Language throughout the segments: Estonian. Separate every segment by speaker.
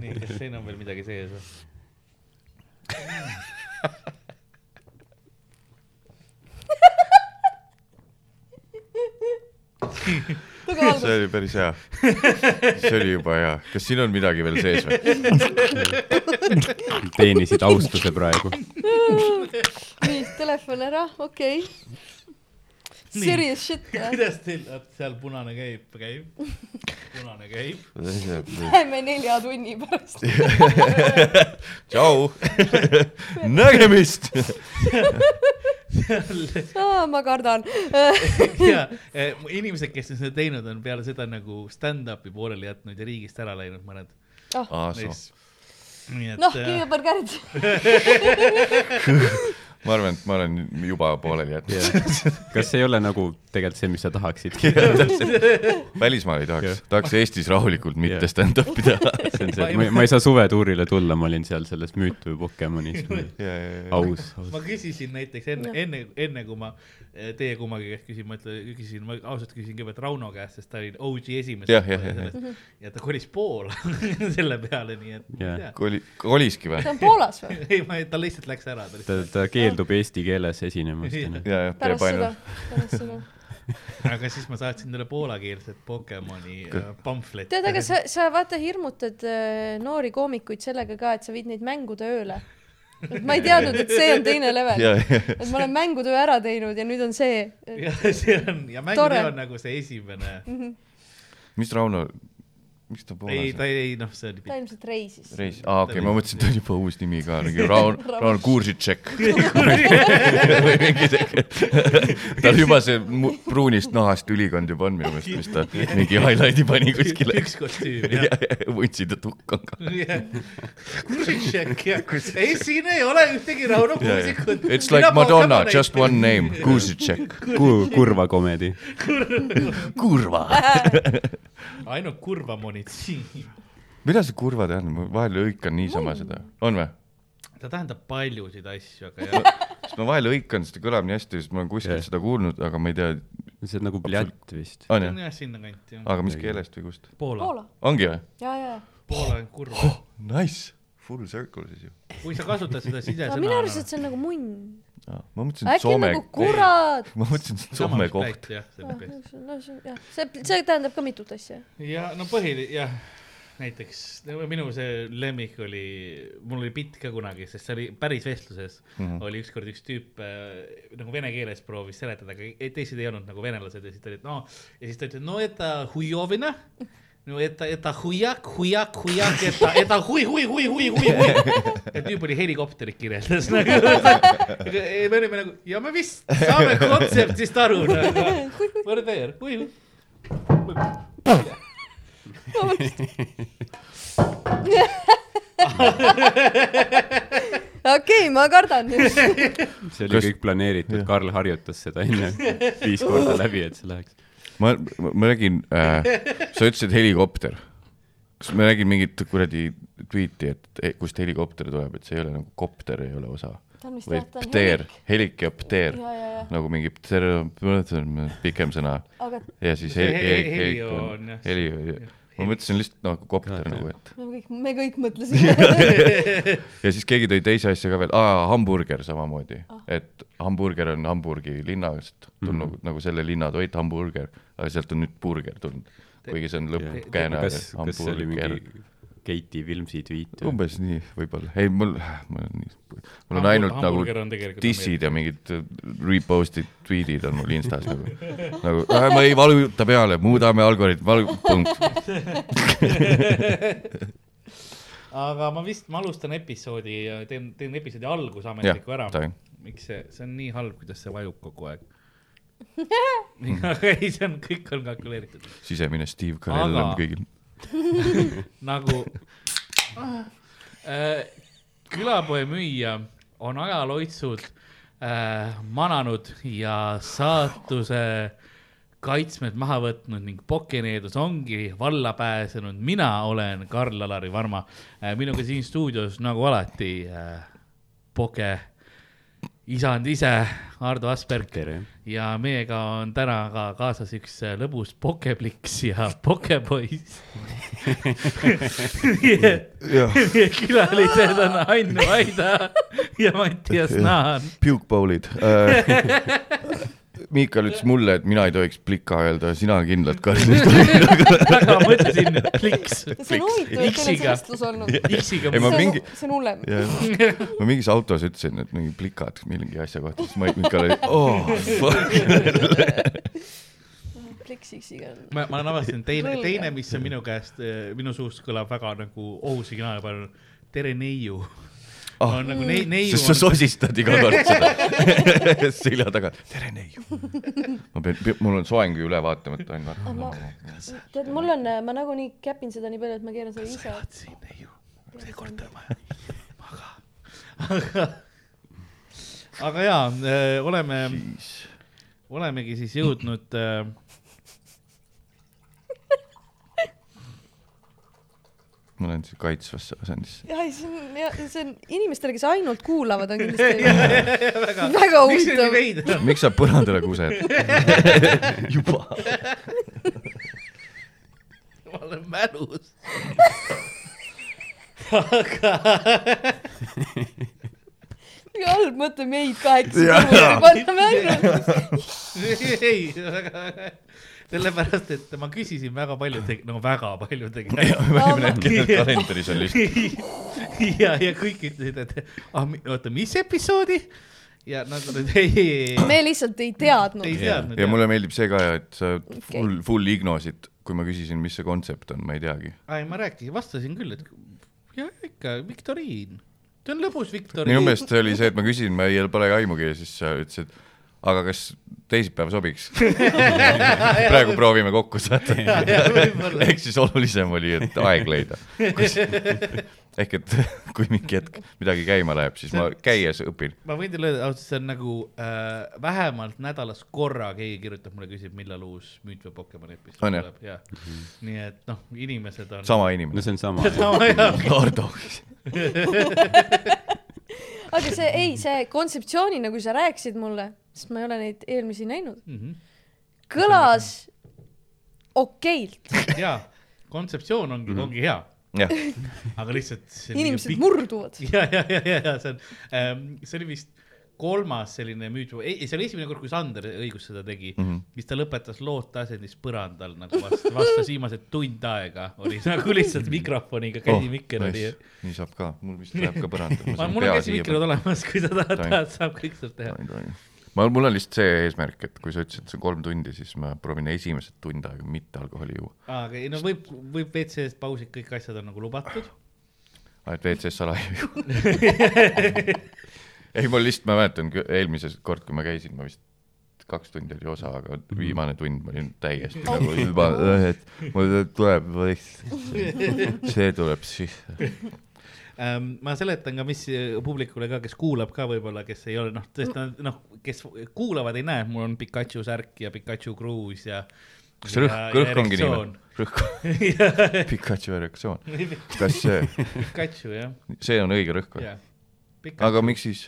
Speaker 1: nii , kas siin on veel midagi sees või ?
Speaker 2: see
Speaker 3: tagaalgus ,
Speaker 2: oli päris hea . see oli juba hea . kas siin on midagi veel sees või ?
Speaker 4: teenisid austuse praegu .
Speaker 3: nii , telefon ära , okei okay. .
Speaker 1: Nii.
Speaker 3: Serious shit jah ,
Speaker 1: kuidas teil , seal punane käib , käib , punane käib .
Speaker 3: läheme nelja tunni pärast .
Speaker 2: tšau , nägemist .
Speaker 3: ma kardan .
Speaker 1: ja eh, mu- inimesed , kes on seda teinud , on peale seda nagu stand-up'i pooleli jätnud ja riigist ära läinud mõned . nii et
Speaker 3: noh ,
Speaker 1: eh,
Speaker 3: kõigepealt Kärt ,
Speaker 2: ma arvan , et ma olen juba pooleli jätnud .
Speaker 4: kas see ei ole nagu tegelikult see , mis sa tahaksid ?
Speaker 2: välismaal ei tahaks
Speaker 4: Jah. ,
Speaker 2: tahaks Eestis rahulikult mitte
Speaker 4: Jah.
Speaker 2: stand-up'i teha .
Speaker 4: see on see , et ma, ma ei saa suvetuurile tulla , ma olin seal selles Müüt või Pokemonis . aus , aus .
Speaker 1: ma küsisin näiteks enne , enne , enne kui ma eh, teie kummagi käest küsin , ma ütlen , küsisin , ma ausalt küsisin kõigepealt Rauno käest , sest ta oli OG esimene .
Speaker 2: Jah, jah, jah, jah.
Speaker 1: ja ta kolis Poola selle peale , nii et ma
Speaker 4: Jah.
Speaker 1: ei tea .
Speaker 2: koli , koliski või
Speaker 3: see ? on Poolas või ?
Speaker 1: ei , ma , ta lihtsalt läks ära , ta
Speaker 4: ta
Speaker 1: lihtsalt ,
Speaker 4: ta keeldub eesti keeles esinemast . noh.
Speaker 2: ja , jah , teeb
Speaker 3: pärast seda
Speaker 2: ainult .,
Speaker 3: pärast seda .
Speaker 1: aga siis ma saatsin talle poolakeelset Pokemoni äh, pamfleti .
Speaker 3: tead , aga sa , sa vaata hirmutad äh, noori koomikuid sellega ka , et sa viid neid mängutööle . et ma ei teadnud , et see on teine level .
Speaker 2: ja , ja ,
Speaker 3: et ma olen mängutöö ära teinud ja nüüd on see .
Speaker 1: ja see on ja
Speaker 3: Tore. Mhm.
Speaker 1: mängutöö on nagu see esimene ,
Speaker 2: mis Rauno , miks ta
Speaker 1: ei
Speaker 2: Poolas
Speaker 1: ta
Speaker 2: on ?
Speaker 1: ei noh , see oli
Speaker 3: ta ilmselt reisis .
Speaker 2: reis , aa okei okay, , ma mõtlesin , et ta on juba uus nimi ka , nagu Raun , Raun Kursitšek . või mingi siuke , tal juba see mu- pruunist nahast ülikond juba on minu meelest , mis ta mingi highlight'i pani
Speaker 1: pikk
Speaker 2: kuskile .
Speaker 1: üks kostüüm
Speaker 2: ja , ja vuntside tukk on ka .
Speaker 1: jah . Kursitšek jah , ei siin ei ole ühtegi Rauno Kuusikut .
Speaker 2: It's like Madonna , just one name , Kursitšek .
Speaker 4: kurva komedi .
Speaker 2: kurva .
Speaker 1: ainult kurva munitsiin ,
Speaker 2: mida see kurva tähendab , ma vahel hõikan niisama seda , on või ?
Speaker 1: ta tähendab paljusid asju , aga jah ,
Speaker 2: sest ma vahel hõikan , sest ta kõlab nii hästi , sest ma olen kuskilt
Speaker 4: Jah.
Speaker 2: seda kuulnud , aga ma ei tea ,
Speaker 4: see on nagu pljat vist .
Speaker 2: on
Speaker 1: on
Speaker 2: jah ?
Speaker 1: jah sinnakanti jah ,
Speaker 2: aga mis keelest või kust ?
Speaker 1: Poola ,
Speaker 3: Poola ,
Speaker 2: ongi või ?
Speaker 3: ja , ja , ja .
Speaker 1: Poola on kurva ,
Speaker 2: Oh. Nice , full circle siis ju .
Speaker 1: kui sa kasutad seda
Speaker 3: aga minu arust ,
Speaker 1: sisesõna .
Speaker 3: et see on nagu munn .
Speaker 2: ma mõtlesin , et
Speaker 3: äkki on
Speaker 2: Soome
Speaker 3: nagu . kurat .
Speaker 2: ma mõtlesin , et Soome koht ..
Speaker 1: jah ,
Speaker 3: Ah.
Speaker 1: selle peale .
Speaker 3: no see , jah , see , see tähendab ka mitut asja .
Speaker 1: ja no põhiline jah , näiteks no minu see lemmik oli , mul oli bitt ka kunagi , sest see oli päris vestluses mm , -hmm. oli ükskord üks tüüp äh, nagu vene keeles proovis seletada , aga ei- teised ei olnud nagu venelased ja siis ta oli , et no ja siis ta ütles , no eta hujovina . no eta , eta hujak , hujak , hujak , eta , eta hui , hui , hui , hui , hui , hui . ja tüüp oli helikopterit kirjeldas nagu . me olime nagu , ja me vist saame kontseptist aru nagu . What a tear , hui , hui .
Speaker 3: okei , ma kardan nüüd .
Speaker 4: see oli
Speaker 2: Kas-
Speaker 4: kõik planeeritud
Speaker 2: jah. ,
Speaker 4: Karl harjutas seda enne viis korda läbi , et see läheks .
Speaker 2: ma , ma nägin äh, , sa ütlesid helikopter . kas ma nägin mingit kuradi tweet'i , et eh, kust helikopter tuleb , et see ei ole nagu kopter ei ole osa .
Speaker 3: ta on vist
Speaker 2: vaid
Speaker 3: jah , ta on
Speaker 2: pteer
Speaker 3: helik .,
Speaker 2: helik ja pteer
Speaker 3: ja , ja , ja ,
Speaker 2: nagu mingi pter- , pikem sõna
Speaker 3: aga
Speaker 2: ja siis
Speaker 1: See
Speaker 2: heli ,
Speaker 1: he- he-
Speaker 2: heli ,
Speaker 1: helio on, jah.
Speaker 2: heli , ma mõtlesin lihtsalt nagu kopter
Speaker 4: Jah,
Speaker 2: nagu , et
Speaker 3: me kõik , me kõik mõtlesime .
Speaker 2: ja siis keegi tõi teise asja ka veel , aa , hamburger samamoodi ,
Speaker 1: Ah.
Speaker 2: et hamburger on Hamburgi linnast tulnud
Speaker 4: Mhm.
Speaker 2: mm -hmm. nagu selle linna toit , hamburger , aga sealt on nüüd burger tulnud , kuigi see on lõppkääne .
Speaker 4: kas , kas see oli mingi Keiti Vilmsi tweet või ?
Speaker 2: umbes nii võib-olla , ei mul , mul on nii , mul on ainult nagu
Speaker 1: Hamburger on tegelikult
Speaker 2: dissid ja mingid repost'id , tweet'id on mul Instas nagu , nagu äh, ma ei valuta peale , muudame algoritmi , valu- , punkt .
Speaker 1: aga ma vist , ma alustan episoodi ja teen , teen episoodi alguse ametliku
Speaker 2: Jah,
Speaker 1: ära
Speaker 2: davai. .
Speaker 1: miks see , see on nii halb , kuidas see vajub kogu aeg . aga ei , see on , kõik on kalkuleeritud ,
Speaker 2: sisemine Steve Carell
Speaker 1: Aga-
Speaker 2: on kõigil .
Speaker 1: nagu äh, . külapoe müüja on ajaloitsud äh, mananud ja saatuse kaitsmed maha võtnud ning Pokeneedus ongi valla pääsenud . mina olen Karl-Alari Varma äh, , minuga siin stuudios nagu alati äh, Poke isand ise , Ardo Asperg
Speaker 4: tere .
Speaker 1: ja meiega on täna ka kaasas üks äh, lõbus pokepliks ja pokepoiss meie
Speaker 2: jah ,
Speaker 1: meie külalised on Ainu Aida ja Mattias Naan .
Speaker 2: piukpaulid äh, . Miikal ütles mulle , et mina ei tohiks plika öelda , sina kindlalt karjus .
Speaker 1: väga mõtlesin , et pliks .
Speaker 3: see on huvitav , et teil on see
Speaker 1: X-iga.
Speaker 3: vestlus olnud .
Speaker 1: X-iga
Speaker 2: Ei, ma
Speaker 3: see on
Speaker 2: mingi- ,
Speaker 3: see on hullem .
Speaker 2: ma mingis autos ütlesin , et mingi plikad mingi asja kohta , siis Mait Miikal oli , oh fuck .
Speaker 3: pliks X-iga on .
Speaker 1: ma , ma olen avastanud teine ,
Speaker 3: Lolge.
Speaker 1: teine , mis on minu käest , minu suust kõlab väga nagu ohusignaali peal , tere neiu
Speaker 2: Ah.
Speaker 1: ah, . on nagu nei- , neiu
Speaker 2: sest sa
Speaker 1: on ,
Speaker 2: sosistad iga kord seda selja taga . tere neiu . ma pean , mul on soeng ju üle vaatamata on
Speaker 3: Ah, ma-
Speaker 2: vaata .
Speaker 3: tead , mul on , ma nagunii käpin seda nii palju , et ma keeran selle ise .
Speaker 1: siin neiu , seekord on vaja , maga . aga , aga jaa , oleme , olemegi siis jõudnud äh,
Speaker 2: ma lähen siis kaitsvasse asendisse .
Speaker 3: jah , see on , see on inimestele , kes ainult kuulavad , on kindlasti väga huvitav .
Speaker 1: huvitav .
Speaker 2: miks sa põrandale kused ? juba .
Speaker 1: ma olen mälus . aga
Speaker 3: mingi halb mõte meid kahekesi kõrvuti panna mängu .
Speaker 1: ei , väga , sellepärast , et ma küsisin väga paljudega , no väga paljudega
Speaker 2: kalendris on lihtsalt ,
Speaker 1: ja , ja kõik ütlesid , et ah, mi- oota , mis episoodi ja nad olid ei , ei , ei ,
Speaker 3: me lihtsalt ei teadnud
Speaker 1: ei . teadnud
Speaker 2: ja . mulle meeldib see ka , et sa full ,
Speaker 3: Okei.
Speaker 2: full ignosid , kui ma küsisin , mis see kontsept on , ma ei teagi .
Speaker 1: ei , ma rääkisin , vastasin küll , et ja ikka viktoriin , see on lõbus
Speaker 2: minu
Speaker 1: viktoriin .
Speaker 2: meelest see oli see , et ma küsisin , ma ei pole aimugi ja siis sa ütlesid , aga kas teisipäev sobiks ? praegu proovime kokku saada .
Speaker 1: võib-olla ,
Speaker 2: ehk siis olulisem oli , et aeg leida . ehk et kui mingi hetk midagi käima läheb , siis ma käies õpin .
Speaker 1: ma võin teile öelda , ausalt , see on nagu äh, vähemalt nädalas korra keegi kirjutab mulle , küsib , millal uus müüt või Pokemon episood
Speaker 2: On, jah?
Speaker 1: tuleb ja nii et noh , inimesed on .
Speaker 2: sama
Speaker 4: no
Speaker 2: inimene .
Speaker 4: see on sama .
Speaker 1: sama jah .
Speaker 2: Ardo .
Speaker 3: aga see , ei , see kontseptsioonina , kui sa rääkisid mulle , sest ma ei ole neid eelmisi näinud ,
Speaker 2: Mhm.
Speaker 3: kõlas okeilt .
Speaker 1: ja kontseptsioon ongi , ongi hea ,
Speaker 2: jah ,
Speaker 1: aga lihtsalt .
Speaker 3: inimesed . murduvad .
Speaker 1: ja , ja , ja , ja , ja see on ähm, , see oli vist kolmas selline müüt , ei , see oli esimene kord , kui Sander õigus seda tegi mm , -hmm. siis ta lõpetas looteasendis põrandal nagu vast- , vastas viimased tund aega , oli nagu lihtsalt mikrofoniga käsimikker oh, oli nice. .
Speaker 2: nii saab ka , mul vist läheb ka põrandale .
Speaker 1: Ma, mul on käsimikrid olemas , kui sa tahad ,
Speaker 2: Tohin.
Speaker 1: tahad , saab kõik sealt teha .
Speaker 2: olemas . ma , mul on lihtsalt see eesmärk , et kui sa ütlesid , et see on kolm tundi , siis ma proovin esimesed tund aega mitte alkoholi juua .
Speaker 1: aga ei no võib , võib WC-st pausid , kõik asjad on nagu lubatud .
Speaker 2: ainult WC-s salaja ei juua . ei , mul lihtsalt , ma mäletan kü- eelmises kord , kui ma käisin , ma vist kaks tundi oli osa , aga viimane tund ma olin täiesti nagu juba , et mul tuleb võist , see tuleb sisse .
Speaker 1: Ähm, ma seletan ka , mis eh, publikule ka , kes kuulab ka võib-olla , kes ei ole noh , sest nad noh , kes kuulavad , ei näe , mul on Pikachu särk ja Pikachu kruus ja .
Speaker 2: kas rõhk , rõhk ongi niimoodi ?? rõhk , Pikachi reaktsioon . kas see ,
Speaker 1: Pikachu jah ,
Speaker 2: see on õige rõhk või ?
Speaker 1: jah .
Speaker 2: aga miks siis ?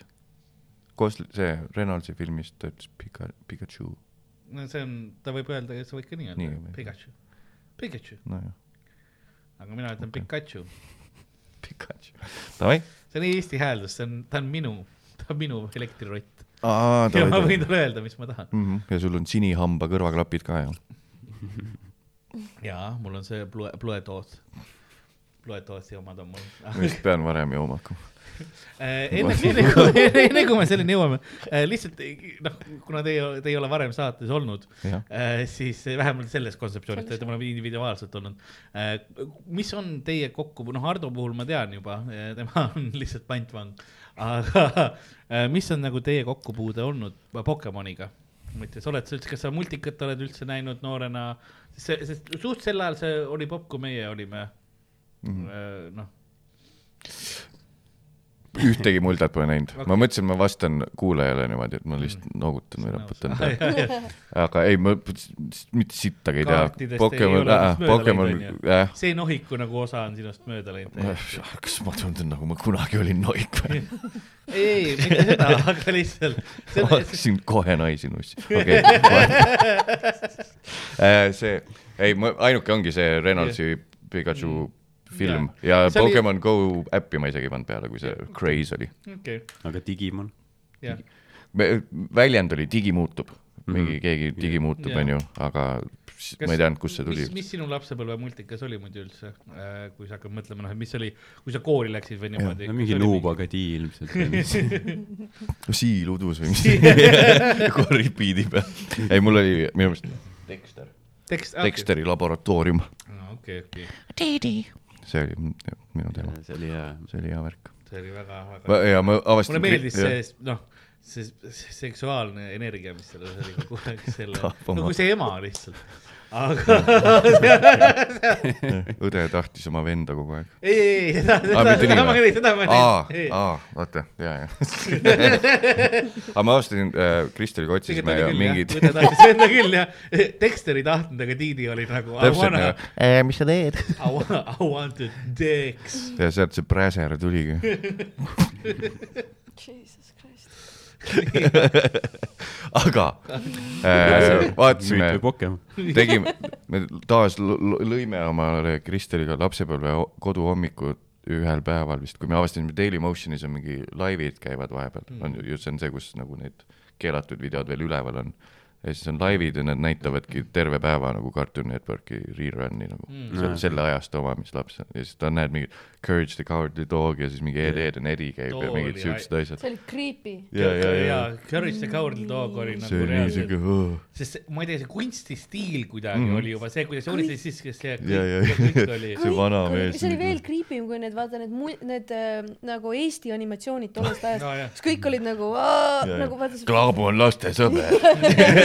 Speaker 2: koos see Reynoldsi filmis ta ütles Pika- , Pikachu ,
Speaker 1: no see on , ta võib öelda , sa võid ka nii
Speaker 2: Nii
Speaker 1: öelda
Speaker 2: võib. ,
Speaker 1: Pikachu , Pikachu ,
Speaker 2: nojah ,
Speaker 1: aga mina ütlen Pikachu .
Speaker 2: Pikachu . Davai .
Speaker 1: see on Eesti hääldus , see on , ta on minu , ta on minu elektrirott
Speaker 2: aa ,
Speaker 1: ja ma
Speaker 2: davai
Speaker 1: võin . talle öelda , mis ma tahan .
Speaker 2: mm . -hmm. ja sul on sinihamba kõrvaklapid ka ju .
Speaker 1: ja mul on see Blue , Blue Dot , Blue Dot'i omad on mul .
Speaker 2: ma vist pean varem jooma hakkama .
Speaker 1: Äh, enne , enne kui , enne kui me selleni jõuame , lihtsalt eh, noh , kuna te , te ei ole varem saates olnud ,
Speaker 2: jah ,
Speaker 1: siis vähemalt selles kontseptsioonis , te olete mõlemad individuaalselt olnud . mis on teie kokku , noh , Hardo puhul ma tean juba , tema on lihtsalt pantvang , aga eh, mis on nagu teie kokkupuude olnud Pokemoniga ? mõttes oled sa üldse , kas sa multikat oled üldse näinud noorena , see , sest suht sel ajal see Äh, oli popp , kui meie olime mm -hmm. noh ,
Speaker 2: ühtegi muldet pole näinud okay. . ma mõtlesin , ma vastan kuulajale niimoodi , et ma
Speaker 1: Mhm.
Speaker 2: lihtsalt noogutan või raputan pead . aga ei , ma p- s- mitte sittagi ei tea .
Speaker 1: Kaartidest ei
Speaker 2: Pokemon äh,
Speaker 1: ole , vist mööda
Speaker 2: Pokemon
Speaker 1: läinud, ,
Speaker 2: jah .
Speaker 1: see nohiku nagu osa on sinust mööda läinud .
Speaker 2: kas ma tunnen nagu ma kunagi olin noik või ?
Speaker 1: ei , mitte seda , aga lihtsalt .
Speaker 2: ma hakkasin kohe naisi nussima , okei okay. . see , ei , ma , ainuke ongi see Reynoldsi Pikachu film ja, ja
Speaker 1: Mm. See oli-
Speaker 2: Pokemon oli... Go äppi ma isegi ei pannud peale , kui see craze oli .
Speaker 1: okei ,
Speaker 4: aga Digimon ?
Speaker 1: jah .
Speaker 2: väljend oli digimuutub mm , -hmm. mingi keegi digimuutub
Speaker 1: Jah. ,
Speaker 2: onju , aga s- ma ei teadnud , kust see tuli
Speaker 1: mis , mis sinu lapsepõlve multikas oli muidu üldse , kui sa hakkad mõtlema , noh , et mis oli , kui sa kooli läksid või niimoodi ?
Speaker 4: no mingi luubagadi ilmselt või mis .
Speaker 2: siil udus või mis , korripiidi peal . ei , mul oli minu meelest Dexter ,
Speaker 1: tekst , tekst .
Speaker 2: Dexteri laboratoorium ,
Speaker 1: okei , okei ,
Speaker 2: see oli mm, jah, minu teema ,
Speaker 4: see oli hea .
Speaker 2: see oli hea värk .
Speaker 1: see oli väga , väga
Speaker 2: ja ma avastasin .
Speaker 1: mulle meeldis see , noh , see see seksuaalne energia , mis selles oli kogu aeg selle ,
Speaker 2: Tapama.
Speaker 1: nagu see ema lihtsalt . aga
Speaker 2: õde tahtis oma venda kogu aeg .
Speaker 1: ei , ei , ei , seda ,
Speaker 2: aa ,
Speaker 1: seda ,
Speaker 2: mitte nii
Speaker 1: seda ma ei , seda ma
Speaker 2: või
Speaker 1: ei ?
Speaker 2: aa ,. aa , vaata , ja , ja . aga ma avastasin äh, , Kristeliga otsisime mingid .
Speaker 1: õde tahtis enda küll jah , Dexter ei tahtnud , aga Tiidi oli nagu .
Speaker 2: täpselt , ja . Äh, mis sa teed ?
Speaker 1: I want, I want a dicks .
Speaker 2: ja sealt see Präser tuligi .
Speaker 3: Jesus Christ .
Speaker 2: aga äh, vaatasime
Speaker 4: müüt või , Pokemon ?
Speaker 2: tegime , me taas lu- lu- lõime omale Kristeliga lapsepõlve ho- koduhommikud ühel päeval vist , kui me avastasime Daily Motionis on mingi laivid käivad vahepeal mm. , on ju , see on see , kus nagu need keelatud videod veel üleval on . ja siis on laivid ja nad näitavadki terve päeva nagu Cartoon Networki rerun'i nagu mm. , selle ajastu oma , mis laps on ja siis ta näeb mingit Courage the Cowardly Dog ja siis mingi Ed , Ed and Eddie käib ja
Speaker 1: Too
Speaker 2: mingid
Speaker 1: oli
Speaker 2: siuksed asjad .
Speaker 3: see oli creepy .
Speaker 2: ja , ja , ja ,
Speaker 1: Courage the Cowardly Dog oli
Speaker 2: see
Speaker 1: nagu
Speaker 2: oli
Speaker 1: reaalselt ,
Speaker 2: niisugune oh.
Speaker 1: sest see- ma ei tea , see kunstistiil kuidagi mm. oli juba see , kuidas joonisid siis , kes see
Speaker 2: Mhm. ja , ja ,
Speaker 1: kõik , kõik oli .
Speaker 2: see vana mees .
Speaker 3: see oli veel creepy im kui need , vaata need , need äh, nagu Eesti animatsioonid tollest ajast
Speaker 1: Aa, jah. ,
Speaker 3: kus kõik olid nagu , nagu vaata see
Speaker 2: Klaabu on laste sõber .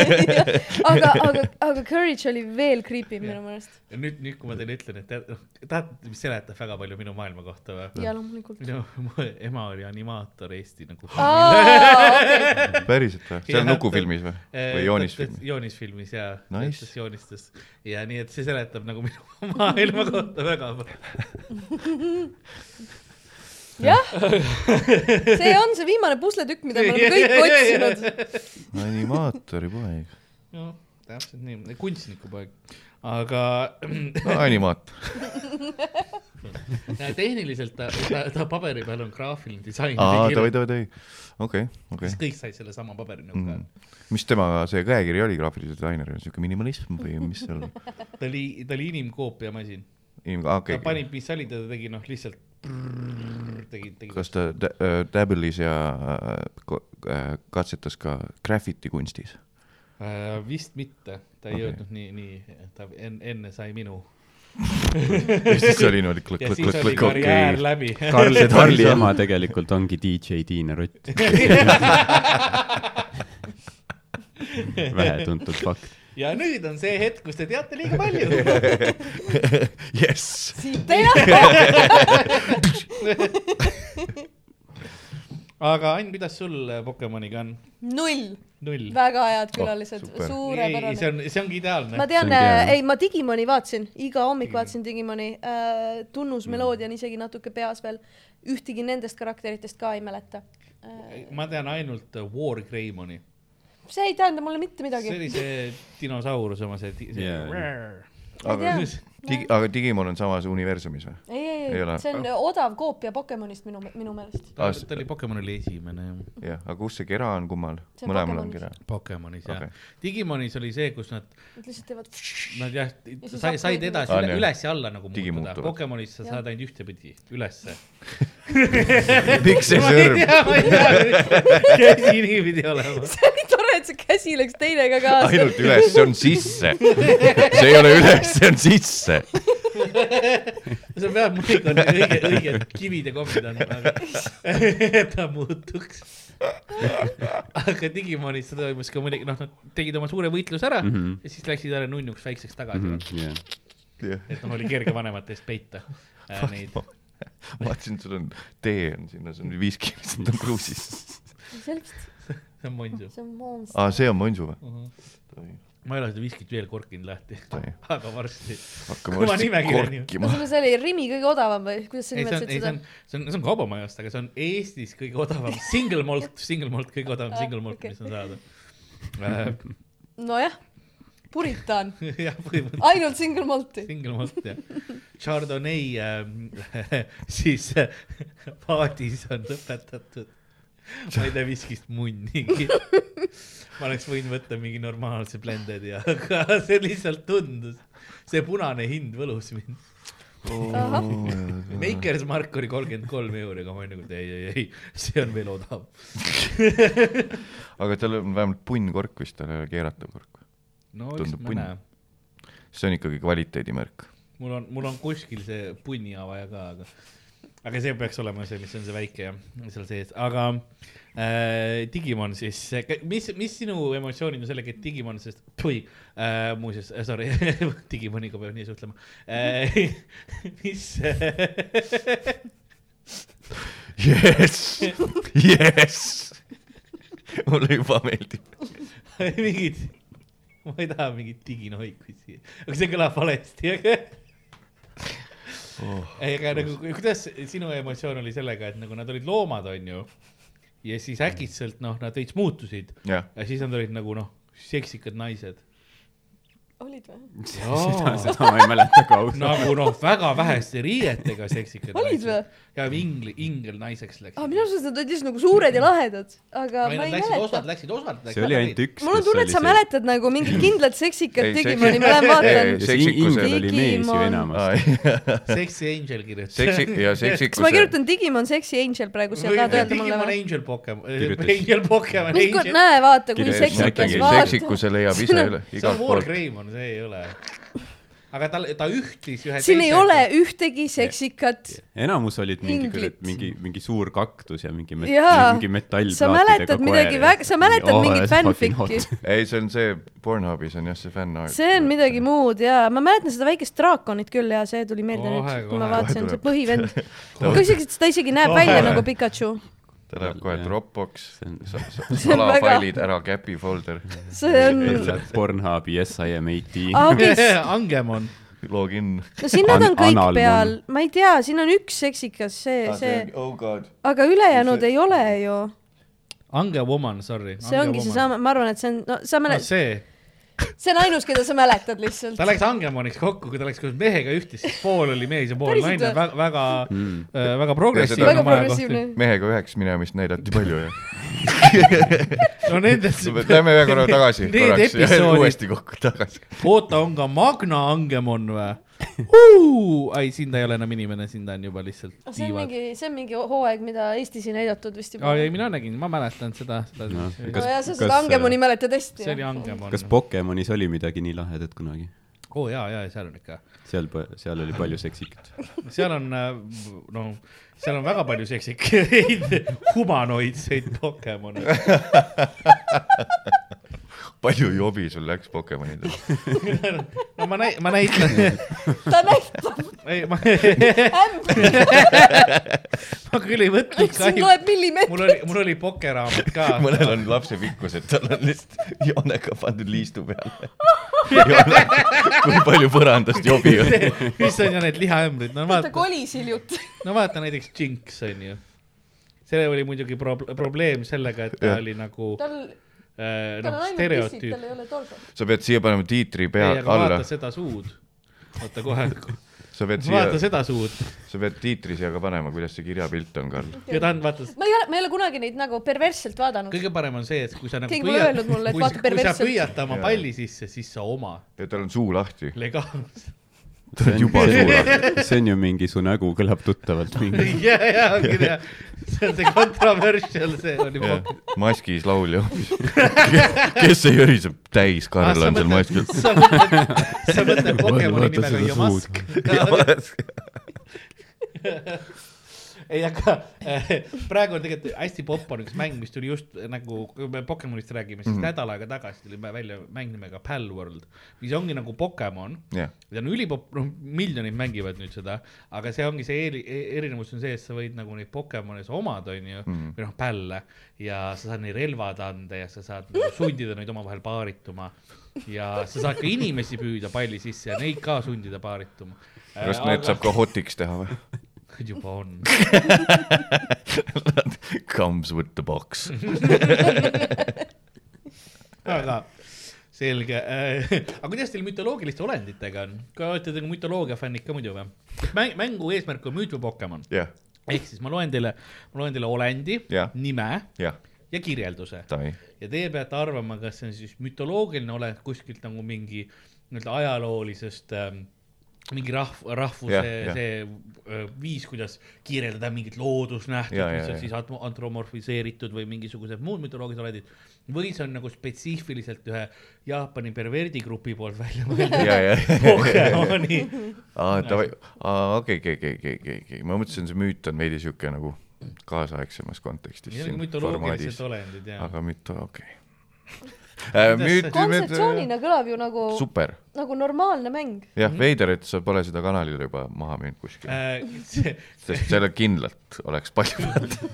Speaker 3: aga , aga , aga Courage oli veel creepy minu meelest .
Speaker 1: ja nüüd , nüüd kui ma teile ütlen , et tead- noh, tahate , mis seletab väga palju minu maailma kohta või ?
Speaker 3: ja loomulikult .
Speaker 1: minu mu ema oli animaator Eesti nagu .
Speaker 2: päriselt või ? see on
Speaker 1: Jah, Äh,
Speaker 2: Nukufilmis või ? või joonisfilmis ??
Speaker 1: joonisfilmis ja
Speaker 2: Nice.
Speaker 1: nice. , joonistas ja nii , et see seletab nagu minu maailma kohta väga palju .
Speaker 3: jah , see on see viimane pusletükk , mida me oleme kõik otsinud .
Speaker 2: animaatori poeg .
Speaker 1: jah , Noh, täpselt nii , kunstnikupoeg , aga
Speaker 2: animaator .
Speaker 1: näe, tehniliselt ta, ta , ta paberi peal on graafiline disain .
Speaker 2: aa , davai , davai , davai . okei , okei
Speaker 1: siis . kõik said sellesama paberi nagu mm.
Speaker 2: mis tema see käekiri oli graafilise disainerina , siuke minimalism või mis seal oli ?
Speaker 1: ka . ta oli , ta oli inimkoopiamasin ,
Speaker 2: inimene , aa ,
Speaker 1: ta
Speaker 2: okei .
Speaker 1: pani , mis oli , ta tegi noh , lihtsalt prrrr, tegi , tegi .
Speaker 2: kas ta tä- äh, täbelis ja äh, ko- äh, katsetas ka graffiti kunstis ?
Speaker 1: Äh, vist mitte , ta ei
Speaker 2: Okei.
Speaker 1: okay. jõudnud nii , nii , ta en, enne sai minu .
Speaker 2: ja siis oli niimoodi klõkk ,
Speaker 1: ja
Speaker 2: klõkk ,
Speaker 1: siis
Speaker 2: klõkk ,
Speaker 1: oli
Speaker 2: klõkk ,
Speaker 1: karjäär
Speaker 2: okei .
Speaker 1: läbi .
Speaker 4: Karl , Karli ema tegelikult ongi DJ Tiina Rott . vähetuntud fakt .
Speaker 1: ja nüüd on see hetk , kus te teate liiga palju .
Speaker 2: jess .
Speaker 3: siit ei lähe .
Speaker 1: aga Ann , kuidas sul äh, Pokemoniga on ?
Speaker 3: null ,
Speaker 1: null .
Speaker 3: väga head külalised
Speaker 2: super. ,
Speaker 3: suurepärane
Speaker 1: see . on , see ongi ideaalne
Speaker 3: ma . tean äh,
Speaker 4: See on ideaalne. ,
Speaker 3: ei ma Digimoni vaatasin , iga hommik vaatasin Digimoni äh, , tunnusmeloodia on isegi natuke peas veel , ühtegi nendest karakteritest ka ei mäleta äh, .
Speaker 1: ma tean ainult äh, War Greymoni ,
Speaker 3: see ei tähenda mulle mitte
Speaker 1: see oli
Speaker 3: midagi .
Speaker 1: see dinosaurus oma see, ti- see
Speaker 4: Jaa.
Speaker 1: yeah. .
Speaker 2: aga
Speaker 3: tea.
Speaker 2: digi , aga Digimon on samas universumis või ?
Speaker 3: ei , ei ,
Speaker 2: Ei
Speaker 3: ei ,
Speaker 2: ole.
Speaker 3: see on odav koopia Pokemonist minu , minu meelest .
Speaker 1: ta
Speaker 2: Aa,
Speaker 1: ta oli Pokemon oli esimene jah.
Speaker 2: jah , aga kus see kera on kummal
Speaker 3: See ? on
Speaker 2: mõlemal on
Speaker 3: Pokemonis.
Speaker 2: kera .
Speaker 1: Pokemonis jah
Speaker 2: Okei.
Speaker 1: okay. , Digimonis oli see , kus nad ,
Speaker 3: Nad lihtsalt teevad ,
Speaker 1: nad jah
Speaker 3: sa ,
Speaker 1: sai ,
Speaker 3: saad
Speaker 1: said
Speaker 3: kuidagi-
Speaker 1: edasi
Speaker 2: Aa,
Speaker 1: üle,
Speaker 2: nii.
Speaker 1: üles ja alla nagu muutuda ,
Speaker 2: Digimuutuvad.
Speaker 1: Pokemonis sa
Speaker 3: Jah.
Speaker 1: saad ainult ühtepidi ülesse .
Speaker 2: miks see sõrm ?
Speaker 1: ma ei tea , käsi nii pidi olema .
Speaker 3: see oli tore , et see käsi läks teinega kaasa .
Speaker 2: ainult üles , see on sisse . see ei ole üles , see on sisse .
Speaker 1: sa pead muidugi õige , õiged kivid ja kombid andma , aga ta muutuks . aga Digimonis see toimus ka muidugi , noh , nad tegid oma suure võitluse ära mm
Speaker 2: Mhm.
Speaker 1: -hmm. ja siis läksid jälle
Speaker 4: Mhm,
Speaker 1: nunnuks väikseks tagasi mm . -hmm.
Speaker 4: jah ,
Speaker 1: et noh , oli kerge vanemate eest peita äh, neid .
Speaker 2: ma vaatasin , sul on tee on sinna , see on viis kilomeetrit on kruusis .
Speaker 3: selgist ,
Speaker 1: see on Monsu .
Speaker 3: see on monster .
Speaker 2: aa , see on Monsu või ?
Speaker 1: ma ei ole seda viskit veel korkinud lahti ,
Speaker 2: Tohi.
Speaker 1: aga varsti .
Speaker 2: hakkame
Speaker 1: Kõva
Speaker 2: varsti
Speaker 1: nimekiri on ju.
Speaker 3: no
Speaker 2: korkima .
Speaker 3: sulle see oli Rimi kõige odavam või kuidas sa
Speaker 1: ei , see on ,
Speaker 3: nimetasid
Speaker 1: ei see
Speaker 3: seda
Speaker 1: on ?, see on , see on kaubamajast , aga see on Eestis kõige odavam single malt , single malt , kõige odavam single malt , mis on saada .
Speaker 3: nojah , puritaan ,
Speaker 1: jah , põhimõtteliselt
Speaker 3: ainult single malt'i .
Speaker 1: single malt jah . Chardonnay äh, siis äh, paadis on lõpetatud . ma ei tee viskist munnigi . ma oleks võinud võtta mingi normaalse blended'i , aga see lihtsalt tundus , see punane hind võlus mind . Makers Mark oli kolmkümmend kolm euri , aga ma olin nagu , et ei , ei , ei , see on veel odav .
Speaker 2: aga tal on vähemalt punnkork vist , tal ei ole keeratav kork .
Speaker 1: no eks
Speaker 2: Tundub
Speaker 1: me
Speaker 2: punn.
Speaker 1: näe .
Speaker 2: see on ikkagi kvaliteedimärk .
Speaker 1: mul on , mul on kuskil see punniavaja ka , aga , aga see peaks olema see , mis on see väike jah , seal sees , aga äh, Digimon siis , mis , mis sinu emotsioonid on sellega , et Digimon , sest tui äh, , muuseas , sorry , Digimoniga peab nii suhtlema äh, . mis äh, ,
Speaker 2: jess , jess . mulle juba meeldib .
Speaker 1: mingid , ma ei taha mingit diginoikuid siia , aga see kõlab valesti , aga
Speaker 2: Oh.
Speaker 1: ei , aga nagu ku- kuidas sinu emotsioon oli sellega , et nagu nad olid loomad , onju . ja siis äkitselt noh , nad veits muutusid
Speaker 2: jah ,
Speaker 1: ja siis nad olid nagu noh , seksikad naised .
Speaker 3: olid või ?
Speaker 4: seda , seda ma ei mäleta ka ausalt .
Speaker 1: nagu noh , väga väheste riietega seksikad
Speaker 3: Olid vä?
Speaker 1: naised . ja ingli , ingelnaiseks läksid
Speaker 3: aa , minu . arust nad olid lihtsalt nagu suured ja lahedad , aga ma ei mäleta
Speaker 1: osad . läksid , osad läksid .
Speaker 4: see oli ainult . üks .
Speaker 3: mul on tunne , et sa . mäletad nagu mingit kindlat
Speaker 2: Ei,
Speaker 3: seksikat
Speaker 2: see-
Speaker 3: Digimoni , ma lähen vaatan
Speaker 2: ei, .
Speaker 4: Ingel oli mees ju
Speaker 3: Digimon.
Speaker 4: enamus .
Speaker 1: Sexy Angel kirjutas .
Speaker 2: seksi ja .
Speaker 3: kas ma
Speaker 2: seksikuse .
Speaker 3: kirjutan Digimon seksi angel praegu , sa tahad öelda mulle
Speaker 1: Digimon
Speaker 3: või ?
Speaker 1: Angel Pokemon ,
Speaker 4: Kirjutas.
Speaker 1: Angel Pokemon .
Speaker 3: mingi kord näe , vaata , kui
Speaker 4: Kirjutas
Speaker 3: seksikas
Speaker 4: midagi.
Speaker 3: vaata .
Speaker 2: seksikuse leiab ise üle ,
Speaker 1: see on
Speaker 2: igalt
Speaker 1: War
Speaker 2: poolt .
Speaker 1: Greymon , see ei ole . aga tal , ta ühtis ühe .
Speaker 3: siin ei ole ühtegi seksikat .
Speaker 4: enamus olid mingi
Speaker 3: Inglit.
Speaker 4: kurat , mingi , mingi suur kaktus ja mingi met, ,
Speaker 3: Jaa.
Speaker 4: mingi metallplaatidega
Speaker 3: sa
Speaker 4: Oh,
Speaker 3: mäletad midagi väga , sa mäletad mingit fanfic'i ..
Speaker 2: ei , see on see Pornhubis on jah , see fännart .
Speaker 3: see on midagi muud ja ma mäletan seda väikest draakonit küll ja see tuli meelde
Speaker 1: Kohe,
Speaker 3: nüüd , kui ma
Speaker 1: kohe.
Speaker 3: vaatasin ,
Speaker 2: Kohe
Speaker 3: see
Speaker 2: tuleb.
Speaker 3: põhivend . küsiks , et ta isegi näeb
Speaker 1: Kohe.
Speaker 3: välja nagu Pikachu .
Speaker 2: ta läheb kohe
Speaker 4: Jah.
Speaker 2: Dropbox
Speaker 4: See on- ,
Speaker 3: See on väga-
Speaker 2: salafailid ära Capi folder ,
Speaker 3: see on ,
Speaker 4: Pornhubi SIMAT .
Speaker 3: Agist ,
Speaker 1: Angemon .
Speaker 2: login .
Speaker 3: no siin nad on
Speaker 4: An-
Speaker 3: kõik
Speaker 4: analmon.
Speaker 3: peal , ma ei tea , siin on üks
Speaker 1: Ah,
Speaker 3: seksikas , see , see ,
Speaker 2: oh god .
Speaker 3: aga ülejäänud
Speaker 2: see-
Speaker 3: ei ole ju .
Speaker 1: Angewoman , sorry .
Speaker 3: see ongi seesama , ma arvan , et see on , no sa
Speaker 1: no
Speaker 3: mäletad ,
Speaker 1: see ,
Speaker 3: see on ainus , keda sa mäletad lihtsalt
Speaker 1: ta . läks Angemoniks kokku , kui ta läks koos mehega ühtis , siis pool oli mees ja pool
Speaker 3: Päriselt
Speaker 1: naine ,
Speaker 3: või?
Speaker 1: väga , väga,
Speaker 4: Mm.
Speaker 1: äh, väga
Speaker 3: väga
Speaker 1: progressiivne
Speaker 3: progressiivne .
Speaker 2: mehega üheks minemist näidati palju jah .
Speaker 1: no nendes ,
Speaker 2: Lähme ühe korra tagasi
Speaker 1: Need
Speaker 2: korraks ja
Speaker 1: episoodid-
Speaker 2: uuesti kokku tagasi .
Speaker 1: oota , on ka Magna Angemon või ? ai , siin ta ei ole enam inimene , siin ta on juba lihtsalt
Speaker 3: Ah, see on
Speaker 1: tiivad .
Speaker 3: mingi , see on mingi hooaeg , mida Eestis ei näidatud vist juba .
Speaker 1: ai , ei , mina nägin , ma mäletan seda , seda
Speaker 4: Noh, .
Speaker 3: no
Speaker 4: kas-
Speaker 3: ja sa seda
Speaker 4: kas-
Speaker 3: Angemoni mäletad hästi .
Speaker 1: äh, see oli Angemon .
Speaker 4: kas Pokemonis oli midagi nii lahedat kunagi ?
Speaker 1: oo jaa , jaa , seal on ikka .
Speaker 4: seal , seal oli palju seksikat .
Speaker 1: seal on , no seal on väga palju seksikaid humanoidseid Pokemone .
Speaker 2: palju jobi sul läks Pokemonidele ?
Speaker 1: no ma näi- , ma näitan
Speaker 3: ta näitab
Speaker 1: ei , ma ,
Speaker 3: ämbrit ,
Speaker 1: ma küll ei võtnud
Speaker 3: siin
Speaker 1: kahju ,
Speaker 3: loeb
Speaker 1: mul oli ,
Speaker 3: millimeetrit .
Speaker 1: mul oli pokeraamat ka .
Speaker 2: mõnel on lapse pikkus , et tal on lihtsalt joonega pandud liistu peale . kui palju põrandast jobi on .
Speaker 1: mis on ju need lihaämbrid , no
Speaker 3: ta
Speaker 1: vaata ,
Speaker 3: kolis hiljuti .
Speaker 1: no vaata näiteks Jinx on ju . see oli muidugi pro- , probleem sellega , et ta
Speaker 2: Jah.
Speaker 1: oli nagu ,
Speaker 3: tal ,
Speaker 1: äh,
Speaker 3: tal on
Speaker 1: noh ,
Speaker 3: ainult pissid , tal
Speaker 1: stereotüüp .
Speaker 3: ei ole torso .
Speaker 2: sa pead siia panema tiitri
Speaker 1: ei ,
Speaker 2: pea
Speaker 1: aga
Speaker 2: alla
Speaker 1: vaata , seda suud . oota kohe ,
Speaker 2: sa pead
Speaker 1: vaata
Speaker 2: siia ,
Speaker 1: seda suud
Speaker 2: sa pead tiitri siia ka panema , kuidas see kirjapilt on , Karl .
Speaker 1: ja ta on , vaata ,
Speaker 3: ma ei ole , ma ei ole kunagi neid nagu perversselt vaadanud .
Speaker 1: kõige parem on see , et kui sa nagu
Speaker 3: Keegi pole öelnud mulle, et
Speaker 1: kui, sa-
Speaker 3: vaata
Speaker 1: kui sa
Speaker 3: perversselt.
Speaker 1: püüad oma
Speaker 2: Jaa.
Speaker 1: palli sisse , siis sa omad
Speaker 2: ja tal on suu lahti .
Speaker 1: legaalselt .
Speaker 2: tal on juba suu lahti .
Speaker 4: see on ju mingi Su nägu kõlab tuttavalt mingi .
Speaker 1: ja , ja , ja , see on see controversial , see oli
Speaker 2: jah , maskis laulja hoopis . kes see jöriseb ? täis Karl on seal maskil .
Speaker 1: Ah, sa mõtled , sa mõtled Pokemoni
Speaker 4: Vaata
Speaker 1: nimega
Speaker 4: seda
Speaker 1: Yamask . ei , aga äh, praegu on tegelikult hästi popp on üks mäng , mis tuli just nagu , kui me Pokemonist räägime ,
Speaker 2: Mhm.
Speaker 1: siis mm -hmm. nädal aega tagasi tuli välja mäng nimega Palworld , mis ongi nagu Pokemon
Speaker 2: jah ,
Speaker 1: ta on ülipopp , noh , miljonid mängivad nüüd seda , aga see ongi see eri, e- erinevus on see , et sa võid nagu neid Pokemone sa omad , onju mm. , või noh , pälle ja sa saad neile relvad anda ja sa saad nagu sundida neid omavahel paarituma . ja sa saad ka inimesi püüda palli sisse ja neid ka sundida paarituma .
Speaker 2: kas need saab ka hotiks teha või ?
Speaker 1: juba on ,
Speaker 2: Comes with the box .
Speaker 1: aga selge . aga kuidas teil mütoloogiliste olenditega on ? kas olete te nagu mütoloogia fännid ka muidu või ? mäng , mängu eesmärk on müüt või Pokemon ?
Speaker 2: jah ,
Speaker 1: ehk siis ma loen teile , ma loen teile olendi
Speaker 2: Jah. ,
Speaker 1: nime
Speaker 2: jah ,
Speaker 1: ja kirjelduse
Speaker 2: tai ,
Speaker 1: ja teie peate arvama , kas see on siis mütoloogiline olend kuskilt nagu mingi nii-öelda ajaloolisest ähm, mingi rahv- , rahvuse
Speaker 2: Jah, jah.
Speaker 1: yeah, yeah. see öö, viis , kuidas kirjeldada mingit loodusnähtust
Speaker 2: Jah,
Speaker 1: yeah, , mis
Speaker 2: jah,
Speaker 1: on
Speaker 2: jah.
Speaker 1: yeah, siis atmo- antromorfiseeritud või mingisugused muud mütoloogilised olendid . või see on nagu spetsiifiliselt ühe Jaapani perverdigrupi poolt välja mõeldud
Speaker 2: ja , ja .
Speaker 1: Pokemoni .
Speaker 2: aa , davai , aa , okei , okei , okei , okei , okei , okei , ma mõtlesin , see müüt on veidi siuke nagu kaasaegsemas kontekstis
Speaker 1: Need on
Speaker 2: siin
Speaker 1: mütoloogilised
Speaker 2: formaadis ,
Speaker 1: olendid ja .
Speaker 2: aga müüt , okei Äh, müüt , müüt ,
Speaker 3: kontseptsioonina kõlab ju nagu ,
Speaker 2: super ,
Speaker 3: nagu normaalne mäng .
Speaker 2: jah ,
Speaker 1: Mhm.
Speaker 2: veider , et sa pole seda kanalile juba maha müünud
Speaker 1: Äh.
Speaker 2: kuskil ,
Speaker 1: see ,
Speaker 2: sest selle kindlalt oleks palju vaadata .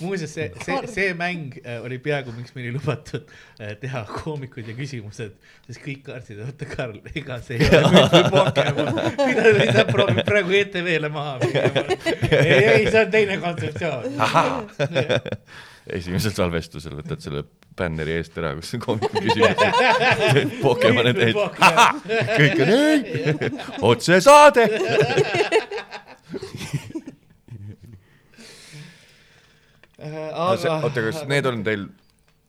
Speaker 1: muuseas , see , see , see mäng äh, oli peaaegu , miks meil ei lubatud äh, teha koomikud ja küsimused , sest kõik kartsid , oota , Karl , ega see ei ole nüüd Pokemon , mida sa- sa proovid praegu ETV-le maha minema . ei , ei , see on teine kontseptsioon .
Speaker 2: esimesel salvestusel võtad selle bänneri eest ära , kus on komik küsimus . Pokemon on täis , kõik on ei , otsesaade .
Speaker 1: Äh, aga
Speaker 2: oota , kas need on teil ,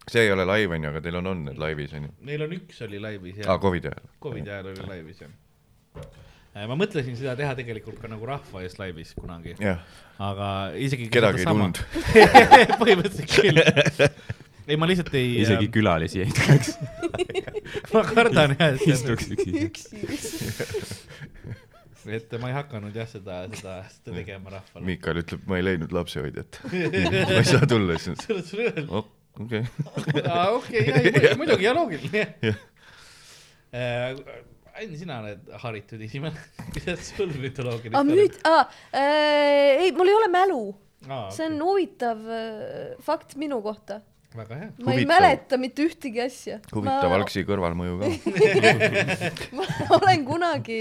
Speaker 2: see ei ole live onju , aga teil on olnud need laivis onju ?
Speaker 1: meil on üks oli laivis
Speaker 2: aa ,
Speaker 1: ja
Speaker 2: Covidi ajal .
Speaker 1: Covidi ajal oli laivis ja . ma mõtlesin seda teha tegelikult ka nagu rahva ees laivis kunagi ,
Speaker 2: jah ,
Speaker 1: aga isegi .
Speaker 2: kedagi ei tulnud .
Speaker 1: põhimõtteliselt küll . ei , ma lihtsalt ei .
Speaker 4: isegi külalisi ei tuleks ,
Speaker 1: ma kardan jah , et ,
Speaker 4: istuks üks ise .
Speaker 3: üksi .
Speaker 1: et ma ei hakanud jah , seda , seda , seda tegema rahvale .
Speaker 2: Miikal ütleb , ma ei leidnud lapsehoidjat . ma ei saa tulla , siis
Speaker 1: sa oled sulle öelnud ,
Speaker 2: on okei ,
Speaker 1: aa okei , jah , muidugi ja loogiline jah . Ann , sina oled haritud inimene , kuidas sul mütoloogiline
Speaker 3: aa , Ah, müüt , aa , ei , mul ei ole mälu .
Speaker 1: ah,
Speaker 3: see on huvitav äh, fakt minu kohta .
Speaker 1: väga hea .
Speaker 3: ma ei
Speaker 2: Huvitav.
Speaker 3: mäleta mitte ühtegi asja .
Speaker 2: huvitav algsi kõrvalmõju ka .
Speaker 3: ma olen kunagi ,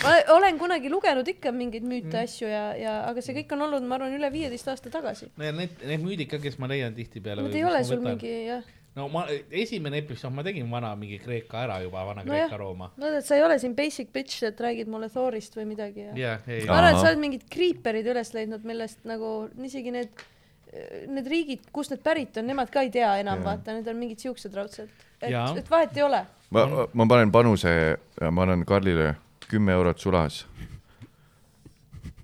Speaker 3: ma olen kunagi lugenud ikka mingeid müüte mm. , asju ja , ja , aga see kõik on olnud , ma arvan , üle viieteist aasta tagasi .
Speaker 1: Need , need , need müüdid ka , kes ma leian tihtipeale .
Speaker 3: Nad ei ole sul mingi jah ,
Speaker 1: no ma , esimene episood , ma tegin vana mingi Kreeka ära juba , vana
Speaker 3: Nojah.
Speaker 1: Kreeka-Rooma .
Speaker 3: no et sa ei ole siin basic bitch , et räägid mulle Thorist või midagi ja .
Speaker 1: jah , ei
Speaker 3: ma . arvan , et sa
Speaker 2: Ahah.
Speaker 3: oled mingid kriiperid üles leidnud , millest nagu isegi need , need riigid , kust need pärit on , nemad ka ei tea enam , vaata , need on mingid siuksed raudselt . et
Speaker 1: Jaa. ,
Speaker 3: et vahet ei ole .
Speaker 2: ma , ma panen panuse , ma annan Karlile kümme eurot sulas .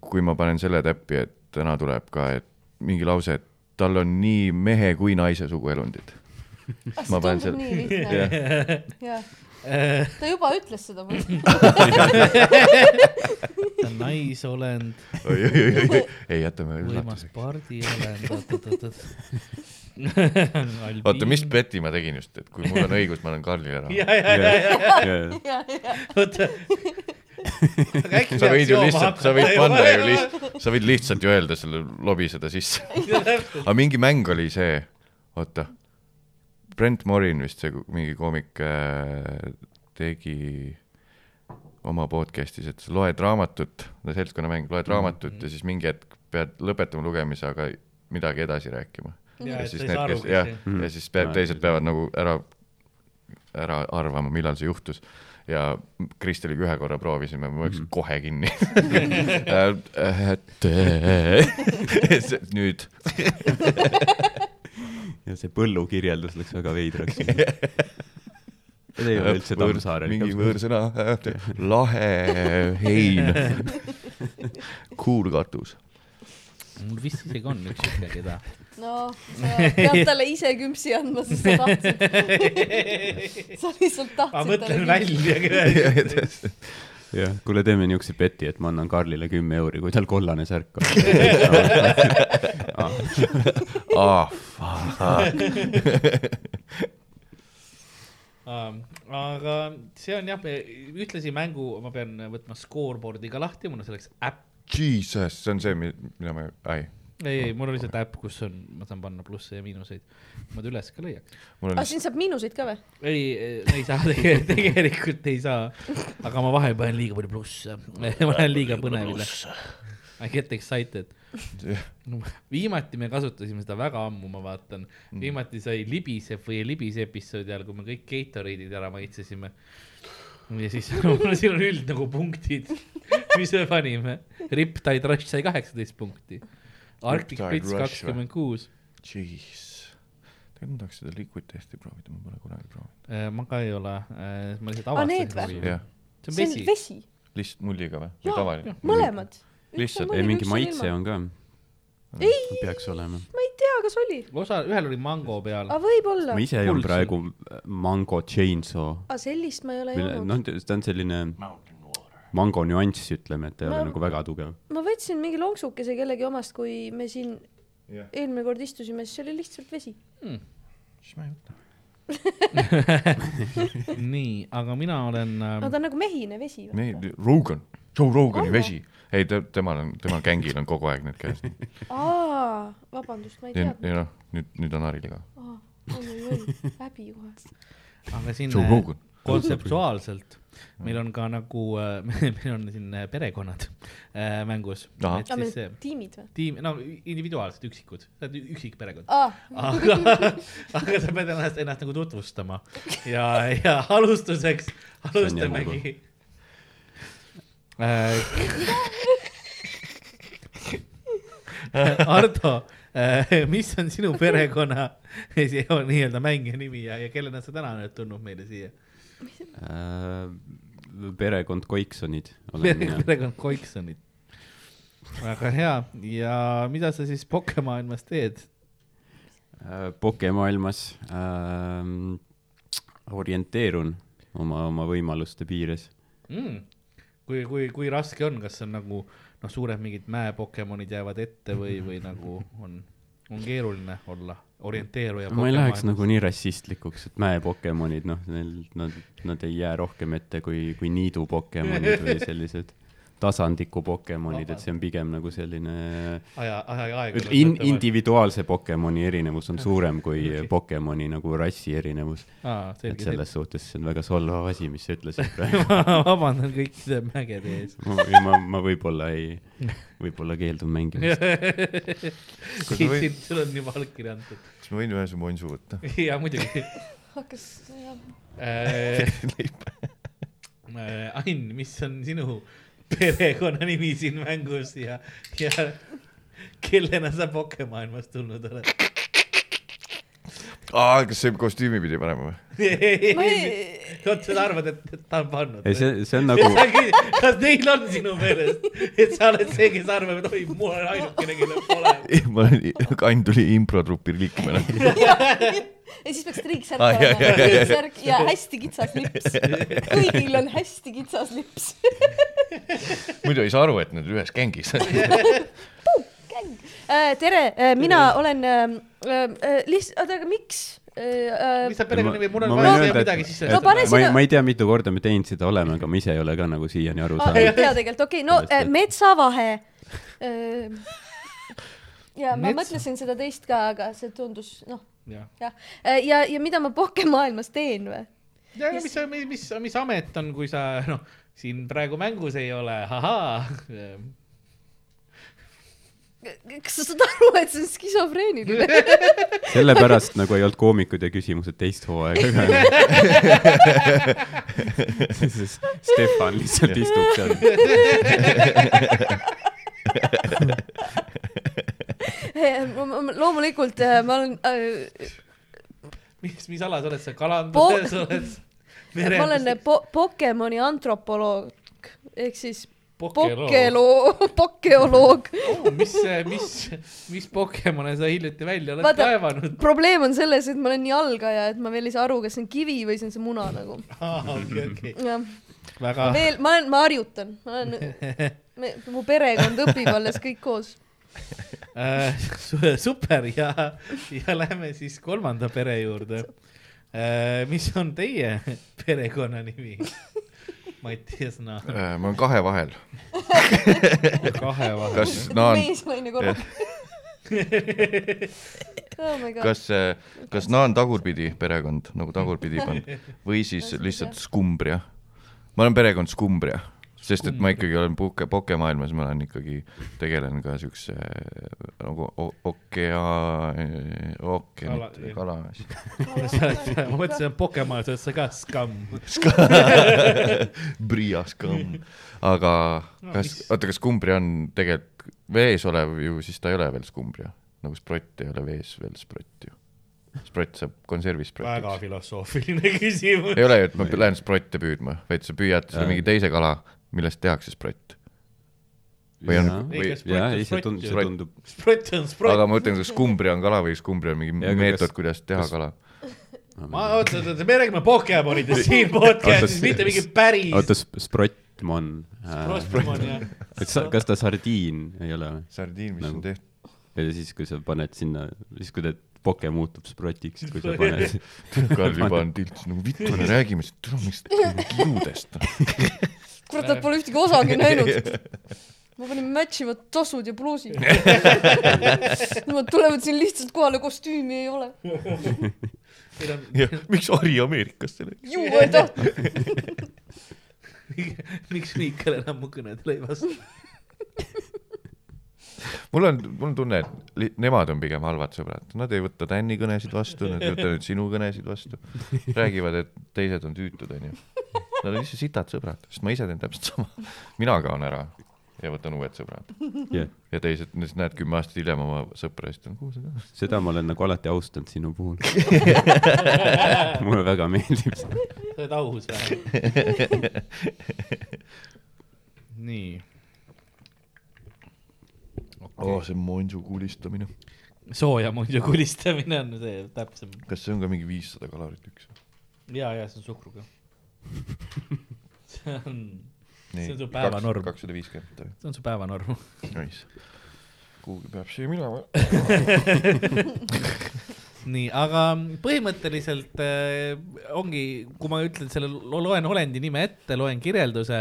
Speaker 2: kui ma panen selle täppi , et täna tuleb ka , et mingi lause , et tal on nii mehe kui naise suguelundid . Ma
Speaker 3: see
Speaker 2: panen
Speaker 3: tundub
Speaker 2: selle-
Speaker 3: nii lihtne .
Speaker 2: jah ,
Speaker 3: jah , ta juba ütles seda mulle .
Speaker 1: ta on naisolend
Speaker 2: oi-oi-oi , ei jätame
Speaker 1: võimas
Speaker 2: üllatuseks .
Speaker 1: pardiolend , oot-oot-oot .
Speaker 2: oota , mis peti ma tegin just , et kui mul on õigus , ma annan Karlile raha .
Speaker 1: ja , ja , ja , ja , oota .
Speaker 2: sa võid ju lihtsalt , sa võid panna ju lihtsalt , sa võid lihtsalt ju öelda selle , lobiseda sisse .
Speaker 1: lihtsalt .
Speaker 2: aga mingi mäng oli see , oota , Brent Morin vist see ku- mingi koomik äh, tegi oma podcast'is , et sa loed raamatut , no seltskonnamäng , loed
Speaker 1: Mhm.
Speaker 2: raamatut ja siis mingi hetk pead lõpetama lugemise , aga midagi edasi rääkima .
Speaker 1: Mhm. ja
Speaker 2: ja
Speaker 1: et sa
Speaker 2: siis
Speaker 1: ei saa
Speaker 2: need ,
Speaker 1: aru
Speaker 2: kes , jah , ja siis peab , teised peavad nagu ära , ära arvama , millal see juhtus . ja Kristeliga ühe korra proovisime , ma võiks kohe kinni . nüüd
Speaker 4: ja see põllu kirjeldus läks väga veidraks . see ei ole üldse
Speaker 2: Äh, Võõr-
Speaker 4: Tammsaare .
Speaker 2: mingi võõrsõna , lahe hein , kuulkatus .
Speaker 1: mul vist isegi on üks siuke , keda .
Speaker 3: no , sa pead talle ise küpsi andma , sest sa tahtsid . sa lihtsalt
Speaker 1: ma
Speaker 3: tahtsid
Speaker 1: mõtlen
Speaker 3: talle .
Speaker 1: välja .
Speaker 4: jah , kuule , teeme niisuguse peti , et ma annan Karlile kümme euri , kui tal kollane särk on .
Speaker 2: ah ,
Speaker 1: um, . aga see on jah , ühtlasi mängu ma pean võtma scoreboard'i ka lahti , mul on selleks äpp .
Speaker 2: jesus , see on see , mida ma , ai ,
Speaker 1: ei , ei , mul on lihtsalt äpp , kus on , ma saan panna plusse ja miinuseid . ma ta üles ka leiaks .
Speaker 2: mul
Speaker 3: aga
Speaker 2: on
Speaker 3: Ah, siin saab miinuseid ka või ?
Speaker 1: ei , ei saa tege, , tegelikult ei saa . aga ma vahel panen liiga palju plusse . ma olen liiga põnevile . I get excited . viimati me kasutasime seda väga ammu , ma vaatan .
Speaker 2: Mm.
Speaker 1: viimati sai libiseb või ei libise episoodi ajal , kui me kõik Gatorade'id ära maitsesime . ja siis siin on üld nagu punktid , mis me panime . Riptide Rush sai kaheksateist punkti . Arctic
Speaker 2: Riptide
Speaker 1: Blitz
Speaker 2: Rush või?
Speaker 1: kakskümmend kuus .
Speaker 2: jeez . tegelikult ma tahaks seda liquid testi proovida , ma pole kunagi proovinud .
Speaker 1: Äh, ma ka ei ole , ma lihtsalt
Speaker 3: Aa, need
Speaker 1: avastasin .
Speaker 3: või?
Speaker 2: jah ,
Speaker 1: see on
Speaker 3: see on
Speaker 1: vesi .
Speaker 3: vesi ,
Speaker 2: lihtsalt mulliga või ,
Speaker 3: Jaa,
Speaker 2: või tavaline ?
Speaker 3: mõlemad .
Speaker 2: Lihtsalt-
Speaker 4: ei , mingi maitse . on ka .
Speaker 3: ei ,
Speaker 4: peaks olema .
Speaker 3: ma ei tea , kas oli , Ah,
Speaker 1: osa , ühel oli mango peal
Speaker 3: aga . võib-olla
Speaker 4: ma . ise joon
Speaker 1: Pulss.
Speaker 4: praegu Mango Chainsaw ,
Speaker 3: aga Ah, sellist ma ei ole
Speaker 4: mille ,
Speaker 3: joonud .
Speaker 4: noh , ta on selline mango nüanss , ütleme , et ta ei ole nagu väga tugev .
Speaker 3: ma võtsin mingi lonksukese kellegi omast , kui me siin
Speaker 2: Jah.
Speaker 3: eelmine kord istusime , siis see oli lihtsalt vesi .
Speaker 2: siis ma ei võta .
Speaker 1: nii , aga mina olen ähm,
Speaker 3: no ta on nagu mehine vesi .
Speaker 2: meil , Rogan , Joe Rogani
Speaker 3: Aa.
Speaker 2: vesi . ei , ta , temal on , temal gängil on kogu aeg need käes .
Speaker 3: aa , vabandust , ma ei
Speaker 2: ja ,
Speaker 3: teadnud .
Speaker 2: ja noh , nüüd , nüüd on Haril ka .
Speaker 3: oi-oi-oi , häbi kohe .
Speaker 1: aga siin äh,
Speaker 2: Joe Rogan.
Speaker 1: kontseptuaalselt meil on ka nagu , meil on siin perekonnad äh, mängus .
Speaker 2: Ahah.
Speaker 1: et siis
Speaker 3: aga meil
Speaker 1: see
Speaker 3: on tiimid või ?
Speaker 1: tiim , no individuaalselt üksikud , sa oled üksik perekond ,
Speaker 3: aa ,
Speaker 1: aga , aga sa pead ennast , ennast nagu tutvustama ja , ja alustuseks alustamegi . Ardo , Äh, mis on sinu perekonna see on nii-öelda mängija nimi ja , ja kellena sa täna oled tulnud meile siia ?
Speaker 4: Äh, perekond Koiksonid olen mina .
Speaker 1: perekond Koiksonid . väga hea ja mida sa siis pokemaailmas teed ?
Speaker 4: Äh, pokemaailmas ähm, orienteerun oma , oma võimaluste piires .
Speaker 1: mm. . kui , kui , kui raske on , kas on nagu noh , suured mingid mäepokemonid jäävad ette või , või nagu on , on keeruline olla orienteeruja .
Speaker 4: ma ei läheks nagu . nii rassistlikuks , et mäepokemonid , noh , neil , nad , nad ei jää rohkem ette kui , kui niidupokemonid või sellised tasandiku pokemonid , et see on pigem nagu selline
Speaker 1: aja , aja , aega .
Speaker 4: nagu- ütle in, . individuaalse pokemoni erinevus on suurem kui pokemoni nagu rassi erinevus .
Speaker 1: aa ,
Speaker 4: et
Speaker 1: selge , selge .
Speaker 4: selles suhtes see on väga solvav asi , mis sa ütlesid praegu .
Speaker 1: ma vabandan kõikide mägede ees .
Speaker 4: ma , ma, ma võib-olla ei , võib-olla keeldun mängimast .
Speaker 2: Kas ma võin-
Speaker 1: siit , sul on juba allkiri antud .
Speaker 2: kas ma võin ühe su monsu võtta ?
Speaker 1: ja muidugi .
Speaker 3: hakkas , jah .
Speaker 1: äh, Ain , mis on sinu perekonnanimi siin mängus ja , ja kellena sa pokemaailmas tulnud oled ?
Speaker 2: aa , kas see kostüümi pidi panema või ?
Speaker 3: ma
Speaker 1: ei ,
Speaker 3: ei ,
Speaker 1: vot sa arvad , et et ta on pannud
Speaker 4: ei ,? see , see on nagu ,
Speaker 1: kas neil on sinu meelest , et sa oled see , kes arvab , et oi , mul on ainukene , kellel pole .
Speaker 2: ma olin , Ain tuli improtrupi liikmena .
Speaker 3: ja siis peaks triiksärk
Speaker 2: Ai, ai,
Speaker 3: olema
Speaker 2: ai, . ai, ai.
Speaker 3: särk ja hästi kitsas lips . kõigil on hästi kitsas lips .
Speaker 2: muidu ei saa aru , et nad ühes gängis .
Speaker 3: Äh, tere , mina olen ähm, ähm, äh, lihtsalt , oota , aga miks ? äh,
Speaker 1: mis sa
Speaker 4: Ma-
Speaker 1: perekonnanimi , mul on
Speaker 4: ma
Speaker 1: vaja siia
Speaker 4: võin öelda, et-
Speaker 1: midagi sisse
Speaker 3: No pane
Speaker 4: ma ei
Speaker 3: sinna- ,
Speaker 4: ma ei tea , mitu korda me teinud seda oleme , aga ma ise ei ole ka nagu siiani aru
Speaker 1: Ah,
Speaker 3: aa , Ah, ei
Speaker 4: saanud .
Speaker 3: tea tegelikult , okei okay, , no
Speaker 4: Sellest, et-
Speaker 3: äh, metsavahe . ja ma
Speaker 1: Mets-
Speaker 3: Mets... mõtlesin seda teist ka , aga see tundus , noh ,
Speaker 1: Jah.
Speaker 3: jah . ja , ja mida ma pokemaailmas teen või ?
Speaker 1: ja , ja mis , mis , mis , mis amet on , kui sa noh , siin praegu mängus ei ole , ahaa .
Speaker 3: kas sa saad aru , et see on skisofreeniline ?
Speaker 4: sellepärast nagu ei olnud koomikud ja küsimused teist hooaega ka . Stefan lihtsalt istub seal .
Speaker 3: Äh, loomulikult äh, ma olen äh, ,
Speaker 1: mis , mis ala sa oled , sa kalanduses oled ?
Speaker 3: ma olen po- , Pokemoni antropoloog ehk siis
Speaker 1: Pokelo .
Speaker 3: pokeloo , pokeoloog .
Speaker 1: mis , mis , mis Pokemone sa hiljuti välja oled
Speaker 3: Vaata-
Speaker 1: kaevanud ?
Speaker 3: probleem on selles , et ma olen nii algaja , et ma veel ei saa aru , kas see on kivi või see on see muna nagu .
Speaker 1: okei , okei .
Speaker 3: jah ,
Speaker 1: väga ,
Speaker 3: veel , ma olen , ma harjutan , ma olen , mu perekond õpib alles kõik koos .
Speaker 1: Äh, super ja , ja lähme siis kolmanda pere juurde . mis on teie perekonnanimi ? Mattias noh, Naar ,
Speaker 2: ma olen kahe vahel ,
Speaker 1: kahe vahel .
Speaker 2: kas Naan ,
Speaker 3: mees , naine korraga . oh my god ,
Speaker 2: kas , kas Naan tagurpidi perekond nagu tagurpidi pand või siis lihtsalt skumbria ? ma olen perekond skumbria , sest et ma ikkagi olen puhke , pokemaailmas ma olen ikkagi , tegelen ka siukse nagu o- okea- , ookeanit või kala .
Speaker 1: sa oled , ma mõtlesin , et Pokemon , sa oled sa ka skamm .
Speaker 2: Brias kamm , aga kas , oota , kas skumbria on tegelikult vees olev ju , siis ta ei ole veel skumbria , nagu sprott ei ole vees veel sprott ju . sprott saab konservis
Speaker 1: väga
Speaker 2: sprotiks .
Speaker 1: filosoofiline küsimus .
Speaker 2: ei ole ju , et ma lähen sprotte püüdma , vaid sa püüad selle mingi teise kala , millest tehakse sprott . või on ,
Speaker 4: Jaa.
Speaker 2: või ,
Speaker 4: jaa , ei see tundub , see
Speaker 2: Sprott.
Speaker 4: tundub ,
Speaker 1: sprott on sprott
Speaker 2: aga . ma mõtlen , kas skumbria on kala või skumbria on mingi
Speaker 4: Ja, aga
Speaker 2: meetod
Speaker 4: kas- ,
Speaker 2: kuidas teha kala .
Speaker 1: ma , oota , oota , me räägime Pokemonidest siin podcast'is , mitte mingi päris .
Speaker 4: oota , Sprottmon .
Speaker 1: Pokemon jah .
Speaker 4: kas ta sardiin ei ole või ?
Speaker 2: sardiin , mis
Speaker 4: Nagu-
Speaker 2: on tehtud ,
Speaker 4: ja siis , kui sa paned sinna , siis kui ta poke muutub Sprotiks , kui sa paned .
Speaker 2: Karl juba on tilts , nagu vittu , me räägime , tule mingist kiudest .
Speaker 3: kurat , nad pole ühtegi osagi näinud . ma panin match ivad tossud ja pluusid . Nad tulevad siin lihtsalt kohale , kostüümi ei ole .
Speaker 2: miks Ari Ameerikasse läks ?
Speaker 3: ju ei tahtnud .
Speaker 1: miks Mihkel enam mu kõnedele ei vasta ?
Speaker 2: mul on , mul on tunne , et li- nemad on pigem halvad sõbrad , nad ei võta Tänni kõnesid vastu , nad ei võta nüüd sinu kõnesid vastu . räägivad , et teised on tüütud , onju . Nad on lihtsalt sitad sõbrad , sest ma ise teen täpselt sama . mina kaon ära ja võtan uued sõbrad ja teised , siis näed kümme aastat hiljem oma sõpra ja siis ta on , kuhu sa kaosid .
Speaker 4: seda ma olen nagu alati austanud sinu puhul . mulle väga meeldib see .
Speaker 1: sa oled aus vähemalt . nii ,
Speaker 2: aa , see monsu kuulistamine .
Speaker 1: sooja muidu kulistamine on see täpsem .
Speaker 2: kas see on ka mingi viissada kalorit üks ?
Speaker 1: ja , ja see on suhkruga . see on ,
Speaker 2: nii
Speaker 1: See on su päevanorm.
Speaker 2: kakssada viiskümmend .
Speaker 1: see on su päevanorm .
Speaker 2: Nice . kuhugi peab see minema .
Speaker 1: nii , aga põhimõtteliselt äh, ongi , kui ma ütlen selle , loen olendi nime ette , loen kirjelduse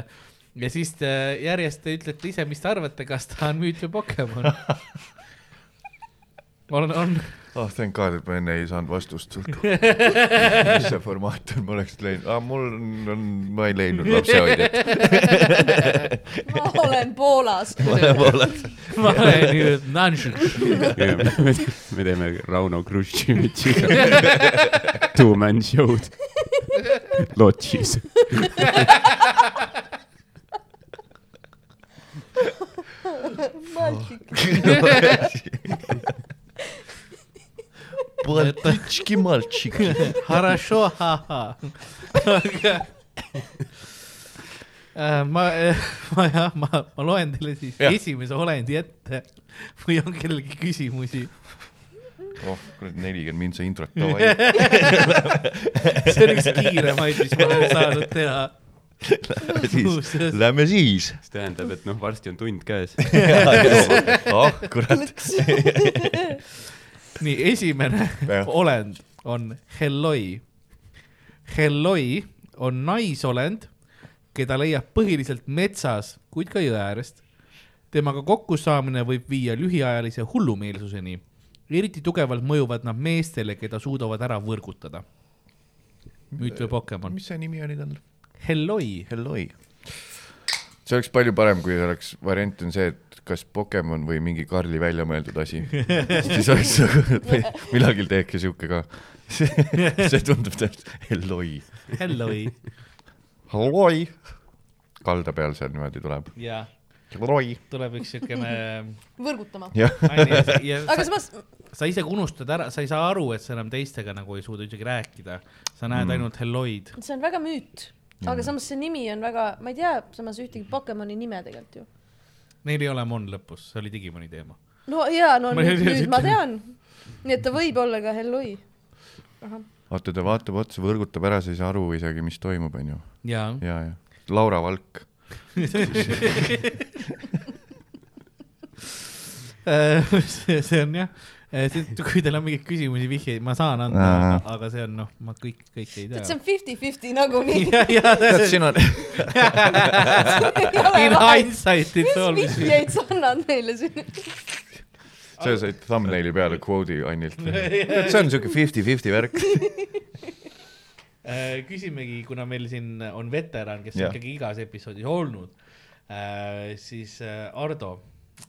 Speaker 1: ja siis te järjest te ütlete ise , mis te arvate , kas ta on müüt või Pokemon . on , on ,
Speaker 2: ah , thank god , et ma enne ei saanud vastust sult . mis see formaat on , ma oleks leidnud ah, , mul on- on , ma ei leidnud lapsehoidjat .
Speaker 3: ma olen Poolas .
Speaker 1: ma olen ju nonsense .
Speaker 4: me teeme Rauno Kruštšivitšiga two-man show'd lodžis .
Speaker 3: Baltic ,
Speaker 2: Baltitški maltšiki .
Speaker 1: Хорошо , ha-ha . ma , ma jah , ma , ma loen teile siis ja.
Speaker 2: Jah.
Speaker 1: esimese olendi ette või on kellelgi küsimusi .
Speaker 2: oh , kurat , nelikümmend mind see introt tava .
Speaker 1: see on üks kiiremaid , mis ma olen saanud teha .
Speaker 2: lähme siis , lähme siis .
Speaker 4: mis tähendab , et noh , varsti on tund käes .
Speaker 2: ah , kurat .
Speaker 3: lõks .
Speaker 1: nii , esimene
Speaker 2: Jah.
Speaker 1: olend on helloi . helloi on naisolend , keda leiab põhiliselt metsas , kuid ka jõe äärest . temaga kokkusaamine võib viia lühiajalise hullumeelsuseni . eriti tugevalt mõjuvad nad meestele , keda suudavad ära võrgutada . müüt või Pokemon ?
Speaker 2: mis see nimi oli tal ?
Speaker 1: helloi .
Speaker 2: Helloi . see oleks palju parem , kui oleks variant on see , et kas Pokemon või mingi Karli välja mõeldud asi . siis oleks nagu , millalgi teeks siuke ka . see tundub täpselt , Helloi .
Speaker 1: helloi .
Speaker 2: Halloi . kalda peal seal niimoodi tuleb .
Speaker 1: ja
Speaker 2: Halloi .
Speaker 1: tuleb üks siukene .
Speaker 3: võrgutama .
Speaker 2: jah ,
Speaker 3: aga samas ,
Speaker 1: sa ise kui unustad ära , sa ei saa aru , et sa enam teistega nagu ei suuda isegi rääkida . sa näed mm. ainult helloid .
Speaker 3: see on väga müüt . aga samas see nimi on väga , ma ei tea samas ühtegi Pokemoni nime tegelikult ju .
Speaker 1: Neil ei ole Mon lõpus , see oli Digimoni teema .
Speaker 3: no jaa , no
Speaker 1: Ma ei
Speaker 3: nüüd,
Speaker 1: tea,
Speaker 3: nüüd ma
Speaker 1: ütlen.
Speaker 3: tean . nii et ta võib olla ka Helloi .
Speaker 2: vaata , ta vaatab otsa , võrgutab ära , sa ei saa aru isegi , mis toimub , onju .
Speaker 1: jaa .
Speaker 2: ja , ja . Laura Valk .
Speaker 1: see see on jah , kui teil on mingeid küsimusi , vihjeid ma saan anda , aga, aga see on noh , ma kõik , kõik ei
Speaker 3: tead , see
Speaker 1: tea .
Speaker 3: on fifty-fifty nagu nagunii .
Speaker 1: ja , ja ,
Speaker 2: tead , siin on ,
Speaker 1: in hindsight it's
Speaker 3: mis
Speaker 1: always .
Speaker 3: vihjeid sa annad meile siin ?
Speaker 2: sa said thumbnaili peale kvoodi Annilt . see on siuke fifty-fifty värk .
Speaker 1: Äh, küsimegi , kuna meil siin on veteran , kes on
Speaker 2: Jah.
Speaker 1: ikkagi igas episoodis olnud , siis äh, Ardo ,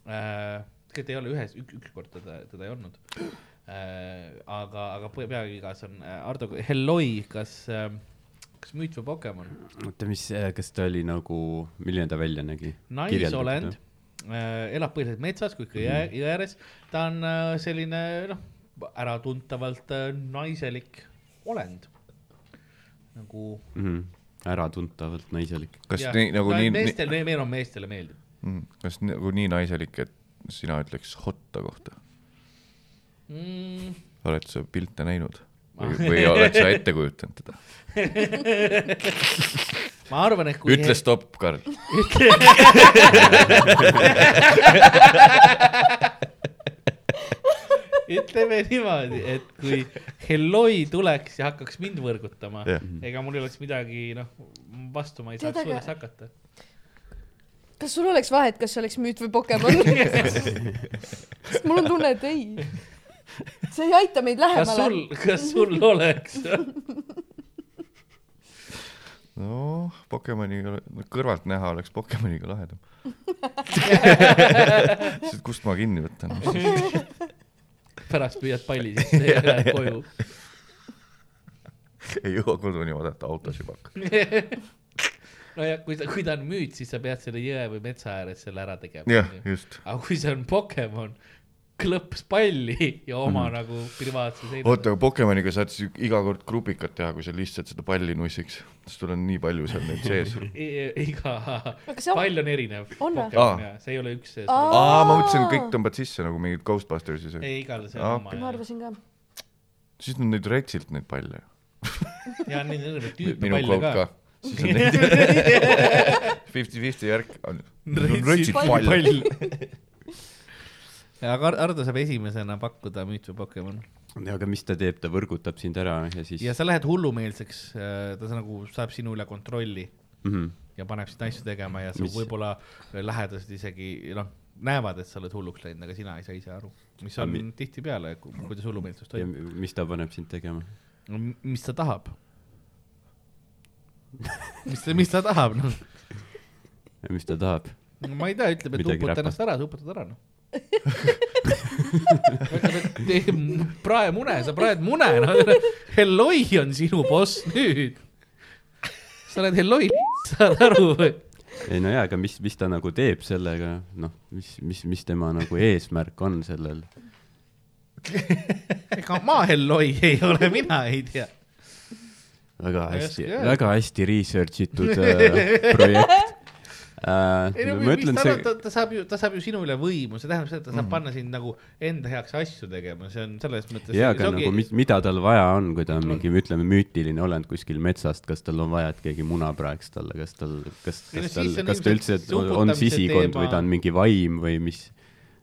Speaker 1: tegelikult ei ole ühes , ükskord teda , teda ei olnud . aga , aga pe- peaaegu igas on . Ardo , Helloi , kas , kas müüt või Pokemon ?
Speaker 4: oota , mis , kas ta oli nagu , milline ta välja nägi ?
Speaker 1: naisolend , äh, elab põhiliselt metsas kui ka jõe , jõe ääres . ta on äh, selline noh , äratuntavalt äh, naiselik olend . nagu .
Speaker 4: Mhm. äratuntavalt naiselik .
Speaker 2: kas nii nagu nii , nii ,
Speaker 1: meestel , meil on meestele meeldib .
Speaker 2: kas nagu nii naiselik , et sina ütleks hotta kohta ?
Speaker 1: Mm,
Speaker 2: oled sa pilte näinud või, või oled sa ette kujutanud teda ?
Speaker 1: ma arvan , et kui .
Speaker 2: ütle stopp , Karl .
Speaker 1: ütleme niimoodi , et kui Helloi tuleks ja hakkaks mind võrgutama
Speaker 2: Jah.
Speaker 1: ega mul ei oleks midagi , noh , vastu ma ei
Speaker 3: Tead,
Speaker 1: saaks
Speaker 3: aga-
Speaker 1: suudaks hakata .
Speaker 3: kas sul oleks vahet , kas see oleks müüt või Pokemon ? sest mul on tunne , et ei . see ei aita meid
Speaker 1: kas sul
Speaker 3: lähemale .,
Speaker 1: kas sul oleks ?
Speaker 2: noh , Pokemoniga , kõrvalt näha oleks Pokemoniga lahedam . kust ma kinni võtan ?
Speaker 1: pärast püüad palli sisse ja lähed koju .
Speaker 2: ei jõua koduni oodata , autos juba hakkab .
Speaker 1: no ja kui ta , kui ta on müüt , siis sa pead selle jõe või metsa ääres selle ära tegema
Speaker 2: jah ., just .
Speaker 1: aga kui see on Pokemon , klõps palli ja
Speaker 2: Mhm.
Speaker 1: oma nagu privaatse seina .
Speaker 2: oota , aga Pokemoniga saad siis iga kord grupikat teha , kui sa lihtsalt seda palli nussiks , sest sul on nii palju seal neid sees .
Speaker 1: e, iga
Speaker 3: Aga see on-
Speaker 1: pall on erinev .
Speaker 3: On või?
Speaker 2: Aa.
Speaker 1: see ei ole üks sees .
Speaker 3: Aa.
Speaker 2: aa , ma mõtlesin , kõik tõmbad sisse nagu mingid Ghostbustersis .
Speaker 1: ei , igal see
Speaker 2: Aa,
Speaker 1: on
Speaker 3: ma
Speaker 1: oma .
Speaker 3: arvasin ka .
Speaker 2: siis nad neid retsilt neid palle .
Speaker 1: ja neid on õrna tüüpe
Speaker 2: minu
Speaker 1: palle
Speaker 2: kvoot
Speaker 1: ka
Speaker 2: ka .. siis on neid fifty-fifty värk . retsid
Speaker 3: pall.
Speaker 2: pall .
Speaker 1: aga Ar- Ardo saab esimesena pakkuda müüt või Pokemon .
Speaker 4: aga mis ta teeb , ta võrgutab sind ära ja siis
Speaker 1: ja sa lähed hullumeelseks , ta sa- nagu saab sinu üle kontrolli
Speaker 4: Mhm.
Speaker 1: ja paneb sind asju tegema ja sa
Speaker 4: Mis-
Speaker 1: võib-olla äh, lähedased isegi noh , näevad , et sa oled hulluks läinud , aga sina ei saa ise aru , mis on
Speaker 4: Aga
Speaker 1: mi... tihtipeale , kuidas hullumeelsus
Speaker 4: ja
Speaker 1: toimub ,
Speaker 4: mis ta paneb sind tegema ?
Speaker 1: mis ta tahab . mis , mis ta tahab , noh ,
Speaker 4: mis ta tahab ?
Speaker 1: ma ei tea , ütleb , et
Speaker 4: Midagi
Speaker 1: uputad
Speaker 4: räpast.
Speaker 1: ennast ära , sa uputad ära , noh . ütleb , et tee m- prae mune , sa praed mune , noh , Helloi on sinu boss nüüd . sa oled Helloi , saad aru või ?
Speaker 4: ei no jaa , aga mis , mis ta nagu teeb sellega , noh , mis , mis , mis tema nagu eesmärk on sellel ?
Speaker 1: ega ma Helloi ei ole , mina ei tea
Speaker 4: väga
Speaker 1: ei
Speaker 4: hästi
Speaker 1: oska öelda. ,
Speaker 4: väga hästi research itud äh, projekt
Speaker 1: ei no
Speaker 4: äh, .
Speaker 1: mis ,
Speaker 4: ma
Speaker 1: mis
Speaker 4: ütlen
Speaker 1: ta see... ,
Speaker 4: see , Mhm.
Speaker 1: ta saab ju , ta saab ju sinu üle võimu , see tähendab seda , et ta saab mm. panna sind nagu enda heaks asju tegema , see Mm. on selles mõttes .
Speaker 4: jaa , aga nagu mis , mida tal vaja on , kui ta on mingi , ütleme , müütiline olend kuskil metsast , kas tal on vaja , et keegi muna praeks talle , kas tal , kas ,
Speaker 1: Ei no
Speaker 4: kas
Speaker 1: siis
Speaker 4: tal
Speaker 1: on ,
Speaker 4: kas ta üldse
Speaker 1: ilmselt
Speaker 4: on, on
Speaker 1: uputamise
Speaker 4: sisikond
Speaker 1: teema-
Speaker 4: või ta on mingi vaim või mis ?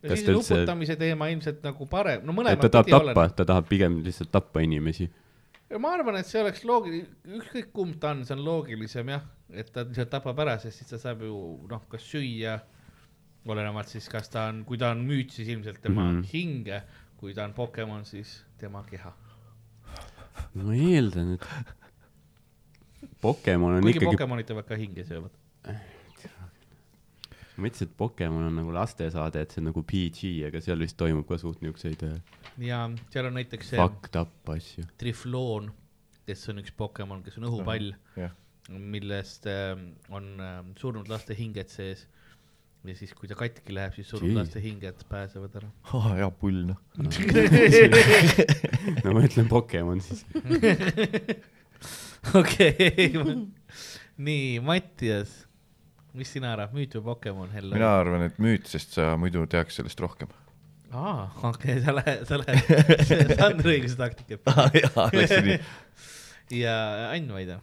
Speaker 1: ja
Speaker 4: kas
Speaker 1: siis on
Speaker 4: ta üldse ,
Speaker 1: uputamise teema ilmselt nagu parem , no
Speaker 4: et
Speaker 1: mõlemad .
Speaker 4: ta tahab tappa , ta tahab pigem lihtsalt tappa inimesi .
Speaker 1: ma arvan , et see oleks loogiline , ükskõik kumb ta on , see on loogilisem jah , et ta lihtsalt tapab ära , sest siis ta saab ju noh , kas süüa , olenevalt siis , kas ta on , kui ta on müüt , siis ilmselt tema mm
Speaker 4: Mhm.
Speaker 1: -hmm. hinge , kui ta on Pokemon , siis tema keha .
Speaker 4: ma eeldan , et Pokemon on
Speaker 1: kuigi
Speaker 4: ikkagi ,
Speaker 1: Pokemonid teevad ka hinge söövad .
Speaker 4: ma mõtlesin , et Pokemon on nagu lastesaade , et see on nagu PG , aga seal vist toimub ka suht niisuguseid äh,
Speaker 1: ja seal on näiteks see
Speaker 4: fucked up asju .
Speaker 1: Trifloon , kes on üks Pokemon , kes on õhupall ,
Speaker 2: jah ,
Speaker 1: millest äh, on äh, surnud laste hinged sees . ja siis , kui ta katki läheb , siis surnud
Speaker 4: Gee.
Speaker 1: laste hinged pääsevad ära .
Speaker 2: hea pull noh .
Speaker 4: no ma ütlen Pokemon siis .
Speaker 1: okei , nii , Mattias , mis sina arvad , müüt või Pokemon , Hello ?
Speaker 2: mina arvan , et müüt , sest sa muidu teaks sellest rohkem .
Speaker 1: aa , okei , sa lähed , sa lähed , see on õiguse taktika .
Speaker 2: Ah, läksin nii .
Speaker 1: ja Ann Vaide .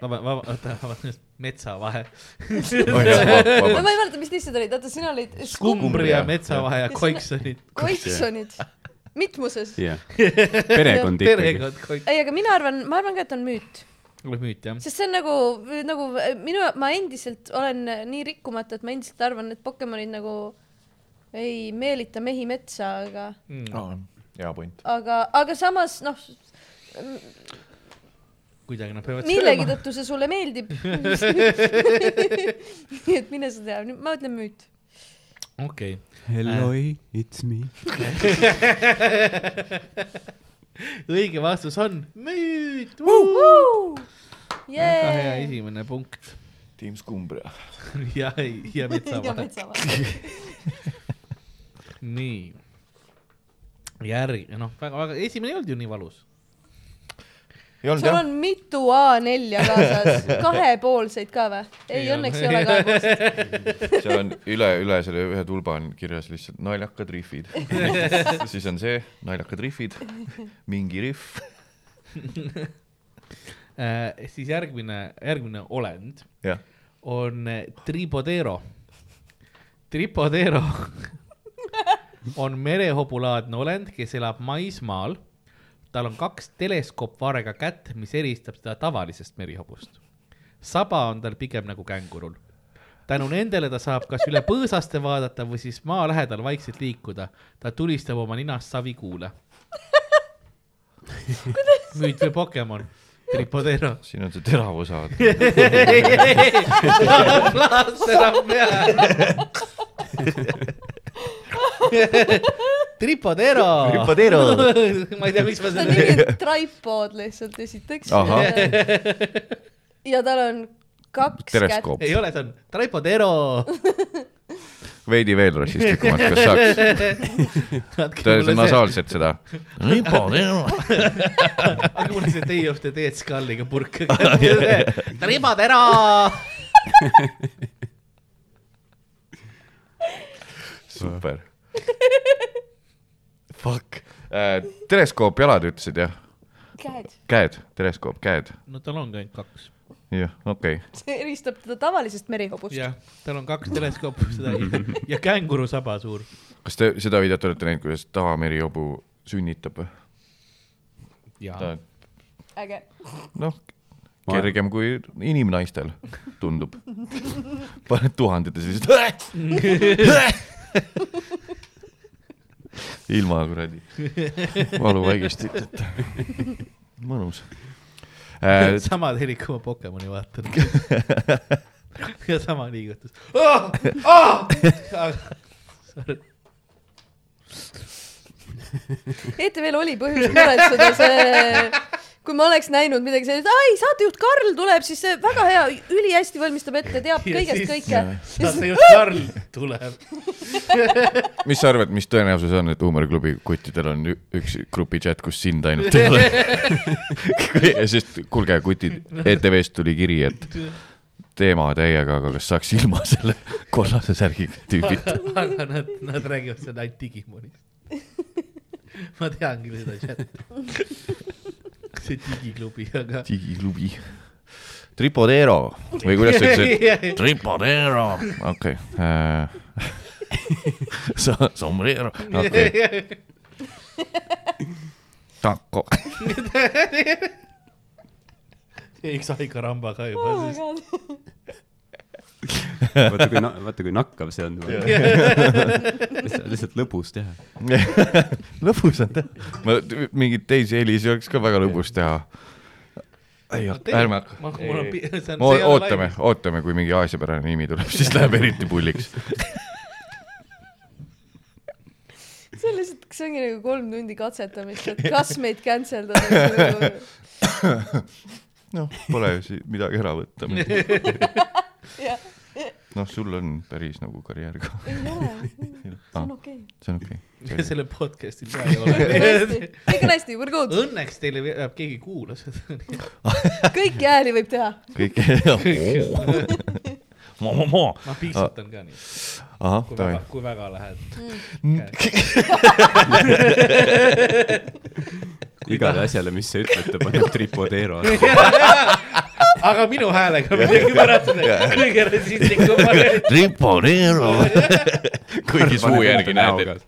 Speaker 1: vaba , vaba , oota , vabandust , metsavahe .
Speaker 2: oi jah ,
Speaker 3: no ma
Speaker 2: vabandust .
Speaker 3: ei mäleta , mis lihtsalt olid , oota , sina olid skumb ,
Speaker 1: skumbria metsavahe ja
Speaker 3: Ja
Speaker 1: koiksonid .
Speaker 3: koiksonid , mitmuses .
Speaker 4: jah , perekond ikkagi .
Speaker 1: perekond koik- ,
Speaker 3: ei , aga mina arvan , ma arvan ka , et on müüt ,
Speaker 1: müüt jah .
Speaker 3: sest see on nagu , nagu minu , ma endiselt olen äh, nii rikkumatu , et ma endiselt arvan , et Pokemonid nagu ei meelita mehi metsa , aga ,
Speaker 1: Mm,
Speaker 2: Ah. hea point .
Speaker 3: aga , aga samas noh ,
Speaker 1: kuidagi nad peavad
Speaker 3: millegi . tõttu see sulle meeldib . nii et mine sa tea , ma ütlen müüt .
Speaker 1: okei .
Speaker 4: Helloi , it's me .
Speaker 1: õige vastus on müüt . väga hea
Speaker 3: Jee .
Speaker 1: esimene punkt
Speaker 2: tiim Skumbria .
Speaker 1: ja , ja
Speaker 3: ja
Speaker 1: metsavahe .
Speaker 3: metsavahe .
Speaker 1: nii . järg , noh , väga , väga , esimene ei olnud ju nii valus .
Speaker 2: ei olnud
Speaker 3: sul
Speaker 2: jah
Speaker 3: on ? mitu A4-ja kaasas , kahepoolseid ka või ? ei
Speaker 1: Ei , ole.
Speaker 3: õnneks ei ole kahepoolseid .
Speaker 2: seal on üle , üle selle ühe tulba on kirjas lihtsalt naljakad rihvid . siis on see , naljakad rihvid , mingi rihv .
Speaker 1: Äh, siis järgmine , järgmine olend
Speaker 2: jah ,
Speaker 1: on äh, tripodero . tripodero on merehobulaadne olend , kes elab maismaal . tal on kaks teleskoopvarega kätt , mis eristab teda tavalisest merihobust . saba on tal pigem nagu kängurul . tänu nendele ta saab kas üle põõsaste vaadata või siis maa lähedal vaikselt liikuda . ta tulistab oma ninast savikuule . müüt või Pokemon ? tripodero .
Speaker 2: siin on see terav osa .
Speaker 1: plaasterab peale . Tripodero .
Speaker 2: Tripodero.
Speaker 1: ma ei tea , miks ma
Speaker 3: ta
Speaker 1: selle .
Speaker 3: nimi on tripod lihtsalt esiteks
Speaker 2: Ahah. .
Speaker 3: ja tal on kaks kätt .
Speaker 2: teleskoop ,
Speaker 1: ei ole , see on Tripodero .
Speaker 2: veidi veel rassistlikumalt , kas saaks ? ta see nasaalselt seda .
Speaker 1: aga mul oli see Day of the Dead Skulliga purk . Tripodero .
Speaker 2: super . Fuck . teleskoop jalad ütlesid jah ,
Speaker 3: käed .
Speaker 2: käed , teleskoop käed ,
Speaker 1: no tal ongi ainult kaks .
Speaker 2: jah , okei okay. .
Speaker 3: see eristab teda tavalisest merihobust .
Speaker 1: jah , tal on kaks teleskoopi , seda ei- ja känguru saba suur .
Speaker 2: kas te seda videot olete näinud , kuidas tavameri hobu sünnitab või ?
Speaker 1: jaa .
Speaker 3: äge .
Speaker 2: noh , kergem kui inimnaistel tundub . paned tuhanded ja siis ilma kuradi valuvaigistiteta . mõnus äh, .
Speaker 1: sama telik , kui ma Pokemoni vaatan . ja sama liigutus oh, . Oh!
Speaker 3: ETV-l oli põhjust muretseda see , kui ma oleks näinud midagi sellist , ai , saatejuht Karl tuleb , siis see väga hea , ülihästi valmistab ette , teab
Speaker 1: Ja
Speaker 3: kõigest
Speaker 1: siis-
Speaker 3: kõike .
Speaker 1: saatejuht Karl tuleb .
Speaker 2: mis sa arvad , mis tõenäosus on , et huumoriklubi kuttidel on ü- üks grupi chat , kus sind ainult ei ole ? sest kuulge , kutid , ETV-st tuli kiri , et teema täiega , aga kas saaks ilma selle kollase särgiga tüübita ?
Speaker 1: aga nad , nad räägivad seda ainult Digimonist . ma tean küll seda chat'i . see digiklubi , aga .
Speaker 2: digiklubi . Tripodero või kuidas sa ütlesid ? Tripodero , okei . äh. Sombrero , okei , taco .
Speaker 1: üks Aika Ramba ka juba
Speaker 3: Oh my
Speaker 1: siis .
Speaker 3: god.
Speaker 4: vaata kui , vaata kui nakkav see on . lihtsalt lõbus teha .
Speaker 2: lõbus on teha . ma , mingeid teisi helisi oleks ka väga lõbus teha . ei hakka , ärme hakka .
Speaker 1: ma , mul on , see on .
Speaker 2: ootame ,. ootame , kui mingi aasiapärane nimi tuleb , siis läheb eriti pulliks .
Speaker 3: see on lihtsalt , see ongi nagu kolm tundi katsetamist , et kas meid cancel datakse .
Speaker 2: noh , pole ju si- midagi ära võtta .
Speaker 3: jah ,
Speaker 2: noh , sul on päris nagu karjäär ka .
Speaker 3: ei ole , see
Speaker 2: Ah,
Speaker 3: on okei .
Speaker 2: see on okei okay. .
Speaker 1: selle podcast'i pea ei ole .
Speaker 3: kõik on hästi , we are good ,
Speaker 1: Õnneks teile jääb keegi kuula seda .
Speaker 3: kõiki hääli võib teha .
Speaker 2: kõik .
Speaker 1: ma piiksutan ka nii ,
Speaker 2: ahah ,
Speaker 1: kui
Speaker 2: davai
Speaker 1: väga , kui väga lähed .
Speaker 4: igale asjale , mis sa ütled , ta paneb tripodeero .
Speaker 1: aga minu häälega midagi pärast seda kõige rassistlikum .
Speaker 2: Triponero . kuigi suu järgi näed , et .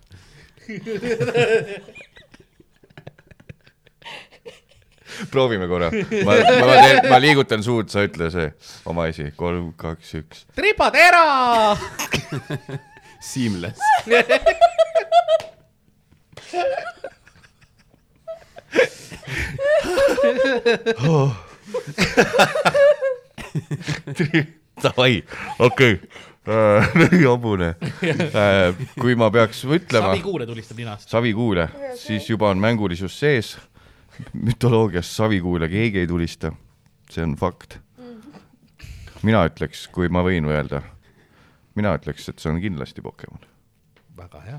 Speaker 2: proovime korra . ma , ma teen , ma liigutan suud , sa ütle see oma asi . kolm , kaks , üks .
Speaker 1: tripatera .
Speaker 4: Seamless .
Speaker 2: Davai , okei . hobune . kui ma peaks ütlema
Speaker 1: savi . kuule tulistab ninast .
Speaker 2: savikuule , siis juba on mängulisus sees . mütoloogias savikuule keegi ei tulista . see on fakt . mina ütleks , kui ma võin öelda , mina ütleks , et see on kindlasti Pokemon .
Speaker 1: väga hea .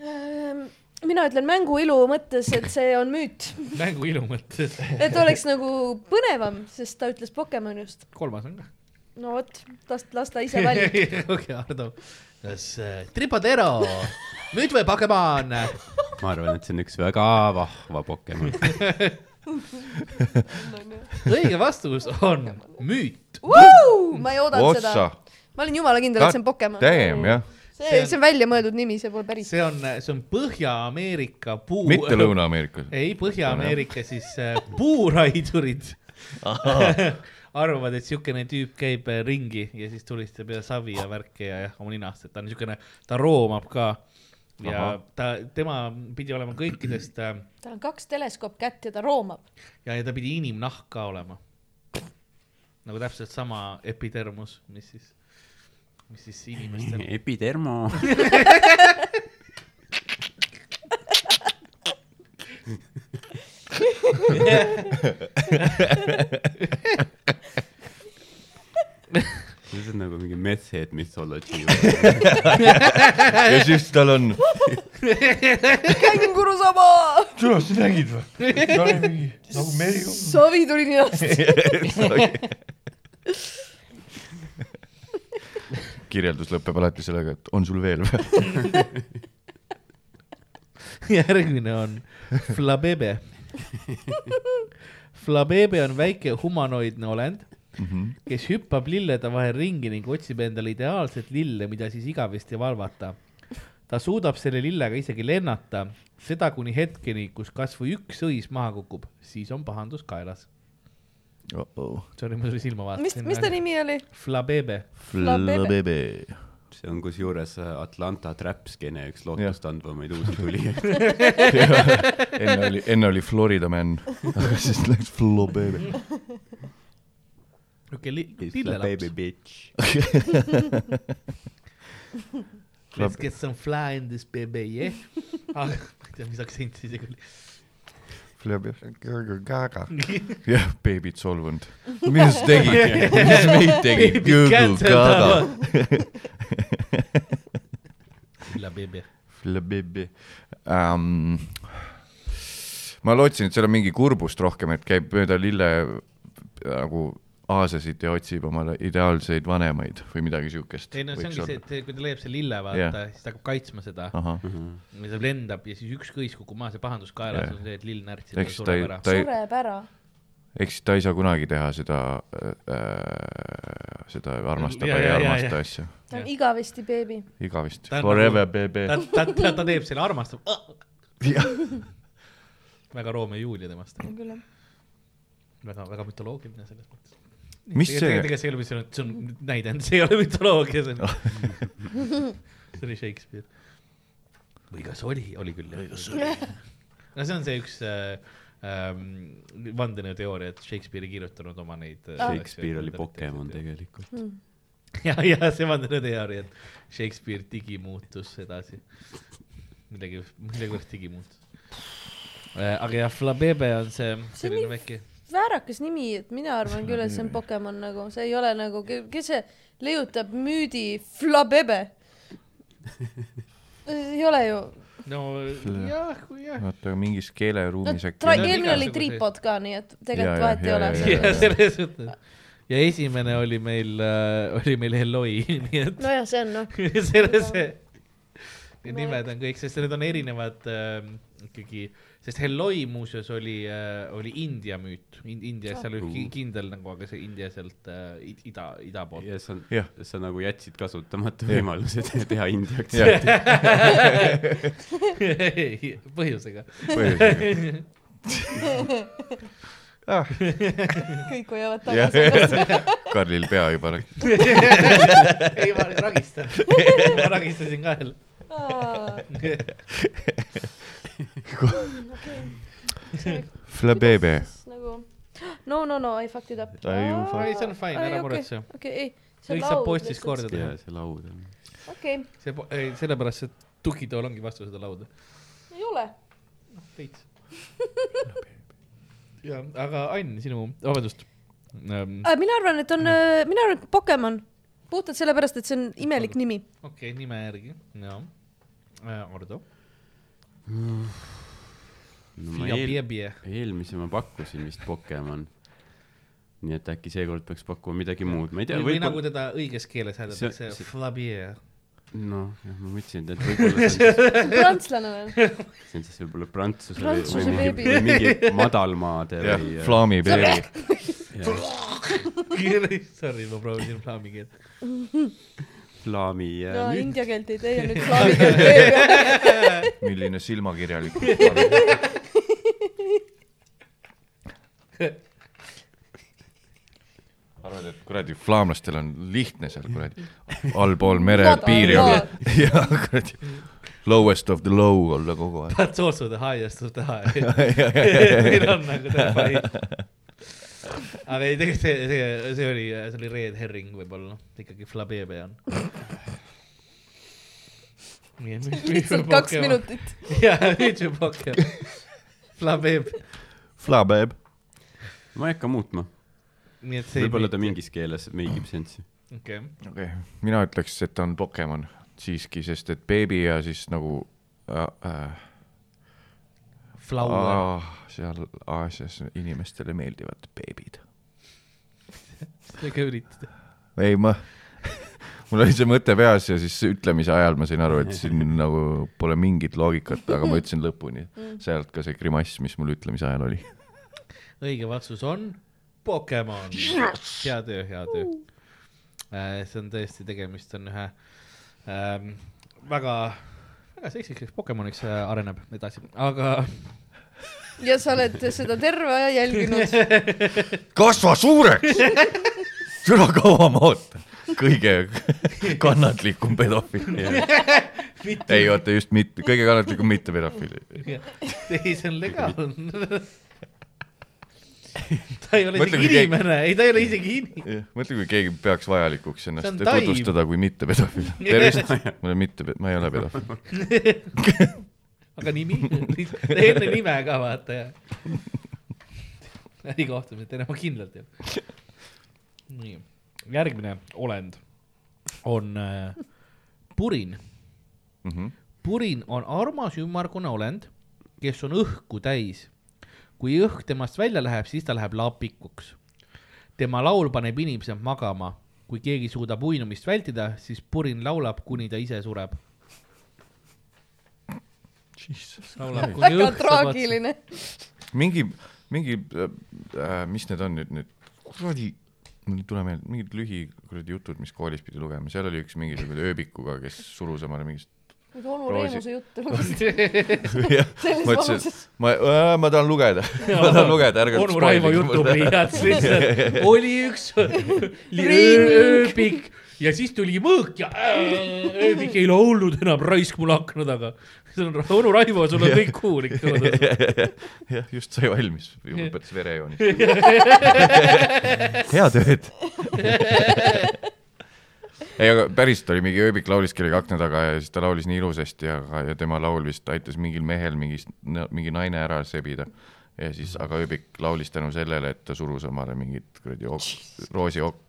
Speaker 3: Ehm, mina ütlen mängu ilu mõttes , et see on müüt ,
Speaker 1: mängu ilu mõttes .
Speaker 3: et oleks nagu põnevam , sest ta ütles Pokemon just .
Speaker 1: kolmas on ka .
Speaker 3: no vot , las , las ta ise valib .
Speaker 1: okei , Ardo . kas äh, tripatero , nüüd või Pokemon ?
Speaker 4: ma arvan , et see on üks väga vahva Pokemon .
Speaker 1: õige vastus on müüt .
Speaker 3: ma ei oodanud seda
Speaker 2: otsa .,
Speaker 3: ma olin jumala kindel , et see on Pokemon .
Speaker 2: damn jah ,
Speaker 3: see , see on väljamõeldud nimi , see pole päris .
Speaker 1: see on , see on Põhja-Ameerika puu .
Speaker 2: mitte . Lõuna-Ameerikas .
Speaker 1: ei , Põhja-Ameerika siis äh, puuraidurid arvavad , et siukene tüüp käib äh, ringi ja siis tulistab ja savi ja värki ja jah , oma ninast , et ta on siukene , ta roomab ka . ja Aha.
Speaker 2: Ahah.
Speaker 1: ta , tema pidi olema kõikidest äh,
Speaker 3: tal on kaks teleskoop kätt ja ta roomab .
Speaker 1: ja , ja ta pidi inimnahk ka olema . nagu täpselt sama epitermus , mis siis , mis siis inimestel .
Speaker 4: Epidermo . see on nagu mingi method mythology või ?
Speaker 2: ja siis tal on ,
Speaker 3: känguru sama ,
Speaker 2: tule , sa nägid või ? ta oli mingi nagu meri .
Speaker 3: savi tuli ninast .
Speaker 2: kirjeldus lõpeb alati sellega , et on sul veel või ?
Speaker 1: järgmine on Flabebe . Flabebe on väike humanoidne olend ,
Speaker 2: Mhm.
Speaker 1: kes hüppab lillede vahel ringi ning otsib endale ideaalset lille , mida siis igavesti valvata . ta suudab selle lillega isegi lennata , seda kuni hetkeni , kus kas või üks õis maha kukub , siis on pahandus kaelas . Sorry , ma sulle silma
Speaker 3: mis ,
Speaker 1: vaatasin .
Speaker 3: mis ta ? nimi oli ?
Speaker 1: Flabebe .
Speaker 2: Flabebe .
Speaker 4: see on kusjuures äh, Atlanta Trapskene üks lootustandvamaid uusi tulijaid .
Speaker 2: enne oli , enne oli Florida man , aga siis läks Flabebe .
Speaker 1: niisugune li- ,
Speaker 4: baby
Speaker 1: lillelaps .
Speaker 4: bitch .
Speaker 2: Ah,
Speaker 1: Let's get some fly in this baby , yeah . ma ei tea , mis aktsent siis oli .
Speaker 2: jah , beebid solvunud . mis tegid , mis meid tegid ?
Speaker 1: Baby cancel
Speaker 2: Gaga .
Speaker 1: Flabebe .
Speaker 2: Flabebe um, . ma lootsin , et seal on mingi kurbust rohkem , et käib mööda lille nagu aasasid ja otsib omale ideaalseid vanemaid või midagi siukest .
Speaker 1: ei no see ongi see , et eh, kui ta leiab selle lille , vaata yeah.
Speaker 2: Jah. ,
Speaker 1: siis ta hakkab kaitsma seda ,
Speaker 2: ahah ,
Speaker 1: ja ta lendab ja siis üks kõis kukub maha , see pahandus kaelas
Speaker 2: Jah.
Speaker 1: yeah. on see , et lill närtsib ja
Speaker 2: eks ta
Speaker 1: sureb
Speaker 2: ei
Speaker 1: ära ,.
Speaker 2: ta ei ,
Speaker 3: sureb ära .
Speaker 2: eks ta ei saa kunagi teha seda äh, , seda armastab
Speaker 1: Ja,
Speaker 2: ja
Speaker 1: ja, ja,
Speaker 2: ei
Speaker 1: ja.
Speaker 2: armasta asja ,
Speaker 3: ta on igavesti beebi .
Speaker 2: igavesti .
Speaker 1: Ta on
Speaker 2: Forever
Speaker 1: nagu-
Speaker 2: baby
Speaker 1: ta , ta , ta , ta teeb selle , armastab ,
Speaker 2: Jah.
Speaker 1: väga Romeo ja Julia temast ,
Speaker 3: küll jah .
Speaker 1: väga , väga mütoloogiline selles mõttes .
Speaker 2: mis see ,
Speaker 1: tegelikult see ei ole mütoloogia , see on näide , see ei ole mütoloogia , see on , see oli Shakespeare . või kas oli , oli küll jah . no see on see üks äh, ähm, vandenõuteooria , et Shakespeare ei kirjutanud oma neid . äh,
Speaker 4: Shakespeare oli Pokemon . tegelikult .
Speaker 2: Mm.
Speaker 1: ja , ja see vandenõuteooria , et Shakespeare digi muutus edasi . millegi , millegipärast digi muutus . Äh, aga jah , Flabebe on see
Speaker 3: See on
Speaker 1: selline
Speaker 3: nii-
Speaker 1: väike ,
Speaker 3: väärakas nimi , et mina arvan küll , et see on Pokemon nagu , see ei ole nagu , kes see leiutab müüdi Flabebe ? ei ole ju .
Speaker 1: no jah , jah .
Speaker 2: vaata mingis
Speaker 3: no
Speaker 2: keeleruumis
Speaker 3: tra- ,
Speaker 1: Need on
Speaker 2: äkki .
Speaker 3: eelmine oli
Speaker 1: igasugused.
Speaker 3: Tripod ka , nii et
Speaker 2: Jaa,
Speaker 3: tegelikult
Speaker 2: jaa,
Speaker 3: vahet ei
Speaker 2: jaa,
Speaker 3: ole
Speaker 2: jaa, .
Speaker 1: ja selles suhtes . ja esimene oli meil äh, , oli meil Eloi , nii et
Speaker 3: nojah , see on noh ,
Speaker 1: selles , nimed on kõik , sest need on erinevad äh, ikkagi , sest Helloi muuseas oli äh, , oli India müüt In, , India , seal oli ki- kindel nagu , aga see India sealt äh, id- ida , ida poolt .
Speaker 4: ja sa
Speaker 2: Jah. ,
Speaker 4: sa nagu jätsid kasutamata
Speaker 2: Jah.
Speaker 4: võimaluse te- teha India
Speaker 2: Jah.
Speaker 4: aktsenti .
Speaker 1: põhjusega . Ah.
Speaker 3: kõik hoiavad
Speaker 2: Jah.
Speaker 3: tagasi ennast .
Speaker 2: Karlil pea juba läks .
Speaker 1: ei , ma nüüd ragistan , ma ragistasin ka jälle .
Speaker 2: Flabebe .
Speaker 3: nagu no , no , no I fucked it up .
Speaker 2: Ai, you fuck-
Speaker 1: Ei, see on fine, ära muretse. .
Speaker 3: okei , ei .
Speaker 1: kõik saab postis . korda teha
Speaker 4: ja . see laud on .
Speaker 3: okei ,
Speaker 1: see , ei sellepärast see tukitool ongi vastu seda lauda .
Speaker 3: ei ole .
Speaker 1: veits . ja , aga Ain , sinu , vabandust . Ähm,
Speaker 3: Äh, mina arvan , et on , mina arvan , et Pokemon . puhtalt sellepärast , et see on imelik nimi .
Speaker 1: okei , niin nime järgi , jaa . Ardo .
Speaker 4: no ma
Speaker 1: Fia
Speaker 4: eel- ,
Speaker 1: Piebie .
Speaker 4: eelmise ma pakkusin vist Pokemon . nii et äkki seekord peaks pakkuma midagi muud , ma ei tea ,
Speaker 1: või nagu
Speaker 4: võib-olla ,
Speaker 1: teda õiges keeles hääldatakse
Speaker 4: See- , see-
Speaker 1: Flabie .
Speaker 4: noh , ma mõtlesin , et võib-olla see on siis-
Speaker 3: prantslane või ?
Speaker 4: see on siis võib-olla prantsuse,
Speaker 3: Prantsuse
Speaker 4: või, või,
Speaker 3: beebi.
Speaker 4: mingi, või mingi madalmaade
Speaker 2: jah
Speaker 4: või ,
Speaker 2: Flami beebi .
Speaker 1: Sorry , ma proovisin flaami keelt .
Speaker 4: flaami ja
Speaker 3: no
Speaker 4: no,
Speaker 3: india keelt ei tee , nüüd slaavi keelt teeb .
Speaker 2: milline silmakirjalik . arvad , et kuradi flaamlastel on lihtne seal kuradi allpool merepiiri olla ja kuradi lowest of the low olla kogu aeg .
Speaker 1: That's also the highest of the high . meil on nagu täpselt . aga Ah, ei , tegelikult see , see , see oli , see oli Red Herring võib-olla , ikkagi Flabebe on .
Speaker 3: lihtsalt kaks . minutit .
Speaker 1: jaa , nüüd juba hakkab . Flabeb ,
Speaker 2: Flabeb .
Speaker 4: ma ei hakka muutma ,
Speaker 1: nii et see .
Speaker 4: võib-olla ta . mingis keeles meigib sensi .
Speaker 1: okei ,
Speaker 2: okei okay. , mina ütleks , et ta on Pokemon siiski , sest et beebi ja siis nagu äh, äh,
Speaker 1: Flower .
Speaker 2: ah, seal Aasias inimestele meeldivad beebid .
Speaker 1: ega üritada .
Speaker 2: ei , ma , mul oli see mõte peas ja siis ütlemise ajal ma sain aru , et siin nagu pole mingit loogikat , aga ma ütlesin lõpuni .
Speaker 1: Mm.
Speaker 2: sealt ka see grimass , mis mul ütlemise ajal oli .
Speaker 1: õige vastus on Pokemon . hea töö , hea töö . see on tõesti , tegemist on ühe ähm, väga , väga seksikaks Pokemoniks äh, areneb edasi , aga
Speaker 3: ja sa oled seda terve aja jälginud .
Speaker 2: kasva suureks ! seda kaua ma ootan . kõige kannatlikum pedofiil .
Speaker 1: mitte ,
Speaker 2: ei oota , just mitte , kõige kannatlikum mitte pedofiil .
Speaker 1: ei see on legaalne . ta ei ole
Speaker 2: Mõtle, kui
Speaker 1: isegi
Speaker 2: keegi-
Speaker 1: inimene , ei ta ei ole isegi in- ,
Speaker 2: mõtle , kui keegi peaks vajalikuks
Speaker 1: on
Speaker 2: ennast
Speaker 1: taim.
Speaker 2: tutvustada kui mitte pedofiil . tervist , ma olen mitte , ma ei ole pedofiil .
Speaker 1: aga nimi , enne nime ka vaata ja . ärikohtumised teeme ma kindlalt ju . nii , järgmine olend on äh, purin .
Speaker 2: Mhm.
Speaker 1: purin on armas ümmargune olend , kes on õhku täis . kui õhk temast välja läheb , siis ta läheb lapikuks . tema laul paneb inimesed magama . kui keegi suudab uinumist vältida , siis purin laulab , kuni ta ise sureb . laulab kuni
Speaker 3: väga
Speaker 1: õhk saab otsa .
Speaker 3: traagiline .
Speaker 2: mingi , mingi äh, , mis need on nüüd , need kuradi , mul ei tule meelde , mingid lühi kuradi jutud , mis koolis pidi lugema , seal oli üks mingisugune ööbikuga , kes surus omale mingist .
Speaker 3: nüüd onu
Speaker 2: Roosi.
Speaker 3: Reemuse juttu lugesin . selles
Speaker 2: ma ütlesin
Speaker 3: vanuses . ,
Speaker 2: ma , ma tahan lugeda , ma tahan lugeda , ärge .
Speaker 1: onu Raivo jutupliiats lihtsalt , oli üks
Speaker 3: Ring.
Speaker 1: ööbik ja siis tuli mõõk ja ööbik ei laulnud enam , raisk mul akna taga . see on onu Raivo , sul on kõik kuul ikka kodus .
Speaker 2: jah , just sai valmis , lõpetas verejooni . hea tööd . ei , aga päriselt oli mingi ööbik laulis kellegi akna taga ja siis ta laulis nii ilusasti , aga , ja tema laul vist aitas mingil mehel mingist , mingi naine ära sebida . ja siis , aga ööbik laulis tänu sellele , et ta surus omale mingit kuradi ok- , roosi ok- ,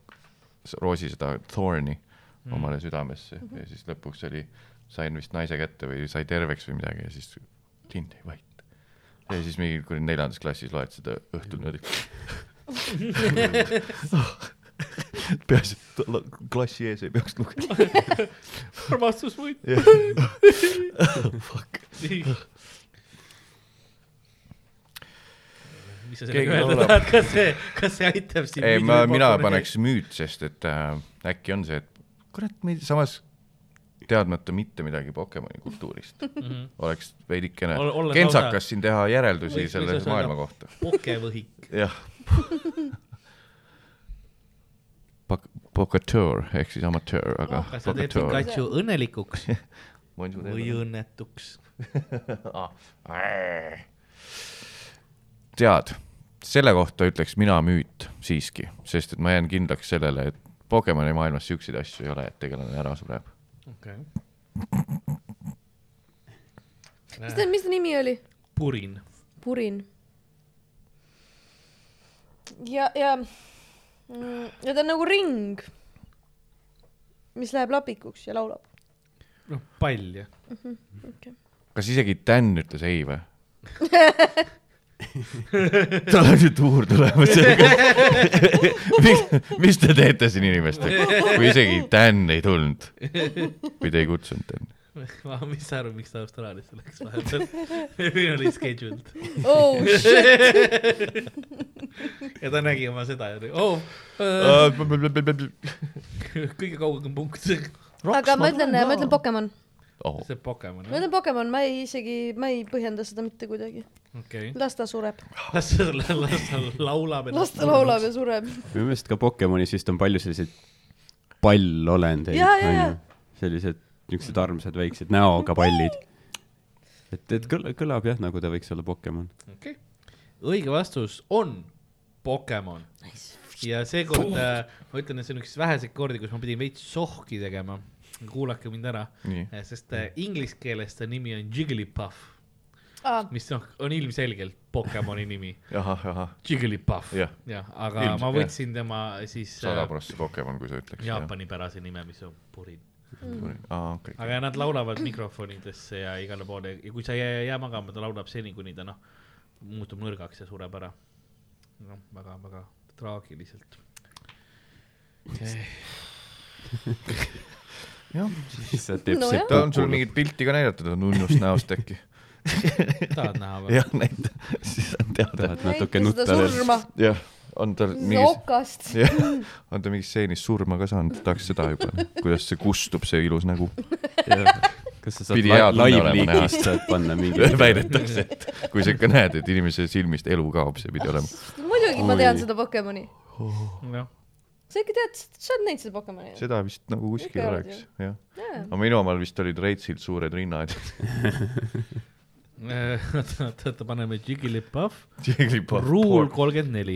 Speaker 2: roosi seda thorni omale südamesse ja siis lõpuks oli , sain vist naise kätte või sai terveks või midagi ja siis lind jäi vait . ja siis mingi kuradi neljandas klassis loed seda õhtul niimoodi . peaasi , et la- klassi ees ei peaks lugema .
Speaker 1: armastus võit . mis sa
Speaker 2: Keegi
Speaker 1: sellega öelda
Speaker 2: laulab.
Speaker 1: tahad , kas see , kas see aitab sind ?
Speaker 2: ei , ma , mina paneks müüt , sest et äh, äkki on see , et kurat , me ei- samas teadmata mitte midagi Pokemoni kultuurist oleks veidikene
Speaker 1: Mhm. Ol- olles lausa-
Speaker 2: kentsakas siin teha järeldusi
Speaker 1: Võiks-
Speaker 2: selle
Speaker 1: võiks öelda-
Speaker 2: maailma kohta .
Speaker 1: pokevõhik ,
Speaker 2: jah . Pokatöör ehk siis amatöör , aga
Speaker 1: kas sa teed
Speaker 2: pokatöör .
Speaker 1: Pikachu õnnelikuks või õnnetuks ?
Speaker 2: Ah, tead , selle kohta ütleks mina müüt siiski , sest et ma jään kindlaks sellele , et Pokemoni maailmas siukseid asju ei ole , et tegelane ära sureb .
Speaker 1: okei .
Speaker 3: mis ta , mis ta nimi oli ?
Speaker 1: purin .
Speaker 3: purin . ja , ja , ja ta on nagu ring , mis läheb lapikuks ja laulab .
Speaker 1: noh , pall jah .
Speaker 2: kas isegi Dan ütles ei või ? tal on ju tuur tulemas . mis , mis te teete siin inimestega , kui isegi Dan ei tulnud või te ei kutsunud Dan ?
Speaker 1: ma , mis sa arvad , miks ta Austraaliasse läks vahepeal ? meil oli scheduled
Speaker 3: oh shit ,
Speaker 1: ja ta nägi oma seda ja oli , oo , kõige kaugem punkt . see
Speaker 3: aga ma ütlen , ma ütlen Pokemon ,
Speaker 2: oh,
Speaker 1: Pokemon
Speaker 3: ma
Speaker 1: jah ,
Speaker 3: ütlen Pokemon , ma ei isegi , ma ei põhjenda seda mitte kuidagi .
Speaker 1: okei .
Speaker 3: las ta sureb ,
Speaker 1: las ta , las ta laulab .
Speaker 3: las ta laulab ja sureb .
Speaker 4: minu meelest ka Pokemonis vist on palju selliseid pallolendeid ,
Speaker 3: Jaa, jaa, jaa.
Speaker 4: sellised niisugused armsad väiksed näoga pallid . et , et kõla- , kõlab jah , nagu ta võiks olla Pokemon .
Speaker 1: okei okay. , õige vastus on Pokemon ja seekord äh, ma ütlen , et see on üks väheseid kordi , kus ma pidin veits sohki tegema . kuulake mind ära ,
Speaker 2: nii ,
Speaker 1: sest äh, inglise keeles ta nimi on Jigglypuff ,
Speaker 3: Ah,
Speaker 1: mis noh , on ilmselgelt Pokemoni nimi ,
Speaker 2: ahah , ahah ,
Speaker 1: Jigglypuff
Speaker 2: Jah. ,
Speaker 1: jah , aga
Speaker 2: Ilmselt,
Speaker 1: Ilmselt, ma võtsin tema siis
Speaker 2: sada prossa Pokemon , kui sa ütleks .
Speaker 1: jaapanipärase nime , mis on Purin .
Speaker 2: aa , okei .
Speaker 1: aga nad laulavad mikrofonidesse ja igale poole ja kui sa ei jää, jää magama , ta laulab seni , kuni ta noh , muutub nõrgaks ja sureb ära . noh , väga-väga traagiliselt .
Speaker 4: siis ta teeb
Speaker 3: No jah.
Speaker 2: ta on sul
Speaker 4: seppuku .
Speaker 2: mingit pilti ka näidatud , on unnust näost äkki ?
Speaker 1: tahad näha või ?
Speaker 2: jah , näita , siis on teada .
Speaker 4: tahad natuke
Speaker 3: näita seda
Speaker 4: nutta veel ?
Speaker 3: surma ,
Speaker 2: jah , on tal mingis ,
Speaker 3: okast .
Speaker 2: jah , on ta mingis stseenis surma ka saanud , tahaks seda juba , kuidas see kustub , see ilus nägu .
Speaker 4: kas sa
Speaker 2: Pidi
Speaker 4: saad
Speaker 2: hea tunne olema
Speaker 4: live-liikist
Speaker 2: näost.
Speaker 4: saad panna mingi
Speaker 2: väidetakse , et kui sa ikka näed , et inimese silmist elu kaob , see pidi olema .
Speaker 3: muidugi ma
Speaker 4: Oi.
Speaker 3: tean seda Pokemoni ,
Speaker 1: noh ,
Speaker 3: sa ikka tead , sa oled näinud seda Pokemoni ?
Speaker 2: seda vist nagu kuskil
Speaker 3: Ikka
Speaker 2: oleks , jah .
Speaker 3: jaa ,
Speaker 2: aga minu omal vist olid reitsilt suured rinnad .
Speaker 1: oota , oota , paneme Jigglypuff , ruul
Speaker 2: ruul .
Speaker 1: kolmkümmend neli .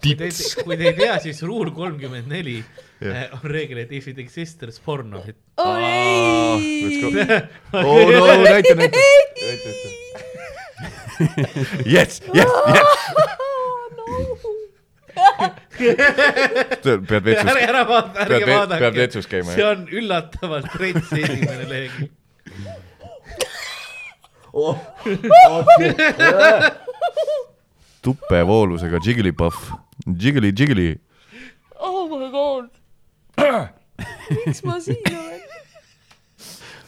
Speaker 1: kui te , kui te ei tea , siis ruul kolmkümmend neli eh, on reegel , et if it exists , porno .
Speaker 3: oh
Speaker 2: let's go.
Speaker 3: ei ,
Speaker 2: oo , Oh, no näita , näita . jess , jess , jess . pead vetsus
Speaker 1: ärge , ära vaata ,
Speaker 2: pead
Speaker 1: ärge
Speaker 2: ve-
Speaker 1: vaadake .
Speaker 2: pead vetsus käima,
Speaker 1: see
Speaker 2: jah.
Speaker 1: on üllatavalt rets esimene lehekülg .
Speaker 2: tuppevoolusega Jigglypuff , Jiggly , Jiggly .
Speaker 3: oh my god . miks ma siin olen ?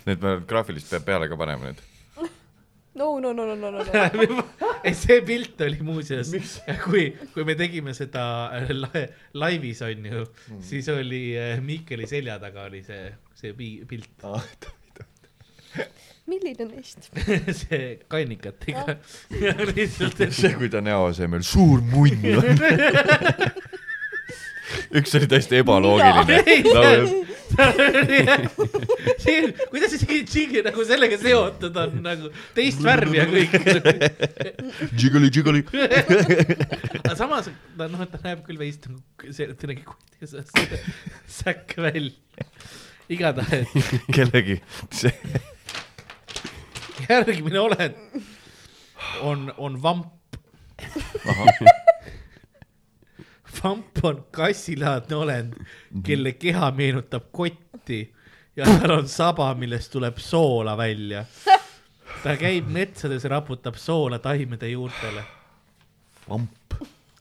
Speaker 2: Need me graafilist peab peale ka panema nüüd .
Speaker 3: no , no , no , no , no , no , no .
Speaker 1: ei , see pilt oli muuseas , kui , kui me tegime seda äh, la- laivis onju ,
Speaker 2: Hmm.
Speaker 1: siis oli äh, Miikeli selja taga oli see , see pi- pilt ,
Speaker 3: milline neist ?
Speaker 1: see kannikatega ja lihtsalt ,
Speaker 2: see , kui ta näo asemel suur munn on . üks oli täiesti ebaloogiline .
Speaker 1: see , kuidas isegi džingi nagu sellega seotud on nagu teist värvi ja kõik ,
Speaker 2: Jiggly , Jiggly .
Speaker 1: aga samas ta noh , ta näeb küll veist nagu see , et ta nägi kuidas säkk välja , igatahes
Speaker 2: kellegi , see ,
Speaker 1: järgmine olend on , on vamp . vamp on kassilaadne olend ,
Speaker 2: Mhm.
Speaker 1: kelle keha meenutab kotti ja tal on saba , millest tuleb soola välja . ta käib metsades , raputab soola taimede juurtele ,
Speaker 2: vamp .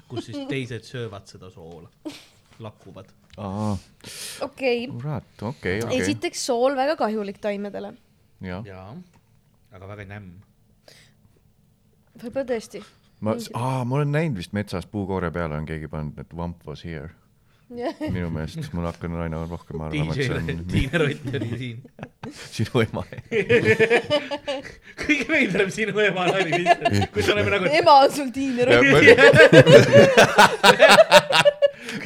Speaker 1: kus siis teised söövad seda soola , lakuvad .
Speaker 3: okei okay. ,
Speaker 2: kurat , okei , okei .
Speaker 3: esiteks sool väga kahjulik taimedele ,
Speaker 2: jah ,
Speaker 1: jaa , aga väga nämm .
Speaker 3: võib-olla tõesti .
Speaker 2: ma , aa , ma olen näinud vist metsas puukoore peale on keegi pannud , et vamp was here . minu meelest mul hakkan aina rohkem arvama , et
Speaker 1: DJ
Speaker 2: see on
Speaker 1: Tiina Rott oli siin .
Speaker 2: sinu ema .
Speaker 1: kõige veidram sinu ema nali lihtsalt , kus oleme nagu , et
Speaker 3: ema on sul Tiina Rõõm .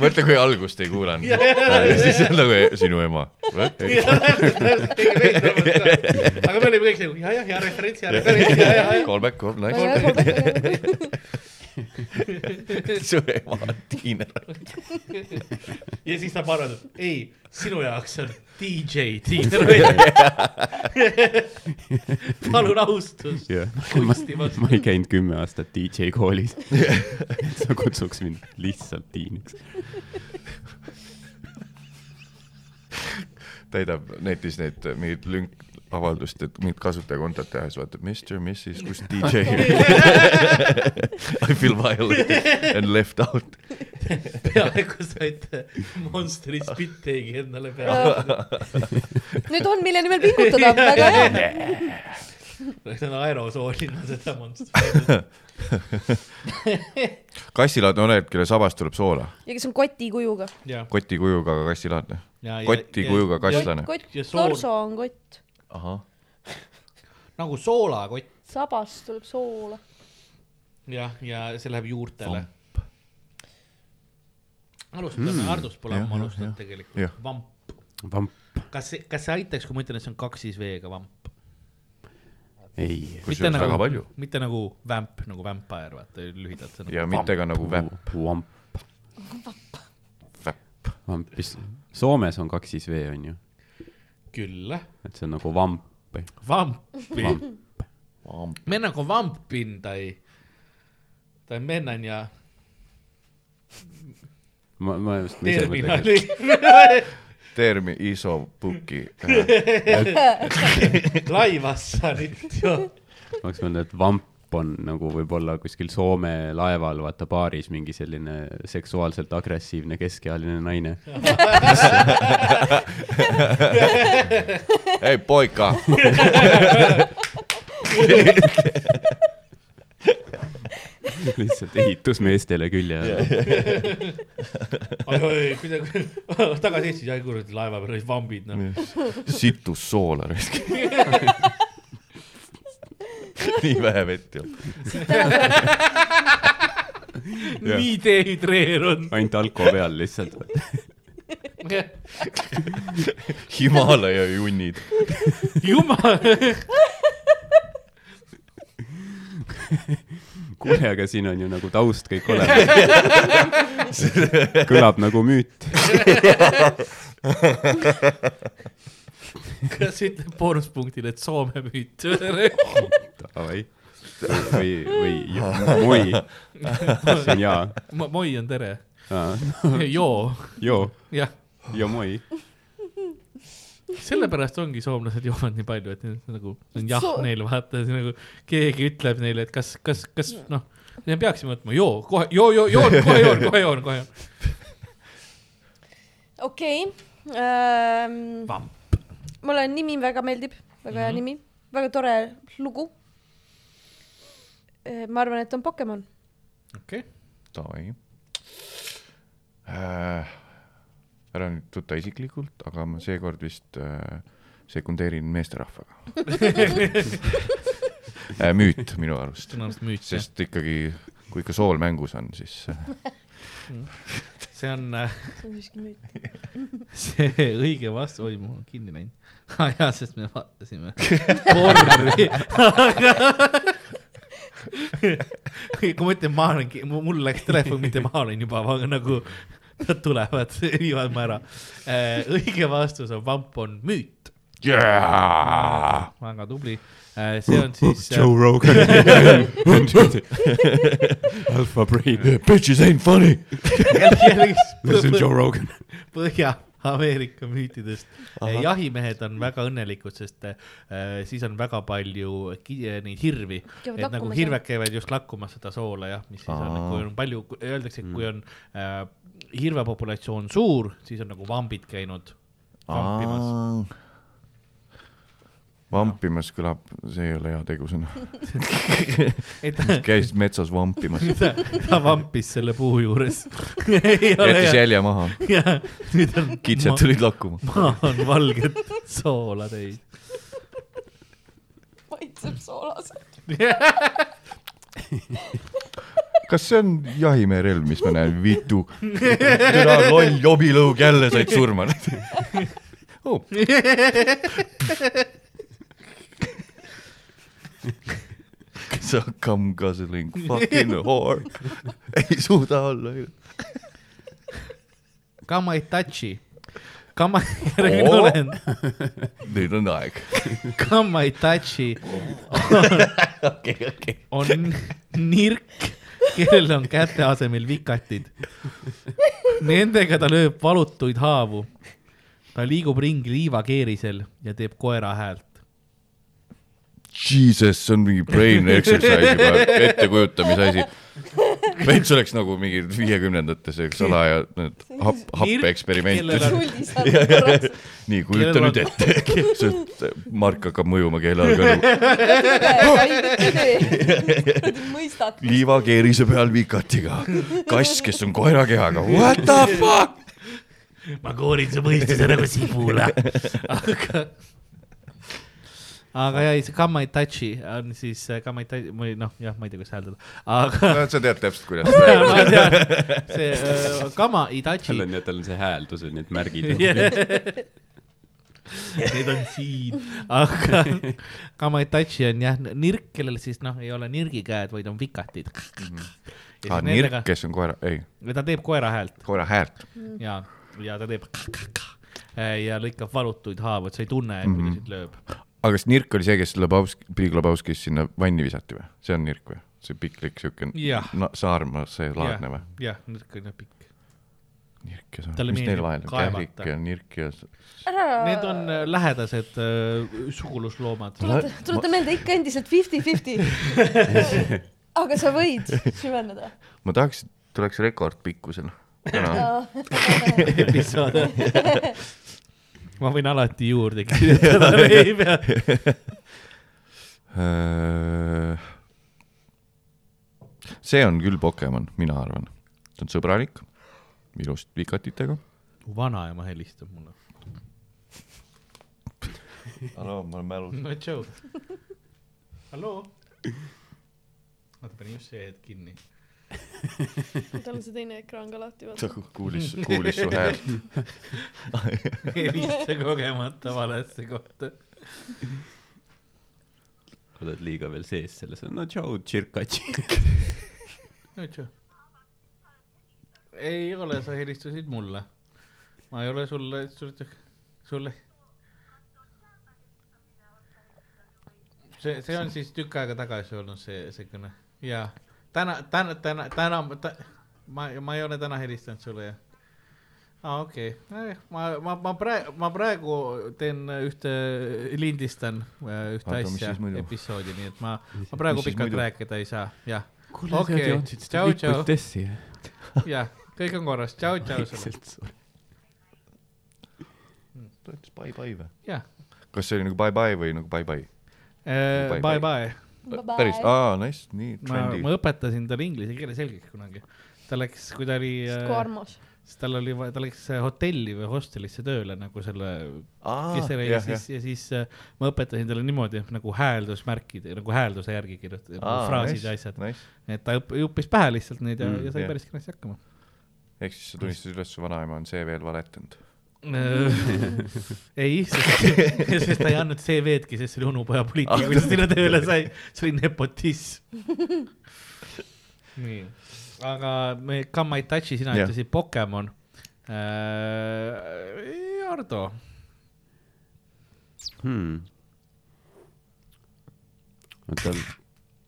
Speaker 2: mõtle , kui algust ei kuulanud .
Speaker 1: Jah, jah,
Speaker 2: siis on nagu sinu ema .
Speaker 1: Jaa, täpselt, täpselt, kõige veidram on see. aga me olime kõik nagu ja , jah , ja referents ja referents ja , ja , ja .
Speaker 2: Call back , call back . su ema on Tiina .
Speaker 1: ja siis ta arvab , et ei , sinu jaoks on DJ Tiina Rõõm . palun austust .
Speaker 4: ma, ma ei käinud kümme aastat DJ koolis . sa kutsuks mind lihtsalt Tiiniks .
Speaker 2: täidab netis neid mingeid lünk- , avaldust , et mingit kasutajakontot tehes vaatab Mr , Mrs , kus DJ . I feel violated and left out .
Speaker 1: peaaegu saite Monsteri Spitteegi endale peale .
Speaker 3: nüüd on , mille nimel pingutada , väga hea .
Speaker 1: see on aerosoolina seda Monsteri .
Speaker 2: kassilaadne olend , kelle sabast tuleb soola .
Speaker 3: ja kes on koti kujuga .
Speaker 1: jah ,
Speaker 2: koti kujuga , aga kassilaadne .
Speaker 1: ja ,
Speaker 2: koti kujuga kasslane .
Speaker 3: kott
Speaker 1: Ja , sool-
Speaker 3: torso on kott ,
Speaker 2: ahah ,
Speaker 1: nagu soolakott .
Speaker 3: sabast tuleb soola .
Speaker 1: jah , ja see läheb juurtele . alustame mm. , Hardust pole
Speaker 2: Jah,
Speaker 1: ammu
Speaker 2: jah,
Speaker 1: alustanud
Speaker 2: jah.
Speaker 1: tegelikult
Speaker 2: Jah. .
Speaker 1: vamp ,
Speaker 4: vamp .
Speaker 1: kas , kas see aitaks , kui ma ütlen , et see on kaks siis V-ga vamp ?
Speaker 4: ei .
Speaker 2: kusjuures väga palju .
Speaker 1: mitte nagu vamp , nagu vampire , vaata lühidalt see on
Speaker 2: ja mitte ka nagu väpp ,
Speaker 4: vamp ,
Speaker 2: väpp .
Speaker 4: vamp , mis Soomes on kaks siis V on ju ,
Speaker 1: nagu... . küll ,
Speaker 4: et see on nagu vamp või
Speaker 1: vampi .
Speaker 4: vamp .
Speaker 1: me nagu vampin tai , tai mennan ja
Speaker 4: ma , ma just .
Speaker 1: terminali .
Speaker 2: termi iso puki .
Speaker 1: laivassa nyt jo .
Speaker 4: ma oleks mõelnud , et vamp on nagu võib-olla kuskil Soome laeval , vaata baaris mingi selline seksuaalselt agressiivne keskealine naine .
Speaker 2: ei poika ,
Speaker 4: lihtsalt ehitus meestele külje alla .
Speaker 1: oi , oi , kuidagi tagasi Eestis , ai kurat , laeva peal olid vambid , noh .
Speaker 2: situs soola raisk . nii vähe vett ju . Jah.
Speaker 1: nii dehüdreerunud .
Speaker 4: ainult alko peal lihtsalt .
Speaker 2: Himalaia junnid .
Speaker 1: jumal ,
Speaker 4: kuule , aga siin on ju nagu taust kõik olemas . kõlab nagu müüt .
Speaker 1: kas ütleb boonuspunktile , et Soome müüt ?
Speaker 4: või , või ja- moi , see on jaa .
Speaker 1: moi on tere . joo ,
Speaker 4: joo ,
Speaker 1: jah ,
Speaker 4: ja moi .
Speaker 1: sellepärast ongi soomlased joovad nii palju , et need nagu , see on jah
Speaker 3: So-
Speaker 1: neil vaata , see nagu keegi ütleb neile , et kas , kas , kas noh , me peaksime võtma joo , kohe joo , joo , joon , kohe joon , kohe joon , kohe joon .
Speaker 3: okei ähm,
Speaker 1: Vamp. .
Speaker 3: mulle nimi väga meeldib , väga hea nimi , väga tore lugu . ma arvan , et on Pokemon .
Speaker 1: okei ,
Speaker 2: Davai . ära nüüd tuta isiklikult , aga ma seekord vist äh, sekundeerin meesterahvaga äh, . müüt minu arust ,
Speaker 1: minu arust müüt ,
Speaker 2: sest ikkagi , kui ikka sool mängus on , siis äh,
Speaker 1: see on äh,
Speaker 3: see on siiski müüt .
Speaker 1: see õige vastus , oi , mul on kinni läinud . aa jaa , sest me vaatasime porri . kui ma ütlen , ma olen , mul läks telefon , mitte ma olen juba , aga nagu nad tulevad , viivad ma ära . Äh, õige vastus on vamp on müüt ,
Speaker 2: yeah! .
Speaker 1: väga tubli Äh, see on siis
Speaker 4: Joe Rogan Alpha Brain ,
Speaker 2: Bitches ain't funny .
Speaker 4: see on
Speaker 1: jällegi
Speaker 4: Joe Rogan .
Speaker 1: Põhja-Ameerika müütidest .
Speaker 2: Ahah.
Speaker 1: jahimehed on väga õnnelikud , sest äh, siis on väga palju ki- neid hirvi ,
Speaker 3: Käivad
Speaker 1: et nagu
Speaker 3: lakkumas,
Speaker 1: hirved käivad just lakkumas seda soola jah , mis siis on ,
Speaker 2: Aa. Mm.
Speaker 1: kui on palju , öeldakse , et kui on äh, hirvepopulatsioon suur , siis on nagu vambid käinud vampimas .
Speaker 2: vampimas kõlab , see ei ole hea tegusõna .
Speaker 1: et ta,
Speaker 2: käis metsas vampimas ,
Speaker 1: ta, ta vampis selle puu juures .
Speaker 2: jättis jälje maha ,
Speaker 1: nüüd on ma-
Speaker 2: kitsed tulid lakkuma .
Speaker 1: maa on valget soola täis .
Speaker 3: maitseb soolas .
Speaker 2: kas see on jahimehe relv , mis ma näen , vitu . türa loll jobilõug jälle said surma . Oh. Come guzzling fucking whore . ei suuda olla ju .
Speaker 1: Come I touch you . Come I , järgmine
Speaker 2: Oo.
Speaker 1: olend .
Speaker 2: nüüd on aeg .
Speaker 1: Come I touch you
Speaker 2: okei , okei .
Speaker 1: on nirk , kellel on käte asemel vikatid . Nendega ta lööb valutuid haavu . ta liigub ringi liivakeerisel ja teeb koera häält .
Speaker 2: Jesus , see on mingi brain exercise'i praegu , ettekujutamise asi . veits oleks nagu mingi viiekümnendates , eks ole , ja need hap- , happeeksperimendid .
Speaker 3: tuldis on korraks .
Speaker 2: nii , kujuta
Speaker 1: Kellel
Speaker 2: nüüd ette , sest Mark hakkab mõjuma nagu keele all ka .
Speaker 3: mõistad .
Speaker 2: liivakeerise peal vikatiga , kass , kes on koera kehaga , what the fuck .
Speaker 1: ma koorin su mõistuse nagu sibula . aga , aga ja ei , see Come I touch you on siis äh, Come I touch , või noh , jah , ma ei tea , kuidas hääldada , aga
Speaker 2: sa tead täpselt , kuidas .
Speaker 1: ma tean , see äh, Come I touch
Speaker 4: tal
Speaker 1: you
Speaker 4: on , tal on see hääldus , et need märgid on .
Speaker 1: Need on siin , aga Kamaitachi on jah nirk , kellel siis noh , ei ole nirgi käed , vaid on vikatid . ja
Speaker 2: Mhm. aa ,
Speaker 1: siis
Speaker 2: nirk
Speaker 1: nendega ,,
Speaker 2: kes on koera , ei ,
Speaker 1: ta teeb koera häält
Speaker 2: koera häält .
Speaker 1: ja , ja ta teeb ja lõikab valutuid haavu , et sa ei tunne ,
Speaker 2: Mhm.
Speaker 1: et kuidas sind lööb .
Speaker 2: aga kas nirk oli see , kes Lebowski , Big Lebowskis sinna vanni visati või ? see on nirk või ? see piklik siuke
Speaker 1: Jah.
Speaker 2: na- saarma , see laadne või ??
Speaker 1: jah , nirk on jah pikk .
Speaker 2: nirk ja saarm ,
Speaker 1: Talle
Speaker 2: mis neil
Speaker 1: meeldib
Speaker 2: vahel on ?
Speaker 1: kaevata.
Speaker 2: kährik ja nirk ja s-
Speaker 1: Need on äh, lähedased äh, sugulusloomad .
Speaker 3: tuleta , tuleta meelde ikka endiselt fifty-fifty . aga sa võid süveneda .
Speaker 2: ma tahaks , et tuleks rekordpikkusena . täna .
Speaker 1: episood . ma võin alati juurde kirjutada , ei pea
Speaker 2: see Äh, on küll Pokemon , mina arvan . ta on sõbralik , ilus vikatitega .
Speaker 1: mu vanaema helistab mulle .
Speaker 2: hallo , ma olen mälus .
Speaker 1: no tšau . halloo ? oota , panin just see hetk kinni .
Speaker 3: tal on see teine ekraan ka lahti ,
Speaker 2: ta ku- kuulis , kuulis su häält .
Speaker 1: helista kogemata valesse kohta .
Speaker 4: oled liiga veel sees selles , no tšau , tširkatši .
Speaker 1: no tšau . ei ole , sa helistasid mulle . ma ei ole sulle , sulle , sulle . see , see on siis tükk aega tagasi olnud see , see kõne . jaa , täna , täna , täna , täna ta, , ma , ma ei ole täna helistanud sulle , jah . aa , okei okay. , ma , ma , ma praegu , ma praegu teen ühte , lindistan äh, ühte
Speaker 2: Aga mis
Speaker 1: asja
Speaker 2: siis muidu? ,
Speaker 1: episoodi , nii et ma , ma praegu
Speaker 2: mis siis
Speaker 1: pikalt
Speaker 2: muidu?
Speaker 1: rääkida ei saa , jah . okei , tšau , tšau ,
Speaker 4: tessi .
Speaker 1: jah , kõik on korras , tšau , tšau sulle ,
Speaker 2: ta ütles bye-bye või ?
Speaker 1: jah .
Speaker 2: kas see oli nagu bye-bye või nagu bye-bye ? Bye-bye.
Speaker 1: Äh, Bye bye ,
Speaker 2: päris , aa , nice , nii
Speaker 1: ma ,
Speaker 2: trendy .
Speaker 1: ma õpetasin talle inglise keele selgeks kunagi . ta läks , kui ta oli ,
Speaker 3: kui armas .
Speaker 1: siis tal oli , ta läks äh, hotelli või hostelisse tööle nagu selle kesele ja siis , ja siis äh, ma õpetasin talle niimoodi nagu hääldusmärkide , nagu häälduse järgi kirjutada , fraasid ja asjad .
Speaker 2: Nice ,
Speaker 1: et ta õpp- õppis pähe lihtsalt neid ja
Speaker 4: Mm, ,
Speaker 1: ja sai
Speaker 2: jah.
Speaker 1: päris kenasti hakkama .
Speaker 2: ehk siis sa tunnistasid üles , su vanaema on CV-l valetanud .
Speaker 1: Äh, ei , sest sest ta ei andnud CV-dki , sest see oli onupoja poliitika , kuidas sinna tööle sai , see oli nepotism . nii , aga me Come I Touch'i , sina
Speaker 2: Jah.
Speaker 1: ütlesid Pokemon äh, . Ardo ,
Speaker 4: hmm. oota ,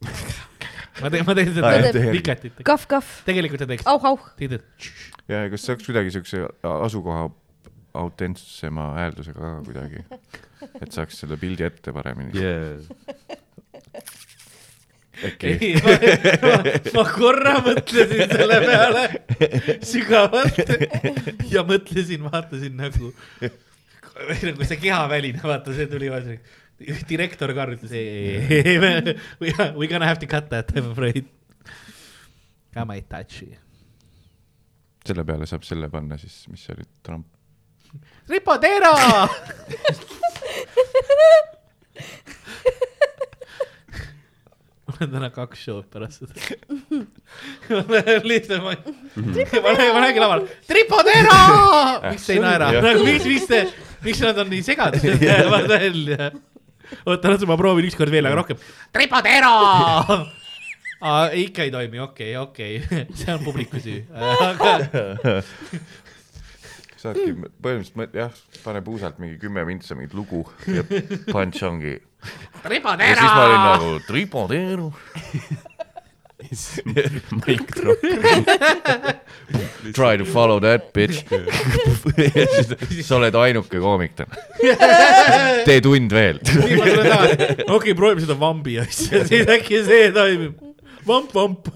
Speaker 1: ma tegin , ma tegin
Speaker 2: Aa,
Speaker 1: seda
Speaker 3: jah,
Speaker 2: tegelikult.
Speaker 1: vikatit .
Speaker 3: kahv-kahv ,
Speaker 1: tegelikult sa teeks ,
Speaker 3: auh-auh ,
Speaker 1: tegid ,
Speaker 2: ja kas saaks kuidagi siukse asukoha autentsema hääldusega ka kuidagi , et saaks selle pildi ette paremini .
Speaker 4: yeah.
Speaker 2: äkki ,
Speaker 1: et ma, ma, ma korra mõtlesin selle peale sügavalt ja mõtlesin , vaatasin nagu , nagu see kehaväline , vaata see tuli vaata , direktor Karl ütles ei , ei , ei , me , we are- we gonna have to cut that I m afraid . I might touch you .
Speaker 2: selle peale saab selle panna siis , mis see oli , Trump .
Speaker 1: Ripo Teero mul on täna kaks show'd pärast seda . ma lähen lihtsalt , ma , ma lähen , ma lähengi lavale , Ripo Teero , miks te ei naera ,
Speaker 2: Mhm. Jah.
Speaker 1: nagu miks , miks te , miks nad on nii segadused , ma teen ja . oota , las ma proovin ükskord veel , aga rohkem , Ripo Teero . ikka ei toimi , okei , okei , see on publiku süü , aga
Speaker 2: saadki mm. põhimõtteliselt , jah , pane puusalt mingi kümme vintsa mingit lugu ja punch ongi .
Speaker 1: Ripo
Speaker 2: ja siis ma olin
Speaker 1: Teero .
Speaker 2: nagu tripodeeru .
Speaker 4: mikro .
Speaker 2: Try to follow that bitch . sa oled ainuke koomik täna . tee tund veel .
Speaker 1: nii ma tulen tagasi , okei okay, , proovime seda vambi asja , siis äkki see toimib . vamp , vamp .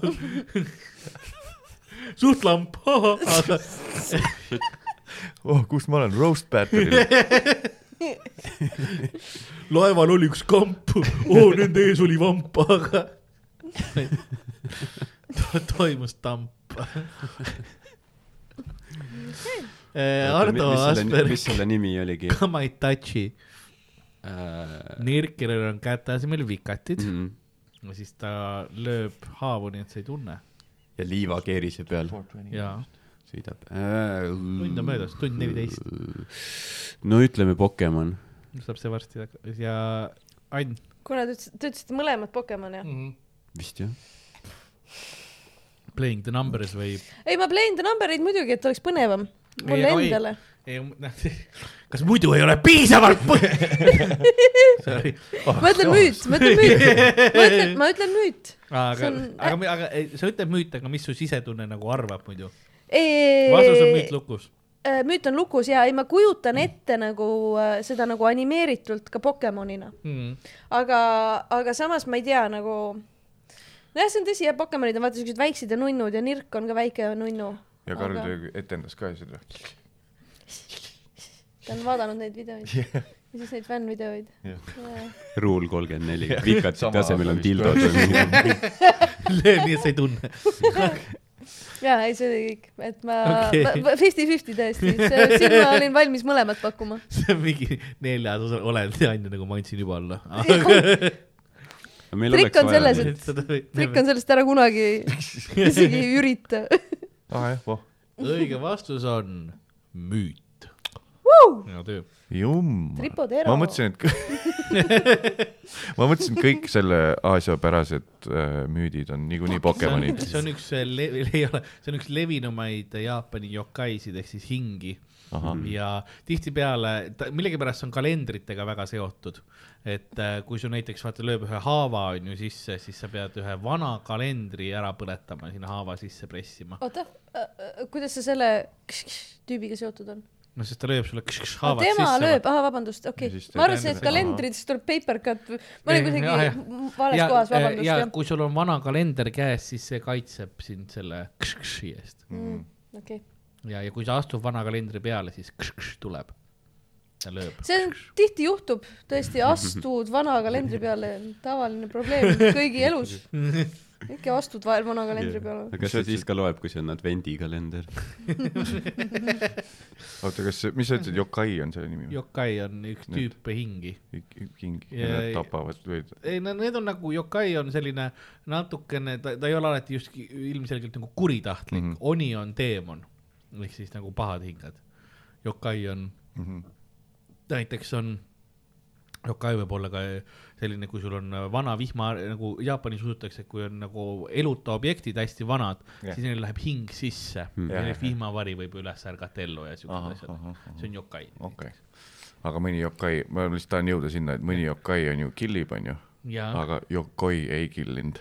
Speaker 1: suht lamp .
Speaker 2: oh , kus ma olen , roast battery'l .
Speaker 1: laeval oli üks kamp , oo nende ees oli vamp , aga to toimus tamp . Äh, Ardo
Speaker 4: mis
Speaker 1: Asperg ,
Speaker 4: selle Äh. nimi oligi ?
Speaker 1: come I touch you , Nirkelil on käte asemel vikatid
Speaker 4: Mhm.
Speaker 1: mm.
Speaker 4: Hmm.
Speaker 1: ja siis ta lööb haavu , nii et sa ei tunne
Speaker 4: ja liivakeerise peal
Speaker 1: ja
Speaker 4: sõidab .
Speaker 1: tund
Speaker 4: tund
Speaker 1: on möödas , tund neliteist .
Speaker 4: no ütleme Pokemon .
Speaker 1: saab see varsti tag- ja Ann
Speaker 3: kuna te ütlesite , te ütlesite mõlemad Pokemon jah ?
Speaker 1: mm . -hmm.
Speaker 4: vist jah ?
Speaker 1: Playing the numbers või ?
Speaker 3: ei , ma playin the number eid muidugi , et oleks põnevam . mulle
Speaker 1: Ei, oi.
Speaker 3: endale .
Speaker 1: ei , noh , kas muidu ei ole piisavalt põhjust ? Sorry , Oh,
Speaker 3: ma ütlen müüt , ma ütlen müüt , ma ütlen , ma ütlen müüt . See
Speaker 1: aga
Speaker 3: on- ,
Speaker 1: aga , aga ei, sa ütled müüt , aga mis su sisetunne nagu arvab muidu ? vastus on müüt
Speaker 3: Äh, müüt
Speaker 1: lukus .
Speaker 3: on lukus ja ei , ma kujutan ette nagu äh, seda nagu animeeritult ka Pokemonina ,
Speaker 1: Hmm.
Speaker 3: aga , aga samas ma ei tea nagu . nojah , see on tõsi jah , Pokemonid on vaata siuksed väiksed ja nunnud ja Nirk on ka väike ja nunnu .
Speaker 2: ja Karl
Speaker 3: aga
Speaker 2: aga... etendas ka seda .
Speaker 3: ta on vaadanud neid videoid ja siis neid fännvideoid .
Speaker 4: Rule kolmkümmend neli , vikatite
Speaker 2: Sama
Speaker 4: asemel on
Speaker 2: vist
Speaker 4: dildod
Speaker 2: ka.
Speaker 4: või mingi .
Speaker 1: löö nii , et sa ei tunne .
Speaker 3: ja ei , see oli kõik , et ma
Speaker 1: Okei.
Speaker 3: fifty-fifty täiesti , siin ma olin valmis mõlemat pakkuma .
Speaker 1: see on mingi neljas osa , oled Ann , nagu ma andsin juba alla .
Speaker 3: Trikk on selles, et- trikk
Speaker 1: trikk
Speaker 3: on sellest ära kunagi isegi ei ürita .
Speaker 2: ah jah , voh .
Speaker 1: õige vastus on müüt . hea töö .
Speaker 2: jumm .
Speaker 3: Tripodero.
Speaker 2: ma mõtlesin , et kõ- ma mõtlesin , et kõik selle asjapärased äh, müüdid on niikuinii Pokemonid .
Speaker 1: see on üks , ei ole , see on üks levinumaid Jaapani yokaisid ehk siis hingi
Speaker 2: ahah ,
Speaker 1: ja tihtipeale ta millegipärast on kalendritega väga seotud . et äh, kui sul näiteks vaata lööb ühe haava on ju sisse , siis sa pead ühe vana kalendri ära põletama , sinna haava sisse pressima .
Speaker 3: oota , kuidas sa selle tüübiga seotud on ?
Speaker 1: no sest ta lööb sulle kš-kš haavad
Speaker 3: tema
Speaker 1: sisse .
Speaker 3: lööb , ahah , vabandust , okei
Speaker 2: Ja siis . ta
Speaker 3: ma arvasin , et
Speaker 2: tähendab-
Speaker 3: kalendrites tuleb paper cut , ma olin
Speaker 1: Ei, jah, jah.
Speaker 3: kuidagi vales kohas , vabandust ,
Speaker 1: ja
Speaker 3: jah .
Speaker 1: kui sul on vana kalender käes , siis see kaitseb sind selle kš-kši eest
Speaker 3: okei ,
Speaker 1: ja , ja kui sa astud vana kalendri peale , siis kš-kš tuleb . ta lööb .
Speaker 3: see on , tihti juhtub , tõesti , astud vana kalendri peale , tavaline probleem kõigi elus . ikka astud vahel vana kalendri peale .
Speaker 4: aga kas see siis ka loeb , kui see on advendikalender ?
Speaker 2: oota , kas , mis sa ütlesid , Yokai on selle nimi ?
Speaker 1: Yokai on üks
Speaker 2: Nüüd.
Speaker 1: tüüp hingi .
Speaker 2: king ,
Speaker 1: Ja-
Speaker 2: nad tapavad või ?
Speaker 1: ei no need on nagu , Yokai on selline natukene , ta , ta ei ole alati just ki- ilmselgelt nagu kuritahtlik mm ,
Speaker 2: Mhm.
Speaker 1: -hmm. Oni on teemon ehk siis nagu pahad hinged . Yokai on ,
Speaker 2: Mhm.
Speaker 1: näiteks on , Yokai võib olla ka selline , kui sul on vana vihma , nagu Jaapanis usutakse , kui on nagu eluta objektid hästi vanad yeah. ,
Speaker 2: Jah.
Speaker 1: siis neil läheb hing sisse mm. ja
Speaker 2: Jah,
Speaker 1: neil
Speaker 2: jah, jah.
Speaker 1: vihmavari võib üles ärgata ellu ja siuksed
Speaker 2: Ahah, ahah,
Speaker 1: asjad . see on Yokai .
Speaker 2: okei , aga mõni Yokai , ma lihtsalt tahan jõuda sinna , et mõni Yokai on ju , killib , on ju
Speaker 1: jaa ,
Speaker 2: aga Yokoi ei killinud .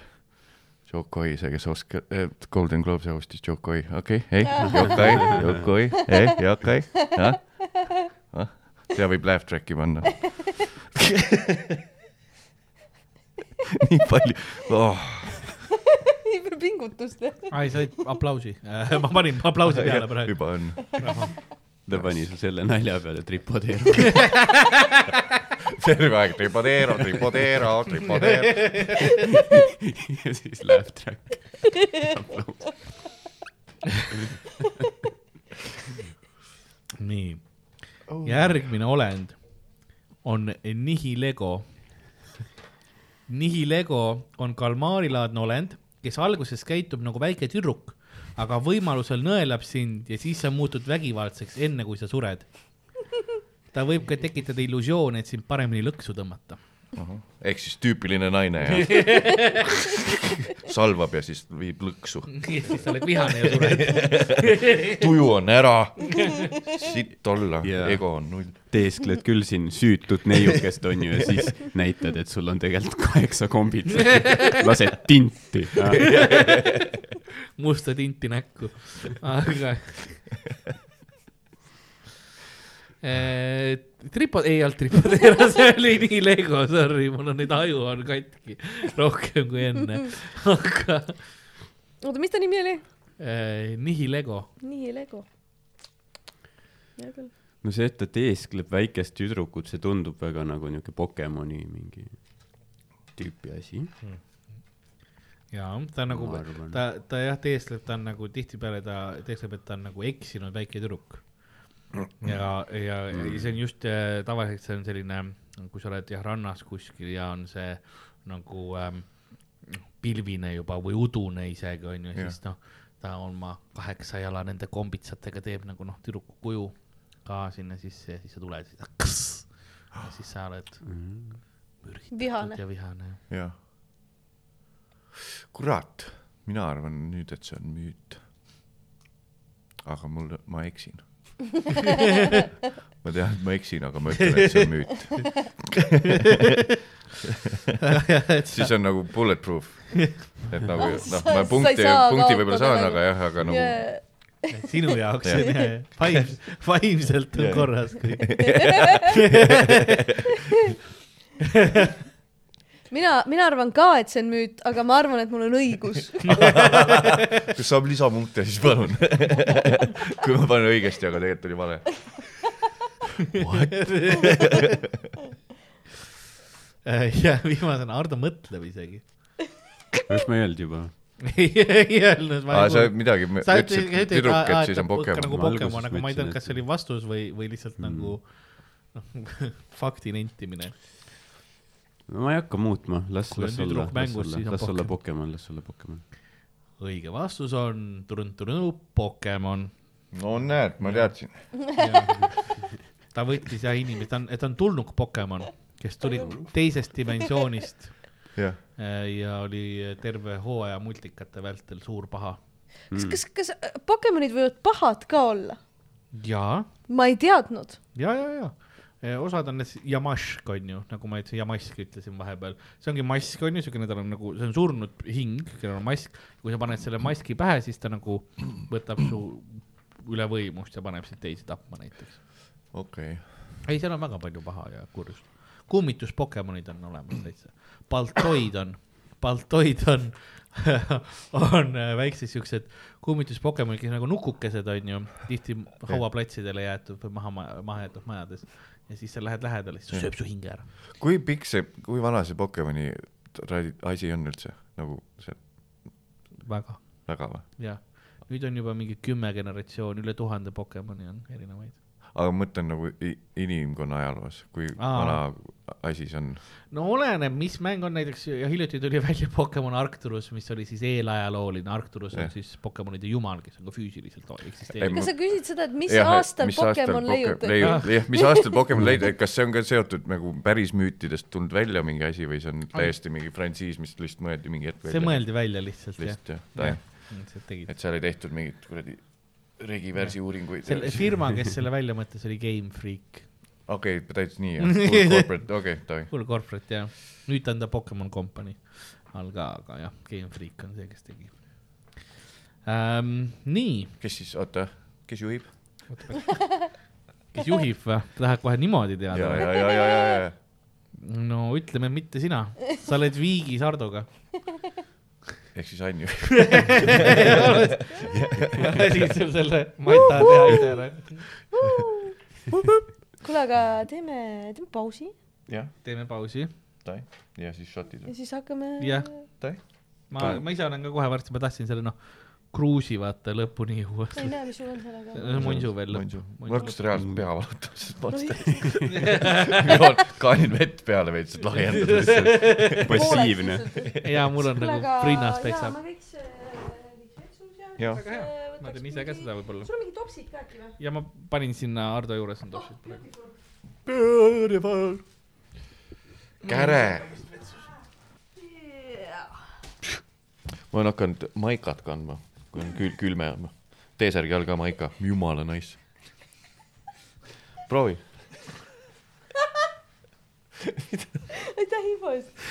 Speaker 2: Yokoi , see , kes Oscar eh, , Golden Globes'i hostis Yokoi , okei , ei , Yokoi , Yokoi , ei , Yokoi , jah . siia võib laugh track'i panna . nii palju oh, ,
Speaker 3: nii palju pingutust .
Speaker 1: ai , sa olid aplausi , ma panin aplausi peale praegu .
Speaker 2: juba on ,
Speaker 4: ta pani su selle nalja peale tripodeerima .
Speaker 2: terve aeg tripodeero , tripodeero , tripodeero .
Speaker 4: ja siis laugh track .
Speaker 1: nii , järgmine olend on nihilego . nihilego on kalmaarilaadne olend , kes alguses käitub nagu väike tüdruk , aga võimalusel nõelab sind ja siis sa muutud vägivaldseks , enne kui sa sured . ta võib ka tekitada illusioone , et sind paremini lõksu tõmmata .
Speaker 2: ehk siis tüüpiline naine ja salvab ja siis viib lõksu .
Speaker 1: ja siis sa oled vihane ja sured .
Speaker 2: tuju on ära , sitt olla
Speaker 4: Jaa.
Speaker 2: yeah. , ego on null .
Speaker 4: teeskled küll siin süütut neiukest onju ja siis näitad , et sul on tegelikult kaheksa kombit . lased tinti .
Speaker 1: musta tinti näkku , aga . Tripo- , Eh, ei olnud tripodeera , see oli nii lego , sorry , mul on nüüd aju on katki rohkem kui enne , aga
Speaker 3: oota , mis ta nimi oli ?
Speaker 1: eh, nihi lego .
Speaker 3: nii , Lego . hea küll .
Speaker 4: no see , et ta teeskleb väikest tüdrukut , see tundub väga nagu niuke Pokemoni mingi tüüpi asi .
Speaker 1: jaa , ta on nagu
Speaker 4: Ma arvan. ,
Speaker 1: ta , ta jah , teesleb , ta on nagu tihtipeale ta teesleb , et ta on nagu eksinud väike tüdruk . ja , ja ja see on just eh, tavaliselt see on selline , kui sa oled jah rannas kuskil ja on see nagu ähm, pilvine juba või udune isegi onju , siis noh , ta oma kaheksa jala nende kombitsatega teeb nagu noh , tüdruku kuju ka sinna sisse ja siis sa tuled , siis sa oled
Speaker 4: Mm.
Speaker 3: vihane .
Speaker 1: ja vihane
Speaker 2: jah . kurat , mina arvan nüüd , et see on müüt . aga mul , ma eksin . ma tean , et ma eksin , aga ma ütlen , et see on müüt . siis on nagu bulletproof . et nagu noh , ma
Speaker 3: Ah, Sa- sa ei
Speaker 2: punkti ,
Speaker 3: saa
Speaker 2: punkti võib-olla
Speaker 3: kaotada
Speaker 2: saan ,
Speaker 3: nagu.
Speaker 2: aga jah , aga nagu yeah.
Speaker 1: Et sinu jaoks
Speaker 2: Jah.
Speaker 1: on jah , vaim- , vaimselt on korras kõik .
Speaker 3: mina , mina arvan ka , et see on müüt , aga ma arvan , et mul on õigus .
Speaker 2: kas saab lisapunkte siis palun ? kui ma panen õigesti , aga tegelikult oli vale .
Speaker 1: Äh, ja viimasena Ardo mõtleb isegi .
Speaker 4: kas ma ei öelnud juba ?
Speaker 1: ei ei öelnud .
Speaker 2: aa , sa midagi
Speaker 1: sa
Speaker 2: ütlesid , et tüdruk , et siis on
Speaker 1: nagu
Speaker 2: Pokemon .
Speaker 4: Ma alguses
Speaker 1: Pokemon , aga ma ei
Speaker 4: mõtlesin,
Speaker 1: teadnud ,
Speaker 4: et-
Speaker 1: kas see oli vastus või , või
Speaker 2: Mm.
Speaker 1: lihtsalt nagu noh fakti nentimine .
Speaker 4: no ma ei hakka muutma , las ,
Speaker 1: Kui on
Speaker 4: las olla
Speaker 1: tüdruk ,
Speaker 4: las
Speaker 1: mängus,
Speaker 4: olla
Speaker 1: siis , on
Speaker 4: las olla Pokemon , las olla Pokemon .
Speaker 1: õige vastus on turun-turun Pokemon .
Speaker 2: no näed , ma teadsin .
Speaker 1: ta võttis ja inimesi , ta on , ta on tulnuk Pokemon , kes tuli teisest dimensioonist
Speaker 2: jah ,
Speaker 1: äh, ja oli terve hooaja multikate vältel suur paha .
Speaker 3: kas , kas , kas Pokemonid võivad pahad ka olla ?
Speaker 1: jaa
Speaker 3: ma ei teadnud .
Speaker 1: ja , ja , ja Eh, osad on need jamašk on ju , nagu ma ütlesin , jamask ütlesin vahepeal , see ongi mask on ju , siukene tal on nagu , see on surnud hing , kellel on mask , kui sa paned selle maski pähe , siis ta nagu võtab su üle võimust ja paneb sind teisi tapma näiteks .
Speaker 2: okei okay. .
Speaker 1: ei , seal on väga palju paha ja kurjust . kummituspokemonid on olemas täitsa , baltoid on , baltoid on , on äh, väiksed siuksed kummituspokemonid , kes nagu nukukesed on ju , tihti hauaplatsidele jäetud või maha , maha jäetud majades ja siis sa lähed lähedale , siis ta sööb su hinge ära .
Speaker 2: kui pikk see , kui vana see Pokemoni tradi- asi on üldse nagu see
Speaker 1: väga ,
Speaker 2: väga või ?
Speaker 1: jah . nüüd on juba mingi kümme generatsiooni , üle tuhande pokemoni on erinevaid .
Speaker 2: aga ma mõtlen nagu i- inimkonna ajaloos , kui Aa.
Speaker 1: Aa.
Speaker 2: vana asi see on .
Speaker 1: no oleneb , mis mäng on näiteks ja hiljuti tuli välja Pokemon Arcturus , mis oli siis eelajalooline , Arcturus on
Speaker 2: Jah.
Speaker 1: siis Pokemonide jumal , kes on ka füüsiliselt o-
Speaker 2: Ei,
Speaker 1: eksisteerib .
Speaker 3: kas sa küsid seda , et mis
Speaker 2: Jah, et
Speaker 3: aastal
Speaker 2: mis aastal
Speaker 3: Pokemon
Speaker 2: Poke-
Speaker 3: leiutati ?
Speaker 2: leiu- jah , mis aastal Pokemon leidub , et kas see on ka seotud nagu päris müütidest tulnud välja mingi asi või see on täiesti mingi frantsiis , mis lihtsalt mõeldi mingi hetk
Speaker 1: see mõeldi välja lihtsalt jah ,
Speaker 2: lihtsalt jah ,
Speaker 1: lihtsalt tegid .
Speaker 2: et seal ei tehtud mingit kuradi regivärsi uuringuid .
Speaker 1: selle firma , kes selle välja mõtles , oli Game Freak .
Speaker 2: okei , täitsa nii jah , corporate , okei , davai .
Speaker 1: Full corporate jah , nüüd ta on ta Pokemon Company all ka , aga jah , Game Freak on see , kes tegi ähm, . nii ,
Speaker 2: kes siis , oota , kes juhib ?
Speaker 1: kes juhib või , tahad kohe niimoodi
Speaker 2: ja , ja ,
Speaker 1: teada ?
Speaker 2: ja , ja , ja , ja ,
Speaker 1: no ütleme , mitte sina , sa oled Viigi Sardoga .
Speaker 2: ehk siis Ann juhib .
Speaker 1: siis sul selle , ma ei taha teha ise ära .
Speaker 3: kuule , aga teeme , teeme pausi
Speaker 2: jah ,
Speaker 1: teeme pausi ,
Speaker 2: davai . ja siis šotid
Speaker 3: ja . siis hakkame .
Speaker 1: Jah.
Speaker 2: davai .
Speaker 1: ma , ma ise olen ka kohe varsti , ma tahtsin selle noh , kruusi vaata lõpuni juua .
Speaker 3: ma ei näe , mis sul on sellega .
Speaker 1: Monsu veel
Speaker 2: Monsu . mul hakkas reaalselt pea valutama , sest ma
Speaker 3: No,
Speaker 2: olin , kaanin vett peale veits , et lahjendada lihtsalt .
Speaker 4: passiivne .
Speaker 1: ja mul on nagu prinnas peksab .
Speaker 3: ma võiks , võiks vetsus ja .
Speaker 2: Jah.
Speaker 1: Väga hea. ma teen ise ka seda võib-olla
Speaker 3: sul on mingid topsid ka äkki või ?
Speaker 1: ja ma panin sinna Ardo juures on topsid praegu .
Speaker 2: käre . ma olen hakanud maikat kandma , kui on kül- , külme on . T-särgi all ka maika , jumala nice . proovi .
Speaker 3: aitäh info eest .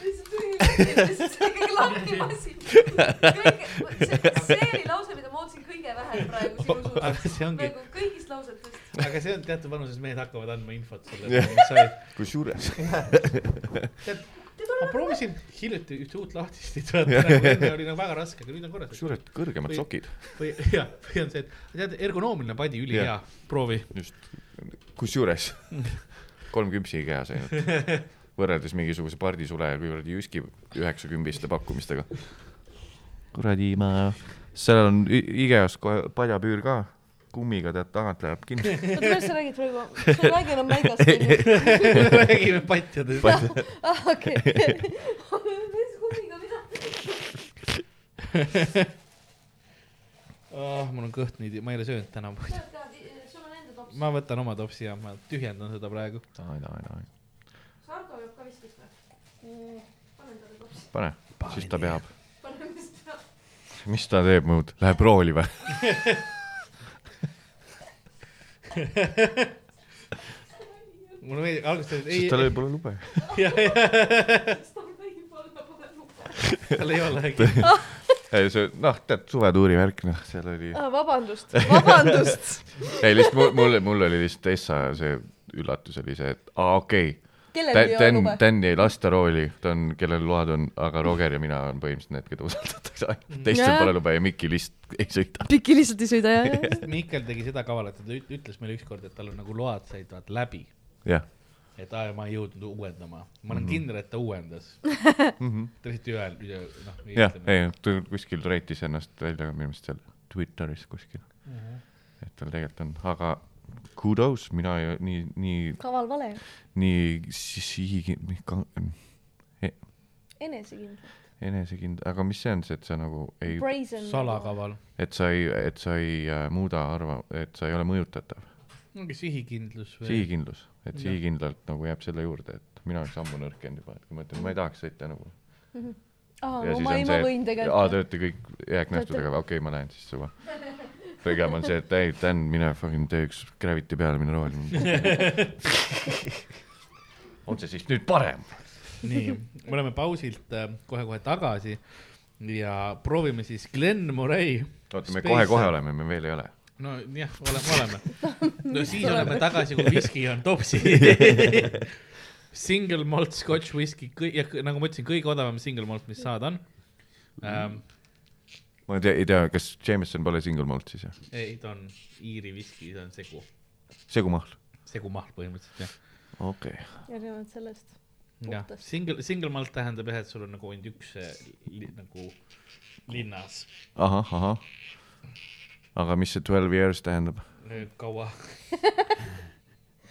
Speaker 3: lihtsalt tuli kõige lahti masin . see oli lause , mida ma ootasin kõige vähem praegu sinu
Speaker 1: aga
Speaker 3: suust .
Speaker 1: see ongi ,
Speaker 3: nagu kõigist lausetest .
Speaker 1: aga see on teatud vanuses mehed hakkavad andma infot selle kohta , mis sai .
Speaker 2: kusjuures .
Speaker 1: ma proovisin hiljuti ühte uut lahtistit vaata , nagu enne oli nagu väga raske , aga nüüd on korras .
Speaker 2: kusjuures kõrgemad sokid .
Speaker 1: või jah , või on see , et tead , ergonoomiline padi ülihea
Speaker 2: Jah. ,
Speaker 1: proovi .
Speaker 2: just , kusjuures kolm küpsi käes ainult , võrreldes mingisuguse pardisule ja kuradi Jyski üheksakümbiste pakkumistega . kuradi ma , seal on I- IKEA-s kohe padjapüür ka , kummiga tead tagant läheb kinni .
Speaker 3: oota , millest sa räägid praegu ? sa räägid enam maigast , onju .
Speaker 1: räägime patjadest .
Speaker 3: ah , okei . mis kummiga , mida ?
Speaker 1: Ah, mul on kõht nii , ma ei ole söönud täna .
Speaker 3: sul on enda tops .
Speaker 1: ma võtan oma topsi ja ma tühjendan seda praegu .
Speaker 3: Sardo joob ka viskit või ? panen talle topsi .
Speaker 2: pane , siis ta peab .
Speaker 3: panen vist ära .
Speaker 2: mis ta teeb muud , läheb rooli või ?
Speaker 1: mulle meeldib , alguses ei
Speaker 2: sest , tal ei pole lube .
Speaker 1: tal ei olegi .
Speaker 2: ei see , noh , tead suvetuuri värk , noh , seal oli
Speaker 3: ah, . vabandust , vabandust .
Speaker 2: ei lihtsalt mul , mul , mul oli lihtsalt Essa see üllatus oli see , et aa okei okay. ,
Speaker 3: kellel ei ole
Speaker 2: Dan ,
Speaker 3: lube ?
Speaker 2: Dan ei lasta rooli , ta on , kellel load on , aga Roger ja mina on põhimõtteliselt need , keda usaldatakse ainult . teistel
Speaker 3: Jaa.
Speaker 2: pole lube ja Mikki lihtsalt ei sõida .
Speaker 3: Piki lihtsalt ei sõida , jah ?
Speaker 1: Mihkel tegi seda kavalat , et ta üt- ütles meile ükskord , et tal on nagu load said vaata läbi
Speaker 2: jah ,
Speaker 1: et aa , ma ei jõudnud uuendama , ma olen
Speaker 2: Mhm.
Speaker 1: mm -hmm. kindel , et ta uuendas . ta lihtsalt ei öelnud , noh .
Speaker 2: jah , ei , ta kuskil reitis ennast välja minu meelest seal Twitteris kuskil . et tal tegelikult on , aga kudos , mina ei, nii , nii ,
Speaker 3: kaval vale .
Speaker 2: nii sihi- ,
Speaker 3: enesekindel .
Speaker 2: enesekindel , aga mis see on see , et sa nagu ei ,
Speaker 3: Brazen .
Speaker 1: salakaval .
Speaker 2: et sa ei , et sa ei äh, muuda arva- , et sa ei ole mõjutatav .
Speaker 1: mingi sihikindlus või ?
Speaker 2: sihikindlus , et sihikindlalt nagu jääb selle juurde , et mina oleks ammu nõrk jäänud juba , et kui ma ütlen , ma ei tahaks sõita nagu .
Speaker 3: aa ,
Speaker 2: ja
Speaker 3: no
Speaker 2: siis
Speaker 3: ma ei ,
Speaker 2: on
Speaker 3: ma
Speaker 2: see ,
Speaker 3: võin
Speaker 2: et aa , Ah, te
Speaker 3: tegelikult .
Speaker 2: olete kõik jääknähtudega , okei okay, , ma lähen siis suva . pigem on see , et ei , Dan , mine fucking tee üks Gravity peale , mine rooli . on see siis nüüd parem ?
Speaker 1: nii , me oleme pausilt äh, kohe-kohe tagasi ja proovime siis Glen Murray .
Speaker 2: oota , me kohe-kohe . oleme , me veel ei ole .
Speaker 1: no jah , oleme , oleme . no siis oleme tagasi , kui viski on topsi . Single malt scotch whisky , ja kõ- nagu ma ütlesin , kõige odavam single malt , mis saada on ähm, .
Speaker 2: ma ei tea , ei tea , kas Jameson pole single malt siis jah ?
Speaker 1: ei , ta on Iiri viski , ta on segu ,
Speaker 2: segumahl .
Speaker 1: segumahl põhimõtteliselt jah .
Speaker 2: okei okay. .
Speaker 3: erinevalt sellest .
Speaker 1: jah ,
Speaker 3: puhtast.
Speaker 1: single , single malt tähendab jah , et sul on nagu ainult üks äh, li, nagu linnas
Speaker 2: ahah , ahah . aga mis see twelve years tähendab ?
Speaker 1: äh, kaua .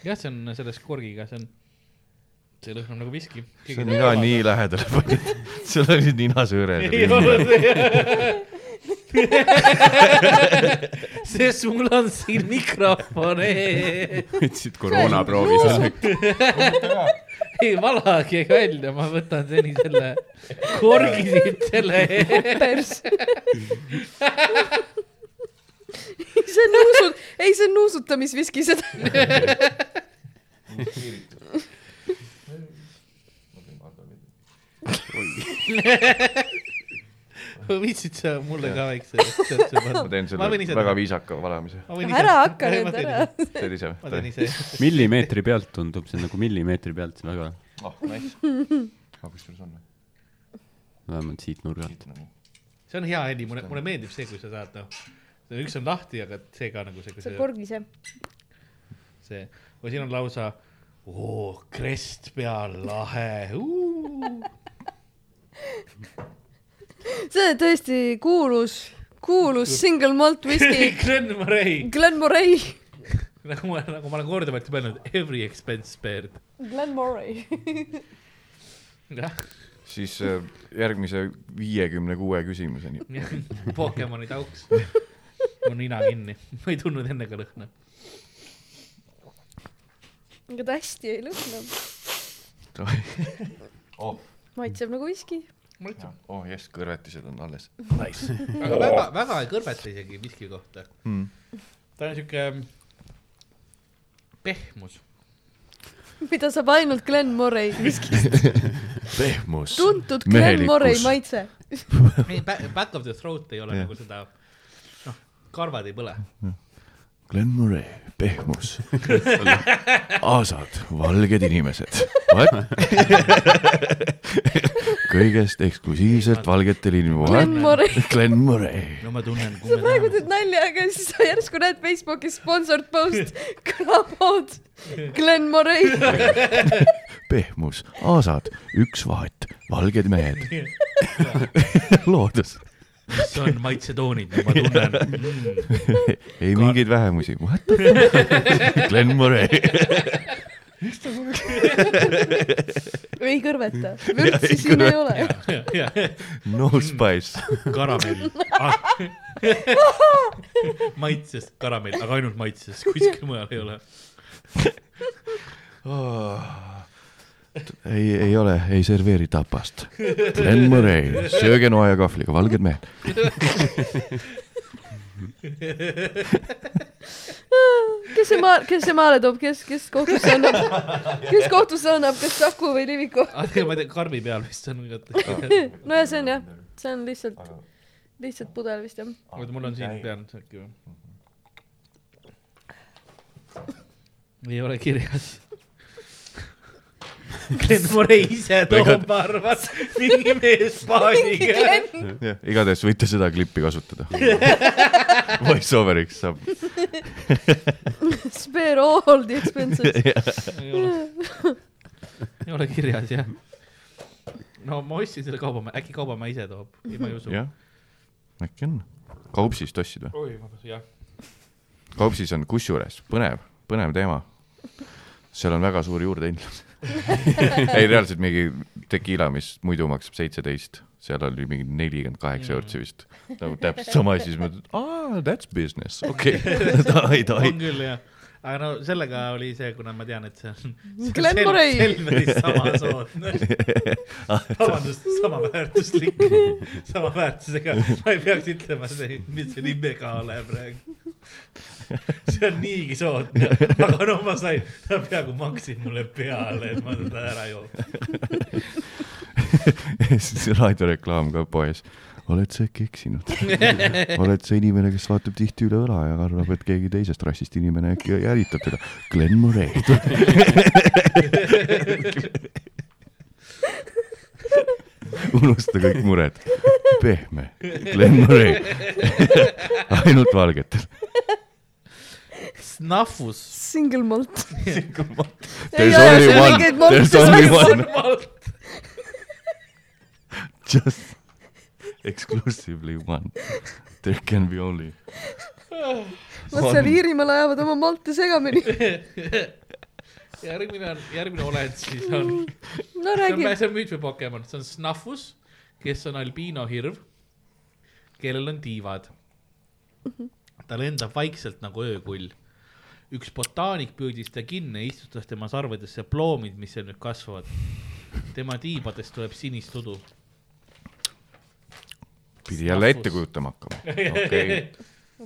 Speaker 1: jah , see on selles korgiga , see on , see lõhnab nagu viski .
Speaker 2: see on nina nii lähedal panid , sul olid
Speaker 1: ei
Speaker 2: ninasõõred .
Speaker 1: ole see . sest mul on siin mikrofon ees ,
Speaker 4: võtsid koroonaproovi selleks .
Speaker 1: ei valage välja , ma võtan seni selle korgi siit selle ees .
Speaker 3: pers . see on nuusut- , ei see on nuusutamisviski , seda .
Speaker 1: viitsid sa mulle ka väikse sõrtse
Speaker 2: ma
Speaker 1: panna ?
Speaker 2: teen
Speaker 1: Ma võin
Speaker 2: selle
Speaker 1: ise
Speaker 2: väga
Speaker 1: teha.
Speaker 2: viisaka valamise .
Speaker 3: ära hakka nüüd , ära .
Speaker 2: teed ise
Speaker 1: ma teen
Speaker 2: või ?
Speaker 1: ise .
Speaker 4: millimeetri pealt tundub see nagu millimeetri pealt see väga ,
Speaker 2: ah , nice . Ah, aga kus sul see on või ?
Speaker 4: vähemalt siit nurgalt .
Speaker 1: see on hea heli , mulle , mulle meeldib see , kui sa saad , noh , üks on lahti , aga see ka nagu see , kui
Speaker 3: see
Speaker 1: see
Speaker 3: on , korg ise .
Speaker 1: see , või siin on lausa "Oh, oo , krest peal , lahe .
Speaker 3: see tõesti kuulus , kuulus single malt whisky
Speaker 1: Glen Murray ,
Speaker 3: Glenmorey .
Speaker 1: nagu ma , nagu ma olen korduvalt juba öelnud , every expense spared .
Speaker 3: Glenmorey .
Speaker 1: jah ,
Speaker 2: siis äh, järgmise viiekümne kuue küsimuseni .
Speaker 1: Pokemoni tauks . mu nina kinni , ma ei tundnud enne ka lõhna .
Speaker 3: ega ta hästi ei lõhna . maitseb nagu whisky .
Speaker 2: oh jess , kõrvetised on alles .
Speaker 1: Nice. aga väga , väga ei kõrveta isegi miski kohta
Speaker 2: Mm.
Speaker 1: ta on siuke mm, pehmus .
Speaker 3: mida saab ainult Glenmorey whisky .
Speaker 2: pehmus .
Speaker 3: tuntud Glenmorey maitse .
Speaker 1: ei , back of the throat ei ole
Speaker 2: Jah.
Speaker 1: nagu seda , noh , karvad ei põle .
Speaker 2: Glen Murray , pehmus . aasad , valged inimesed . kõigest eksklusiivselt valgetel inimestel .
Speaker 3: Glenmorey .
Speaker 2: Glen Murray .
Speaker 1: no ma tunnen ,
Speaker 3: sa
Speaker 1: kui
Speaker 3: praegu teed nalja , aga siis sa järsku näed Facebookis sponsored post , krapood , Glenmorey .
Speaker 2: pehmus , aasad , üks vahet , valged mehed . loodus ,
Speaker 1: see on maitsetoonid , ma tunnen mm. .
Speaker 2: ei mingeid vähemusi . Glen Murray .
Speaker 3: ei kõrveta , vürtsi siin ei ole .
Speaker 2: no spice .
Speaker 1: karamell ah. . maitsest karamell , aga ainult maitsest , kuskil mujal ei ole .
Speaker 2: Ah. ei , ei ole , ei serveeri tapast . Glen Murray , sööge noa ja kahvliga , valged mehed .
Speaker 3: kes see maa , kes see maale toob , kes , kes kohtusse annab , kes kohtusse annab , kas Saku või Liviku ?
Speaker 1: Ah, ma ei tea , karbi peal vist on .
Speaker 3: nojah , see on jah , see on lihtsalt , lihtsalt pudel vist jah .
Speaker 1: oota , mul on siin peal nüüd äkki või ? ei ole kirjas . Glen Murray ise toob , ma arvan , mingi mees paaniga .
Speaker 2: jah , igatahes võite seda klippi kasutada . Voiceoveriks saab .
Speaker 3: Spare all the expenses .
Speaker 1: ei ole. Ei ole kirjas jah . no ma ostsin selle kaubamäe , äkki kaubamäe ise toob , ei ma ei usu .
Speaker 2: jah , äkki on . kaupsist ostsid või ?
Speaker 1: oi , vabandust , jah .
Speaker 2: kaupsis on kusjuures põnev , põnev teema . seal on väga suur juurdehindlus . ei , reaalselt mingi tekiila , mis muidu maksab seitseteist , seal oli mingi nelikümmend kaheksa eurtsi vist . nagu täpselt sama asi , siis ma ütlen , aa , that's business , okei okay. . davai , davai
Speaker 1: on . küll jah , aga no sellega oli see , kuna ma tean , et see on .
Speaker 3: Glen Murray.
Speaker 1: Selveris sama soodne . vabandust , sama väärtuslik , sama väärtusega , ma ei peaks ütlema , mis see nimega ole praegu . see on niigi soodne , aga no ma sain , ta peaaegu maksis mulle peale , et ma seda ära joon .
Speaker 2: siis raadioreklaam ka poes . oled sa äkki eksinud ? oled sa inimene , kes vaatab tihti üle õla ja arvab , et keegi teisest rassist inimene äkki jälitab teda ? Glen Murray . unusta kõik mured . pehme , Glen Murray . ainult valgetel .
Speaker 1: Snafus .
Speaker 3: Single malt .
Speaker 2: There's only one , there's only one , just exclusively one . There can be only .
Speaker 3: Nad seal Iirimaal ajavad oma malte segamini .
Speaker 1: järgmine on , järgmine olend siis on ,
Speaker 3: no
Speaker 1: see on ,
Speaker 3: räägi ,
Speaker 1: see on müüt või Pokemon , see on Snafus , kes on albiinohirv , kellel on tiivad . ta lendab vaikselt nagu öökull . üks botaanik püüdis ta kinni ja istutas tema sarvedesse ploomid , mis seal nüüd kasvavad . tema tiibadest tuleb sinist udu .
Speaker 2: pidi jälle ette kujutama hakkama . okei okay. ,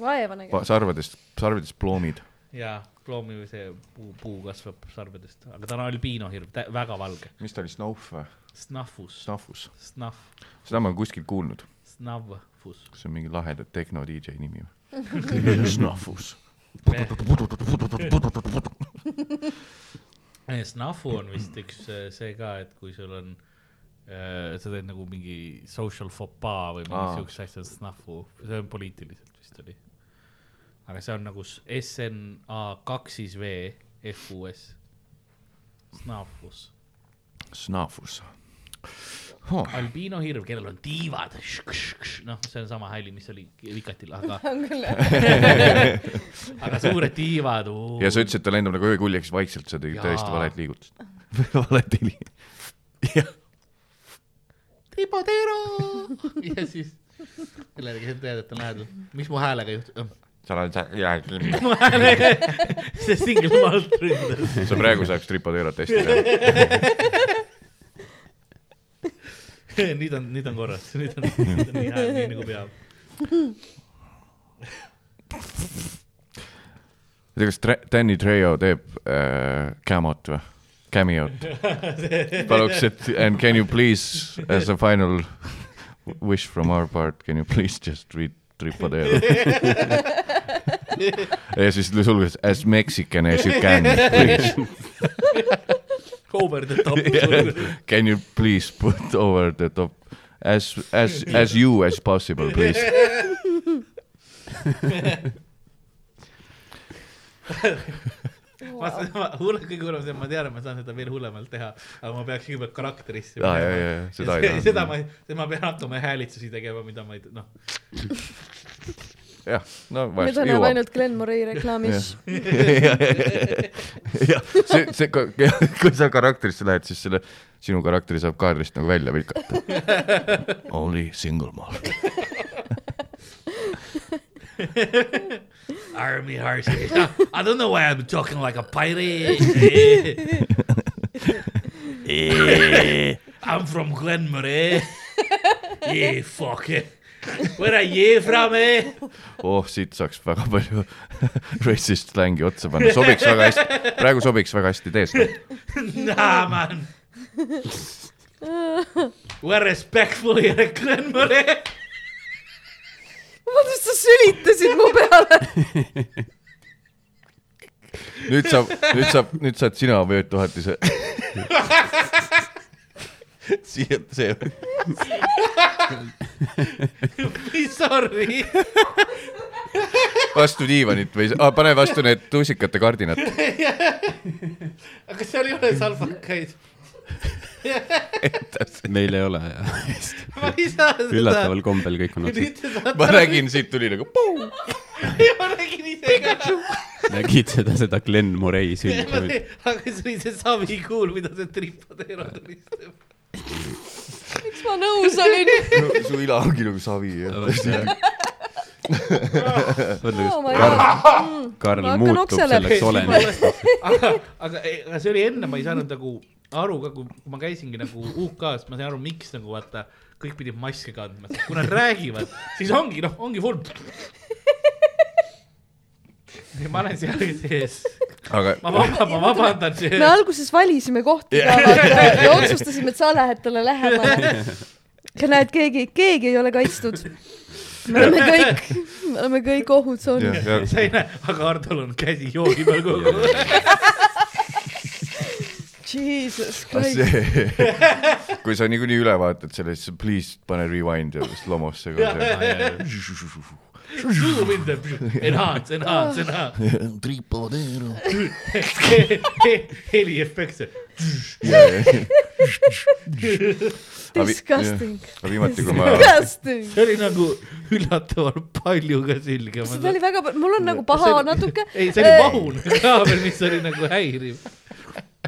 Speaker 3: vaeva nägi .
Speaker 2: sarvedest , sarvedest ploomid
Speaker 1: ja loomi või see puu , puu kasvab sarvedest , aga ta on albiinohirv , väga valge .
Speaker 2: mis ta oli , Snuff või ?
Speaker 1: Snafus ,
Speaker 2: Snuffus ,
Speaker 1: Snaf ,
Speaker 2: seda ma olen kuskil kuulnud ,
Speaker 1: Snavfus .
Speaker 2: kas see on mingi laheda tehno DJ nimi või ?
Speaker 4: Snafus .
Speaker 1: Snafu on Eh, vist üks äh, see ka , et kui sul on , sa teed nagu mingi social fopaa või
Speaker 2: Aa.
Speaker 1: mingi siukse asja , Snafu , see on poliitiliselt vist oli . aga see on nagu S N A kaks siis V F U S , Snafus
Speaker 2: Snuffus .
Speaker 1: albiino hirv , kellel on tiivad , noh , see on sama hääli , mis oli Vikatil , aga ,
Speaker 3: on küll ,
Speaker 1: aga suured tiivad .
Speaker 2: ja sa ütlesid , et ta lendab nagu öökuljeks vaikselt , sa tegid
Speaker 1: Jaa.
Speaker 2: täiesti valet liigutust . valet heli .
Speaker 1: tripotero ja siis kellelegi sa tead , et on lähedal , mis mu häälega juhtub ,
Speaker 2: sa oled seal , jää kinni .
Speaker 1: mu häälega , see single malt ründas .
Speaker 2: sa praegu saaks tripodeerot hästi teha .
Speaker 1: nüüd on , nüüd on korras , nüüd on , nüüd on nii hea , nii nagu peab .
Speaker 2: ma ei tea , kas Tra- Danny Trejo teeb äh, Camot või ? Cameot . paluks , et and can you please as a final wish from our part , can you please just read tripodeero . ja siis sulgudes as mexican as you can , please .
Speaker 1: Over the top .
Speaker 2: Can you please put over the top as as as you as possible , please .
Speaker 1: ma , hull , kõige hullem see , ma tean , et ma saan seda veel hullemalt teha , aga ma peaks kõigepealt karakterisse .
Speaker 2: aa , jaa , jaa , seda ei
Speaker 1: seda, seda ma
Speaker 2: taha .,
Speaker 1: ma pean hakkama häälitsusi tegema , mida ma ei , noh ,
Speaker 2: jah , no
Speaker 3: nüüd
Speaker 2: varsti
Speaker 3: annab
Speaker 2: jõuab .
Speaker 3: ainult Glen Murray reklaamis .
Speaker 2: jah , see , see , kui sa karakterisse lähed , siis selle , sinu karakteri saab kaadrist nagu välja vilkata . Only single malt .
Speaker 1: army horses . I don't know why I'm talking like a pirate . Eh, I'm from Glenmore . Yeah , fuck . Where are you from ? eh?
Speaker 2: oh , siit saaks väga palju racist slängi otsa panna , sobiks väga hästi , praegu sobiks väga hästi tees .
Speaker 1: Nah , man . We're respectfully at Glenmore .
Speaker 3: vabandust , sa sülitasid mu peale .
Speaker 2: nüüd saab , nüüd saab , nüüd saad sina vöötuhatise . siia , see ,
Speaker 1: Sorry .
Speaker 2: vastu diivanit või ah, , pane vastu need tuusikate kardinad .
Speaker 1: aga seal ei ole salvakaid .
Speaker 4: meil ei ole jah .
Speaker 1: ma ei saa seda .
Speaker 4: üllataval kombel kõik on otsas .
Speaker 1: nüüd te saate
Speaker 2: ma nägin , siit tuli nagu puu .
Speaker 1: aru , ma nägin ise ka .
Speaker 4: nägid seda , seda Glen Murray sündi ?
Speaker 1: aga see oli see savikuul , mida see tripadero tulistab .
Speaker 3: miks ma nõus olin ?
Speaker 2: no, . su ila ongi nagu savi jah .
Speaker 3: oh my god ,
Speaker 4: Karl- Karl
Speaker 3: Ma hakkan
Speaker 4: muutub
Speaker 3: oksele
Speaker 4: selleks
Speaker 3: pühkima.
Speaker 4: olemiseks .
Speaker 1: aga , aga , aga see oli enne , ma ei saanud nagu aru ka , kui ma käisingi nagu UK-s , ma sain aru , miks nagu vaata , kõik pidid maske kandma , sest kui nad räägivad , siis ongi noh , ongi full . ja ma olen seal sees ,
Speaker 2: aga
Speaker 1: ma vabandan , ma vabandan see
Speaker 3: me . alguses valisime kohti ka vaata ja otsustasime , et sa lähed talle lähemale . aga näed , keegi , keegi ei ole kaitstud . me oleme kõik , me oleme kõik
Speaker 2: ja,
Speaker 3: ohutsoonis .
Speaker 2: ja,
Speaker 1: sa ei näe , aga Hardol on käsi joogi peal kogu aeg . Ah,
Speaker 3: Jesus
Speaker 2: aga
Speaker 3: Christ .
Speaker 2: see , kui sa niikuinii üle vaatad selle , siis please pane rewind ja siis lomosse ka see .
Speaker 1: Zoom in the , enhance , enhance , enhance .
Speaker 5: Tripodeiro.
Speaker 1: heliefekt , see
Speaker 3: Disgusting ,
Speaker 2: aga viimati , kui ma ,
Speaker 3: disgusting .
Speaker 1: see oli nagu üllatavalt palju ka selgem .
Speaker 3: seda oli väga , mul on nagu paha natuke .
Speaker 1: ei , see oli vahun ka veel , mis oli nagu häiriv .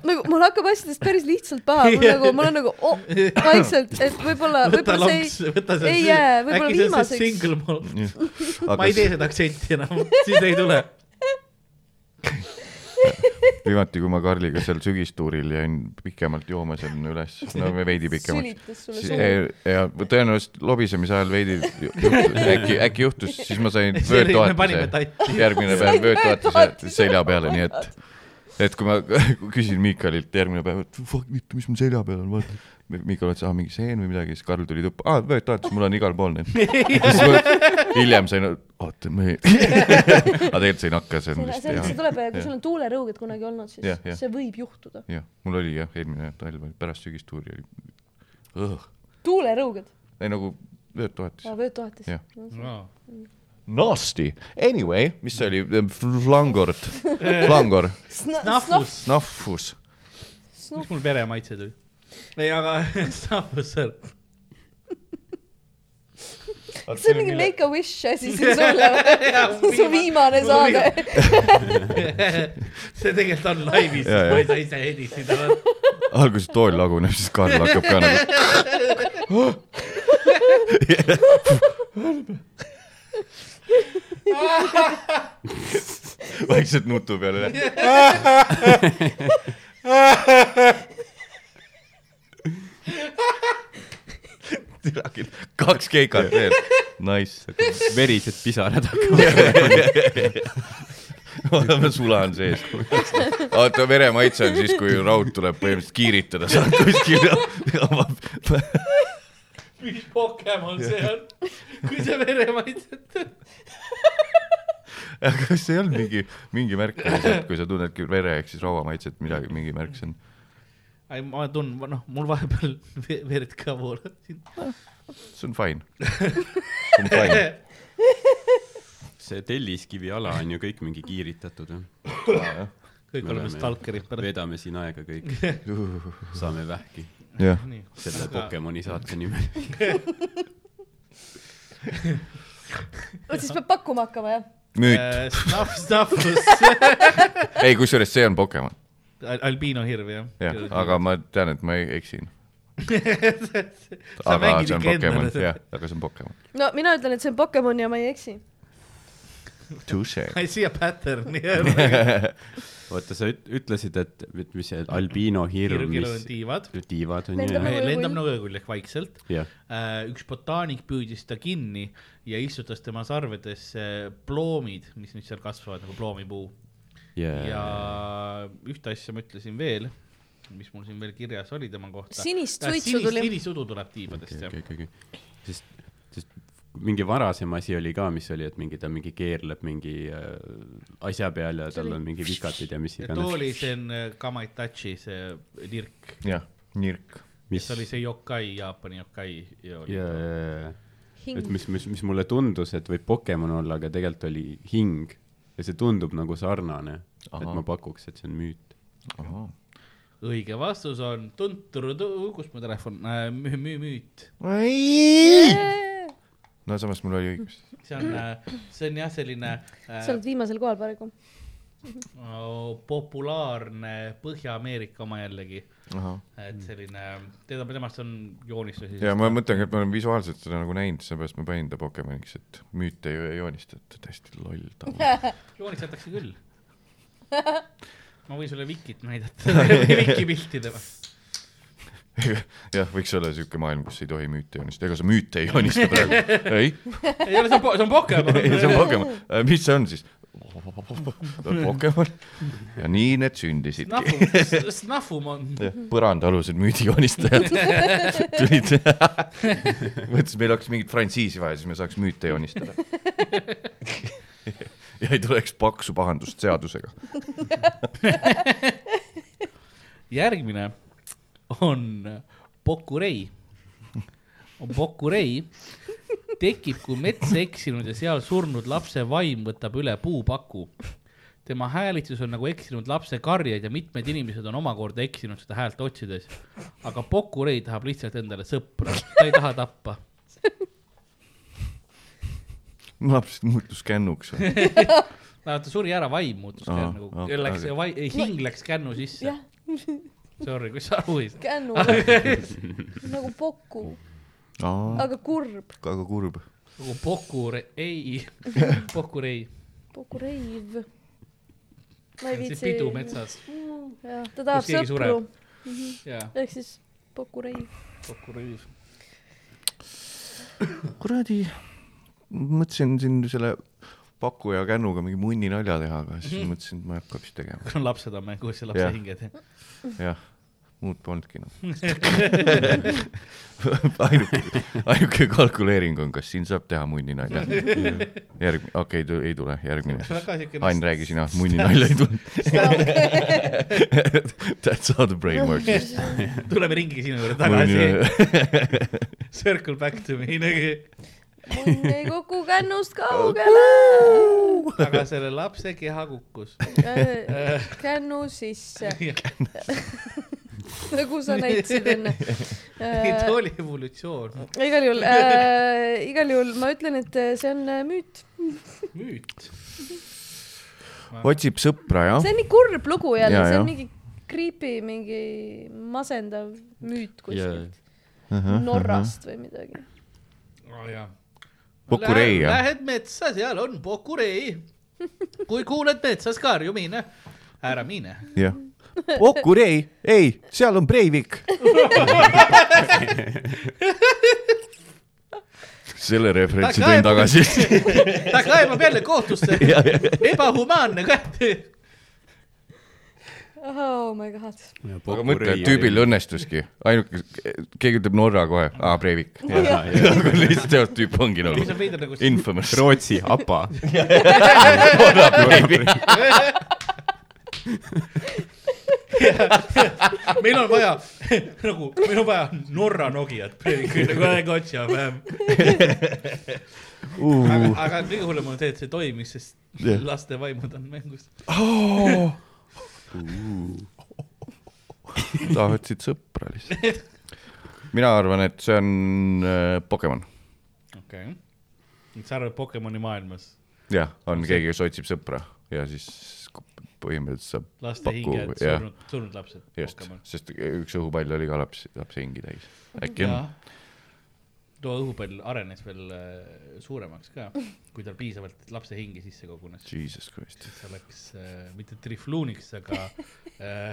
Speaker 3: nagu mul hakkab asjadest päris lihtsalt paha , mul nagu , mul on nagu oh, vaikselt , et võib-olla ,
Speaker 1: võta
Speaker 3: võib-olla see
Speaker 1: lonks , võta
Speaker 3: ei
Speaker 1: see
Speaker 3: jää,
Speaker 1: äkki see
Speaker 3: võib-olla
Speaker 1: on see
Speaker 3: viimaseks.
Speaker 1: single malt .
Speaker 2: aga
Speaker 1: ma ei tee seda aktsenti enam , siis ei tule .
Speaker 2: viimati , kui ma Karliga seal sügistuuril jäin pikemalt jooma sinna üles , no me veidi pikemalt .
Speaker 3: sülitas sulle suu .
Speaker 2: ja tõenäoliselt lobisemise ajal veidi juhtus , äkki , äkki juhtus , siis ma sain
Speaker 1: me panime
Speaker 2: vöötoatuse ,
Speaker 1: tatti .
Speaker 2: järgmine päev
Speaker 3: Said
Speaker 2: vöötoatuse
Speaker 3: vöötoatuse.
Speaker 2: selja peale , nii et , et kui ma küsin Miikalilt järgmine päev , et fuck , mis mul selja peal on , vaata . Miikal ütles , aa mingi seen või midagi , siis Karl tuli tuppa , aa vöötoatus , mul on igal pool need . siis ma hiljem sain , oota , ma ei , aga tegelikult sain hakka , see on
Speaker 3: see,
Speaker 2: vist
Speaker 3: see, see
Speaker 2: hea
Speaker 3: tuleb , kui
Speaker 2: Jah.
Speaker 3: sul on tuulerõuged kunagi olnud , siis
Speaker 2: Jah, jah.
Speaker 3: see võib juhtuda .
Speaker 2: jah , mul oli jah , eelmine talv oli pärast sügistuuri oli Õh.
Speaker 3: tuulerõuged ,
Speaker 2: ei nagu vöötoatis .
Speaker 3: vöötoatis
Speaker 2: Jah. .
Speaker 1: No.
Speaker 2: Nasty , anyway , mis see oli , flangord , flangor ,
Speaker 1: Snafus ,
Speaker 2: nahvus ,
Speaker 1: mis mul veremaitse tuli ? ei , aga Snafus seal ,
Speaker 3: see on mingi make a wish asi siin sulle või ? su viimane saade .
Speaker 1: see tegelikult on laivis ,
Speaker 2: Jaa,
Speaker 1: ma ei saa ise edistada .
Speaker 2: alguses tool laguneb , siis Karl hakkab ka nagu , vaikselt nutu peale läheb . kaks keikat veel , nice ,
Speaker 4: verised pisarad hakkavad .
Speaker 2: oleme sulan sees . vaata , veremaitse on siis , kui raud tuleb põhimõtteliselt kiiritada , saad kuskil avab
Speaker 1: mis Pokemon see on ? kui sa veremaitset ,
Speaker 2: aga kas see ei olnud mingi , mingi märk oli see , et kui sa tunnedki vere ehk siis rauamaitset , midagi , mingi märk see on .
Speaker 1: ei ma tunnen , noh , mul vahepeal ve- verd ka voolab siin .
Speaker 2: see on fine . see on fine .
Speaker 4: see telliskivi ala on ju kõik mingi kiiritatud , jah .
Speaker 1: kõik
Speaker 4: Me
Speaker 1: oleme
Speaker 4: oleme-
Speaker 1: stalkerid pärast .
Speaker 4: vedame siin aega kõik . saame vähki
Speaker 2: jah ,
Speaker 1: nii ,
Speaker 4: selle Pokemoni saate nimel .
Speaker 3: vot siis peab pakkuma hakkama , jah ?
Speaker 2: müüt .
Speaker 1: Äh, Snaf , Snafus ,
Speaker 2: ei , kusjuures see on Pokemon .
Speaker 1: albiino hirv jah .
Speaker 2: jah , aga ma tean , et ma ei- eksin .
Speaker 1: sa
Speaker 2: aga
Speaker 1: mängid
Speaker 2: see
Speaker 1: ikka
Speaker 2: on
Speaker 1: endale
Speaker 2: Pokemon ,
Speaker 1: seda
Speaker 2: jah ,, aga see on Pokemon .
Speaker 3: no mina ütlen , et see on Pokemon ja ma ei eksi .
Speaker 2: Touche .
Speaker 1: I see a pattern jah .
Speaker 4: oota , sa üt- ütlesid , et , et mis see albiino hirm ,
Speaker 1: kirgil on
Speaker 4: mis
Speaker 1: tiivad ,
Speaker 4: tiivad on ju
Speaker 3: Lendab . nagu-
Speaker 1: lendab nõue külge vaikselt .
Speaker 4: jah ,
Speaker 1: üks botaanik püüdis ta kinni ja istutas tema sarvedesse ploomid , mis nüüd seal kasvavad nagu ploomipuu . ja
Speaker 4: ja Äh.
Speaker 1: ühte asja ma ütlesin veel , mis mul siin veel kirjas oli tema kohta . Äh,
Speaker 3: Sinist suitsu tuli.
Speaker 1: sinisudu tuleb tiibadest
Speaker 4: okei ,
Speaker 1: jah .
Speaker 4: okei , okei . sest , sest mingi varasem asi oli ka , mis oli , et mingi ta mingi keerleb mingi äh, asja peal ja tal on mingi vikatid ja mis
Speaker 1: too
Speaker 4: iganes .
Speaker 1: oli see äh, Kamaitachi see nirk
Speaker 2: jah , nirk .
Speaker 4: mis
Speaker 1: mis oli see yokai , Jaapani yokai ja oli
Speaker 4: ja , ja , ja , ja , et
Speaker 3: hing .
Speaker 4: mis , mis , mis mulle tundus , et võib Pokemon olla , aga tegelikult oli hing ja see tundub nagu sarnane , et
Speaker 2: Ahah.
Speaker 4: ma pakuks , et see on müüt .
Speaker 1: õige vastus on tunturudu , kus mu telefon äh, , müü- , müü- , müüt .
Speaker 2: no samas mul oli õigus .
Speaker 1: see on äh, , see on jah , selline
Speaker 3: sa
Speaker 1: äh,
Speaker 3: oled viimasel kohal praegu .
Speaker 1: o- populaarne Põhja-Ameerika oma jällegi ,
Speaker 2: ahah .
Speaker 1: et selline , teda , temast on joonistusi .
Speaker 2: ja Mm. ma mõtlen , et ma olen visuaalselt seda nagu näinud , seepärast ma panin ta Pokemoniks , et müüte ei joonistata , täiesti loll ta
Speaker 1: joonistatakse küll . ma võin sulle Vikit näidata , Viki pilti tema .
Speaker 2: on . jah , võiks olla siuke maailm , kus ei tohi müüte joonistada , ega sa müüte ei joonista praegu , ei
Speaker 1: ei ole , see on , see on Pokemon .
Speaker 2: ei , see on Pokemon . mis see on siis ? Pokemon . ja nii need sündisidki .
Speaker 1: Snafu , Snafumon .
Speaker 2: põrandaalused müüdijoonistajad tulid . mõtlesin , meil oleks mingit frantsiisi vaja , siis me saaks müüte joonistada . ja ei tuleks paksu pahandust seadusega .
Speaker 1: järgmine on Pokurei . Pokurei tekib , kui metsa eksinud ja seal surnud lapse vaim võtab üle puupaku . tema häälitsus on nagu eksinud lapse karjed ja mitmed inimesed on omakorda eksinud seda häält otsides . aga Pokurei tahab lihtsalt endale sõpra , ta ei taha tappa .
Speaker 2: laps muutus kännuks .
Speaker 1: no ta suri ära , vaim muutus
Speaker 2: Ahah,
Speaker 1: nagu
Speaker 2: okei. ,
Speaker 1: läks vai- , hing läks kännu sisse
Speaker 3: jah .
Speaker 1: Sorry , kui sa aru ei saa .
Speaker 3: kännu nagu Poku ,
Speaker 2: aga
Speaker 3: aga kurb .
Speaker 2: kurb .
Speaker 1: Nagu Pokurei , Pokurei
Speaker 3: Poku reiv . ma ei viitsi .
Speaker 1: pidu metsas
Speaker 3: jah , ta tahab
Speaker 1: Kus keegi
Speaker 3: sõpru .
Speaker 1: ja
Speaker 3: ehk siis Pokurei .
Speaker 1: kokku rüüs .
Speaker 2: kuradi , mõtlesin siin selle pakkuja kännuga mingi munninalja teha , aga siis mõtlesin , et ma ei hakka vist tegema ,
Speaker 1: kui on lapsed on mängus ja lapse
Speaker 2: Jah.
Speaker 1: hinged .
Speaker 2: jah muud polnudki noh . ainuke , ainuke kalkuleering on , kas siin saab teha munninalja . järgmine , okei okay, , ei tule , järgmine .
Speaker 1: väga siukene
Speaker 2: Ain , räägi sina , munninalja ei tule . That's how the brain works .
Speaker 1: tuleme ringi sinu juurde tagasi . Circle back to me nagu
Speaker 3: munn ei kuku kännust kaugele .
Speaker 1: aga selle lapse keha kukkus .
Speaker 3: kännu sisse , nagu sa näitasid enne .
Speaker 2: äh,
Speaker 1: see oli evolutsioon ,
Speaker 3: igal juhul äh, , igal juhul ma ütlen , et äh, see on äh, müüt .
Speaker 1: müüt .
Speaker 2: otsib sõpra , jah
Speaker 3: see on nii kurb lugu jälle ,
Speaker 2: Jaa,
Speaker 3: see
Speaker 2: jah.
Speaker 3: on mingi creepy , mingi masendav müüt
Speaker 4: ja
Speaker 3: kuskilt Norrast või midagi .
Speaker 2: Pokurei, jah.
Speaker 1: Lähed metsa , seal on Pokurei . kui kuuled metsas karjumine , ära mine .
Speaker 2: jah . Pokurei , ei , seal on Breivik . selle referentsi tõin tagasi .
Speaker 1: ta kaebab jälle kohtusse , ebahumaanne kätte .
Speaker 3: oh my god .
Speaker 2: aga mõtle , tüübil . õnnestuski , ainuke , keegi ütleb Norra kohe , aa , Breivik . aga lihtsalt jah , tüüp ongi nagu
Speaker 1: mis on veider nagu see ,
Speaker 2: infamous .
Speaker 4: Rootsi apa .
Speaker 1: meil on vaja nagu , meil on vaja Norra Nokiat , nagu aeg otsib . aga , aga kõige hullem on see , et see toimis , sest
Speaker 2: Jah.
Speaker 1: laste vaimud on mängus .
Speaker 2: tahtsid sõpra lihtsalt . mina arvan , et see on äh, Pokemon .
Speaker 1: okei okay. . sa arvad Pokemoni maailmas
Speaker 2: jah , on keegi , kes otsib sõpra ja siis põhimõtteliselt saab
Speaker 1: laste hinged ,
Speaker 2: jah
Speaker 1: surnud , surnud lapsed .
Speaker 2: just , sest üks õhupall oli ka laps , lapse hingi täis . äkki on ,
Speaker 1: too õhupall arenes veel äh, suuremaks ka , kui tal piisavalt lapse hinge sisse kogunes .
Speaker 2: jesus christ ,
Speaker 1: see läks äh, mitte trifluuniks , aga äh,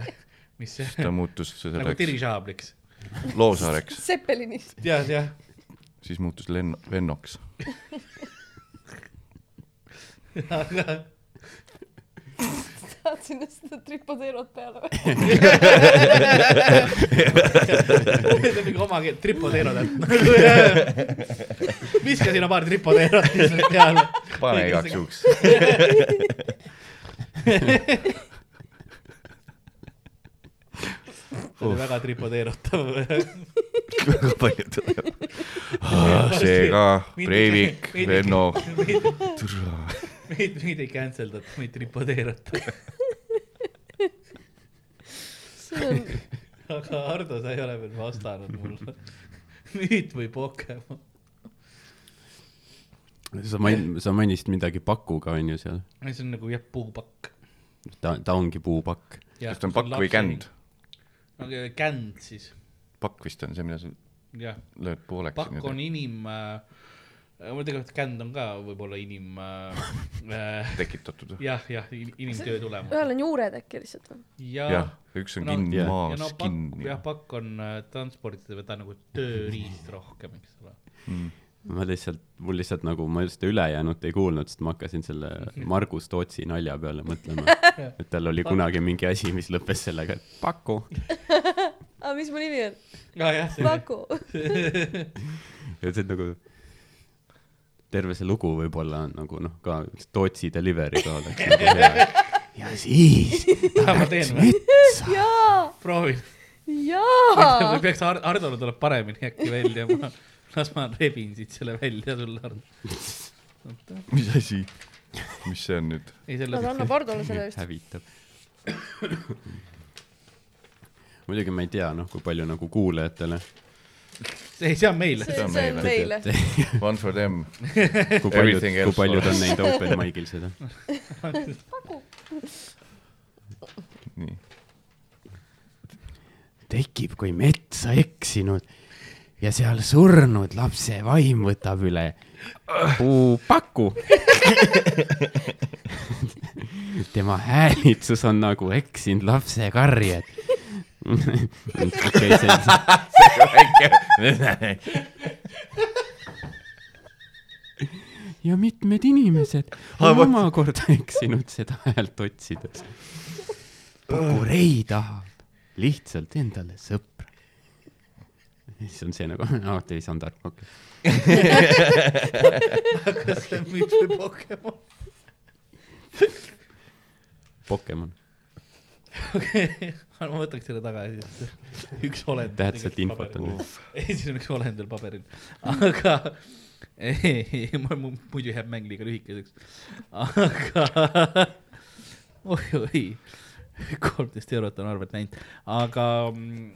Speaker 1: mis see ,
Speaker 2: ta muutus
Speaker 1: nagu
Speaker 2: selleks
Speaker 1: dirižaabliks .
Speaker 2: Loosaareks ,
Speaker 3: Seppelinist .
Speaker 1: jah , jah .
Speaker 2: siis muutus Lenn- , Lennoks .
Speaker 1: aga
Speaker 3: tahad sinna seda tripodeerot peale või ?
Speaker 1: see on mingi Nagu oma keel , tripoteerod , et viska sinna paar tripoteerot lihtsalt peale .
Speaker 2: pane igaks . juhuks .
Speaker 1: see oli väga tripoteerutav .
Speaker 2: väga palju tuleb . seega Ah, Breivik , Lenno ,
Speaker 1: meid , meid ei cancel data , meid tripoteerata .
Speaker 3: see on ,
Speaker 1: aga Hardo , sa ei ole veel vastanud mulle . müüt või Pokemon ?
Speaker 4: sa main- , sa mainisid midagi pakuga onju seal .
Speaker 1: see on nagu jah , puupakk .
Speaker 4: ta , ta ongi puupakk .
Speaker 2: kas ta on pakk või känd ??
Speaker 1: känd siis ,
Speaker 2: pakk vist on see , mida sa
Speaker 1: jah .
Speaker 2: lööd pooleks .
Speaker 1: pakk on inim äh, , ma ei tea , kas känd on ka võib-olla inim äh, ,
Speaker 2: tekitatud .
Speaker 1: jah , jah , inimtöö tulemus .
Speaker 3: ühel on juured äkki lihtsalt või ?
Speaker 1: ja
Speaker 2: jah , üks on
Speaker 1: No,
Speaker 2: kinni
Speaker 4: jah.
Speaker 1: ja no
Speaker 2: maas ,
Speaker 1: pakk ,
Speaker 2: kinni
Speaker 1: jah , pakk on äh, transportida , ta on nagu tööriist rohkem , eks ole .
Speaker 4: ma lihtsalt , mul lihtsalt nagu , ma seda ülejäänut ei kuulnud , sest ma hakkasin selle Margus Tootsi nalja peale mõtlema . et tal oli kunagi mingi asi , mis lõppes sellega , et paku .
Speaker 3: aa , Ah, mis mu nimi on ?
Speaker 1: ja , Ah, jah , see
Speaker 3: Paku .
Speaker 4: ja see on nagu , terve see lugu võib-olla on nagu noh , ka Tootsi delivery ka oleks nagu hea . ja siis
Speaker 1: Ah, ma teen või ?
Speaker 3: jaa ,
Speaker 1: proovin .
Speaker 3: jaa
Speaker 1: või . peaks Ar- , Hardole tuleb paremini äkki välja , ma , las ma rebin siit selle välja sulle , Hardo .
Speaker 2: mis asi ? mis see on nüüd ?
Speaker 1: ei , selle
Speaker 3: aga anna Pardole selle vist .
Speaker 4: hävitab . muidugi ma ei tea , noh , kui palju nagu kuulajatele ,
Speaker 1: ei , see on meile .
Speaker 3: see
Speaker 2: on
Speaker 3: see on meile .
Speaker 2: One for them .
Speaker 4: kui paljud ,
Speaker 2: Everything
Speaker 4: kui
Speaker 2: else
Speaker 4: paljud on näinud open mic'il seda .
Speaker 2: nii .
Speaker 4: tekib kui metsa eksinud ja seal surnud lapse vaim võtab üle puupaku . tema häälitsus on nagu eksinud lapse karjed . ja mitmed inimesed on omakorda eksinud seda häält otsides . Pakurei tahab lihtsalt endale sõpra . siis on see nagu , aa , te ei saanud aru , okei okay. .
Speaker 1: kas see müüb või Pokemon ?
Speaker 4: Pokemon ,
Speaker 1: okei , ma võtaks selle tagasi , et üks olend .
Speaker 4: Tähtsat infot on nüüd.
Speaker 1: ei , siin on üks olend veel paberil , aga ei , ma mu- muidu jääb mäng liiga lühikeseks , aga oi-oi , kolmteist eurot on arvelt läinud , aga mm,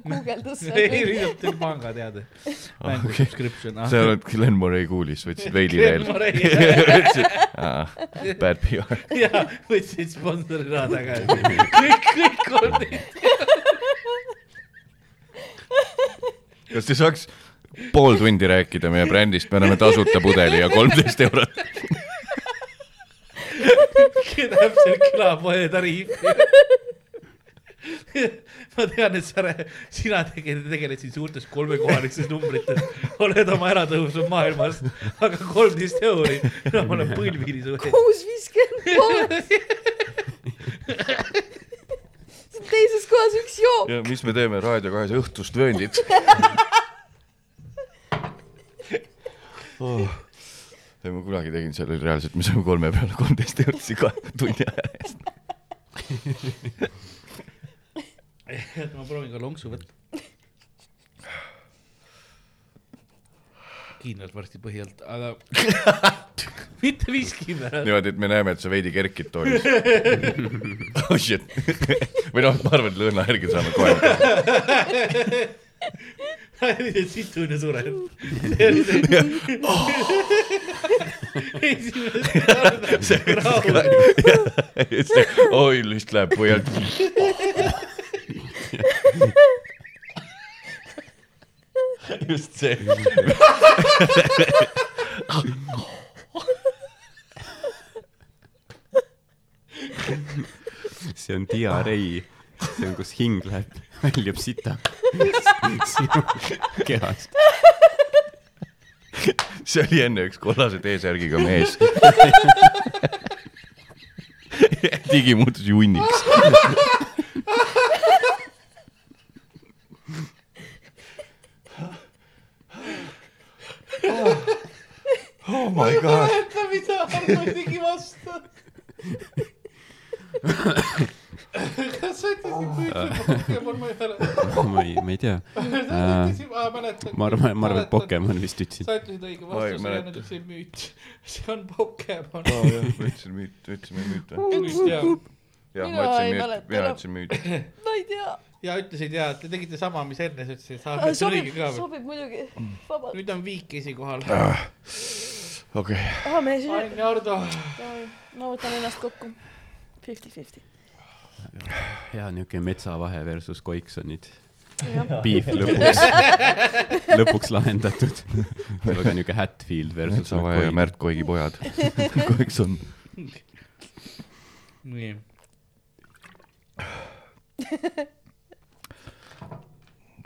Speaker 3: guugeldas
Speaker 1: ei , lihtsalt tuli pangateade , mängu
Speaker 2: Ah, Okei.
Speaker 1: subscription . Ah.
Speaker 2: sa oled Glen Murray kuulis , võtsid veidi veel . Bad PR .
Speaker 1: jaa , võtsid sponsori raha tagasi , kõik , kõik kolmteist .
Speaker 2: kas te saaks pool tundi rääkida meie brändist , me anname tasuta pudeli ja kolmteist eurot .
Speaker 1: täpselt külapoe tariif . ma tean , et sa , sina tegid , tegeled siin suurtes kolmekohalistes numbrites , oled oma äratõusnud maailmas , aga kolmteist euri , no ma olen põlvini su ees .
Speaker 3: kuus viiskümmend kolm , see on teises kohas üks jook .
Speaker 2: ja mis me teeme Raadio kahes õhtust vööndit oh. ? ei , ma kunagi tegin selle reaalselt , me saime kolme peale kolmteist eurot siin kahe tunni aja eest .
Speaker 1: ma proovin ka lonksu võtta . kindlalt varsti põhi alt , aga mitte miski pärast .
Speaker 2: niimoodi , et me näeme , et sa veidi kerkid toolis . oh shit . või noh , ma arvan , et lõuna järgi saame kohe .
Speaker 1: situn ja sureb . see oli see . esimest korda rahul .
Speaker 2: oi , list läheb põhjalt . just see .
Speaker 4: see on diarei , see on , kus hing läheb , väljub sita sinu kehast .
Speaker 2: see oli enne üks kollase T-särgiga mees . digi muutus junniks . oh my god ,
Speaker 1: mäleta , mida Arno tegi vastu . kas sa ütlesid , kui ütleb Pokemon , ma ei mäleta .
Speaker 4: ma ei , ma ei tea ,
Speaker 1: sa ütlesid , ma mäletan .
Speaker 4: ma arvan , ma arvan , et . Pokemon vist ütlesid .
Speaker 1: sa ütlesid õige
Speaker 2: Ma ei
Speaker 1: vastuse , see on
Speaker 2: mäleta.
Speaker 1: nüüd see müüt . see on Pokemon .
Speaker 2: võtsin müüt , võtsime müüt või ? jah , ma
Speaker 3: Mina
Speaker 2: võtsin
Speaker 3: ei
Speaker 2: müüt , mina
Speaker 3: mäleta enam.
Speaker 2: võtsin müüt .
Speaker 3: ma ei tea ,
Speaker 1: ja ütlesid ja , te tegite sama , mis enne , sa ütlesid , et sa oled õige
Speaker 3: sobib
Speaker 1: ka , veel .
Speaker 3: sobib muidugi , vabalt .
Speaker 1: nüüd on viik esikohal .
Speaker 2: Ah. okei ,
Speaker 3: aa , me siin ,
Speaker 1: Ain ja Ardo .
Speaker 3: ma võtan ennast kokku . Fifty-fifty .
Speaker 4: jaa , niisugune metsavahe versus koiksonid .
Speaker 3: jah ,
Speaker 4: piif lõpuks , lõpuks lahendatud . väga niisugune Hatfield versus nagu
Speaker 2: Metsavaja ja
Speaker 4: McCoy .
Speaker 2: Märt Koigi pojad . kogu aeg on
Speaker 1: nii .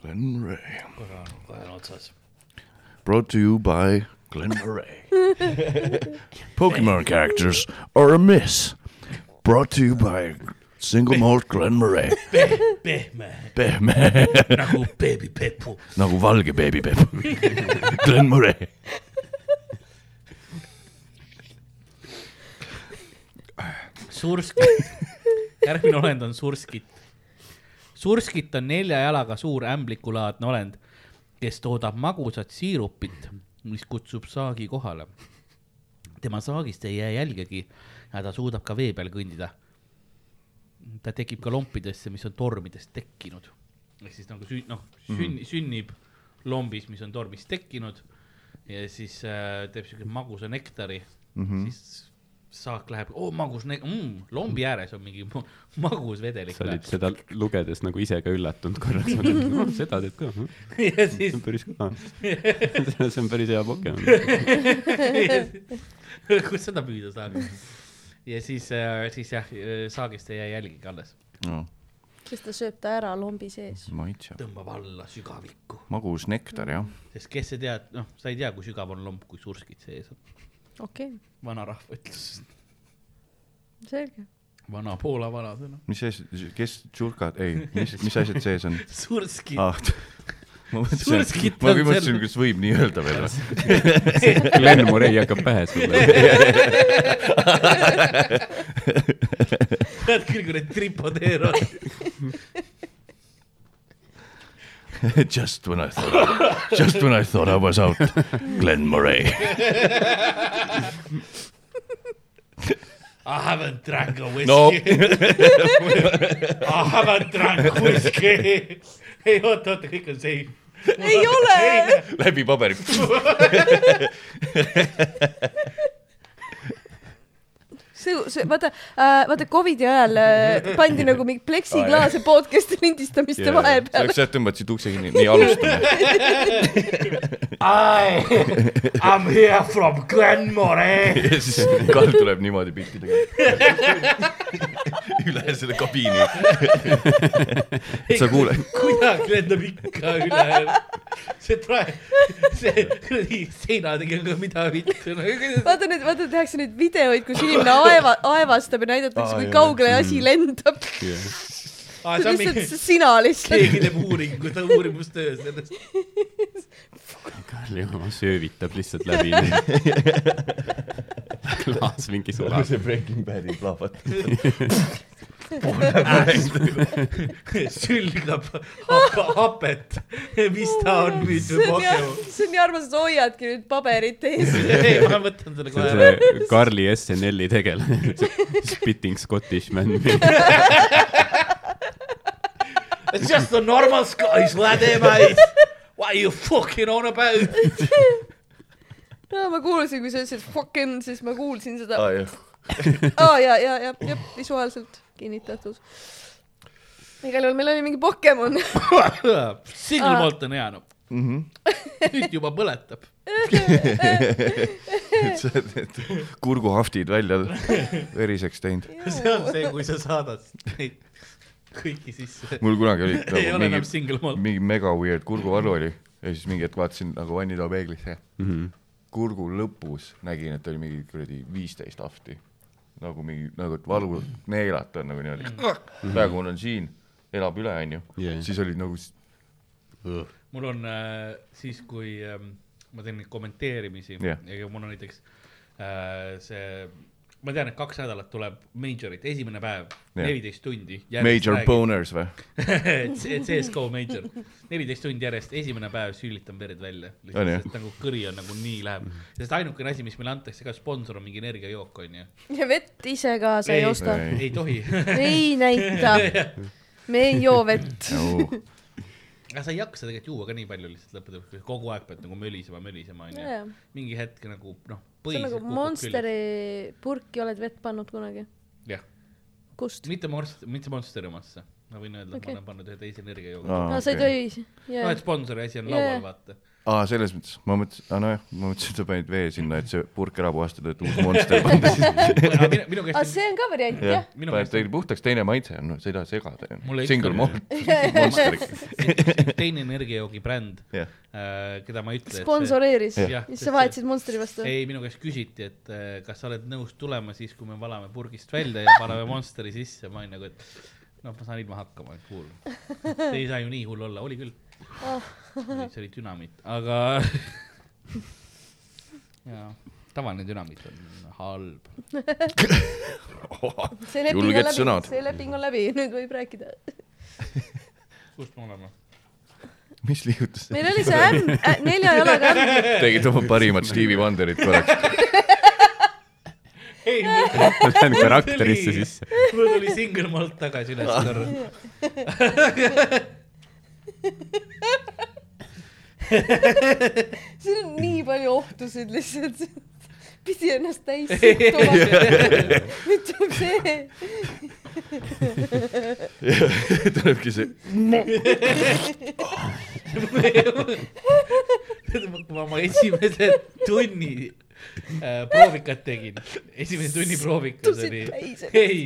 Speaker 2: Glen Murray .
Speaker 1: korra on kohe on otsas .
Speaker 2: Brought to you by Glen Murray. Pokemon characters are a miss. Brought to you by single malt Glen Murray.
Speaker 1: pehme
Speaker 2: Pehme
Speaker 1: nagu beebipepu .
Speaker 2: nagu valge beebipepp . Glen Murray .
Speaker 1: surskit . järgmine olend on surskit . surskit on nelja jalaga suur ämblikulaadne olend , kes toodab magusat siirupit , mis kutsub saagi kohale . tema saagist ei jää jälgegi ja ta suudab ka vee peal kõndida . ta tekib ka lompidesse , mis on tormidest tekkinud . ehk siis nagu süün- , noh , sünni , sünnib lombis , mis on tormist tekkinud ja siis äh, teeb siukse magusa nektari mm , -hmm. siis saak läheb , oo magus ne- mm, , lombi ääres on mingi mu- magus vedelik .
Speaker 4: sa olid seda lugedes nagu ise ka üllatunud korraks , seda teed ka , see
Speaker 1: ja siis
Speaker 4: on päris kõva . see on päris hea Pokemon .
Speaker 1: kus seda püüda saab . ja siis , siis jah , saagist ei jää jälgigi alles ,
Speaker 2: no, .
Speaker 3: sest ta sööb ta ära lombi sees .
Speaker 2: maitse ,
Speaker 1: tõmbab alla sügavikku ,
Speaker 2: magus nektar jah ,
Speaker 1: sest kes see teab , noh , sa ei tea , kui sügav on lomp , kui surskid sees on .
Speaker 3: okei okay, ,
Speaker 1: vanarahva ütlus ,
Speaker 3: selge .
Speaker 1: vana Poola vanasõna ,
Speaker 2: mis asi , kes tšurkad , ei , mis , mis asjad sees on ?
Speaker 1: surskid ah. .
Speaker 2: ah, . ma mõtlesin
Speaker 1: Surskit ,
Speaker 2: ma
Speaker 1: on
Speaker 2: mõtlesin
Speaker 1: seal- ,
Speaker 2: kas võib nii öelda veel või ?
Speaker 4: Glen Murray hakkab pähe sulle .
Speaker 1: Ah. tead küll , kui need tripodeeravad .
Speaker 2: Just when I thought , just when I thought I was out , Glen Murray .
Speaker 1: I haven't drank a whiskey
Speaker 2: No.
Speaker 1: I haven't drank whiskey . ei oota , oota , kõik on safe .
Speaker 3: ei ole ,
Speaker 2: läbi paberi .
Speaker 3: see , see , vaata äh, , vaata Covidi ajal äh, pandi nagu mingi pleksiklaase podcast'i lindistamiste yeah. vahepeal .
Speaker 2: sa tõmbasid ukse kinni , nii alustame .
Speaker 1: I am here from Glenmore .
Speaker 2: ja siis Karl tuleb niimoodi piltidega . üle selle kabiini . sa kuule ,
Speaker 1: kuidagi lendab ikka üle . see trae , see kuradi seinadega on ka mida vittu .
Speaker 3: vaata nüüd , vaata tehakse neid videoid , kus inimene aeva , aevastab ja näidatakse
Speaker 2: Aa,
Speaker 3: ah, , kui
Speaker 2: jah.
Speaker 3: kaugele asi lendab .
Speaker 1: aa , Ah, see on
Speaker 3: lihtsalt
Speaker 1: mingi ,
Speaker 3: see sina lihtsalt .
Speaker 1: keegi teeb uuringu , ta uurimustöö sellest .
Speaker 4: Karl Juhan söövitab lihtsalt läbi . klaas mingi sulab .
Speaker 2: see Breaking Badi plahvatab .
Speaker 1: sülgab hap- hapet , mis ta on nüüd
Speaker 3: see
Speaker 1: või
Speaker 3: on jah
Speaker 1: pokemon .,
Speaker 3: see on nii armas , et sa hoiadki nüüd paberit ees .
Speaker 1: ei , ma võtan selle
Speaker 4: see on
Speaker 1: kohe .
Speaker 4: see Karli SNL-i tegelane , Spitting Scottish Man .
Speaker 1: It's just a normal Scottish laddie , mate . What are you fucking on about ?
Speaker 3: no ma kuulsin , kui sa ütlesid fucking , siis ma kuulsin seda .
Speaker 2: aa jah ,
Speaker 3: aa ja , ja , ja , jah , visuaalselt kinnitatud . igal juhul meil oli mingi Pokemon . Ah.
Speaker 1: Single malt on hea , noh . nüüd juba põletab .
Speaker 2: sa oled need kurguhaftid välja veriseks teinud .
Speaker 1: see on see , kui sa saadad neid kõiki sisse .
Speaker 2: mul kunagi oli
Speaker 1: ei
Speaker 2: nagu
Speaker 1: ole enam
Speaker 2: mingi ,
Speaker 1: single malt .
Speaker 2: mingi mega weird kurguvalu oli ja siis mingi hetk vaatasin nagu vannitoa peeglisse . kurgu lõpus nägin , et oli mingi kuradi viisteist hafti . nagu mingi , nagu et valu neelata on nagu niimoodi .
Speaker 1: Mhm.
Speaker 2: praegu mul on siin , elab üle , onju
Speaker 4: Jajah. .
Speaker 2: siis olid nagu s-
Speaker 1: mul on äh, siis , kui ähm, ma teen neid kommenteerimisi
Speaker 2: Jah.
Speaker 1: ja mul on näiteks äh, see , ma tean , et kaks nädalat tuleb majorit , esimene päev ,
Speaker 2: Jah.
Speaker 1: neliteist tundi .
Speaker 2: major . boners või ?
Speaker 1: CSGO major , neliteist tundi järjest , esimene päev süülitan verd välja .
Speaker 2: On jah? Mhm.
Speaker 1: sest nagu kõri on nagu nii läheb , sest ainukene asi , mis meile antakse ka sponsor on mingi energiajook onju .
Speaker 3: ja vett ise ka sa ei
Speaker 1: Ei.
Speaker 3: osta .
Speaker 2: Ei.
Speaker 1: ei tohi ,
Speaker 3: ei näita . me ei joo vett .
Speaker 1: aga sa ei jaksa tegelikult juua ka nii palju lihtsalt lõppude lõpuks , kogu aeg pead nagu mölisema , mölisema onju .
Speaker 3: see
Speaker 1: mingi hetk nagu noh .
Speaker 3: on nagu Monsteri purki oled vett pannud kunagi .
Speaker 1: jah ,
Speaker 3: kust ?
Speaker 1: mitte Monster , mitte Monsteri omasse , ma võin öelda okay. ,
Speaker 3: Okei.
Speaker 1: ma olen pannud ühe teise energiajoogi no. .
Speaker 3: aa , sa ei
Speaker 2: aa ,
Speaker 3: tohi .
Speaker 1: noh , et sponsori asi on laual
Speaker 3: Jaa.
Speaker 1: yeah. , vaata .
Speaker 2: selles mõttes , ma mõtlesin , aa nojah , ma mõtlesin , et sa panid vee sinna , et see purk ära puhastada , et uus monster panna sinna .
Speaker 1: minu , minu
Speaker 3: aa ,
Speaker 1: käest on ,
Speaker 3: see on ka variant ,
Speaker 2: jah
Speaker 3: jah ,?
Speaker 1: Minu
Speaker 2: paned
Speaker 1: meelest-
Speaker 2: teil puhtaks , teine maitse on , no sa ei taha segada
Speaker 1: Mulle
Speaker 2: ju .
Speaker 1: ikka-
Speaker 2: Single malt , monster .
Speaker 1: teine energiajoogi bränd
Speaker 2: jah ,
Speaker 1: äh, , keda ma ei ütle .
Speaker 3: sponsoreeris .
Speaker 1: Jah.
Speaker 3: siis sa vahetasid Monsteri vastu .
Speaker 1: ei , minu käest küsiti , et äh, kas sa oled nõus tulema siis , kui me valame purgist välja ja paneme Monsteri sisse , ma olin nagu , et noh , ma saan ilma hakkama , et hull . ei saa ju nii hull olla , oli küll . see oli dünamiit , aga jaa , tavaline dünamiit on halb .
Speaker 3: see leping
Speaker 2: julged
Speaker 3: on läbi
Speaker 2: sõnad. ,
Speaker 3: see leping on läbi , nüüd võib rääkida .
Speaker 1: kus me oleme ?
Speaker 2: mis liigutus see
Speaker 3: meil oli see ämm äh, , nelja jalaga ämm .
Speaker 2: tegid oma parimat Stevie Wonderit korraks .
Speaker 1: ei , mul
Speaker 4: ma lähen karakterisse sisse .
Speaker 1: mul tuli single malt tagasi üles korra .
Speaker 3: siin on nii palju ohtusid lihtsalt . pidi ennast täis sõltuma . nüüd tuleb see .
Speaker 2: tulebki see ,
Speaker 1: kui ma oma esimese tunni äh, proovikat tegin , esimene tunni proovikas
Speaker 3: Sattusid
Speaker 1: oli ,
Speaker 3: täis, et-
Speaker 1: ei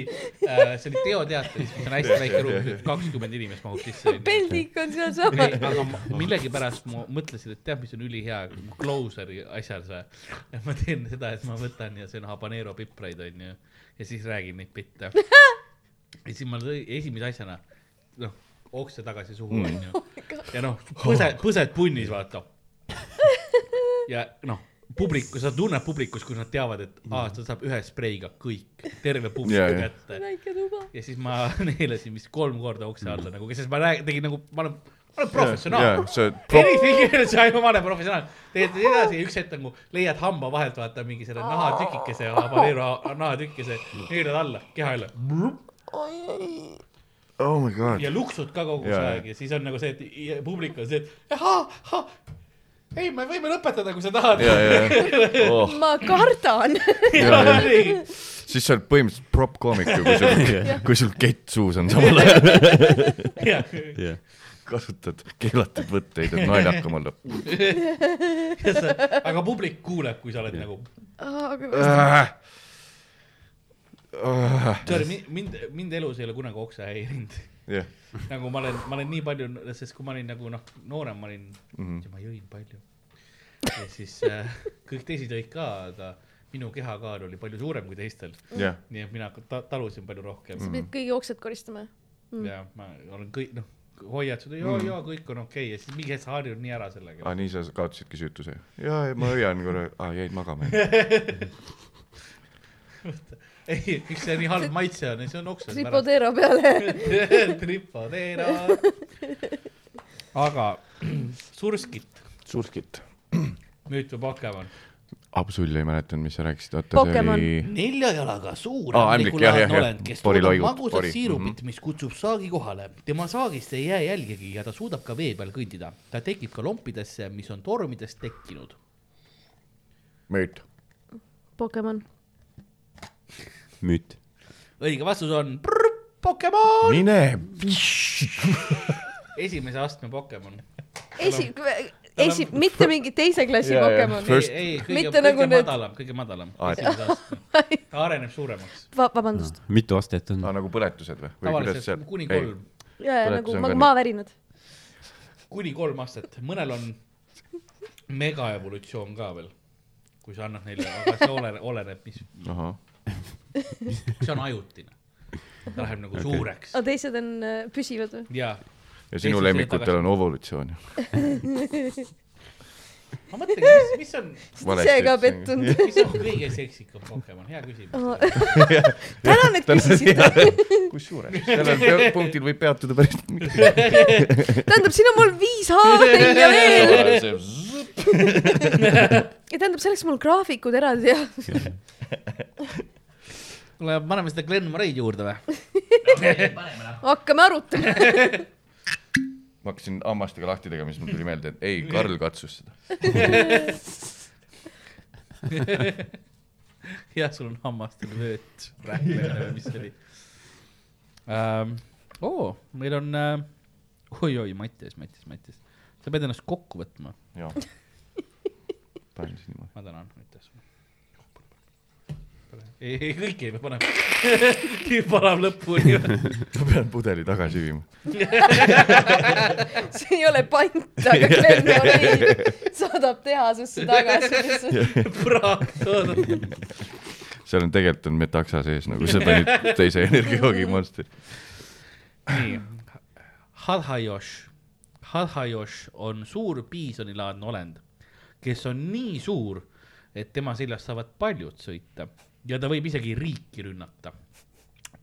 Speaker 1: äh, , see oli teoteatris , mis on hästi väike ruum , kakskümmend inimest mahub sisse .
Speaker 3: peldik on
Speaker 1: Ei,
Speaker 3: sealsamas .
Speaker 1: aga ma- millegipärast ma mõtlesin , et tead , mis on ülihea closer'i asjas või . et ma teen seda , et ma võtan ja söön habanero pipraid onju ja siis räägin neid bitte . ja siis ma lõi- esimese asjana , noh , okse tagasi suhu onju . ja noh ,
Speaker 2: Oh.
Speaker 1: põse , põsed punnis vaata . ja noh , publiku , sa tunned publikus , kui nad teavad , et aa , ta saab ühe spreiga kõik , terve publik
Speaker 2: Jaa, jaa.
Speaker 1: kätte
Speaker 3: väike tuba .
Speaker 1: ja siis ma neelasin vist kolm korda ukse alla nagu , sest ma räägin , tegin nagu , ma olen , ma olen professionaal .
Speaker 2: see pro- ,
Speaker 1: Erifilmis on ju , ma olen professionaal . teed edasi , üks hetk nagu leiad hamba vahelt , vaata mingi selle nahatükikese , habanero nahatükikese , neelad alla , keha üle .
Speaker 2: oh my god
Speaker 1: ja . luksud ka kogu see
Speaker 2: Jaa,
Speaker 1: aeg ja siis on nagu see , et i- publik on see , et ahah , ahah . ei , me võime lõpetada , kui sa tahad .
Speaker 2: ja , ja , ja oh, ,
Speaker 3: ma kardan .
Speaker 2: ja , ja siis sa oled põhimõtteliselt prop koomik ju , kui sul , kui sul kett suus on samal ajal .
Speaker 4: jah .
Speaker 2: kasutad keelatud võtteid , et naljakam olla .
Speaker 1: aga publik kuuleb , kui sa oled nagu
Speaker 2: Ah.
Speaker 1: sorry , mind , mind elus ei ole kunagi oksa häirinud .
Speaker 2: jah ,
Speaker 1: nagu ma olen , ma olen nii palju , sest kui ma olin nagu noh , noorem ma olin mm ,
Speaker 2: Mhm.
Speaker 1: -hmm. ma jõin palju . ja siis äh, kõik teised jõid ka , aga minu kehakaal oli palju suurem kui teistel .
Speaker 2: jah ,
Speaker 1: nii et mina ta talusin palju rohkem
Speaker 3: sa
Speaker 2: Mhm.
Speaker 1: mm.
Speaker 3: pidid kõigi oksad koristama .
Speaker 2: Mm.
Speaker 1: ja ma olen kõik noh , hoiad seda , joo , joo , kõik on okei okay. ja siis mingi hetk sa harjud nii ära sellega
Speaker 2: aa , Ah, nii sa kaotasidki süütuse ? jaa , ei ma hõian korra , aa jäid magama .
Speaker 1: ei , üks see nii halb maitse on ja see on oksas .
Speaker 3: tripodera peale .
Speaker 1: tripodeera . aga surskit
Speaker 2: surskit .
Speaker 1: müütu Pokemon .
Speaker 2: absoluutselt ei mäletanud , mis sa rääkisid , oota see
Speaker 3: Pokemon.
Speaker 2: oli .
Speaker 1: nelja jalaga suur
Speaker 2: Aa, ämblik, jah,
Speaker 1: ämblikulaadne
Speaker 2: jah, jah.
Speaker 1: olend , kes
Speaker 2: Pori
Speaker 1: toodab
Speaker 2: loigud,
Speaker 1: magusat
Speaker 2: pori, Mhm.
Speaker 1: siirupit , mis kutsub saagi kohale . tema saagist ei jää jälgegi ja ta suudab ka vee peal kõndida . ta tekib ka lompidesse , mis on tormidest tekkinud .
Speaker 2: müüt .
Speaker 3: Pokemon .
Speaker 4: müüt .
Speaker 1: õige vastus on prr, Pokemon ,
Speaker 2: mine .
Speaker 1: esimese astme Pokemon .
Speaker 3: esi , esi , mitte mingi teise klassi
Speaker 2: Jaa, jaa.
Speaker 3: Pokemon .
Speaker 2: First-
Speaker 1: ei , kõige ,
Speaker 3: Mitte
Speaker 1: kõige
Speaker 3: nagu
Speaker 1: nagu
Speaker 3: need-
Speaker 1: madalam , kõige madalam .
Speaker 2: Aa, et-
Speaker 1: ta areneb suuremaks .
Speaker 3: Va- , vabandust .
Speaker 4: mitu astet on
Speaker 2: aa , nagu põletused või ? või kuidas seal
Speaker 1: tavaliselt ? kuni kolm ,
Speaker 3: ja , ja nagu
Speaker 2: põletus on
Speaker 3: ma-
Speaker 2: ka nii.
Speaker 3: maavärinad .
Speaker 1: kuni kolm astet , mõnel on megaevolutsioon ka veel , kui sa annad neile , aga see oleneb , oleneb , mis
Speaker 2: ahah ,
Speaker 1: see on ajutine . ta läheb nagu okay. suureks
Speaker 3: aga teised on äh, püsivad või ?
Speaker 1: ja
Speaker 2: ja sinu
Speaker 1: Teised
Speaker 2: lemmikutel
Speaker 1: selja
Speaker 2: on evolutsioon .
Speaker 1: ma mõtlengi , mis , mis on ,
Speaker 3: ise ka . pettunud .
Speaker 1: mis on kõige seksikam Pokemon , hea küsimus .
Speaker 3: tänan , et küsisite .
Speaker 2: kusjuures , sellel pea- punktil võib peatuda päris .
Speaker 3: tähendab , siin on mul viis haavari ja veel . ja tähendab , selleks mul graafikud eraldi ja
Speaker 1: kuule , paneme seda Glen Murray'd juurde või ?
Speaker 3: hakkame arutama .
Speaker 2: ma hakkasin hammastega lahti tegema , siis mul tuli meelde , et ei , Karl katsus seda .
Speaker 1: jah , sul on hammastel vööt , rähklemine või mis see oli um, . oo , meil on uh, , oi-oi , Mattias , Mattias , Mattias , sa pead ennast kokku võtma .
Speaker 2: jaa . panen siis niimoodi .
Speaker 1: ma tänan , aitäh sulle . ei , ei kõiki ei pea panema . nii palav lõpuni .
Speaker 2: ma pean pudeli tagasi viima .
Speaker 3: see ei ole pant , aga Glen Murray saadab tehasesse tagasi .
Speaker 1: praak toodab .
Speaker 2: seal on tegelikult on metaksa sees nagu seda nüüd teise energiajoogi monster .
Speaker 1: nii , Hadhajosh , Hadhajosh on suur piisonilaadne olend , kes on nii suur , et tema seljas saavad paljud sõita ja ta võib isegi riiki rünnata .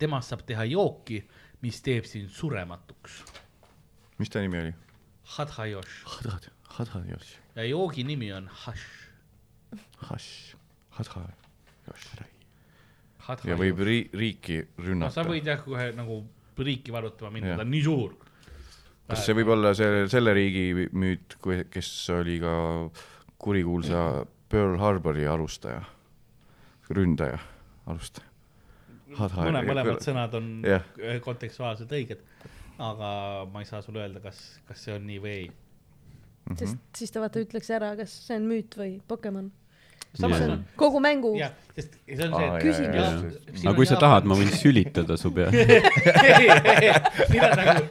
Speaker 1: temast saab teha jooki , mis teeb sind surematuks .
Speaker 2: mis ta nimi oli ?
Speaker 1: Hadhajosh
Speaker 2: Hadad , Hadadjoš ,
Speaker 1: ja joogi nimi on Hash .
Speaker 2: Hash , Hadadjoš . ja võib ri- , riiki
Speaker 1: no sa
Speaker 2: rünnata .
Speaker 1: võid jah kohe nagu riiki vallutama minna ,
Speaker 2: Jah.
Speaker 1: ta on nii suur .
Speaker 2: kas see võib olla see , selle riigi müüt , kes oli ka kurikuulsa Pearl Harbori alustaja ? ründaja , alustaja .
Speaker 1: mõne , mõlemad sõnad on
Speaker 2: Jah.
Speaker 1: eh, kontekstuaalselt õiged , aga ma ei saa sulle öelda , kas , kas see on nii või ei .
Speaker 3: sest siis ta vaata ütleks ära , kas see on müüt või Pokemon .
Speaker 1: samas
Speaker 4: Jah.
Speaker 1: on ,
Speaker 3: kogu mängu .
Speaker 1: jah , sest see on
Speaker 2: Aa,
Speaker 1: see ,
Speaker 3: Küsimus.
Speaker 2: jaa, jaa.
Speaker 4: aga kui sa tahad , ma võin sülitada su pea ,
Speaker 1: võin . mina nagu ,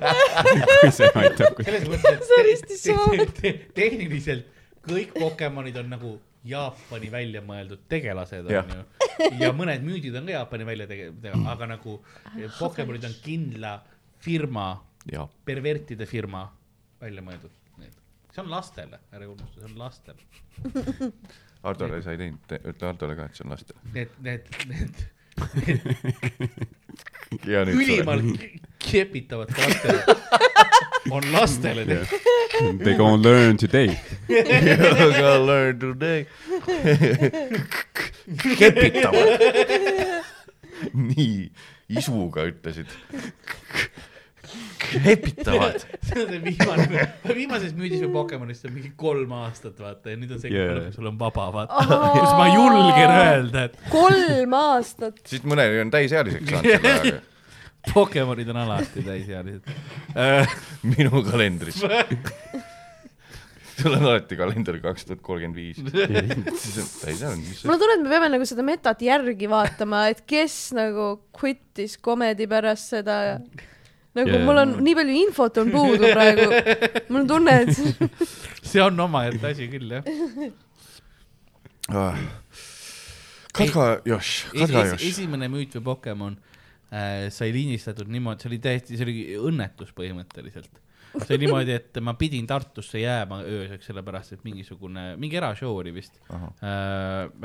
Speaker 4: kui see aitab .
Speaker 1: selles mõttes , et .
Speaker 3: See on hästi soov. .
Speaker 1: tehniliselt kõik Pokemonid on nagu Jaapani välja mõeldud tegelased
Speaker 2: Jah.
Speaker 1: onju . ja mõned müüdid on ka Jaapani välja tege- , aga nagu
Speaker 3: Ah,
Speaker 1: Pokemonid on kindla firma ,
Speaker 2: jaa ,
Speaker 1: pervertide firma välja mõeldud . see on lastele , ära unusta , see on lastele .
Speaker 2: Hardole sa ei teinud , ütle Hardole ka , et see on lastele .
Speaker 1: Need , need , need
Speaker 2: ja nüüd
Speaker 1: ülimalt kepitavad lastele on lastele tehtud .
Speaker 4: They gonna learn today .
Speaker 2: sureb . learn today . kepitavad . nii , isuga ütlesid . kepitavad .
Speaker 1: see on see viimane , viimases müüdis või Pokemonis see on mingi kolm aastat vaata ja nüüd on see
Speaker 4: Jaa.
Speaker 1: yeah. , sul on vaba vaata , kus ma julgen öelda , et
Speaker 3: kolm aastat .
Speaker 2: siis mõnel on täisealiseks saanud selle ajaga .
Speaker 1: Pokemonid on alati täisealised .
Speaker 2: Äh, minu kalendris . sul on alati kalender kaks tuhat kolmkümmend viis . siis on täisealine , mis see
Speaker 3: mulle tunne , et me peame nagu seda metat järgi vaatama , et kes nagu quit'is comedy pärast seda . nagu
Speaker 4: Jaa.
Speaker 3: yeah. mul on nii palju infot on puudu praegu . mul on tunne , et
Speaker 1: see on omaette asi küll jah .
Speaker 2: ah. . Kadra Josh , Kadra Josh .
Speaker 1: esimene müüt või Pokemon äh, sai lindistatud niimoodi , see oli täiesti , see oli õnnetus põhimõtteliselt . see oli niimoodi , et ma pidin Tartusse jääma ööseks , sellepärast et mingisugune , mingi erashow oli vist . äh, .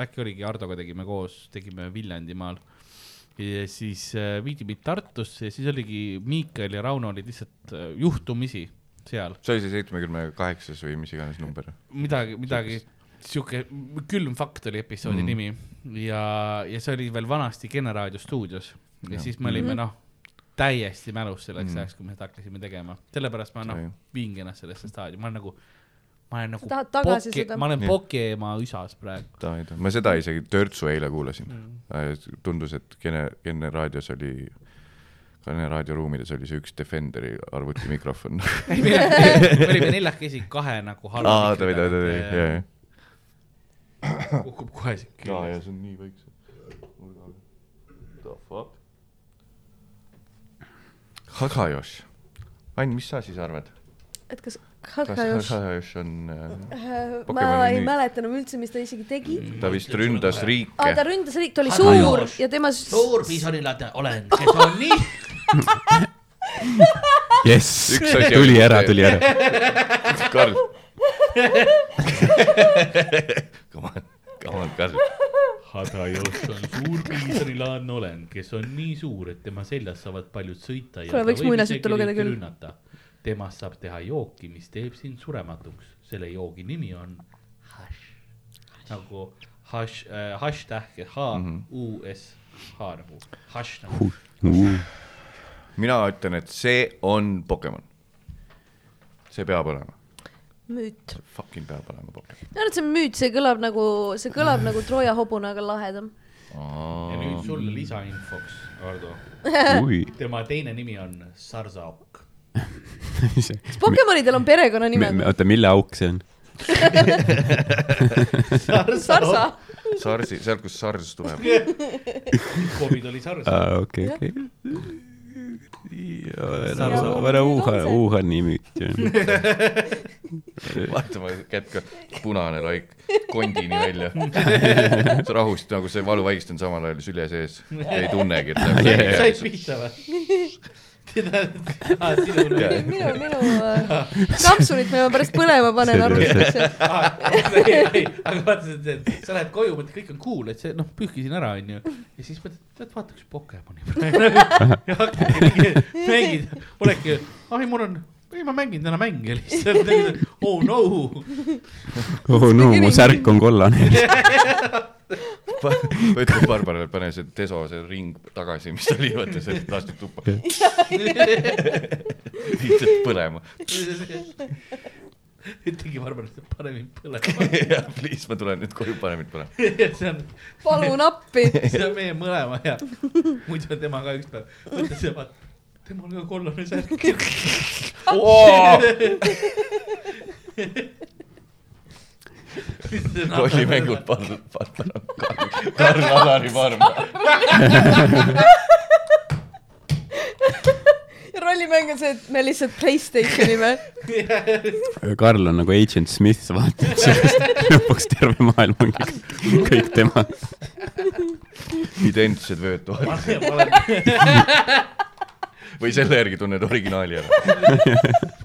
Speaker 1: äkki oligi Hardoga tegime koos , tegime Viljandimaal . ja siis äh, viidi mind Tartusse ja siis oligi Miikael ja Rauno olid lihtsalt äh, juhtumisi seal .
Speaker 2: see oli see seitsmekümne kaheksas või mis iganes number .
Speaker 1: midagi , midagi sihuke külm fakt oli episoodi mm. nimi ja , ja see oli veel vanasti Kene raadio stuudios ja, ja siis me
Speaker 3: Mhm.
Speaker 1: olime noh , täiesti mälus selleks ajaks mm. , kui me seda hakkasime tegema , sellepärast ma noh
Speaker 2: See- ,
Speaker 1: viingin ennast sellesse staadiumi , ma olen nagu , ma olen
Speaker 3: tahad
Speaker 1: nagu
Speaker 3: tagasi seda-
Speaker 1: ma olen
Speaker 2: Jah.
Speaker 1: Pokemaa üsas praegu .
Speaker 2: ma seda isegi törtsu eile kuulasin mm. . tundus , et Kene , Kene raadios oli , Kene raadioruumides oli see üks Defenderi arvuti mikrofon .
Speaker 1: me olime neljakesi kahe nagu halva .
Speaker 2: aa , ta oli , ta oli , ta oli , jaa , jaa .
Speaker 1: jah . kukub kohe siit
Speaker 2: jaa , ja
Speaker 1: küljest .
Speaker 2: see on nii väikse . The fuck ? Hakajosh , Ain , mis sa siis arvad ?
Speaker 3: et kas
Speaker 2: kas
Speaker 3: Hakajosh ,
Speaker 2: Hakajosh on äh, ,
Speaker 3: ma
Speaker 2: Pokemoni
Speaker 3: ei
Speaker 2: nüüd- Mm.
Speaker 3: mäleta enam üldse , mis ta isegi tegi .
Speaker 2: ta vist ründas
Speaker 3: aa , ta
Speaker 2: riike .
Speaker 3: ründas riik , ta oli
Speaker 1: Hakajosh.
Speaker 3: suur ja tema s-
Speaker 1: suur piisonilade olen , kes on nii .
Speaker 4: jess
Speaker 2: Üks asi ,
Speaker 4: tuli
Speaker 2: on-
Speaker 4: ära , tuli ära .
Speaker 2: Karl . Come on , come on , Karl .
Speaker 1: Hadajost on suur piisonilaadne olend , kes on nii suur , et tema seljas saavad paljud sõita .
Speaker 3: Kuule, võiks muinasjuttu lugeda küll.
Speaker 1: temast saab teha jooki , mis teeb sind surematuks . selle joogi nimi on hash , nagu hash äh, , hash tähk , H U S H nagu hash nagu .
Speaker 2: mina ütlen , et see on Pokemon . see peab olema ,
Speaker 3: müüt .
Speaker 2: fucking peab olema Pokemon .
Speaker 3: ma arvan , et see on müüt , see kõlab nagu , see kõlab nagu Trooja hobune , aga lahedam .
Speaker 1: ja nüüd sulle lisainfoks , Ardo .
Speaker 4: oi ,
Speaker 1: tema teine nimi on Sarsaok .
Speaker 3: kas Pokemonidel on perekonnanimed ?
Speaker 4: oota , mille auk see on ?
Speaker 3: Sarsa .
Speaker 2: Sarsi , sealt , kust Sars tuleb .
Speaker 1: Covid oli Sarsaok .
Speaker 4: aa , okei , okei .
Speaker 3: Sarsa-
Speaker 4: ära
Speaker 3: On
Speaker 4: uuha ,
Speaker 3: see?
Speaker 4: uuha nimi .
Speaker 2: vaata , ma kätkan , punane laik kondini välja . sa rahust nagu see valuvaigist on samal ajal sülje sees , ei tunnegi , et läheb
Speaker 4: Jaa,
Speaker 1: said
Speaker 2: läbi .
Speaker 1: pihta või ? teda , aa , sinu nimi .
Speaker 3: minu , minu äh, kapsulit me pärast põlema panen arvutusse .
Speaker 1: aga vaata , sa lähed koju , mõtled , kõik on cool , et see , noh , pühkisin ära , onju . ja siis mõtled , et vaataks Pokemoni praegu . ja hakkadki , mängid , oledki , ai , mul on , ei , ma mängin täna mänge lihtsalt . oh no .
Speaker 4: oh no , mu särk on kollane .
Speaker 2: ütle Barbarale , pane see deso , see ring tagasi , mis oli , vaata see lasti tuppa , viitsid põlema .
Speaker 1: ühtegi marmelit paremini põlema .
Speaker 2: jah , please , ma tulen nüüd koju paremini põlema .
Speaker 1: see on ,
Speaker 3: palun appi .
Speaker 1: see on meie mõlema hea . muidu on tema ka ükspäev , mõtle see vaata , temal on ka kollane särk .
Speaker 2: rollimängud pandud , pandud , Karl , Karl Alari farm .
Speaker 3: rollimäng on see , et me lihtsalt Playstationi me .
Speaker 4: Karl on nagu agent Smith , sa vaatad sellest , lõpuks terve maailm ongi kõik- kõik tema .
Speaker 2: identsed vööd toas
Speaker 1: ma olen ,
Speaker 2: või selle järgi tunned originaali ära .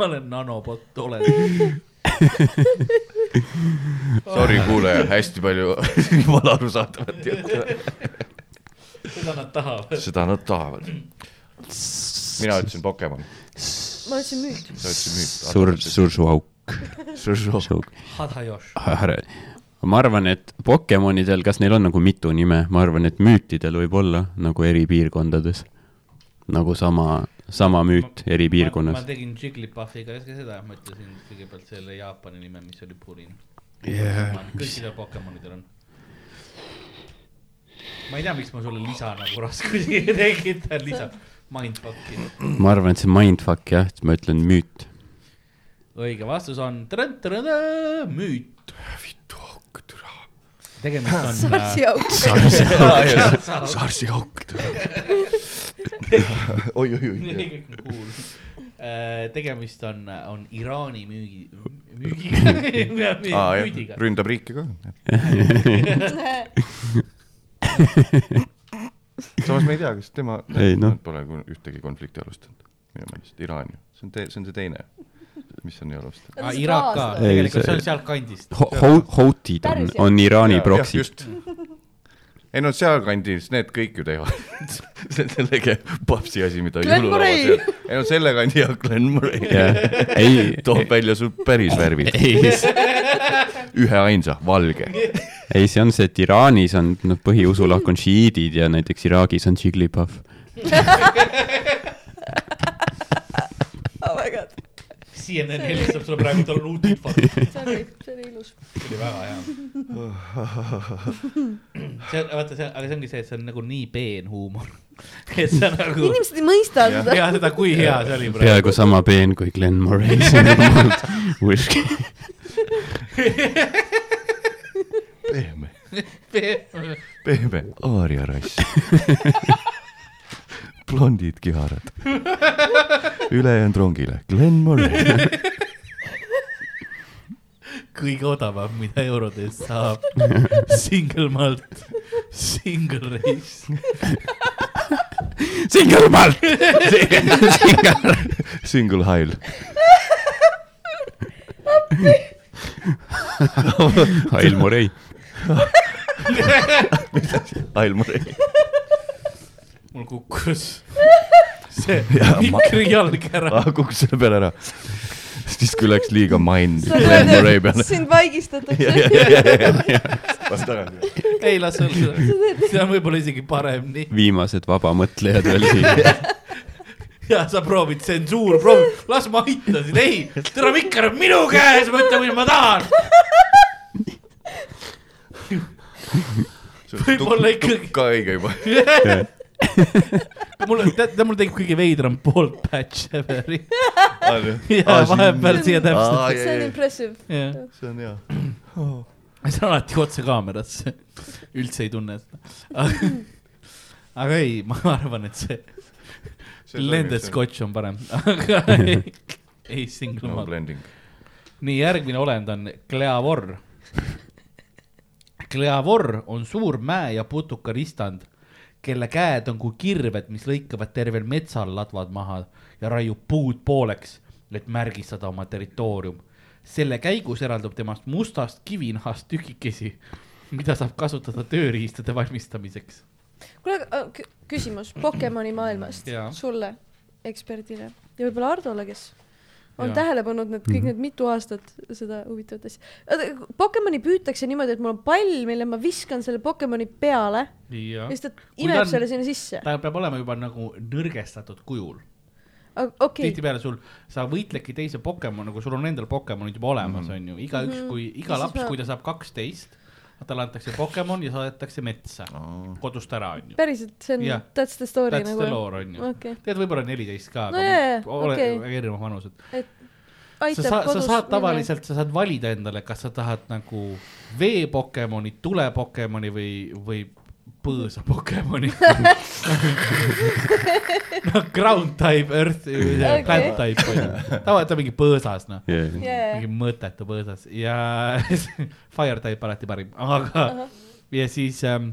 Speaker 1: ma olen nanobot , olen .
Speaker 2: Sorry , kuulaja , hästi palju valarusaadavat juttu .
Speaker 1: seda nad tahavad .
Speaker 2: seda nad tahavad . mina ütlesin Pokemon ,
Speaker 3: ma ütlesin müüt .
Speaker 2: sa
Speaker 4: sur ,
Speaker 2: ütlesid müüt .
Speaker 4: sursuauk .
Speaker 2: Sursu .
Speaker 1: Hadajosh .
Speaker 4: ma arvan , et Pokemonidel , kas neil on nagu mitu nime , ma arvan , et müütidel võib olla nagu eri piirkondades . nagu sama , sama müüt
Speaker 1: ma,
Speaker 4: eri
Speaker 1: ma
Speaker 4: piirkonnas .
Speaker 1: tegin Jiglipuffiga ka seda , ma ütlesin kõigepealt selle Jaapani nime , mis oli Purin . kõikidel Pokemonidel on . ma ei tea , miks ma sulle lisa nagu raskusi tekitan , lisa . Mindfuck'i .
Speaker 4: ma arvan , et see mindfuck jah , et ma ütlen müüt .
Speaker 1: õige vastus on trõ-trõ-trõ, müüt . tegemist on äh,
Speaker 3: Sarsi auks .
Speaker 2: Sarsi auk . oi , oi , oi .
Speaker 1: Nii, kõik on cool. Äh, tegemist on , on Iraani müügi , müügiga ,
Speaker 2: aa
Speaker 1: müüdiga
Speaker 2: jah ,. ründab riiki ka . samas me ei tea , kas tema ,
Speaker 4: Ei, noh.
Speaker 2: nad pole kun- ühtegi konflikti alustanud , minu meelest , Iraan ju , see on tee- , see on see teine , mis on ju alustanud .
Speaker 1: aa , Iraak ka ,
Speaker 4: Ei,
Speaker 1: tegelikult
Speaker 4: see-
Speaker 1: see on sealtkandist .
Speaker 4: Ho- , Houtid on , on Iraani proksid .
Speaker 2: ei no sealkandis need kõik ju teevad , see on sellega papsi asi , mida
Speaker 3: Glen
Speaker 2: jõululaual
Speaker 3: Murray.
Speaker 2: teha. ei no selle kandi ja Glen Murray
Speaker 4: ei ,
Speaker 2: toob välja su päris värvid ,
Speaker 4: ei ,
Speaker 2: üheainsa , valge .
Speaker 4: ei , see on see , et Iraanis on noh , põhiusulahk on šiiidid ja näiteks Iraagis on Jiglipov .
Speaker 3: oh my god ,
Speaker 1: CNN helistab sulle praegu , tal on uut infot . see
Speaker 3: see oli , see oli ilus .
Speaker 1: oli väga hea . see on , vaata see , aga see ongi see , et see on nagu nii peen huumor . et see on nagu ,
Speaker 3: inimesed ei mõista
Speaker 2: Jah.
Speaker 3: seda .
Speaker 1: ja seda , kui hea see oli praegu .
Speaker 4: peaaegu sama peen kui Glen Murray , see on olnud whisky .
Speaker 2: pehme , pehme aaria rass . blondid kiharad . ülejäänud rongile , Glen Murray .
Speaker 1: kõige odavam , mida eurode eest saab . Single malt , single race ,
Speaker 4: Single malt , single ,
Speaker 2: Single Hile .
Speaker 4: Ail Murray .
Speaker 2: Hile Murray .
Speaker 1: mul kukkus see
Speaker 2: Jaa, ma-
Speaker 1: mikri jalg ära .
Speaker 2: ah, . kukkus selle peale ära . siis kui läks liiga mind
Speaker 3: sa
Speaker 2: Glen Murray
Speaker 3: tead ,
Speaker 2: peale .
Speaker 3: sind vaigistatakse .
Speaker 2: vast tagasi .
Speaker 1: ei , las olla , see on võib-olla isegi parem nii .
Speaker 4: viimased vabamõtlejad veel siin .
Speaker 1: ja sa proovid tsensuur , proovi , las ma aitan sind , ei , tere , mikker on minu käes , ma ütlen , mida ma tahan . Võib-olla ikkagi-
Speaker 2: ka õige juba .
Speaker 1: mul , tead , mul tekib kõige veidram poolt patch every .
Speaker 2: Ah,
Speaker 1: ja vahepeal
Speaker 2: vahepeal
Speaker 1: siia täpselt ,
Speaker 3: see on impressive .
Speaker 1: jah .
Speaker 2: see on hea .
Speaker 1: see on alati otse kaamerasse , üldse ei tunne seda . aga ei , ma arvan , et see, see blended . scotch on parem , aga ei, ei single
Speaker 2: no
Speaker 1: malt .
Speaker 2: blending .
Speaker 1: nii , järgmine olend on kleavor . kleavor on suur mäe- ja putukaristand , kelle käed on kui kirved , mis lõikavad tervel metsal ladvad maha ja raiub puud pooleks , et märgistada oma territoorium . selle käigus eraldub temast mustast kivinahast tükikesi , mida saab kasutada tööriistade valmistamiseks .
Speaker 3: kuule , aga oh, kü- küsimus Pokemoni maailmast
Speaker 1: Jaa.
Speaker 3: sulle eksperdile ja võib-olla Hardole , kes on
Speaker 1: Jaa.
Speaker 3: tähele pannud need kõik need mitu aastat seda huvitavat asja . Pokemoni püütakse niimoodi , et mul on pall , mille ma viskan selle Pokemoni peale
Speaker 1: ja
Speaker 3: ja siis ta
Speaker 1: ta
Speaker 3: imeb
Speaker 1: on-
Speaker 3: selle sinna sisse .
Speaker 1: ta peab olema juba nagu nõrgestatud kujul .
Speaker 3: okei ,
Speaker 1: tihtipeale sul , sa võitledki teise Pokemoni , kui sul on endal Pokemonid juba olemas , on ju , igaüks , kui iga
Speaker 3: Mhm. Siis
Speaker 1: laps ,
Speaker 3: ma-
Speaker 1: kui ta saab kaksteist , talle antakse Pokemon ja saadetakse metsa , kodust ära , on ju .
Speaker 3: päriselt , see on
Speaker 1: Jah.
Speaker 3: that's the story
Speaker 1: That's the
Speaker 3: nagu .
Speaker 1: lore , on ju .
Speaker 3: okei ,
Speaker 1: tead , võib-olla neliteist ka ,
Speaker 3: No jaa, jaa,
Speaker 1: aga ole
Speaker 3: okei.
Speaker 1: erinevad vanused . sa
Speaker 3: aitab
Speaker 1: saad , sa
Speaker 3: kodus
Speaker 1: saad . tavaliselt , sa saad valida endale , kas sa tahad nagu vee Pokemoni , tule Pokemoni või , või põõsa Pokemoni no ground type , earth ,
Speaker 3: Okei.
Speaker 1: plant type on ju , tavaliselt on mingi põõsas noh ,
Speaker 4: yeah. .
Speaker 1: mingi mõttetu põõsas ja fire type alati parim , aga ja siis ähm,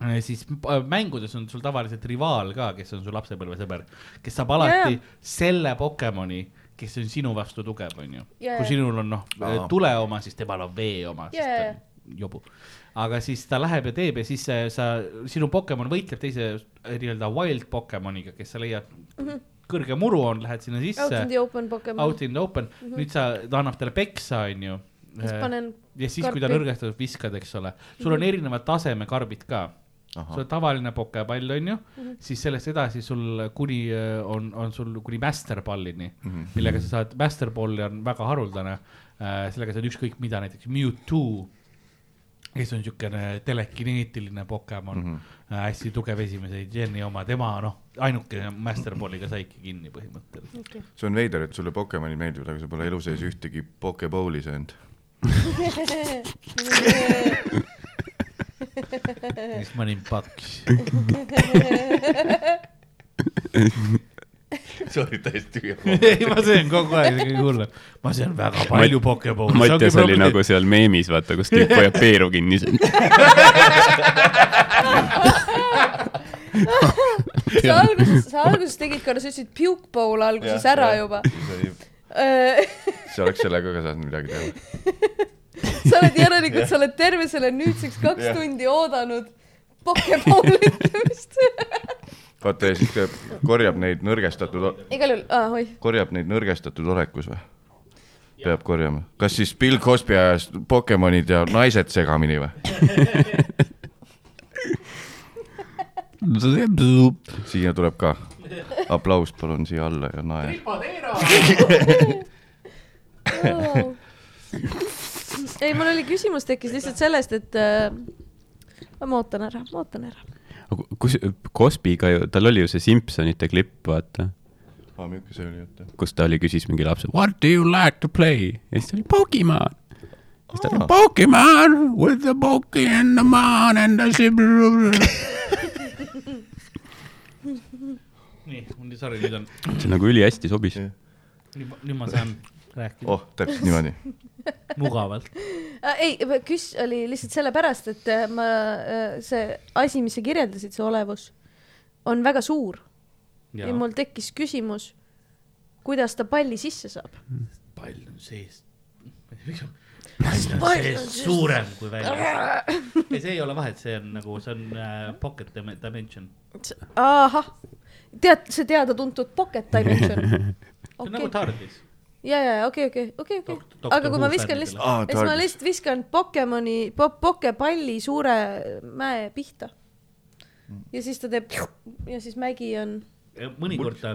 Speaker 1: äh, siis p- mängudes on sul tavaliselt rivaal ka , kes on su lapsepõlvesõber , kes saab alati yeah. selle Pokemoni , kes on sinu vastu tugev , onju .
Speaker 3: Jaa.
Speaker 1: kui sinul on noh
Speaker 2: Aa. ,
Speaker 1: tule oma , siis temal on vee oma , siis ta
Speaker 3: Jaa.
Speaker 1: on jobu . aga siis ta läheb ja teeb ja siis äh, sa , sinu Pokemon võitleb teise äh, nii-öelda wild Pokemoniga , kes sa leiad mm , -hmm. kõrge muru on , lähed sinna
Speaker 3: Mhm. Out
Speaker 1: sisse
Speaker 3: in , the open Pokemon Mhm.
Speaker 1: out . in the open mm , -hmm. nüüd sa , ta annab talle peksa , onju .
Speaker 3: siis panen ,
Speaker 1: ja siis , kui ta
Speaker 3: Karpi. Mhm.
Speaker 1: nõrgestatud viskad , eks ole , sul on erineva taseme karbid ka . sul on tavaline pokepall , onju ,
Speaker 3: Mhm.
Speaker 1: siis sellest edasi sul kuni öö, on , on sul kuni masterpallini , millega sa saad , masterpalli on väga haruldane . sellega saad ükskõik mida , näiteks Mewtwo , kes on siukene telekineetiline Pokemon mm , -hmm. hästi tugev esimese Geni oma , tema noh , ainukene masterpalliga saiki kinni põhimõtteliselt .
Speaker 2: see on veider , et sulle Pokemonid meeldivad , aga sa pole elu sees ühtegi Pokebowli söönud .
Speaker 1: siis ma olin paks .
Speaker 2: Sorry , täiesti tühja .
Speaker 1: ei , ma söön kogu aeg , see on kõige hullem . ma söön väga palju Pokemoni .
Speaker 4: Mattias oli nagu seal meemis , vaata , kus tüüp hoiab peeru kinni .
Speaker 3: sa alguses , sa alguses tegid korra , sa ütlesid puke bowl alguses ära juba . Äh,
Speaker 2: sa oleks sellega ka saanud midagi teha .
Speaker 3: sa oled järelikult , sa oled terve selle nüüdseks kaks
Speaker 2: Jah.
Speaker 3: tundi oodanud Pokemoni ütlemist .
Speaker 2: vaata ja siis ta korjab neid nõrgestatud ,
Speaker 3: igal juhul , aa , oih .
Speaker 2: korjab neid nõrgestatud olekus või ? peab korjama , kas siis Bill Cosby ajas Pokemonid ja naised segamini või ? siia tuleb ka , aplaus palun siia alla ja naer .
Speaker 3: ei , mul oli küsimus tekkis lihtsalt sellest , et äh, ma ootan ära , ma ootan ära .
Speaker 4: kus , Cosby'ga ju , tal oli ju see Simpsonite klipp , vaata ,
Speaker 2: aa , Ah, milline see oli , oota .
Speaker 4: kus ta oli , küsis mingi lapse , what do you like to play ? ja siis ta oli Pokemon . siis ta oli Pokemon with the poki and the man and the .
Speaker 1: nii , mul sorry , nüüd on ,
Speaker 4: see nagu ülihästi sobis .
Speaker 1: nüüd ma- nüüd ma saan rääkida
Speaker 2: oh , täpselt niimoodi .
Speaker 1: mugavalt .
Speaker 3: Äh, ei , küs- oli lihtsalt sellepärast , et äh, ma , see asi , mis sa kirjeldasid , see olevus , on väga suur ja, ja
Speaker 1: ja
Speaker 3: mul tekkis küsimus , kuidas ta palli sisse saab .
Speaker 1: pall on sees . pall on sees suurem kui välja . ei , see ei ole vahet , see on nagu , see on äh, pocket dim- dimension .
Speaker 3: ahah , tead , see teada-tuntud pocket dimension .
Speaker 1: see on nagu
Speaker 3: okei ,
Speaker 1: tardis .
Speaker 3: ja , ja okei , okei , okei ,
Speaker 1: Dok-
Speaker 3: okei ,
Speaker 1: doktor
Speaker 3: aga kui ma
Speaker 1: Who
Speaker 3: viskan
Speaker 1: fännidele.
Speaker 3: lihtsalt ,
Speaker 2: aa ,
Speaker 3: siis ma lihtsalt viskan Pokemoni po, , pokepalli suure mäe pihta . ja siis ta teeb ja siis mägi on
Speaker 1: mõnikord ta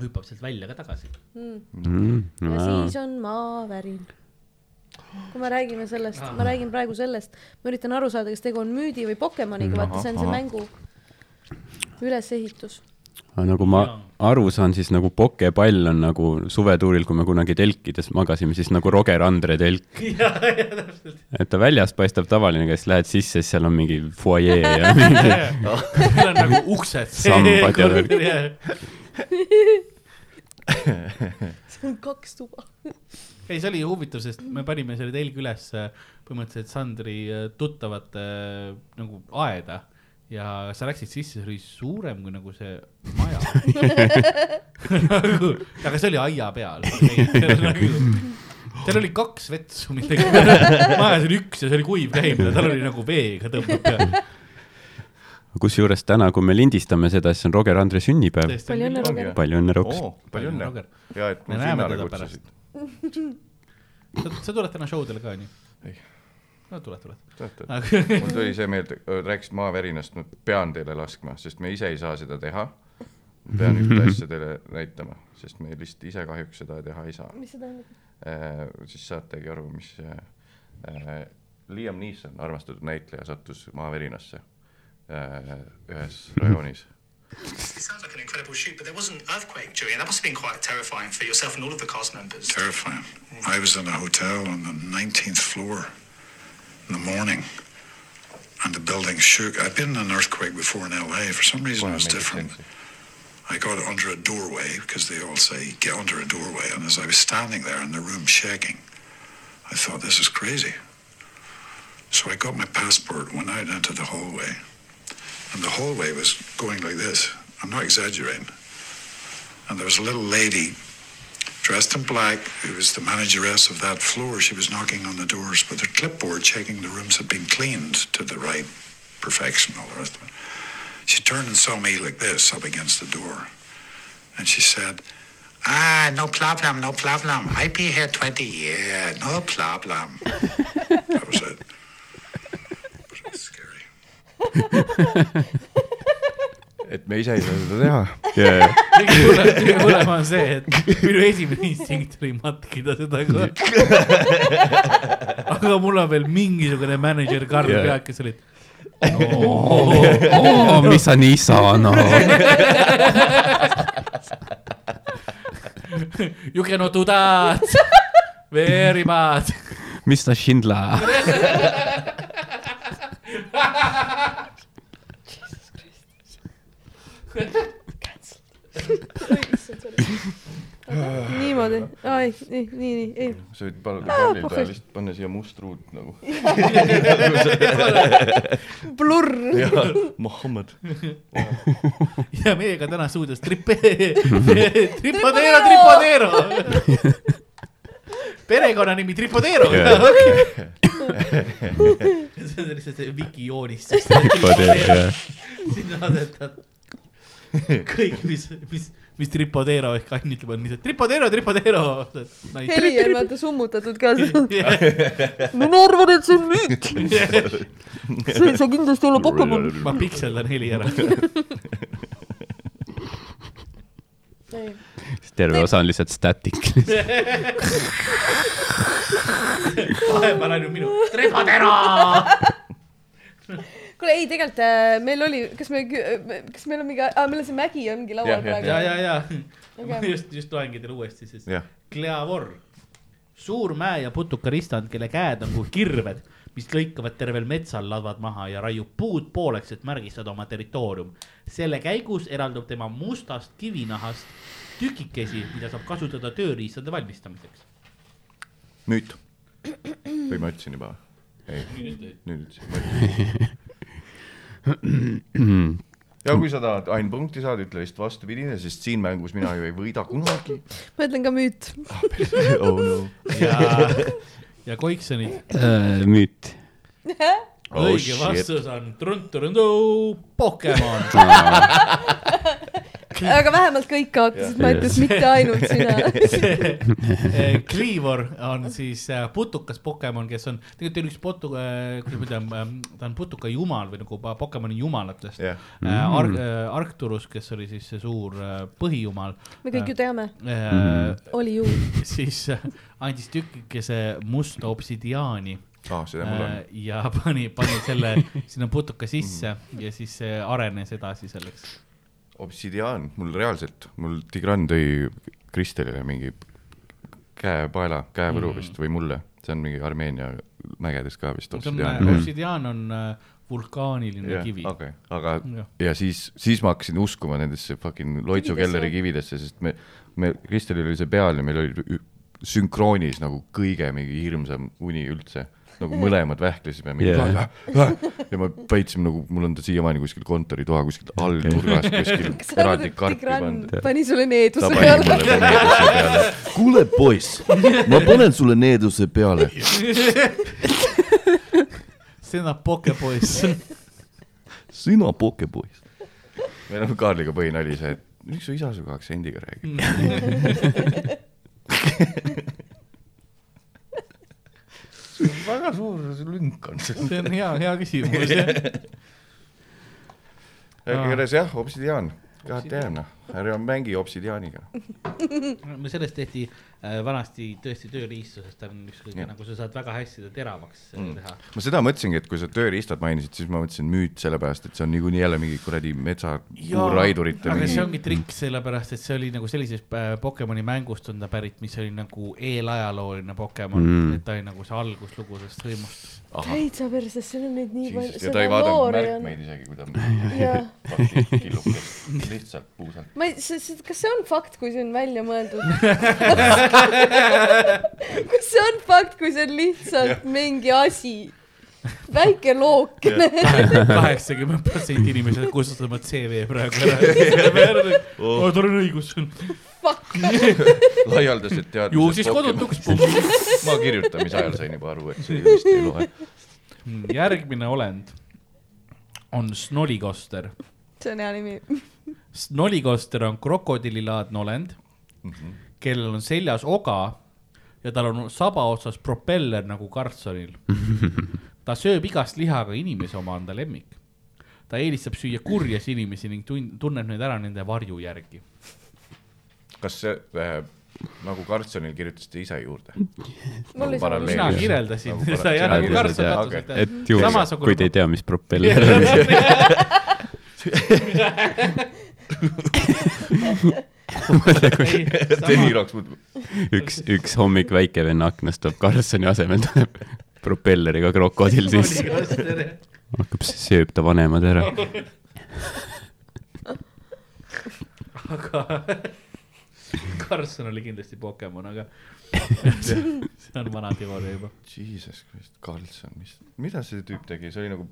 Speaker 1: hüppab sealt välja ka tagasi .
Speaker 4: Mhm.
Speaker 3: ja siis on maavärin . kui me räägime sellest , ma räägin praegu sellest , ma üritan aru saada , kas tegu on müüdi või Pokemoniga , vaata , see on see mängu ülesehitus .
Speaker 4: aga nagu ma
Speaker 1: Jaa.
Speaker 4: aru saan , siis nagu pokepall on nagu suvetuuril , kui me kunagi telkides magasime , siis nagu Roger Andre telk . et ta väljast paistab tavaline , aga siis lähed sisse , siis seal on mingi fuajee ja mingi
Speaker 1: seal on nagu uksed .
Speaker 4: Sambad ja värk.
Speaker 1: ei ,
Speaker 3: see on kaks tuba .
Speaker 1: see oli huvitav , sest me panime selle telgi üles äh, põhimõtteliselt Sandri äh, tuttavate äh, nagu aeda ja sa läksid sisse , see oli suurem kui nagu see maja nagu, . aga see oli aia peal . seal oli kaks vetsu midagi , majas oli üks ja see oli kuiv käim ja tal oli nagu veega tõmbab peale .
Speaker 4: kusjuures täna , kui me lindistame seda , siis on Roger Andre sünnipäev .
Speaker 3: palju õnne ,
Speaker 2: Ongi,
Speaker 3: Roger
Speaker 2: jah. .
Speaker 4: palju õnne , Roks .
Speaker 2: oo , Oh, palju õnne .
Speaker 1: Roger.
Speaker 2: hea , et
Speaker 1: Me
Speaker 2: mu
Speaker 1: näeme
Speaker 2: sinnale
Speaker 1: teda
Speaker 2: kutsusid .
Speaker 1: sa, sa tuled täna show dele ka onju ?
Speaker 2: Ei.
Speaker 1: no tuled , tuled .
Speaker 2: mul
Speaker 1: aga
Speaker 2: tuli see meelde , rääkisid maavärinast , ma pean teile laskma , sest me ise ei saa seda teha . ma pean ühte asja teile näitama , sest me lihtsalt ise kahjuks seda teha ei saa .
Speaker 3: mis see tähendab ?
Speaker 2: siis saategi aru , mis äh, äh, Liam Neeson , armastatud näitleja , sattus maavärinasse äh, ühes rajoonis .
Speaker 5: It sounds like an incredible shoot, but there was an earthquake, Joey, and that must have been quite terrifying for yourself and all of the cast members.
Speaker 6: Terrifying. I was in a hotel on the 19th floor in the morning, and the building shook. I've been in an earthquake before in LA. For some reason, it was different. I got under a doorway because they all say get under a doorway, and as I was standing there in the room shaking, I thought this is crazy. So I got my passport, went out into the hallway, and the hallway was going like this. I'm not exaggerating. And there was a little lady dressed in black, who was the manageress of that floor. She was knocking on the doors with her clipboard, checking the rooms had been cleaned to the right perfection, all the rest of it. She turned and saw me like this up against the door. And she said, Ah, no problem, no problem. I've been here 20 years, no problem. that was it. But it was scary.
Speaker 2: et me ise ei saa seda teha .
Speaker 4: yeah. .
Speaker 1: kõige hullem on see , et minu esimene instinkt oli matkida seda ka . aga mul on veel mingisugune mänedžer Karl
Speaker 2: Jaa.
Speaker 1: Peak , kes oli , et
Speaker 4: Oh, mis sa nii sana .
Speaker 1: you cannot do that , very bad .
Speaker 4: mis sa Schindler .
Speaker 3: niimoodi , ai , nii , nii , nii , ei .
Speaker 2: sa võid pal-
Speaker 3: Aa,
Speaker 2: pallil
Speaker 3: pohhui.
Speaker 2: peal lihtsalt panna siia must ruut nagu .
Speaker 3: blurr .
Speaker 2: Mohammed .
Speaker 1: ja meiega täna stuudios tripe , tripodeero , tripodeero . perekonnanimi Tripodeero . see on lihtsalt see vikijoonistus . sinna asetad kõik , mis , mis , mis Tripodeero ehk Ann ütleb , on lihtsalt Tripodeero , Tripodeero .
Speaker 3: heli on vaata summutatud ka . no ma arvan , et see on müüt . see , see kindlasti ei ole Pokemon .
Speaker 1: ma pikseldan heli ära .
Speaker 4: terve osa on lihtsalt static .
Speaker 1: vahepeal on ju minu Tripodeero .
Speaker 3: kuule , ei tegelikult äh, meil oli , kas me , kas meil on mingi , aa , meil on see mägi ongi laual
Speaker 2: Jah, jah,
Speaker 1: ja ,
Speaker 3: praegu .
Speaker 1: ja , ja ma just , just loengi teile uuesti siis .
Speaker 2: jah ,
Speaker 1: Kleavor , suur mäe ja putukaristand , kelle käed on kui kirved , mis lõikavad tervel metsal ladvad maha ja raiub puud pooleks , et märgistada oma territoorium . selle käigus eraldub tema mustast kivinahast tükikesi , mida saab kasutada tööriistade valmistamiseks .
Speaker 2: müüt . või ma ütlesin juba ? ei , nüüd ütlesin . ja kui sa tahad ainult punkti saada , ütle lihtsalt vastupidine , sest siin mängus mina ju ei võida kunagi .
Speaker 3: ma ütlen ka müüt .
Speaker 2: oh no .
Speaker 1: ja , ja koiksonid .
Speaker 4: Äh, müüt .
Speaker 2: Oh
Speaker 1: õige
Speaker 2: shit.
Speaker 1: vastus on trunturundu Pokemon .
Speaker 3: aga vähemalt kõik kaotasid , ma ütlesin mitte ainult sina .
Speaker 1: Eh, Cleavor on siis eh, putukas Pokemon , kes on tegelikult ta on üks potu- , kuidas ma ütlen , ta on putuka jumal või nagu pa- Pokemoni jumalatest
Speaker 2: Jah.
Speaker 1: yeah. .
Speaker 3: Mm.
Speaker 1: Ark- , Arcturus , kes oli siis see suur eh, põhijumal .
Speaker 3: me kõik ju teame ,
Speaker 1: teame .
Speaker 3: oli ju .
Speaker 2: Mhm.
Speaker 1: siis eh, andis tükikese musta obsidiaani
Speaker 2: aa , Ah, seda mul on . Mhm.
Speaker 1: eh, ja pani , pani selle sinna putuka sisse ja siis see arenes edasi selleks .
Speaker 2: obsidiaan , mul reaalselt , mul Tigran tõi Kristelile mingi käepaela , käevõru vist või mulle , see on mingi Armeenia mägedes ka vist obsidiaan .
Speaker 1: äh, obsidiaan on eh, vulkaaniline yeah, kivi
Speaker 2: okei , aga
Speaker 1: Jah.
Speaker 2: ja siis , siis ma hakkasin uskuma nendesse fucking Loitsu
Speaker 3: Kividesse.
Speaker 2: kelleri kividesse , sest me , me , Kristelil oli see peal ja meil oli ü- sünkroonis nagu kõige mingi hirmsam uni üldse nagu mõlemad vähklesime mingi
Speaker 4: Jah.
Speaker 2: yeah. ja ma peitsin nagu , mul on ta siiamaani kuskil kontoritoa kuskil all nurgas kuskil
Speaker 3: kas sa arvad ,
Speaker 2: eraldi
Speaker 3: et
Speaker 2: karpi
Speaker 3: Tigran
Speaker 2: pandud .
Speaker 3: pani sulle needuse
Speaker 2: ta pani mulle
Speaker 3: peale ?
Speaker 2: veel needuse peale . kuule , poiss , ma panen sulle needuse peale .
Speaker 1: sina pokepoiss
Speaker 2: sina pokepoiss . meil on Kaarliga põhinali see , et miks su isa sinuga aktsendiga räägib . sul on väga suur lünk on seal .
Speaker 1: see on hea , hea küsimus jah .
Speaker 2: Äh, igatahes jah , obsidiaan , goddamn noh . ära mängi obsidiaaniga .
Speaker 1: no sellest tehti äh, vanasti tõesti tööriistusest , ta on ükskõik
Speaker 2: Jah. ,
Speaker 1: nagu sa saad väga hästi seda teravaks äh, teha .
Speaker 2: ma seda mõtlesingi , et kui sa tööriistad mainisid , siis ma mõtlesin müüt , sellepärast et see on niikuinii jälle mingi kuradi metsa puuraidurite
Speaker 1: aga see
Speaker 2: mingi .
Speaker 1: ongi trikk , sellepärast et see oli nagu sellisest äh, Pokemoni mängust on ta pärit , mis oli nagu eelajalooline Pokemon mm. , et ta oli nagu see alguslugu sellest hõimust .
Speaker 3: täitsa perses , seal on neid nii palju ,
Speaker 2: ja ta
Speaker 3: seda
Speaker 2: ei vaadanud
Speaker 3: loori on .
Speaker 2: märkmeid isegi , kui ta on
Speaker 3: jaa ,
Speaker 2: killukes , lihtsalt puusalt .
Speaker 3: ma ei , see , see , kas see on fakt , kui see on välja mõeldud ? kas see on fakt , kui see on lihtsalt mingi asi ? väike lookene .
Speaker 1: kaheksakümmend protsenti inimesed kustutavad CV praegu ära . tal on õigus .
Speaker 2: laialdaselt teadmised .
Speaker 1: ju siis kodutuks .
Speaker 2: ma kirjutamise ajal sain juba aru , et see vist ei loe .
Speaker 1: Mm, järgmine olend on Snolikoster .
Speaker 3: see on hea nimi .
Speaker 1: Snolikoster on krokodillilaadne olend mm , -hmm. kellel on seljas oga ja tal on saba otsas propeller nagu kartsonil . ta sööb igast liha , aga inimese oma on ta lemmik . ta eelistab süüa kurjas inimesi ning tun- , tunneb neid ära nende varju järgi .
Speaker 2: kas see äh, nagu Karlssonil kirjutasite ise juurde ?
Speaker 3: Mul ei saa aru.
Speaker 1: mina kirjeldasin seda
Speaker 2: Nagu
Speaker 1: jälle ,
Speaker 4: paralleelselt, jah.
Speaker 1: Karlsson
Speaker 2: Okei.
Speaker 1: katus aitäh .
Speaker 4: et juhul , kui
Speaker 1: nagu-
Speaker 4: te ei tea , mis propeller on .
Speaker 1: tea .
Speaker 2: Deniroks muutub .
Speaker 4: üks , üks hommik väikevenna aknast tuleb Karlssoni asemel tuleb propelleriga krokodill sisse , hakkab , sööb ta vanemad ära .
Speaker 1: aga Karlsson oli kindlasti Pokemon , aga see on vana teooria juba .
Speaker 2: Jesus Christ , Karlsson , mis , mida see tüüp tegi , see oli nagu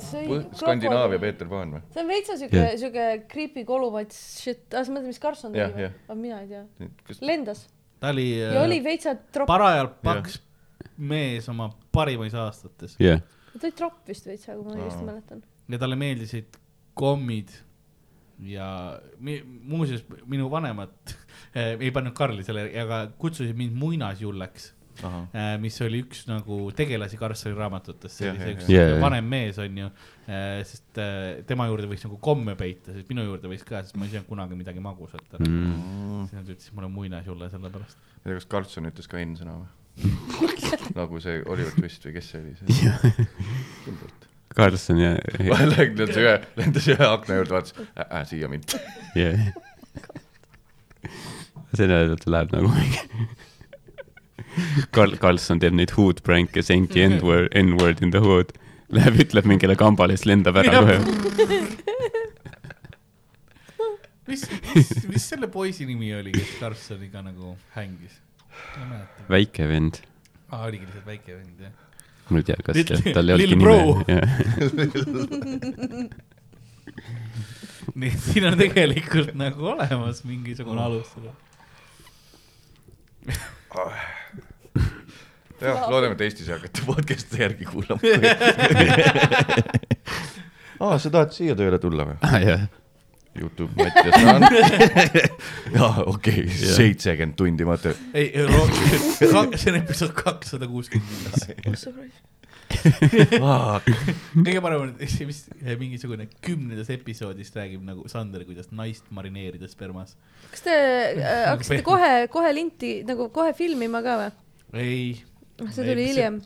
Speaker 3: See
Speaker 2: põ-
Speaker 3: oli
Speaker 2: Skandinaavia
Speaker 3: krokodil.
Speaker 2: Peeter Paan või ?
Speaker 3: see on veitsa siuke
Speaker 4: Jah. ,
Speaker 3: siuke creepy kolumats shit , aa sa mõtled , mis Karlsson
Speaker 2: Jah,
Speaker 3: tegi või
Speaker 2: jah. ?
Speaker 3: aga mina ei tea .
Speaker 2: kas
Speaker 3: lendas
Speaker 1: ta oli äh,
Speaker 3: ja oli veitsa tropp ,
Speaker 1: parajalt paks mees oma parimais aastates
Speaker 4: jah ,
Speaker 3: ta oli tropp vist veitsa , kui ma õigesti mäletan .
Speaker 1: ja talle meeldisid kommid ja mi, muuseas minu vanemad eh, ei pannud Karli selle , aga kutsusid mind muinasjulleks ,
Speaker 2: Ahah.
Speaker 1: mis oli üks nagu tegelasi Karlssoni raamatutes , see
Speaker 2: Jah,
Speaker 1: oli see
Speaker 2: jah,
Speaker 1: üks
Speaker 4: jah. Jajah.
Speaker 1: vanem mees onju , sest eh, tema juurde võiks nagu komme peita , sest minu juurde võis ka , sest ma ei söönud kunagi midagi magusat ära mm. . siis nad ütlesid mulle muinasjulle sellepärast .
Speaker 2: ma ei tea , kas Karlsson ütles ka N-sõna või ? nagu see Oliver Twist või kes see oli see ? kindlalt .
Speaker 4: Karlsson ja ,
Speaker 2: lendas ühe , lendas ühe akna juurde , vaatas äh, , äh, siia mind .
Speaker 4: jah . see nädal läheb nagu mingi Karl , Karlsson teeb neid hood prank'e , sent the n-word , n-word in the hood . Läheb , ütleb mingile kambale , siis lendab ära kohe .
Speaker 1: mis , mis , mis selle poisi nimi oli , kes Karlssoniga nagu hängis ? ma ei mäleta .
Speaker 4: väike vend ,
Speaker 1: aa , oligi lihtsalt väike vend jah .
Speaker 4: ma ei tea , kas
Speaker 1: Little-
Speaker 4: ta- tal ei olnudki
Speaker 1: little bro.
Speaker 4: nime .
Speaker 1: nii et siin on tegelikult nagu olemas mingisugune alus sellele .
Speaker 2: jah , loodame , et Eestis ei hakata podcast'i järgi kuulama . aa , sa tahad siia tööle tulla või ?
Speaker 4: Ah, jah ,
Speaker 2: Youtube Mattias Rand . jaa , okei , seitsekümmend tundi materjali .
Speaker 1: ei , rohkem , see on episood kakssada kuuskümmend viis .
Speaker 3: Oh,
Speaker 1: kõige parem on , et see vist mingisugune kümnendas episoodis räägib nagu Sander , kuidas naist marineerida spermas .
Speaker 3: kas te äh, hakkasite kohe , kohe linti nagu kohe filmima ka või ?
Speaker 1: ei .
Speaker 3: Ah, See tuli hiljem. .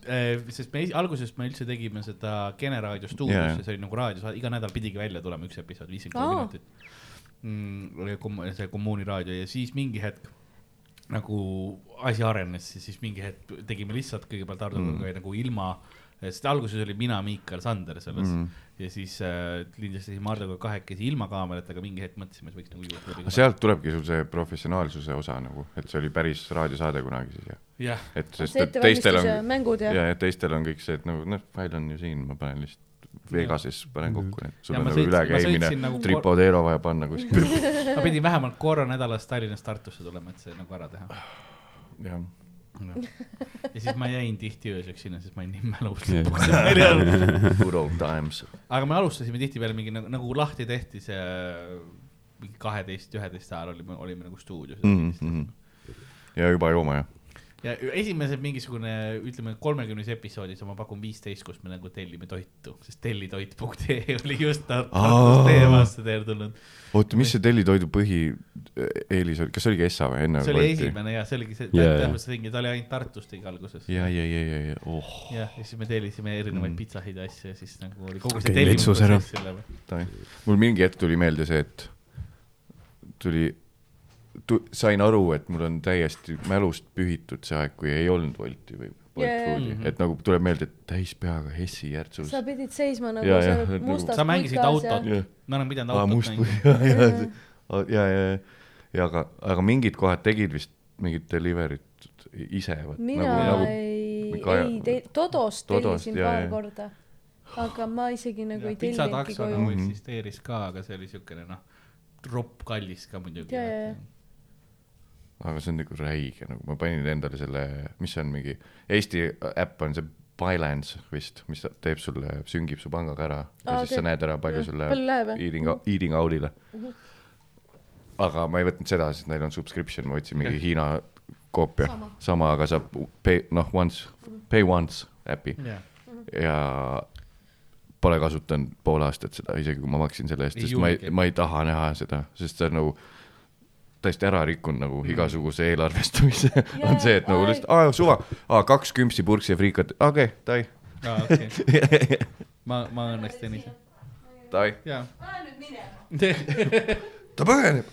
Speaker 1: sest me alguses me üldse tegime seda Kene raadio
Speaker 2: Jaa,
Speaker 1: stuudios
Speaker 2: jaa.
Speaker 1: ja see oli nagu raadios , iga nädal pidigi välja tulema üks episood , viiskümmend
Speaker 3: Aa.
Speaker 1: kolm minutit mm, . Kom- , see kommuuni raadio ja siis mingi hetk nagu asi arenes ja siis mingi hetk tegime lihtsalt kõigepealt Hardoga mm. nagu ilma , sest alguses oli mina , Miikal , Sander selles mm. ja siis äh, lindistasime Hardoga kahekesi ilma kaameratega , mingi hetk mõtlesime , et võiks nagu juurde .
Speaker 2: sealt tulebki sul see professionaalsuse osa nagu , et see oli päris raadiosaade kunagi siis jah ?
Speaker 1: jah ,
Speaker 2: et sest ,
Speaker 3: see
Speaker 2: et teistel
Speaker 3: ettevalmistus ja
Speaker 2: on ,
Speaker 3: mängud ja,
Speaker 2: ja , ja teistel on kõik see , et nagu noh , fail on ju siin , ma panen lihtsalt Vegases panen kokku , et sul
Speaker 1: Ja
Speaker 2: on
Speaker 1: ma
Speaker 2: nagu
Speaker 1: sõitsin- ma
Speaker 2: ülekäimine
Speaker 1: sõitsin nagu , kor-
Speaker 2: Tripodero vaja panna kuskile ,
Speaker 1: ma pidin vähemalt korra nädalas Tallinnast Tartusse tulema , et see nagu ära teha
Speaker 2: jah .
Speaker 1: ja siis ma jäin tihti ööseks sinna , sest ma olin nii mälus
Speaker 4: Jah.
Speaker 1: yeah. .
Speaker 2: Good old times .
Speaker 1: aga me alustasime tihtipeale mingi nagu, nagu lahti tehti see
Speaker 4: Mhm.
Speaker 2: Mhm.
Speaker 1: mingi kaheteist , üheteist ajal olime , olime nagu stuudios mm. .
Speaker 2: ja juba jooma jah .
Speaker 1: ja esimesed mingisugune , ütleme kolmekümnes episoodis , ma pakun viisteist , kus me nagu tellime toitu , sest tellitoit.ee oli just
Speaker 2: Aa.
Speaker 1: teemasse teele tulnud .
Speaker 2: oota , mis see tellitoidu põhieelis e-, oli , kas see oligi Essa või enne ?
Speaker 1: see oli . esimene ja see oligi see
Speaker 4: Jaa, jaa.
Speaker 1: täpselt see ringi , ta oli ainult Tartust ikka alguses .
Speaker 2: ja , ja , ja , ja , ja , oh ,
Speaker 1: jah , ja siis me tellisime erinevaid mm. pitsasid ja asju ja siis nagu oli kogu
Speaker 4: Mhm. Okei,
Speaker 1: see
Speaker 4: litsus ära.
Speaker 1: tellimusprotsess üle .
Speaker 2: tai- mul mingi hetk tuli meelde see , et tuli tu, , sain aru , et mul on täiesti mälust pühitud see aeg , kui ei olnud Wolti või Bolt
Speaker 3: Jaa, jaa.
Speaker 2: Foodi , et nagu tuleb meelde , et täis peaga Hessi järtsus .
Speaker 3: sa pidid seisma nagu
Speaker 2: Jaa,
Speaker 3: ja,
Speaker 2: jah,
Speaker 3: seal
Speaker 2: et nagu-
Speaker 3: mustas
Speaker 1: sa mängisid autot ,
Speaker 2: Jah.
Speaker 1: me oleme pidanud
Speaker 2: aa ,
Speaker 1: autot
Speaker 2: must
Speaker 1: mängima .
Speaker 2: ja , ja , ja , ja , ja aga , aga mingid kohad tegid vist mingit delivery't ise , vot
Speaker 3: mina
Speaker 2: nagu ,
Speaker 3: ei
Speaker 2: nagu- ,
Speaker 3: ei te- , Todost
Speaker 2: Todost,
Speaker 3: tellisin
Speaker 2: jaa,
Speaker 3: paar
Speaker 2: jah.
Speaker 3: korda . aga ma isegi nagu ei tellinudki
Speaker 1: pitsatakso
Speaker 3: koju
Speaker 1: nagu . eksisteeris ka , aga see oli siukene noh , ropp kallis ka muidugi
Speaker 3: Jaa, jaa, jaa. .
Speaker 2: nagu , aga see on nagu räige , nagu ma panin endale selle , mis see on mingi , Eesti äpp on see Bylance vist , mis ta teeb sulle , süngib su pangaga ära ja
Speaker 3: Aa,
Speaker 2: siis sa
Speaker 3: okei.
Speaker 2: näed ära , palju
Speaker 3: Jah.
Speaker 2: sul
Speaker 3: Palju
Speaker 2: läheb
Speaker 3: läheb, jah? Mhm.
Speaker 2: eating , eating out'ile . aga ma ei võtnud seda , sest neil on subscription , ma võtsin mingi Hiina koopia , sama , aga saab pay , noh , once ,
Speaker 3: Mhm.
Speaker 2: pay once äpi
Speaker 1: jah ,
Speaker 2: ja pole kasutanud pool aastat seda , isegi kui ma maksin selle eest ,
Speaker 1: Ei
Speaker 2: sest ma ei ,
Speaker 1: julge.
Speaker 2: ma ei taha näha seda , sest see on nagu täiesti ära rikkunud nagu igasuguse eelarvestamise yeah, on see , et nagu
Speaker 3: ai.
Speaker 2: lihtsalt , aa suva , aa kaks kümpsi purksi ja friikat , okei okay, , tai ,
Speaker 1: aa okei okay. . ma , ma õnneks teen ise ,
Speaker 2: tai ,
Speaker 1: jaa .
Speaker 2: ta põgeneb .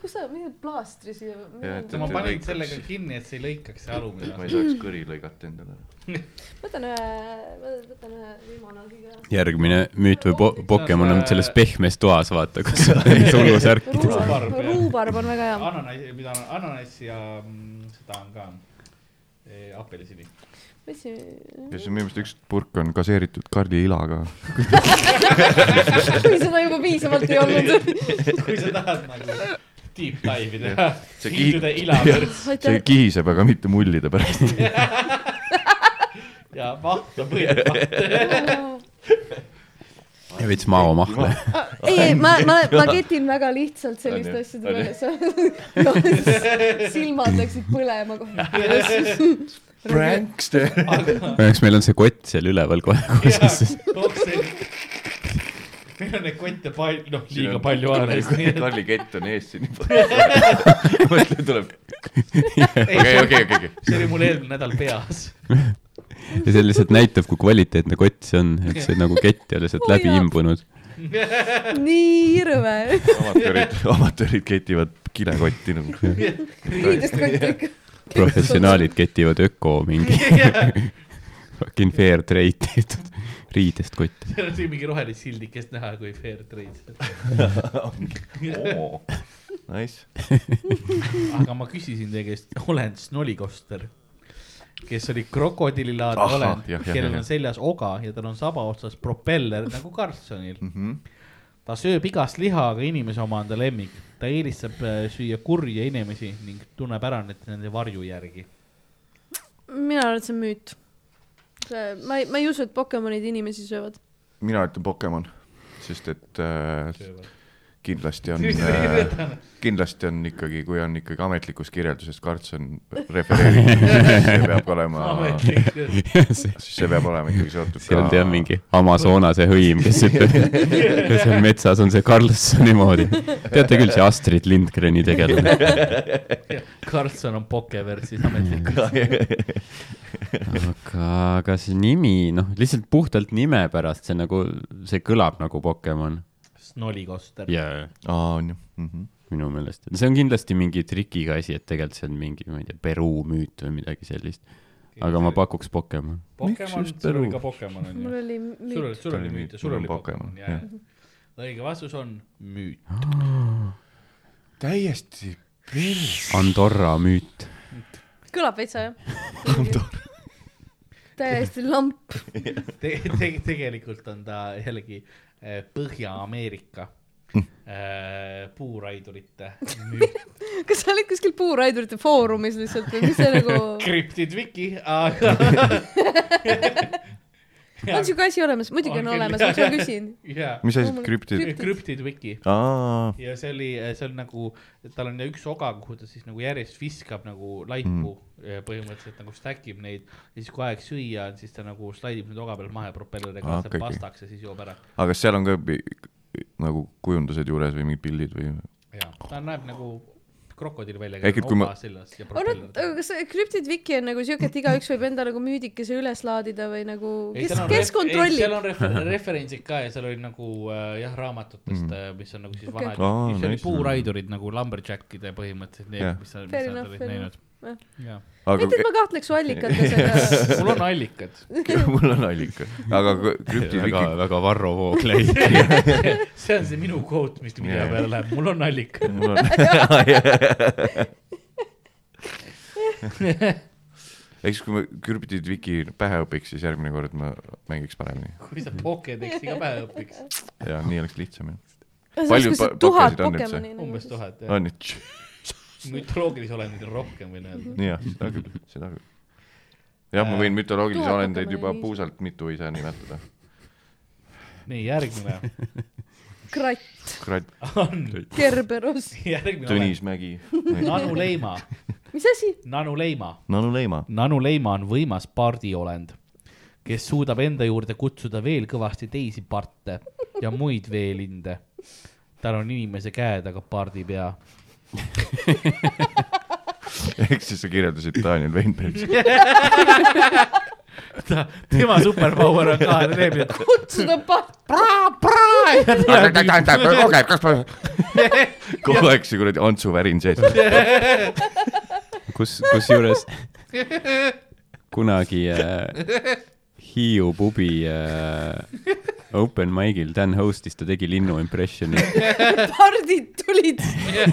Speaker 3: kus sa , mida plaastri siia ?
Speaker 2: Jaa, et-
Speaker 1: ma panin sellega kinni , et see ei lõikaks see alumine
Speaker 2: ma
Speaker 1: osa
Speaker 2: ei . saaks kõri lõigata endale .
Speaker 3: võtan ühe , võtan ühe limonaadi ka .
Speaker 4: järgmine müüt või po- , Pokemon on selles pehmes toas , vaata , kus sulgusärkides .
Speaker 1: Ruubarb, jah.
Speaker 3: ruubarb on väga hea .
Speaker 1: ananass , mida on ananass ja mm, seda on ka eh, apelsini .
Speaker 3: võtsin ,
Speaker 2: ja siis minu meelest üks purk on gaseeritud Karli ilaga .
Speaker 3: kui seda juba piisavalt ei olnud .
Speaker 1: kui sa tahad nagu deep dive'i teha ,
Speaker 2: See
Speaker 1: liituda
Speaker 2: kihi-
Speaker 1: ilavõrd
Speaker 2: see
Speaker 3: aitäh ,
Speaker 2: kihiseb , aga mitte mullide pärast .
Speaker 1: ja vahva põhjal .
Speaker 4: ja veits maomahla .
Speaker 3: ei , ei , ma , ma , ma ketin väga lihtsalt selliste
Speaker 2: On ju?
Speaker 3: asjade
Speaker 2: On ju?
Speaker 3: peale , sa , silmad läksid põlema kohe .
Speaker 2: prankster .
Speaker 4: õnneks meil on see kott seal üleval kohe kusas .
Speaker 1: meil on neid kotte palju , noh liiga palju alles .
Speaker 2: Karli kett on ees siin . mõtle , tuleb . okei , okei , okei , okei .
Speaker 1: see oli mul eelmine nädal peas .
Speaker 4: ja see lihtsalt näitab , kui kvaliteetne kott see on , et see nagu kett ei ole sealt läbi
Speaker 3: Hoiab.
Speaker 4: imbunud .
Speaker 3: nii hirve .
Speaker 2: amatöörid , amatöörid ketivad kilekotti nagu .
Speaker 3: riidest kott ikka .
Speaker 4: professionaalid ketivad öko mingi fucking fair trade tehtud riidest kotti .
Speaker 1: seal on siin mingi rohelist sildikest näha , kui fair trade .
Speaker 2: Nice .
Speaker 1: aga ma küsisin teie käest olend Snolikoster , kes oli krokodillilaadne
Speaker 2: Ahah,
Speaker 1: olend
Speaker 2: jah, , jah,
Speaker 1: kellel
Speaker 2: jah.
Speaker 1: on seljas oga ja tal on saba otsas propeller nagu Karlssonil mm .
Speaker 2: Mhm.
Speaker 1: -hmm. ta sööb igast liha , aga inimese oma on ta lemmik . ta eelistab äh, süüa kurje inimesi ning tunneb ära nüüd nende varju järgi .
Speaker 3: mina arvan , et see on müüt . see , ma ei , ma ei usu , et Pokemonid inimesi söövad .
Speaker 2: mina ütlen Pokemon , sest et äh, kindlasti on
Speaker 1: Mis sa kirjutad?
Speaker 2: äh, , kindlasti on ikkagi , kui on ikkagi ametlikus kirjelduses Karlsson refereeritud , siis see peab olema ,
Speaker 4: seal
Speaker 2: siis see peab olema ikkagi seotud
Speaker 4: on tead mingi Amazonase hõim , kes ütleb , et seal metsas on see Karlssoni moodi . teate küll , see Astrid Lindgreni tegelane .
Speaker 1: Karlsson on Pokeversis ametlikult .
Speaker 4: aga , aga see nimi , noh , lihtsalt puhtalt nime pärast , see nagu , see kõlab nagu Pokemon .
Speaker 1: Snolikoster .
Speaker 4: jaa ,
Speaker 2: aa , on ju . Mhm.
Speaker 4: minu meelest . see on kindlasti mingi trikiga asi , et tegelikult see on mingi , ma ei tea , Peruu müüt või midagi sellist . aga ma pakuks Pokemon .
Speaker 1: Pokemon , sul oli ka Pokemon on ju
Speaker 3: mul ? oli
Speaker 1: sul oli ,
Speaker 3: müüt .
Speaker 1: sul oli müüt ja sul
Speaker 2: Mul on
Speaker 1: oli Pokemon,
Speaker 2: Pokemon,
Speaker 1: jah . õige vastus on müüt .
Speaker 2: täiesti pers- .
Speaker 4: Andorra müüt .
Speaker 3: kõlab veitsa , jah ? täiesti lamp .
Speaker 1: te- , te- , tegelikult on ta jällegi eh, Põhja-Ameerika
Speaker 2: Hm.
Speaker 1: eh, puuraidurite müüt .
Speaker 3: kas sa olid kuskil puuraidurite foorumis lihtsalt või mis see nagu ?
Speaker 1: krüptid Viki , aga
Speaker 3: on siuke asi olemas , muidugi on
Speaker 1: On küll,
Speaker 3: olemas ,
Speaker 1: jaa,
Speaker 3: ma sulle
Speaker 1: jaa.
Speaker 3: küsin .
Speaker 1: jaa ,
Speaker 2: mis asi
Speaker 3: Loomulikult. ,
Speaker 2: krüptid ?
Speaker 3: Krüptid.
Speaker 1: Cryptid Wiki
Speaker 2: aa ,
Speaker 1: ja see oli , see on nagu , tal on üks oga , kuhu ta siis nagu järjest viskab nagu laipu mm. , põhimõtteliselt nagu stack ib neid ja siis kui aeg süüa on , siis ta nagu slaidib need oga peal maha ja propelleriga
Speaker 2: Aa,
Speaker 1: laseb
Speaker 2: Ah, okei, okei.
Speaker 1: pastaks ja siis joob ära .
Speaker 2: aga kas seal on ka pi- nagu kujundused juures või mingid pildid või ?
Speaker 1: jaa , ta näeb nagu krokodill välja .
Speaker 2: Ehk et kui ma-
Speaker 1: seljas ja
Speaker 3: on nad ,
Speaker 1: propeller .
Speaker 3: kas see Cryptid Wiki on nagu siuke , et igaüks võib enda nagu müüdikese üles laadida või nagu ,
Speaker 1: Ei,
Speaker 3: kes
Speaker 1: seal on ,
Speaker 3: kes
Speaker 1: ref- ei, seal
Speaker 3: kontrollib ?
Speaker 1: on refer- referentsid ka ja seal oli nagu äh, jah , raamatutest mm. , mis on nagu siis
Speaker 3: Okei.
Speaker 1: okay.
Speaker 2: Aa,
Speaker 1: vanad , mis oli
Speaker 2: nice.
Speaker 1: puuraidurid nagu lumberjackide põhimõtteliselt ,
Speaker 2: Jah.
Speaker 1: need , mis sa , mis
Speaker 3: Fair
Speaker 1: sa
Speaker 3: enough,
Speaker 1: olid
Speaker 3: fair
Speaker 1: näinud .
Speaker 3: enough.
Speaker 1: jaa ,
Speaker 2: aga
Speaker 3: mitte , et ma kahtleks su allikates , aga
Speaker 1: mul on allikad .
Speaker 2: mul on allikad , aga kui- krüptid
Speaker 4: väga ,
Speaker 2: Wiki ,
Speaker 4: väga Varro Vooglaid .
Speaker 1: see on see minu kvoot , mis video
Speaker 2: Jaa.
Speaker 1: peale läheb , mul on allikad .
Speaker 2: mul on , eks kui ma krüptid Wiki pähe õpiks , siis järgmine kord ma mängiks paremini .
Speaker 1: kui sa Pokedexi ka pähe õpiks ,
Speaker 2: ja nii oleks lihtsam ju . Palju
Speaker 3: kas see
Speaker 2: pa-
Speaker 3: tuhat
Speaker 2: pakkasid on üldse?
Speaker 3: Pokemoni nagu
Speaker 1: umbes ? tuhat jah .
Speaker 2: on nii ,
Speaker 1: mütoloogilisi olendeid on rohkem võin öelda .
Speaker 2: jah , seda küll , seda küll . jah , ma võin mütoloogilisi
Speaker 3: Äh, Tuhat
Speaker 2: olendeid
Speaker 3: hakkame
Speaker 2: juba
Speaker 3: viis-
Speaker 2: puusalt mitu ise nimetada .
Speaker 1: nii , järgmine
Speaker 3: kratt ,
Speaker 2: kratt ,
Speaker 1: on
Speaker 3: Kerberos ,
Speaker 1: järgmine olend ,
Speaker 2: Tõnis Mägi ,
Speaker 1: Nanu Leima ,
Speaker 3: mis asi ?
Speaker 1: Nanu Leima
Speaker 2: Nanu Leima .
Speaker 1: nanu leima on võimas pardiolend , kes suudab enda juurde kutsuda veel kõvasti teisi parte ja muid veelinde . tal on inimese käe taga pardi pea .
Speaker 2: ehk siis sa kirjeldasid Daniel Weinbergi .
Speaker 1: ta , tema superpower on ka , ta teeb nii , et
Speaker 3: kutsuda part- ,
Speaker 1: praa-praa ja tuleb
Speaker 2: kogu aeg see kuradi Antsu värin sees .
Speaker 4: kus , kusjuures kunagi äh, Hiiu pubi äh, open mic'il Dan host'is ta tegi linnu impressioni
Speaker 3: pardid tulid .
Speaker 4: ja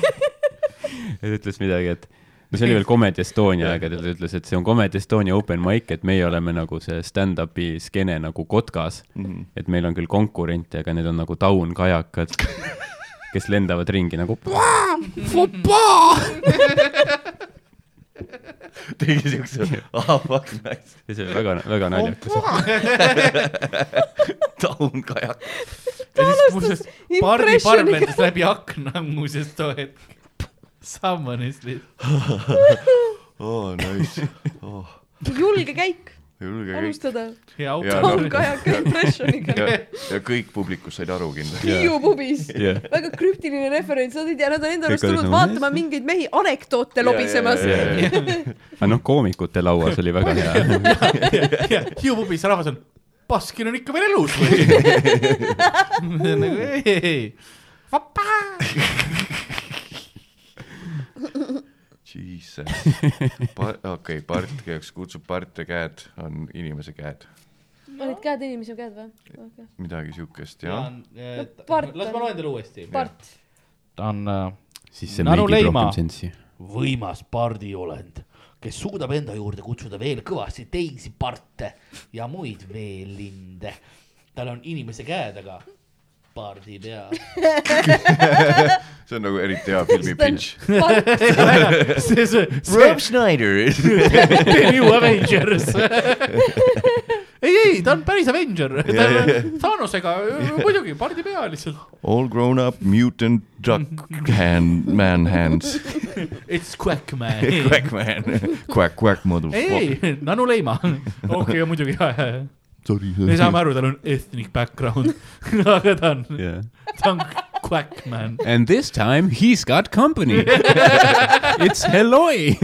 Speaker 4: ta ütles midagi , et no see oli veel Comedy Estonia aegadel , ta ütles , et see on Comedy Estonia open mic , et meie oleme nagu see stand-up'i skeene nagu kotkas mm . -hmm. et meil on küll konkurente , aga need on nagu taunkajakad , kes lendavad ringi nagu . ja
Speaker 2: tegi siukse , ah fuck nice ,
Speaker 4: see oli väga , väga naljakas .
Speaker 2: taun kajak .
Speaker 1: alustas pardi parm
Speaker 3: impressioniga.
Speaker 1: lendas läbi akna muuseas too hetk . Someone is lit- .
Speaker 2: oo Oh, nice , oo ,
Speaker 3: julge käik ,
Speaker 2: julge kõik .
Speaker 3: alustada .
Speaker 1: hea auto
Speaker 2: Jaa,
Speaker 3: Tom
Speaker 2: no.
Speaker 3: Kajaka impressioniga .
Speaker 2: ja kõik publikus said aru kindlasti .
Speaker 3: Hiiu pubis
Speaker 4: jah ,
Speaker 3: väga krüptiline referents , nad ei tea , nad on enda arust
Speaker 4: Kõik olid
Speaker 3: tulnud
Speaker 4: nagu,
Speaker 3: vaatama mingeid mehi anekdoote lobisemas .
Speaker 4: aga noh , koomikute lauas oli väga hea .
Speaker 1: hiupubis rahvas on , Baskin on ikka veel elus või ? nagu ei , ei , ei . vapa .
Speaker 2: Jesus , okei , part , kes kutsub parte käed , on inimese käed ,
Speaker 3: olid käed inimese käed või ?
Speaker 2: midagi siukest jah .
Speaker 3: Part
Speaker 1: las ma
Speaker 3: on-
Speaker 1: loen teile uuesti .
Speaker 3: part ,
Speaker 1: ta on äh,
Speaker 4: siis see
Speaker 1: Naru
Speaker 4: meeldib
Speaker 1: Leima.
Speaker 4: rohkem sensi .
Speaker 1: võimas pardiolend , kes suudab enda juurde kutsuda veel kõvasti teisi parte ja muid veelinde . tal on inimese käe taga pardi pea .
Speaker 2: see on nagu eriti hea filmi pitch .
Speaker 3: part ,
Speaker 1: see , see ,
Speaker 2: Rob Schneider .
Speaker 1: The New Avengers . ei , ei , ta on päris Avenger , ta on Thanosega , muidugi , pardi pea lihtsalt .
Speaker 2: All grown up mutant duck hand , man hands .
Speaker 1: It's Quack Man . ei ,
Speaker 2: Quack man . Quack , quack motherfucker .
Speaker 1: ei , Nanu Leima . okei , muidugi ,
Speaker 2: Sorry .
Speaker 1: me saame aru , tal on ethnic background , aga ta on ,
Speaker 4: Yeah.
Speaker 1: ta on Quack Man .
Speaker 4: And this time he's got company . It's Helloi .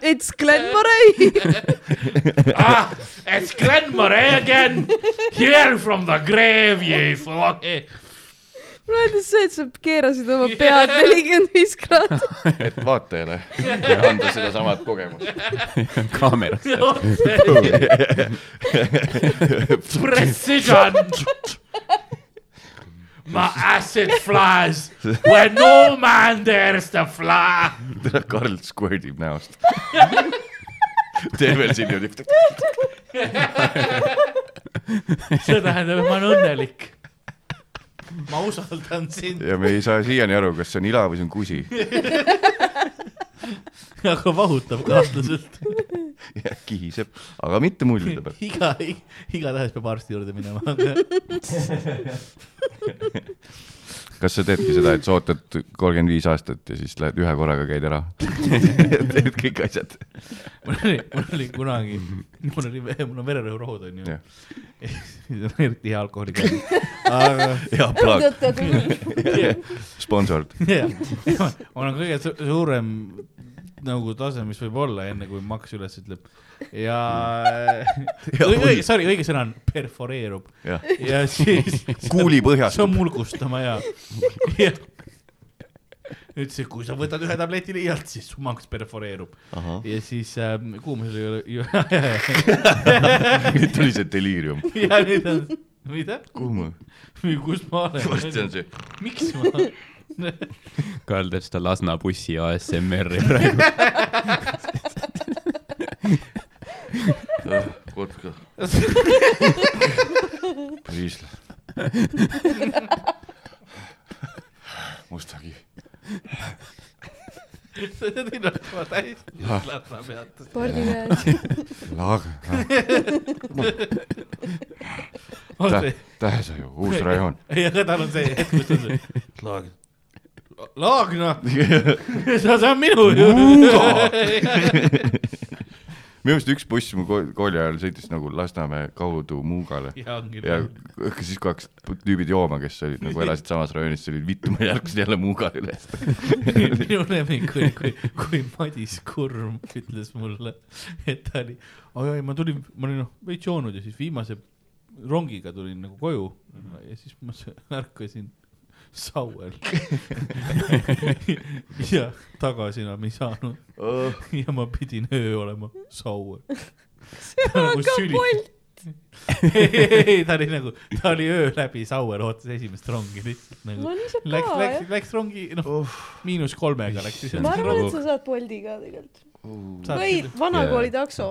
Speaker 3: it's Glen Murray .
Speaker 1: ah, it's Glenmore again , here from the grave , you fuck .
Speaker 3: praegu see , et sa keerasid oma pead nelikümmend viis kraadi .
Speaker 2: et vaatajale ja anda sedasamad kogemust .
Speaker 4: kaameras .
Speaker 1: Precision . My acid flies where no man dares to fly .
Speaker 2: teda Karl squirtib näost . tee veel siin niimoodi .
Speaker 1: see tähendab , et ma olen õnnelik . ma usaldan sind ,
Speaker 2: ja me ei saa siiani aru , kas see on ila või see on kusi .
Speaker 1: Nagu aga vahutab kahtlaselt .
Speaker 2: ja kihiseb , aga mitte mullide peal .
Speaker 1: iga , igatahes peab arsti juurde minema .
Speaker 2: kas sa teedki seda , et sa ootad kolmkümmend viis aastat ja siis lähed ühe korraga käid ära ? teed kõik asjad .
Speaker 1: mul oli , mul oli kunagi , mul oli , mul on vererõhurohud onju
Speaker 2: Jah. .
Speaker 1: eriti hea alkoholi käib . aga
Speaker 2: hea plaag , sponsord .
Speaker 1: jah , mul on kõige su- suurem nagu tase , mis võib olla , enne kui Max üles ütleb ja õige , sorry , õige sõna on perforeerub ja siis .
Speaker 2: kuuli põhjas
Speaker 1: see . on mulgustama ja, ja. . ütlesin , kui sa võtad ühe tableti liialt , siis su maks perforeerub ja siis ähm, kuumusel ei ole .
Speaker 2: nüüd tuli see deliirium .
Speaker 1: ja nüüd on , mida ,
Speaker 2: kuum .
Speaker 1: kus ma
Speaker 2: varsti on
Speaker 1: olen ,
Speaker 2: see .
Speaker 1: miks ma ,
Speaker 4: Karl teeb seda Lasna bussi ASMR-i praegu .
Speaker 2: kotka . Priisla . musta kivi .
Speaker 1: sa tead ennast juba täiesti lasna pealt .
Speaker 3: spordikäes .
Speaker 2: Laag . Tähesaju , uus rajoon .
Speaker 1: ei , aga tal on see hetk , kus ta on see , laag . Laagna , see on minu ju .
Speaker 2: Uh. minu arust üks buss mu kool- kooli ajal sõitis nagu Lasnamäe kaudu Muugale
Speaker 1: ja ongi
Speaker 2: ja . k- siis kui hakkasid tüübid jooma , kes olid nagu elasid samas rajoonis , siis olid vittu , ma järgsin jälle Muugale üles .
Speaker 1: minu lemmik oli , kui , kui Madis Kurm ütles mulle , et ta oli , oi-oi , ma tulin , ma olin noh veits joonud ja siis viimase rongiga tulin nagu koju ja siis ma s- ärkasin Sauel ja tagasi enam ei saanud ja ma pidin öö olema Sauel .
Speaker 3: see on
Speaker 1: nagu
Speaker 3: ka
Speaker 1: süli-
Speaker 3: pull .
Speaker 1: ei , ta oli nagu , ta oli öö läbi Sauel , ootas esimest rongi lihtsalt nagu .
Speaker 3: no nii saab
Speaker 1: Läks ,
Speaker 3: ka
Speaker 1: läks ,
Speaker 3: jah .
Speaker 1: läks rongi , noh , miinus kolmega läks
Speaker 3: ma
Speaker 1: esimest
Speaker 3: arvan ,
Speaker 1: rongi
Speaker 2: nagu-
Speaker 3: et . sa saad Bolti ka tegelikult . või vanakooli takso .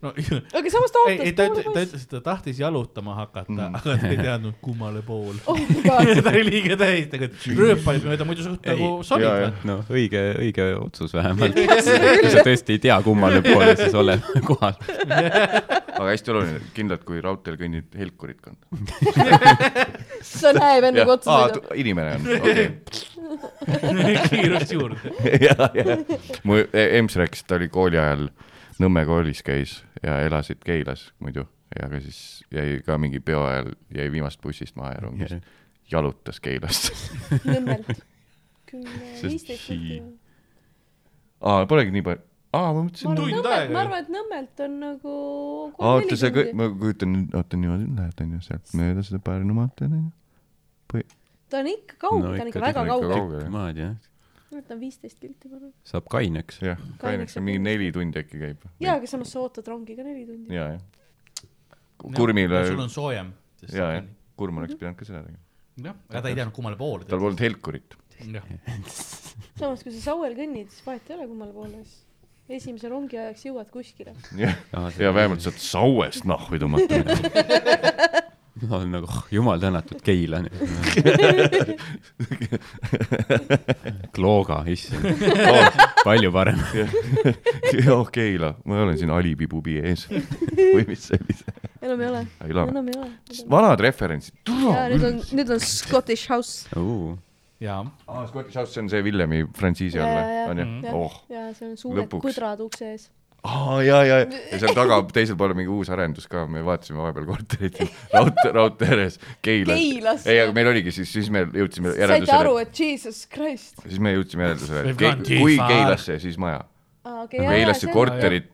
Speaker 1: no
Speaker 3: aga samas ta
Speaker 1: ei , ei
Speaker 3: ootas
Speaker 1: ta ütles , ta
Speaker 3: poole poisse .
Speaker 1: ütles , et ta tahtis jalutama hakata mm. , aga ta ei teadnud kummale poole oh. .
Speaker 3: oh my god ,
Speaker 1: ta oli liiga täis , ta rööpalis mööda muidu suht nagu
Speaker 4: Ei,
Speaker 2: jaa,
Speaker 1: sobib
Speaker 2: jah. .
Speaker 4: noh , õige , õige otsus vähemalt . kui sa tõesti ei tea , kummale poole sa oled kohal .
Speaker 2: aga hästi oluline , kindlalt kui raudteel kõnnib helkurit kanda .
Speaker 3: sa näed enne kui otsa sõidab .
Speaker 2: inimene on , okei .
Speaker 1: kiirust juurde .
Speaker 2: jah , jah . mu e- emps rääkis , ta oli kooli ajal Nõmme koolis käis ja elasid Keilas muidu ja ka siis jäi ka mingi peo ajal jäi viimast bussist maha ja rongis
Speaker 4: Jah.
Speaker 2: jalutas Keilast .
Speaker 3: Nõmmelt . kümme ,
Speaker 2: Sest
Speaker 3: viisteist
Speaker 2: sii-
Speaker 3: minutit .
Speaker 2: aa , polegi nii palju , aa ma
Speaker 3: ma
Speaker 2: mõtlesin .
Speaker 3: arvan ,
Speaker 1: Tund
Speaker 3: Nõmmelt ,
Speaker 1: aega
Speaker 3: ma
Speaker 1: ju.
Speaker 3: arvan , et Nõmmelt on nagu
Speaker 2: oota , see
Speaker 3: kolm-neli
Speaker 2: kõik ,
Speaker 3: tundi .
Speaker 2: ma kujutan nüüd , oota niimoodi lähed onju sealt mööda seda Pärnu maanteed onju .
Speaker 3: ta on ikka kauge , ta
Speaker 4: No
Speaker 3: on
Speaker 4: ikka,
Speaker 3: ikka väga
Speaker 2: ta on ikka
Speaker 3: kauge .
Speaker 2: kaugel, jah.
Speaker 4: maad jah ,
Speaker 3: ta on viisteist kilti , ma arvan .
Speaker 4: saab kaineks .
Speaker 2: jah , kaineks on mingi neli tundi äkki käib .
Speaker 3: jaa , aga samas sa ootad rongi ka neli tundi .
Speaker 2: ja , jah . Kurmile ,
Speaker 1: sul on soojem .
Speaker 2: ja , jah , Kurm oleks pidanud ka seda tegema .
Speaker 1: jah , aga ta ei teadnud kummale poole
Speaker 2: tal . polnud helkurit .
Speaker 3: samas , kui sa Sauel kõnnid , siis vahet ei ole , kummale poole siis esimese rongi ajaks jõuad kuskile .
Speaker 2: jah , ja vähemalt saad sauest nahhu tõmmata .
Speaker 4: ma olen nagu oh, jumal tänatud Keila . Klooga , issand , palju parem .
Speaker 2: jah , oh, Keila , ma olen siin Alibi pubi ees või mis see oli ,
Speaker 3: enam ei ole ,
Speaker 2: ei lame .
Speaker 3: enam ei ole .
Speaker 2: vanad referentsid .
Speaker 3: jaa , nüüd on , nüüd on Scottish House .
Speaker 1: jaa ,
Speaker 2: aa , Scottish House , Ah, see on see Villemi frantsiisi all
Speaker 3: Jaa, jaa, Mhm. jaa.
Speaker 2: või , on ju ? oh ,
Speaker 3: jaa , seal on suured
Speaker 2: Lõpuks.
Speaker 3: Lõpuks. põdrad ukse ees .
Speaker 2: aa ja , ja , ja seal taga teisel pool on mingi uus arendus ka , me vaatasime vahepeal korterit raudtee , raudtee ääres , Keilas .
Speaker 3: Keilas.
Speaker 2: ei , aga meil oligi siis , siis me jõudsime
Speaker 3: saite aru ,
Speaker 2: järeldusele ,
Speaker 3: et Jesus Christ .
Speaker 2: siis me jõudsime järeldusele ,
Speaker 1: We've
Speaker 2: et Ke-
Speaker 1: gone too
Speaker 2: kui
Speaker 1: far.
Speaker 2: Keilasse , siis maja .
Speaker 3: aa , okei , jaa , jaa ,
Speaker 2: Keilasse
Speaker 3: see on
Speaker 2: Nagu korterit ,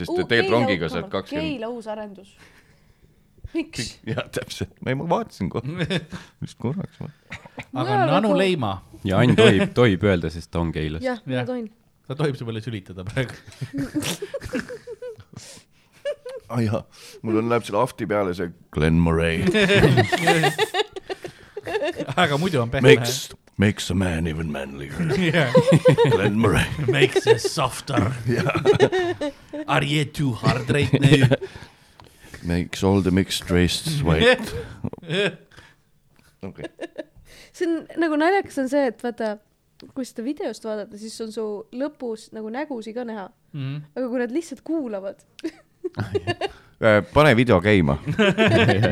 Speaker 2: sest tegelikult rongiga saad kakskümmend .
Speaker 3: Keila uus arendus . miks ?
Speaker 2: jah , täpselt , ma ei , ma vaatasin
Speaker 3: Mhm.
Speaker 2: kohe , vist korraks .
Speaker 1: aga Nanu . Leima ,
Speaker 4: ja Ann tohib , tohib öelda , sest ta on Keilas .
Speaker 3: jah ,
Speaker 1: Jah.
Speaker 3: ma tohin .
Speaker 1: ta tohib su peale sülitada praegu .
Speaker 2: ah, . jaa , mul on , läheb selle ahti peale see Glen Murray
Speaker 1: aga muidu on pehme .
Speaker 2: makes , makes a man even manlier .
Speaker 1: Makes
Speaker 2: Glen Murray .
Speaker 1: you softer . Are you too hard right now ?
Speaker 2: Makes all the mixed races white . okei okay. ,
Speaker 3: see on nagu naljakas on see , et vaata , kui seda videost vaadata , siis on su lõpus nagu nägusid ka näha ,
Speaker 1: Mhm.
Speaker 7: -hmm.
Speaker 3: aga kui nad lihtsalt kuulavad ,
Speaker 2: Äh, pane video käima .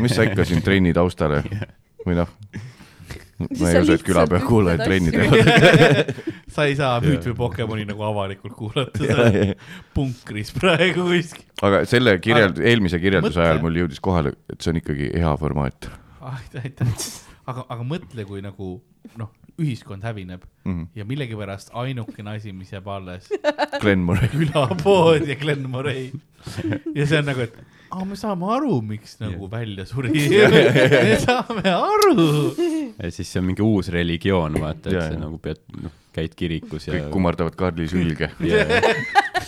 Speaker 2: mis sa ikka siin trenni taustale või noh . ma ei
Speaker 3: sa
Speaker 2: usu , et külapea
Speaker 3: lihtsalt
Speaker 2: kuulajaid
Speaker 3: ütled
Speaker 2: trenni
Speaker 3: asju.
Speaker 2: teevad .
Speaker 1: sa ei saa müüt või Pokemoni nagu avalikult kuulata , sa oled punkris praegu kuskil .
Speaker 2: aga selle kirjeld- , eelmise kirjelduse
Speaker 1: Mõtle.
Speaker 2: ajal mul jõudis kohale , et see on ikkagi hea formaat
Speaker 1: aitäh , aitäh . aga , aga mõtle , kui nagu noh , ühiskond hävineb
Speaker 2: mm . -hmm.
Speaker 1: ja millegipärast ainukene asi , mis jääb alles ,
Speaker 2: Glen Murray .
Speaker 1: külapood ja Glen Murray . ja see on nagu , et aga me saame aru , miks nagu välja suri . me saame aru .
Speaker 4: ja siis see on mingi uus religioon , vaata ,
Speaker 2: Jaa,
Speaker 4: et sa
Speaker 2: jaa.
Speaker 4: nagu pead , noh , käid kirikus ja
Speaker 2: kõik . kummardavad Karli sülge .
Speaker 4: Yeah.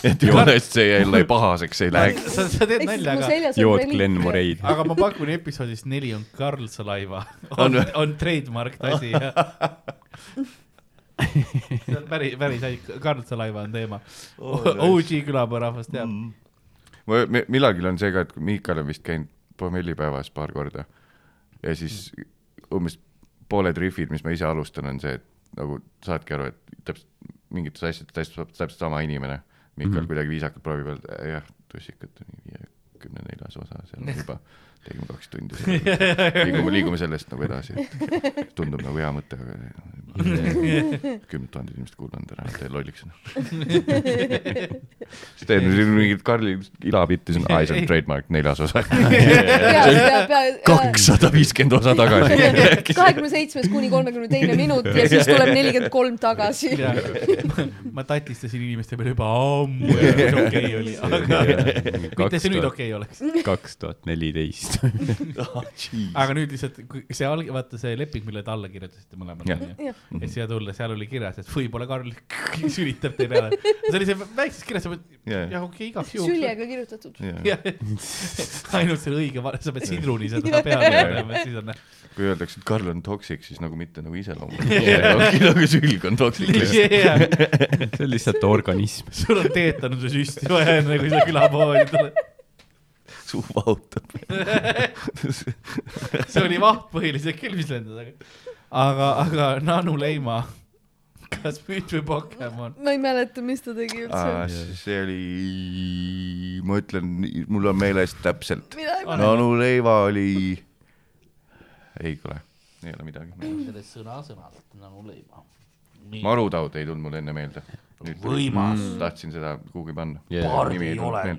Speaker 2: et jumala eest see jälle pahaseks ei läheks .
Speaker 1: sa , sa teed
Speaker 3: ehk siis
Speaker 1: nalja ,
Speaker 3: mu
Speaker 1: aga ,
Speaker 3: seljas
Speaker 4: jood Glen . Moreid .
Speaker 1: aga ma pakun episoodis neli on Karl Salaiva . on , on trademark asi ja . see on päris , päris haig- , Karl Salaiva on teema . OG külapõe rahvas teab .
Speaker 2: ma , millalgi on see ka , et Miikal on vist käinud pommellipäevas paar korda ja siis umbes pooled rihvid , mis ma ise alustan , on see , et nagu saadki aru , et täpselt mingites asjades täpselt , täpselt sama inimene . Miikal mm
Speaker 4: Mhm.
Speaker 2: -hmm. kuidagi viisakalt proovib öelda , jah , tussikad on viiekümne neljas osa seal juba , tegime kaks tundi . liigume , liigume sellest nagu edasi , et tundub nagu hea mõte , aga kümned tuhanded inimesed kuulanud ära , tee lolliks . siis teen siin mingit Karli ilapitti , siis on Eyes on trademark neljas osa .
Speaker 3: kakssada
Speaker 2: kakssada viiskümmend osa tagasi .
Speaker 3: kahekümne seitsmes kuni kolmekümne teine minut ja siis tuleb nelikümmend kolm tagasi .
Speaker 1: ma tatistasin inimeste peale juba ammu ja see okei oli , aga mitte see nüüd okei oleks .
Speaker 4: kaks tuhat neliteist .
Speaker 1: aga nüüd lihtsalt , see alg- , vaata see leping , mille te alla kirjutasite mõlemad ,
Speaker 2: Jah.
Speaker 1: onju .
Speaker 3: jah ,
Speaker 1: et siia tulla , seal oli kirjas , et võib-olla Karl sülitab teile ära . see oli see väikses kirjas , sa pead , jah okei , igaks juhuks .
Speaker 3: süljega kirjutatud .
Speaker 1: jah , ainult selle õige , sa pead sidruni seda peale panema , siis on .
Speaker 2: kui öeldakse , et Karl on toksik , siis nagu mitte nagu iseloomulik , nagu sülg on toksik .
Speaker 4: see on lihtsalt organism .
Speaker 1: sul on teetanuse süsti vaja enne , kui sa külapoodi tuled .
Speaker 2: suu vahutab .
Speaker 1: see oli vaht põhiliselt küll , mis lendas , aga , aga , aga Nanu Leima , kas müüt või Pokemon ?
Speaker 3: ma ei mäleta , mis ta tegi üldse .
Speaker 2: Ah, see oli , ma ütlen , mul on meeles täpselt .
Speaker 3: mina ei mäleta .
Speaker 2: Nanu Leiva oli , ei kuule , ei ole midagi .
Speaker 7: sellest sõna-sõnalt nagu leima .
Speaker 2: marutaud ei tulnud mulle enne meelde . võimas . tahtsin seda kuhugi panna
Speaker 4: Jaa. .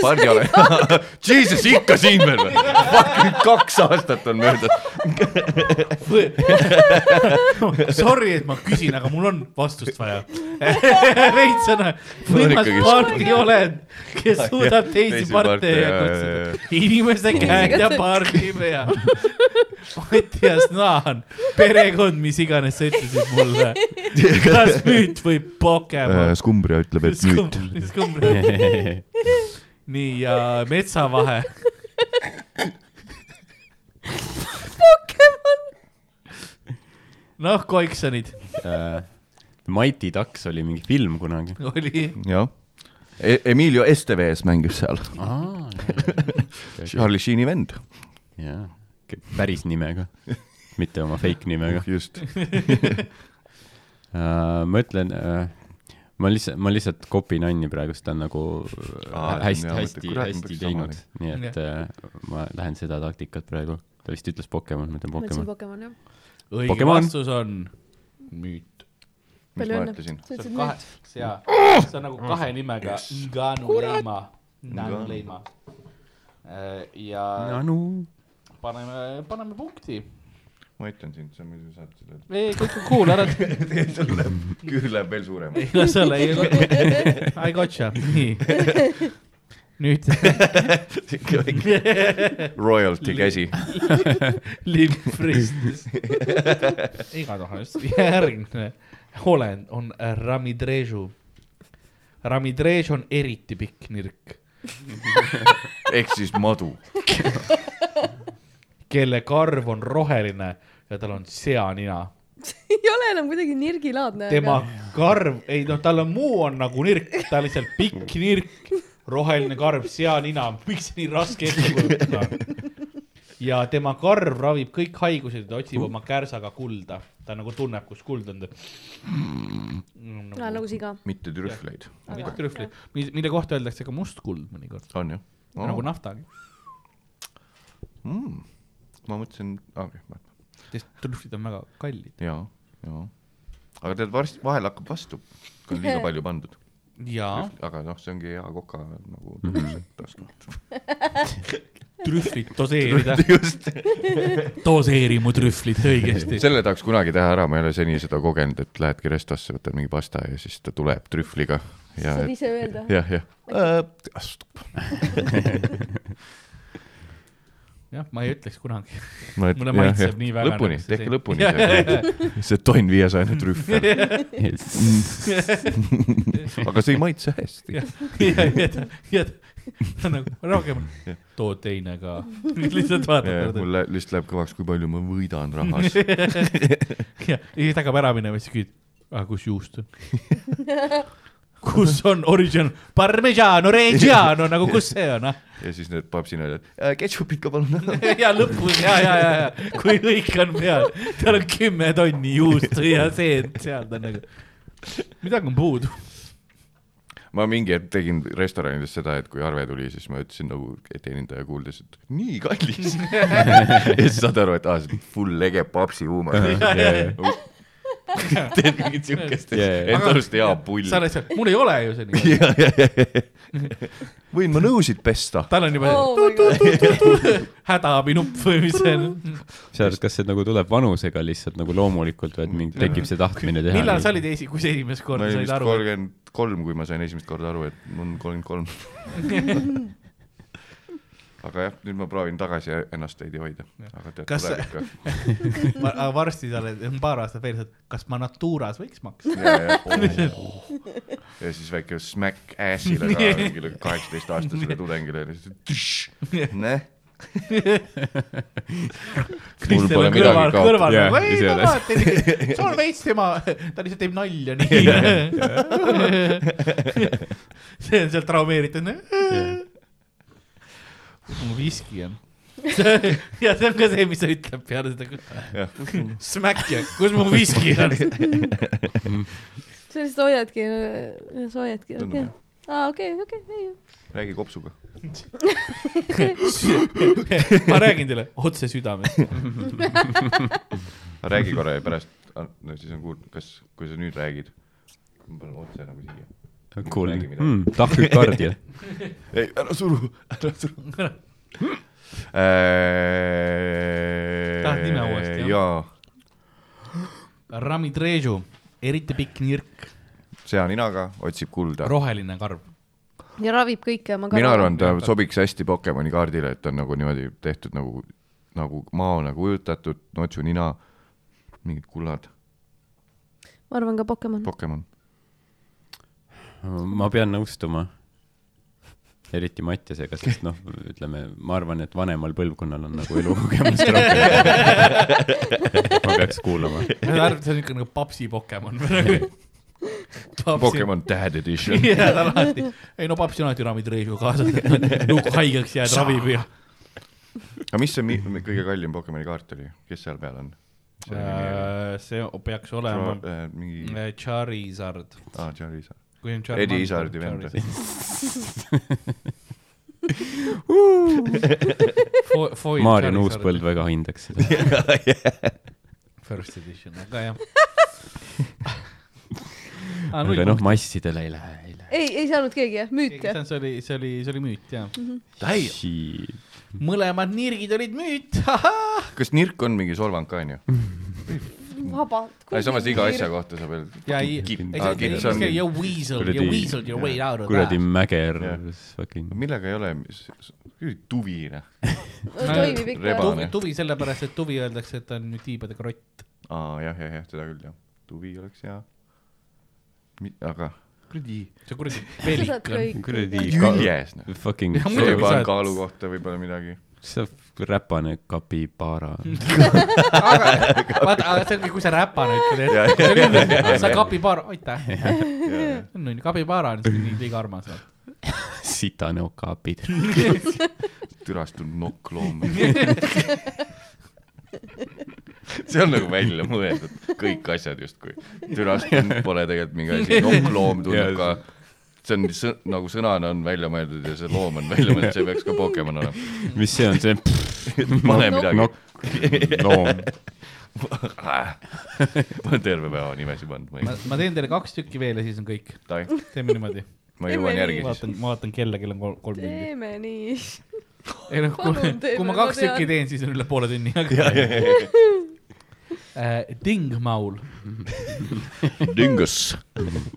Speaker 2: pardi ole . Jesus , ikka siin veel või ? kaks aastat on möödas .
Speaker 1: Sorry , et ma küsin , aga mul on vastust vaja . veits on , võimas
Speaker 2: ikkagi-
Speaker 1: pardi olend , kes suudab teisi
Speaker 2: teisi parte,
Speaker 1: parte
Speaker 2: jaa, jaa, jaa,
Speaker 1: kutsuda . inimeste käed ja pardi pea . Ott ja Snaan , perekond , mis iganes sa ütlesid mulle . kas müüt või Pokemon ?
Speaker 2: Äh, skumbria ütleb , et nüüd .
Speaker 1: nüüd . nii ja metsavahe .
Speaker 3: Pokemon .
Speaker 1: noh , Koiksonid äh,
Speaker 4: Mighty Ducks oli mingi film kunagi .
Speaker 1: oli ,
Speaker 2: jah . Emilio Esteves mängis seal ,
Speaker 4: aa ,
Speaker 2: Charlie Sheeni vend ,
Speaker 4: jaa , päris nimega , mitte oma fake nimega .
Speaker 2: just .
Speaker 4: Äh, ma ütlen , ma lihtsalt , ma lihtsalt kopin Anni praegu , sest ta on nagu äh,
Speaker 2: Aa,
Speaker 4: hästi ,
Speaker 2: jaa,
Speaker 4: hästi ,
Speaker 2: kurat, ma
Speaker 4: hästi
Speaker 2: peaks
Speaker 4: teinud
Speaker 2: samamoodi. ,
Speaker 4: nii et äh, ma lähen seda taktikat praegu . ta vist ütles Pokemon , ma ütlen
Speaker 3: ma ütlesin Pokemon
Speaker 4: Pokemon .
Speaker 3: jah .
Speaker 1: õige
Speaker 4: Pokemon.
Speaker 1: Pokemon. vastus on müüt .
Speaker 2: mis
Speaker 3: palju
Speaker 2: ma
Speaker 3: õnne .
Speaker 2: ütlesin ?
Speaker 3: sa ütlesid
Speaker 1: kahe
Speaker 3: nüüd .,
Speaker 1: jaa , see on nagu kahe nimega Nganu leima , Nganu leima . ja
Speaker 4: Nanu .
Speaker 1: paneme , paneme punkti .
Speaker 2: ma aitan sind , sa muidu saad selle ,
Speaker 1: kõik on cool , ära
Speaker 2: küür läheb veel suuremaks .
Speaker 1: las olla , I gotcha , nii . nüüd
Speaker 2: Royalty käsi .
Speaker 1: limpristis . igatahes järgmine olend on Ramidrežu . Ramidrež on eriti pikk nirk ,
Speaker 2: ehk siis madu .
Speaker 1: kelle karv on roheline ja tal on seanina .
Speaker 3: ei ole enam kuidagi nirgilaadne .
Speaker 1: tema karv , ei noh , tal on muu on nagu nirk , ta on lihtsalt pikk nirk , roheline karv , seanina , miks see nii raske ette kujutada on ? ja tema karv ravib kõik haigused ja ta otsib oma kärsaga kulda . ta nagu tunneb , kus kuld on .
Speaker 3: nagu siga .
Speaker 2: mitte trühvleid .
Speaker 1: mitte trühvli , mille kohta öeldakse ka must kuld mõnikord ,
Speaker 2: on ju ?
Speaker 1: nagu nafta .
Speaker 2: ma mõtlesin ,
Speaker 1: sest trühvlid on väga kallid .
Speaker 2: jaa , jaa . aga tead , varsti vahel hakkab vastu , kui on liiga palju pandud .
Speaker 1: jaa ,
Speaker 2: aga noh , see ongi hea koka nagu
Speaker 1: Mhm.
Speaker 2: tunnus ,
Speaker 1: trühvlid doseerida ,
Speaker 2: et just .
Speaker 1: doseeri mu trühvlid õigesti .
Speaker 2: selle tahaks kunagi teha ära , ma ei ole seni seda kogenud , et lähedki restosse , võtad mingi pasta ja siis ta tuleb trühvliga ja
Speaker 3: saad , ise öelda .
Speaker 2: jah , Äh, jah .
Speaker 1: jah , ma ei ütleks kunagi .
Speaker 2: Ma,
Speaker 1: Mulle maitseb nii väga
Speaker 2: lõpuni
Speaker 1: nagu , see
Speaker 2: tehke
Speaker 1: seent.
Speaker 2: lõpuni see, see tonn viiesajane trühvel , aga see ei maitse hästi .
Speaker 1: ja , ja , ja , ja ta nagu rohkem , too teine ka . lihtsalt vaatab .
Speaker 2: mul lä- lihtsalt läheb kõvaks , kui palju ma võidan rahas .
Speaker 1: ja , ja siis ta hakkab ära minema , siis küsid , aga kus juust on ? kus on origin , parmesano , reggiano , nagu kus see on , ah ?
Speaker 2: ja siis need papsinad , et "Äh, ketšupit ka palun ära .
Speaker 1: ja lõpus ja , ja , ja , ja , kui kõik on peal , tal on kümme tonni juustu ja seent seal , ta on nagu , midagi on puudu .
Speaker 2: ma mingi hetk tegin restoranides seda , et kui arve tuli , siis ma ütlesin nagu teenindaja kuuldes , et nii kallis . ja siis saad aru , et aa , see on full lege papsi huumor . teed mingit siukest ,
Speaker 4: Jajah.
Speaker 2: enda arust hea pull
Speaker 1: sa . oled seal , mul ei ole ju see nii .
Speaker 2: võin ma nõusid pesta ?
Speaker 1: tal on juba
Speaker 3: Oh my God.
Speaker 1: see hädaabinupp või mis see on .
Speaker 4: sa arvad , kas see nagu tuleb vanusega lihtsalt nagu loomulikult või et mingi tekib see tahtmine teha ?
Speaker 1: millal sa olid esi , kui sa esimest
Speaker 2: ma
Speaker 1: korda
Speaker 2: olin
Speaker 1: said
Speaker 2: vist
Speaker 1: aru ?
Speaker 2: kolmkümmend kolm , kui ma sain esimest korda aru , et mul on kolmkümmend kolm . aga jah , nüüd ma proovin tagasi ennast veidi hoida , aga tead ,
Speaker 1: Kas
Speaker 2: tuleb
Speaker 1: sa-
Speaker 2: ikka .
Speaker 1: aga varsti sa oled on paar aastat veel , kas ma Naturas võiks maksta ?
Speaker 2: ja ja- ja siis väike smack ass'ile ka mingile kaheksateist aastasele tudengile ja siis tšš, näh ,
Speaker 1: Kristel
Speaker 4: pole
Speaker 1: on
Speaker 4: midagi
Speaker 1: kõrval ,
Speaker 4: kaotada.
Speaker 1: kõrval
Speaker 4: Jaa,
Speaker 1: nagu , ei
Speaker 4: ise
Speaker 1: ma
Speaker 4: olen.
Speaker 1: vaatan , sul on veits tema , ta lihtsalt teeb nalja nii . see on seal traumeeritud . mu viski on . ja see on ka see , mis ta ütleb peale seda . Smack ja kus mu viski on ?
Speaker 3: sa lihtsalt hoiadki , sa hoiadki ,
Speaker 2: Tundub
Speaker 3: okei
Speaker 2: jah. .
Speaker 3: aa , okei , okei , ei ,
Speaker 2: räägi kopsuga .
Speaker 1: ma räägin teile otse südamest .
Speaker 2: räägi korra ja pärast , no siis on kuulda , kas , kui sa nüüd räägid . ma panen otse nagu siia .
Speaker 4: cool , Hmm, tahvikardia .
Speaker 2: ei , ära suru , ära suru . Øh,
Speaker 1: Tahad nime uuesti, jah?
Speaker 2: jaa ,
Speaker 1: Rami Trežu , eriti pikk nirk ,
Speaker 2: sea ninaga , otsib kulda .
Speaker 1: roheline karv .
Speaker 3: ei . ja ravib kõike oma
Speaker 2: mina . arvan , ta sobiks hästi Pokemoni kaardile , et ta on nagu niimoodi tehtud nagu , nagu maona kujutatud , notsu nina , mingid kullad ,
Speaker 3: ma arvan ka Pokemon .
Speaker 2: Pokemon .
Speaker 4: ma pean nõustuma . eriti Mattiasega , sest noh , ütleme , ma arvan , et vanemal põlvkonnal on nagu elukogemust rohkem . ma peaks kuulama .
Speaker 1: ma saan aru , et see on niisugune nagu papsi Pokemon praegu .
Speaker 2: Pokemon Dad Edition .
Speaker 1: jaa , ta on alati , ei no paps on alati Rami Trežu kaasas , kui haigeks jääd , ravib ja .
Speaker 2: aga mis see mi- kõige kallim Pokemoni kaart oli , kes seal peal on ?
Speaker 1: Äh, see peaks olema
Speaker 2: mingi ,
Speaker 1: äh, Charizard ,
Speaker 2: aa , Charlie Isar .
Speaker 1: kui on Charmander .
Speaker 2: Eddie Isardi vend .
Speaker 4: Maarja Nuuspõld . väga hindaks seda .
Speaker 1: First edition , aga jah . Ah,
Speaker 4: aga noh , massidele ei lähe , ei lähe .
Speaker 3: ei , ei saanud keegi jah , müüt jah .
Speaker 1: see oli , see oli , see oli müüt jah .
Speaker 4: Shit.
Speaker 1: mõlemad nirgid olid müüt ,
Speaker 2: kas nirk on mingi solvang ka , onju ?
Speaker 3: vabalt .
Speaker 2: ei , samas iga asja kohta sa veel .
Speaker 1: ja ei ,
Speaker 2: Ah, kitt on-
Speaker 1: you weasel , you
Speaker 4: Kuradi-
Speaker 1: weasel your way out of
Speaker 4: kuradi
Speaker 1: that .
Speaker 4: mäger
Speaker 2: Jah. ,
Speaker 4: fucking .
Speaker 2: millega ei ole , tuvi , noh .
Speaker 3: toimib ikka
Speaker 2: Reba- .
Speaker 1: tuvi , tuvi sellepärast , et tuvi öeldakse , et ta on ju tiibade krott .
Speaker 2: aa , jah , jah , jah , seda küll , jah . tuvi oleks hea . aga . kuradi .
Speaker 1: see on kuradi
Speaker 3: seda
Speaker 1: pelik on .
Speaker 4: kuradi
Speaker 2: küljes , noh .
Speaker 4: fucking ,
Speaker 1: Jah, muidugi.
Speaker 2: see
Speaker 4: see
Speaker 2: juba
Speaker 1: sa
Speaker 2: on
Speaker 1: oled-
Speaker 2: kaalu kohta võib-olla midagi .
Speaker 4: see räpane kapibaara .
Speaker 1: vaata , aga see ongi , kui sa räpane ütled , et sa kapibaara , aitäh . on ju , kapibaara on siuke nii liiga armas .
Speaker 4: sitane okaapid .
Speaker 2: türastunud nokkloom . see on nagu välja mõeldud , kõik asjad justkui . türastunud pole tegelikult mingi asi , nokkloom tundub ka . see on sõ, nagu sõnana on välja mõeldud ja see loom on välja mõeldud , see peaks ka Pokemon olema .
Speaker 4: mis see on , see
Speaker 2: pane midagi ,
Speaker 4: loom .
Speaker 2: ma olen terve päeva nimesi pannud , ma
Speaker 1: ma
Speaker 2: ei ,
Speaker 1: ma teen teile kaks tükki veel ja siis on kõik .
Speaker 2: tahi ,
Speaker 1: teeme niimoodi .
Speaker 2: ma jõuan järgi siis .
Speaker 1: vaatan , ma vaatan kella , kell on kolm , kolm tundi .
Speaker 3: teeme nii .
Speaker 1: ei noh , kui
Speaker 3: Palun teeme,
Speaker 1: kui ma
Speaker 3: ma
Speaker 1: kaks
Speaker 3: tean.
Speaker 1: tükki teen , siis on üle poole tunni . Dingmaul ,
Speaker 2: Dingus .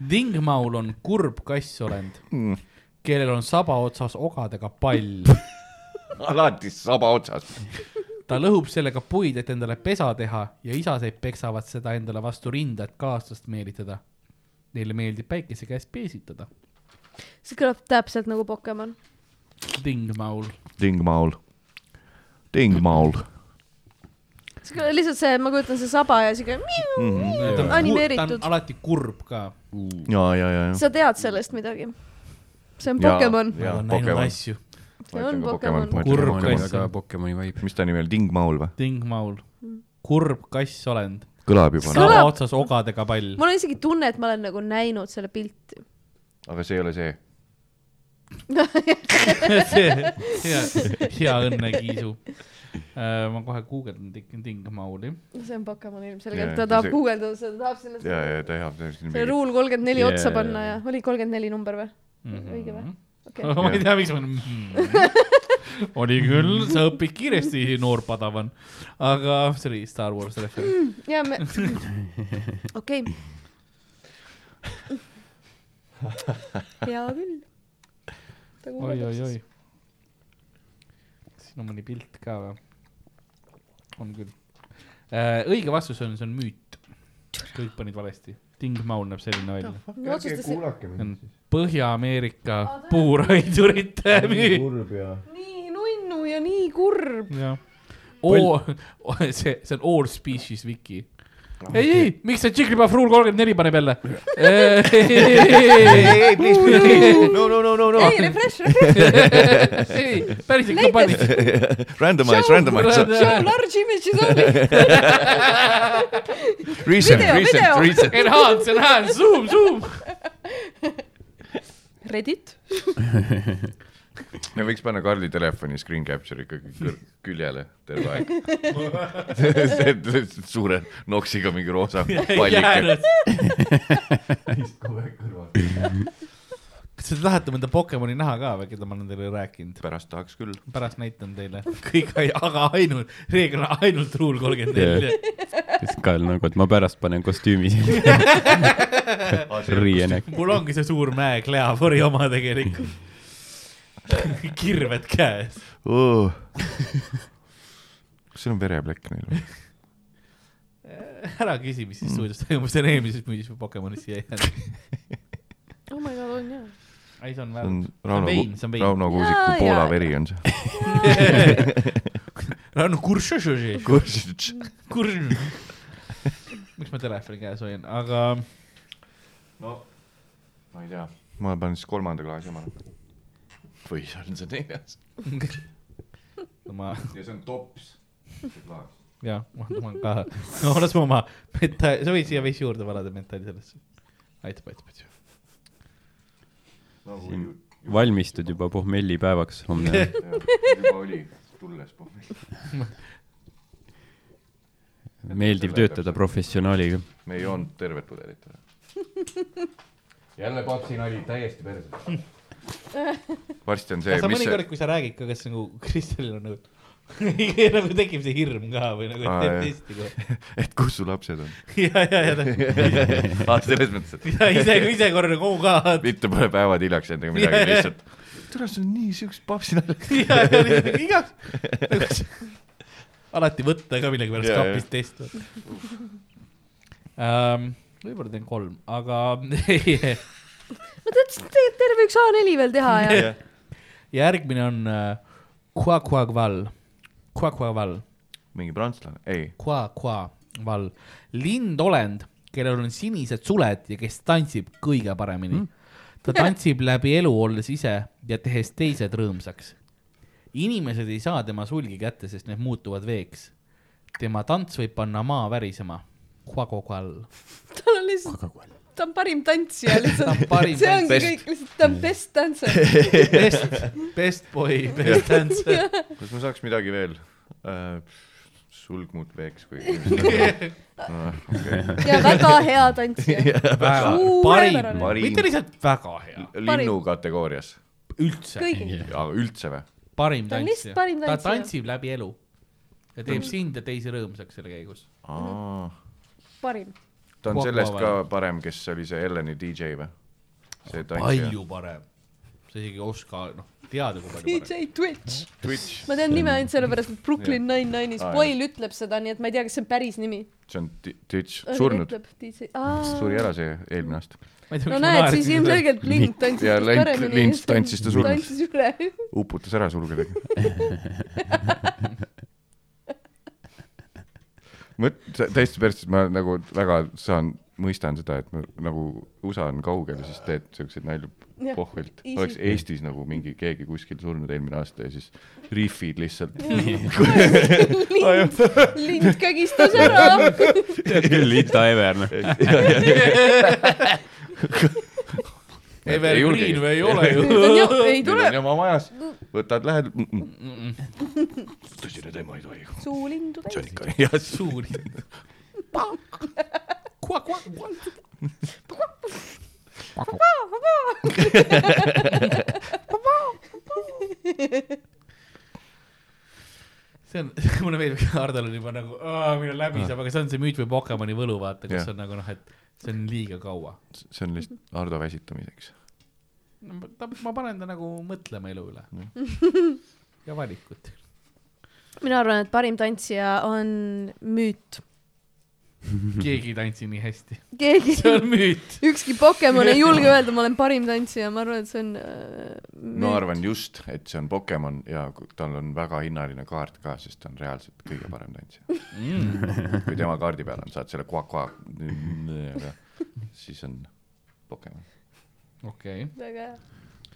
Speaker 1: dingmaul on kurb kassolend ,
Speaker 3: Mm.
Speaker 1: kellel on saba otsas ogadega pall .
Speaker 2: alati saba otsas .
Speaker 1: ta lõhub sellega puid , et endale pesa teha ja isaseid peksavad seda endale vastu rinda , et kaaslast meelitada . Neile meeldib päikese käes peesitada .
Speaker 3: see kõlab täpselt nagu Pokemon .
Speaker 1: dingmaul ,
Speaker 2: Dingmaul . Dingmaul .
Speaker 3: see kõlab lihtsalt see , ma kujutan see saba ja siuke .
Speaker 2: Mhm.
Speaker 1: ta on
Speaker 3: animeeritud .
Speaker 1: alati kurb ka .
Speaker 2: ja , ja , ja , ja .
Speaker 3: sa tead sellest midagi ? see on Pokemon .
Speaker 1: ma olen näinud asju .
Speaker 3: see on Pokemon .
Speaker 2: kurb
Speaker 1: Kurb
Speaker 2: kass .
Speaker 1: kass.
Speaker 4: väga Pokemoni vibe .
Speaker 2: mis ta nimi oli , Dingmaul või ?
Speaker 1: dingmaul , kurb kassolend ,
Speaker 2: kõlab juba no. ,
Speaker 3: Kõlab-
Speaker 1: saba otsas ogadega pall .
Speaker 3: mul on isegi tunne , et ma olen nagu näinud selle pilti .
Speaker 2: aga see ei ole see .
Speaker 1: hea , hea õnne , Kiisu . ma kohe guugeldan Ding- Dingmauli .
Speaker 3: see on Pokemon
Speaker 2: Jaa,
Speaker 3: ilmselgelt , ta tahab
Speaker 2: see-
Speaker 3: guugeldada seda , ta tahab sellest
Speaker 2: ja , ja ta jah , ta just
Speaker 3: selle
Speaker 2: nimi .
Speaker 3: ruul kolmkümmend neli
Speaker 4: Jaa.
Speaker 3: otsa panna ja oli kolmkümmend neli number või ?
Speaker 2: Mhm.
Speaker 3: õige või ? okei ,
Speaker 1: ma ei tea , miks ma olen . oli küll , sa õpid kiiresti , noor padavan . aga see oli Star Wars referents .
Speaker 3: ja me , okei . hea küll . ta
Speaker 1: oi ,
Speaker 3: guugeldab
Speaker 1: oi ,
Speaker 3: siis
Speaker 1: oi . siin on mõni pilt ka või ? on küll . õige vastus on , see on müüt . kõik panid valesti . Dingmaul näeb selline välja .
Speaker 3: me otsustasime ,
Speaker 1: See on Põhja-Ameerika puuraidurite müük .
Speaker 3: nii nunnu ja nii kurb .
Speaker 1: Oo- , see , see on all species wiki . ei , ei , miks see Jigglypuff rule kolmkümmend neli paneb jälle ? ei ,
Speaker 2: no , no , no , no ,
Speaker 3: ei , refresh , refresh ,
Speaker 1: päris ikka pani .
Speaker 2: randomise , randomise ,
Speaker 3: show large images only .
Speaker 2: recent , recent
Speaker 3: Video, video. ,
Speaker 2: recent .
Speaker 1: Enhance , enhance , zoom , zoom .
Speaker 3: Reddit .
Speaker 2: me võiks panna Karli telefoni screen capture ikkagi kõr- küljele terve aeg . suure noksiga mingi roosa pallike .
Speaker 1: jäänud . kas te tahate mõnda Pokemoni näha ka või , keda ma olen teile rääkinud ?
Speaker 2: pärast tahaks küll .
Speaker 1: pärast näitan teile . kõik , aga ainult , reeglina ainult rule kolmkümmend neli .
Speaker 4: siis Kael nagu , et ma pärast panen kostüümi sinna . riienek .
Speaker 1: mul ongi see suur mäe Cleavori oma tegelikult . kirved käes .
Speaker 2: kas seal on vereplekk neil või ?
Speaker 1: ära küsi , mis
Speaker 2: Mm.
Speaker 1: siis stuudios toimub , see on eelmises müüdis Pokemonis siia jäänud .
Speaker 3: oh my god , on jaa .
Speaker 1: ei , see on
Speaker 2: see
Speaker 1: väär-
Speaker 2: on .
Speaker 1: vein, see on vein.
Speaker 2: Rauno , Rauno
Speaker 3: Jaa,
Speaker 2: Kuusiku
Speaker 3: jaa,
Speaker 2: Poola
Speaker 3: jaa.
Speaker 2: veri on see .
Speaker 1: Rannu kuršušuši ,
Speaker 2: kursis .
Speaker 1: kurš . miks ma telefoni käes hoian , aga
Speaker 2: no , ma ei tea , ma panen siis kolmanda klaasi omale . või see on see neljas .
Speaker 1: ma ,
Speaker 2: ja see on tops , see klaas .
Speaker 1: jah , ma tahan ka , olles oma metaal , sa võid siia veits juurde valada metaali sellesse . aitab , aitab , aitab .
Speaker 2: nagu juba
Speaker 4: valmistud juba pohmelli päevaks homne .
Speaker 2: oli , tulles pommi .
Speaker 4: meeldiv töötada professionaaliga .
Speaker 2: me ei joonud tervet pudelit ära . jälle papsi nali , täiesti perses . varsti on see ,
Speaker 1: sa
Speaker 2: mis
Speaker 1: mõnikord
Speaker 2: see ,,
Speaker 1: kui sa räägid ka , kas nagu Kristelil on nagu nagu tekib see hirm ka või nagu , et
Speaker 2: Aa,
Speaker 1: teeb
Speaker 2: jah.
Speaker 1: testi kohe .
Speaker 2: et kus su lapsed on ?
Speaker 1: ja , ja , ja ta
Speaker 2: aa , Ah, selles mõttes , et
Speaker 1: ja ise , ise korra nagu oo ka .
Speaker 2: mitte pole päevad hiljaks jäänud ega midagi , lihtsalt . tule , sul on nii siukest papsi nalja .
Speaker 1: ja , ja lihtsalt nagu igaks . alati võtta ka millegipärast
Speaker 2: Jaa, jah.
Speaker 1: kapist test um, . võib-olla teen kolm , aga
Speaker 3: no ta ütles , et tegelikult terve üks A4 veel teha ja
Speaker 1: järgmine on äh, Kua-Kua-Kval , Kua-Kua-Kval
Speaker 2: mingi prantslane , ei ,
Speaker 1: kua , kua , val , lindolend , kellel on sinised suled ja kes tantsib kõige paremini mm. . ta tantsib läbi elu , olles ise ja tehes teised rõõmsaks . inimesed ei saa tema sulgi kätte , sest need muutuvad veeks . tema tants võib panna maa värisema . Huagokal .
Speaker 3: tal on lihtsalt , ta on parim tantsija
Speaker 1: ta on
Speaker 3: lihtsalt .
Speaker 1: parim
Speaker 3: see ongi
Speaker 1: tantsija.
Speaker 3: kõik , lihtsalt ta on best tantser .
Speaker 1: best , best boy , best dancer .
Speaker 2: kas ma saaks midagi veel äh, ? sulgmud veeks või ?
Speaker 3: ja väga hea tantsija .
Speaker 1: parim ,
Speaker 3: Suurepärane.
Speaker 1: mitte lihtsalt väga hea ,
Speaker 2: linnu kategoorias ,
Speaker 1: üldse
Speaker 3: kõigil .
Speaker 2: üldse või ?
Speaker 1: parim
Speaker 3: Ta on
Speaker 1: tantsija
Speaker 3: lihtsalt . parim
Speaker 1: ta
Speaker 3: tantsija.
Speaker 1: tantsib läbi elu ja teeb sind ja teisi rõõmsaks selle käigus .
Speaker 2: ta
Speaker 3: parim .
Speaker 2: on
Speaker 1: Guapa
Speaker 2: sellest
Speaker 1: või?
Speaker 2: ka parem , kes oli see Elleni DJ või ? see tantsija .
Speaker 1: palju parem . sa isegi ei oska , noh , teada , kui palju parem .
Speaker 3: DJ Twitch .
Speaker 2: Twitch ,
Speaker 3: ma tean nime ainult sellepärast , et Brooklyn Nine-Nine'is
Speaker 2: Aa,
Speaker 3: Boyle ütleb seda , nii et ma ei tea , kas see on päris nimi .
Speaker 2: see on ti- Twitch , surnud , suri ära see eelmine aasta .
Speaker 3: no näed , siis . ilmselgelt Lind
Speaker 2: Ja
Speaker 3: tantsis
Speaker 2: Lind-
Speaker 3: paremini .
Speaker 2: Lind tantsis ta surnud.
Speaker 3: tantsis üle .
Speaker 2: uputas ära sulgedega . mõt- , täiesti päris , ma nagu väga saan , mõistan seda , et ma nagu USA on kaugel , siis teed siukseid nalju
Speaker 3: Jah,
Speaker 2: pohvelt .
Speaker 3: easy.
Speaker 2: oleks Eestis nagu mingi keegi kuskil surnud eelmine aasta ja siis rifid lihtsalt .
Speaker 3: Lind , Lind kägistas ära .
Speaker 4: tead küll , Ita Ever , noh .
Speaker 1: Evergreen või ei ole ju .
Speaker 3: ei
Speaker 2: Need on
Speaker 3: tule ,
Speaker 2: ju oma majas , võtad , lähed . mm, tõsine teema ei tohi .
Speaker 3: suu lindu täis .
Speaker 2: see on ikka jah ,
Speaker 1: suur . see on , mulle meeldib , Hardol on juba nagu , minu läbi saab , aga see on see müüt või Pokemoni võlu , vaata , kus
Speaker 2: Jah.
Speaker 1: on nagu noh , et see on liiga kaua .
Speaker 2: see on lihtsalt Hardo väsitamiseks .
Speaker 1: ma panen ta nagu mõtlema elu üle ja valikut .
Speaker 3: mina arvan , et parim tantsija on müüt .
Speaker 1: keegi ei tantsi nii hästi ,
Speaker 3: keegi ,
Speaker 1: see on müüt .
Speaker 3: ükski Pokemon ei julge öelda , ma olen parim tantsija , ma arvan , et see on äh, müüt
Speaker 2: ma . arvan just , et see on Pokemon ja ku- tal on väga hinnaline kaart ka , sest ta on reaalselt kõige parem tantsija mm. . kui tema kaardi peal on , saad selle kua-kua , siis on Pokemon .
Speaker 1: okei okay. ,
Speaker 3: väga hea .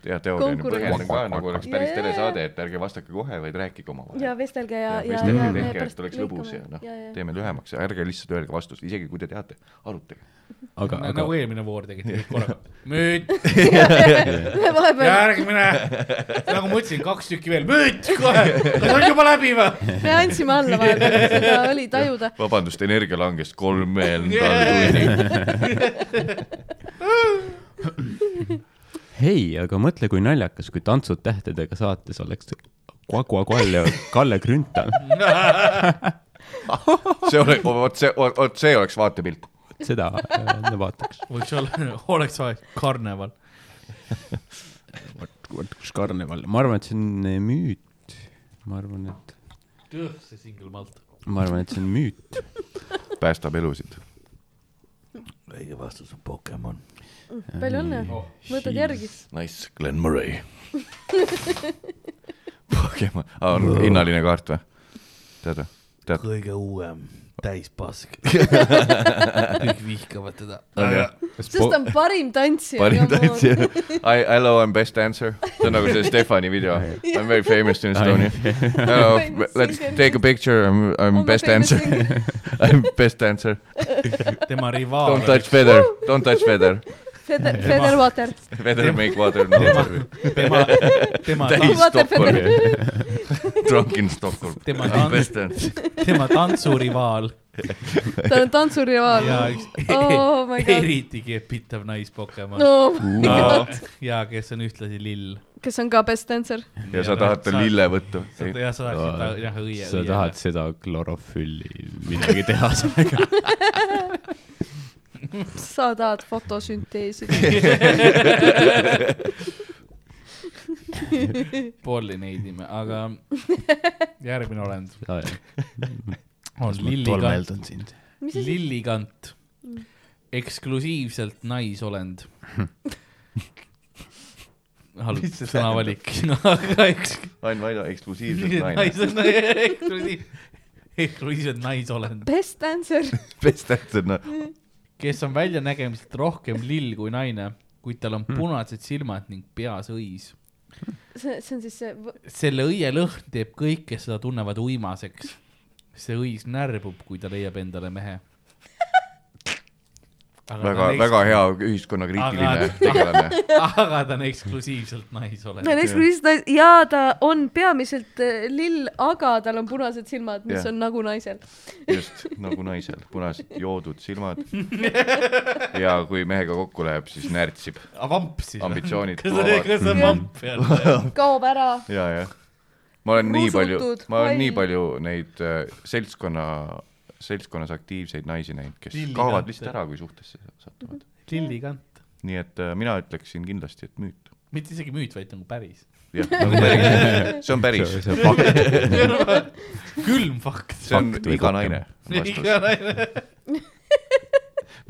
Speaker 2: ja teooria on ju
Speaker 3: Konkurents.
Speaker 2: põhjalik ka , nagu oleks päris
Speaker 3: Jajajah.
Speaker 2: telesaade , et ärge vastake kohe , vaid rääkige omavahel .
Speaker 3: ja vestelge ja , ja , ja
Speaker 2: vestelge , tehke , et oleks lõbus ja noh , teeme lühemaks ja ärge lihtsalt öelge vastust , isegi kui te teate , arutage .
Speaker 4: aga , aga
Speaker 1: nagu eelmine voor tegite kõik korraga . müüt ,
Speaker 3: vahepeal
Speaker 1: järgmine , nagu ma ütlesin , kaks tükki veel , müüt kohe , kas on juba läbi või ?
Speaker 3: me andsime alla vahepeal , seda oli tajuda .
Speaker 2: vabandust , energia langes kolmandal tunnil .
Speaker 4: hei , aga mõtle , kui naljakas , kui Tantsud tähtedega saates oleks Kagua Kalle , Kalle Grünthal .
Speaker 2: see oleks , vot see , vot see oleks vaatepilt .
Speaker 4: seda äh, vaataks .
Speaker 1: võiks olla , oleks vaja , karneval .
Speaker 4: vot kus karneval , ma arvan , et see on äh, müüt . ma arvan , et ,
Speaker 1: see single malt .
Speaker 4: ma arvan , et see on müüt .
Speaker 2: päästab elusid .
Speaker 1: õige vastus on Pokemon .
Speaker 3: palju õnne ,
Speaker 2: Oh,
Speaker 3: võtad järgi .
Speaker 2: Nice , Glen Murray . Pokemon , aa , on hinnaline kaart või ? tead või ? tead ?
Speaker 1: kõige uuem , täispask . kõik vihkavad teda .
Speaker 3: sest ta on parim tantsija .
Speaker 2: parim . tantsija . I , hello , I m best dancer . see on nagu see Stefani video . I m very famous in Estonia . Hello , let's take a picture , I m , I m best dancer . I m best dancer .
Speaker 1: tema
Speaker 2: Don't
Speaker 1: rivaal ,
Speaker 2: touch feather , don't touch feather .
Speaker 3: Feder , Federwater .
Speaker 2: Feather make water no water .
Speaker 1: tema , tema ,
Speaker 2: täis
Speaker 3: Vaata,
Speaker 2: Stockholmi . Drunk in Stockholm . I
Speaker 1: Tema
Speaker 2: m
Speaker 1: tants-
Speaker 2: best dancer .
Speaker 1: tema tantsurivaal
Speaker 3: tal on tantsurivaal .
Speaker 1: ja üks
Speaker 3: Oh my god.
Speaker 1: eriti kepitav naispokemon
Speaker 3: no ,
Speaker 1: no. . ja kes on ühtlasi lill .
Speaker 3: kes on ka best dancer .
Speaker 2: ja sa tahad ta . lille võtta .
Speaker 1: jah , sa tahad seda , jah , õie .
Speaker 4: sa tahad seda klorofülli midagi teha sellega .
Speaker 3: sa tahad fotosünteesi .
Speaker 1: pollineidime , aga järgmine olend on lillikant ,
Speaker 4: tolmeldan sind .
Speaker 3: mis asi ? Mm.
Speaker 1: lillikant , eksklusiivselt naisolend . halb
Speaker 2: Mis see
Speaker 1: sõnavalik , no aga eks
Speaker 2: Ain Vaino eksklusiivselt naine .
Speaker 1: naised , eksklusiiv , eksklusiivselt naisolend ,
Speaker 3: Best dancer .
Speaker 2: best actor , noh .
Speaker 1: kes on väljanägemiselt rohkem lill kui naine kuid tal
Speaker 2: Hmm.
Speaker 1: on punased silmad ning peas õis .
Speaker 3: see , see on siis see ,
Speaker 1: selle õie lõhn teeb kõik , kes seda tunnevad uimaseks . see õis närvub , kui ta leiab endale mehe .
Speaker 2: väga , väga . hea ühiskonnakriitiline
Speaker 1: Aga-
Speaker 2: tegelane .
Speaker 1: aga ta on eksklusiivselt
Speaker 3: ta on
Speaker 1: naisolev .
Speaker 3: eksklusiivne ja ta on peamiselt eh, lill , aga tal on punased silmad , mis
Speaker 2: Jah.
Speaker 3: on nagu naisel .
Speaker 2: just nagu naisel , punased joodud silmad . ja kui mehega kokku läheb , siis närtsib .
Speaker 1: vamp siis või ?
Speaker 2: ambitsioonid
Speaker 1: kas ta ,
Speaker 2: tulevad .
Speaker 1: kas ta on vamp jälle ?
Speaker 3: kaob ära .
Speaker 2: ja , jah . ma olen nii palju
Speaker 3: Rusutud, ,
Speaker 2: ma olen nii
Speaker 3: hall.
Speaker 2: palju neid äh, seltskonna , seltskonnas aktiivseid naisi näinud , kes
Speaker 1: Lilli
Speaker 2: kaovad
Speaker 1: kant-
Speaker 2: lihtsalt ära , kui suhtesse satuvad .
Speaker 1: lillikant .
Speaker 2: nii et äh, mina ütleksin kindlasti , et müüt .
Speaker 1: mitte isegi müüt , vaid nagu päris .
Speaker 2: jah , nagu päris , see on päris ,
Speaker 4: see on fakt .
Speaker 1: külm fakt .
Speaker 2: see on
Speaker 4: Fakt või
Speaker 2: iga
Speaker 4: kokem?
Speaker 2: naine .
Speaker 1: iga naine .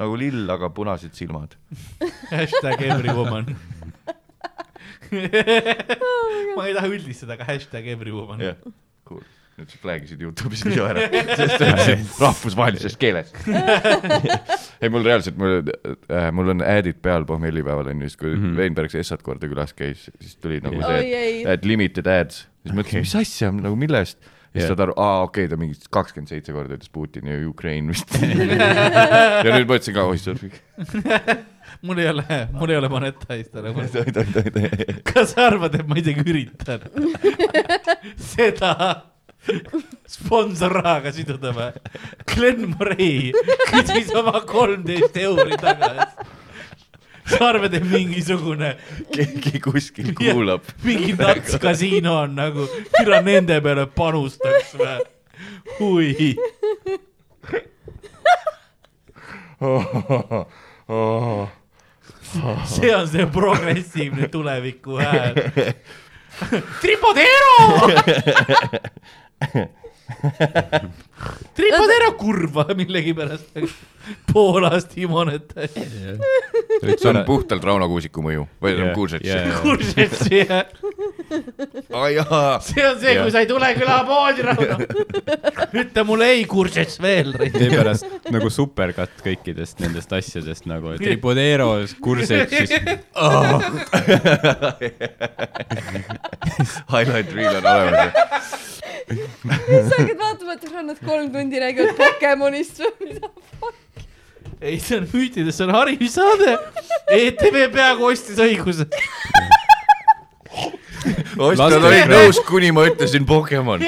Speaker 2: nagu lill , aga punased silmad .
Speaker 1: hashtag everywoman . ma ei taha üldistada , aga hashtag everywoman .
Speaker 2: jah , cool . nüüd sa flag'isid Youtube'is video ära , sest sa ütlesid rahvusvahelises keeles . ei , mul reaalselt , mul äh, , mul on ad'id peal pohmellipäeval onju , siis kui mm -hmm. Veinberg Essat korda külas käis , siis tuli nagu
Speaker 4: Oi,
Speaker 2: see ,
Speaker 3: ei.
Speaker 2: et et limited ads . siis mõtlesin okay. , mis asja , nagu millest ? ja siis
Speaker 4: Jah.
Speaker 2: saad aru , aa okei okay, , ta mingi kakskümmend seitse korda ütles Putin ja Ukraine vist . ja nüüd ma ütlesin ka , oi sorry .
Speaker 1: mul ei ole , mul ei ole monetise'd ära .
Speaker 2: oot , oot , oot , oot .
Speaker 1: kas sa arvad , et ma isegi üritan seda sponsorrahaga siduda või ? Glen Murray küsis oma kolmteist euri tagasi . sa arvad , et mingisugune ,
Speaker 2: keegi kuskil kuulab .
Speaker 1: mingi nats kasiino on nagu , türa nende peale panustaks või ? oi , see on see progressiivne tuleviku hääl . Tripodero . Tripodero kurva millegipärast Poolas Timonet .
Speaker 2: see on puhtalt Rauno Kuusiku mõju või yeah, Kuusets yeah. .
Speaker 1: Kursessi .
Speaker 2: aa jaa .
Speaker 1: see on see ,
Speaker 2: Jah.
Speaker 1: kui sa ei tule külapoodi , Rauno . ütle mulle ei kursess veel .
Speaker 4: seepärast nagu superkatt kõikidest nendest asjadest nagu , et Ripodero kursid siis .
Speaker 2: Highlight Reel on olemas .
Speaker 3: sa hakkad vaatama , et nad kolm tundi räägivad Pokemonist või mida .
Speaker 1: ei , see on müütides , see on harimissaade . ETV peaaegu ostis õiguse .
Speaker 2: ostjad olid nõus , kuni ma ütlesin Pokemon .